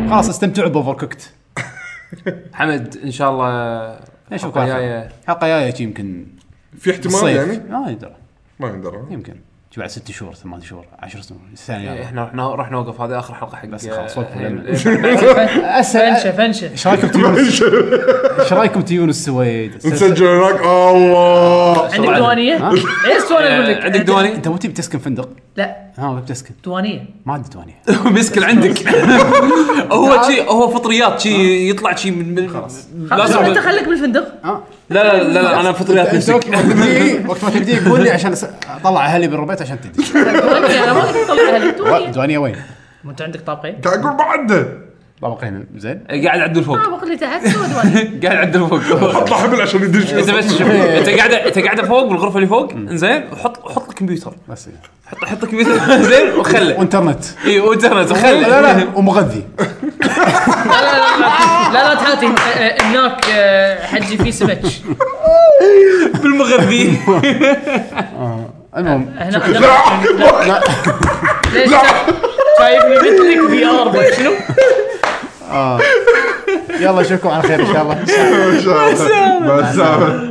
خلاص استمتعوا باوفر كوكت
حمد ان شاء الله
نشوفكم
حلقة
على خير.
جاية.
حلقه جايه شي يمكن
في احتمال
الصيف
يعني
ما يدرى
ما يندرى
يمكن شي بعد ست شهور ثمان شهور عشر سنين السنه الجاية.
احنا رحنا إيه، راح نوقف هذه اخر حلقه حق آه،
بس خلاص، وقف
فنشه
اسال
فنشه
ايش رايكم تجون ايش رايكم تجون السويد؟
نسجل هناك الله
عندك
سرعة.
دوانيه؟
ها؟
ايه السؤال اقول لك
عندك دواني
انت مو تبي تسكن فندق؟
لا
ها ما بتسكن
دوانيه
ما عندي دوانيه
مسكل عندك هو شي هو فطريات شي يطلع شي من من-
خلاص
لازم-
انت خليك بالفندق
ها
لا لا لا لا انا فطريات
انت
نفسك
وقت ما تبدي وقت ما تبدي قول لي عشان أس- اطلع اهلي من الربيت عشان تبدي
دوانيه انا ما اقدر اطلعها لك دوانيه
دوانيه وين؟
ما انت عندك طابقين
قاعد اقول بعده
طابق هنا زين
إيه، قاعد عدل فوق
طابق اللي تحت هو دوانيه
قاعد عدل فوق
اطلع حبل عشان يدش
انت بس شوف انت قاعد انت قاعد فوق بالغرفه اللي فوق زين وحط حط الكمبيوتر
بس يعني.
حط حط الكمبيوتر زين وخله
وانترنت
اي وانترنت خله
لا لا ومغذي
لا لا لا لا لا لا تحاتي آه، آه، هناك آه، حجي في سمك
بالمغذي
المهم
هنا هنا- ليش شايفني مثلك في ار شنو؟
يلا اشوفكم على خير ان شاء الله
بس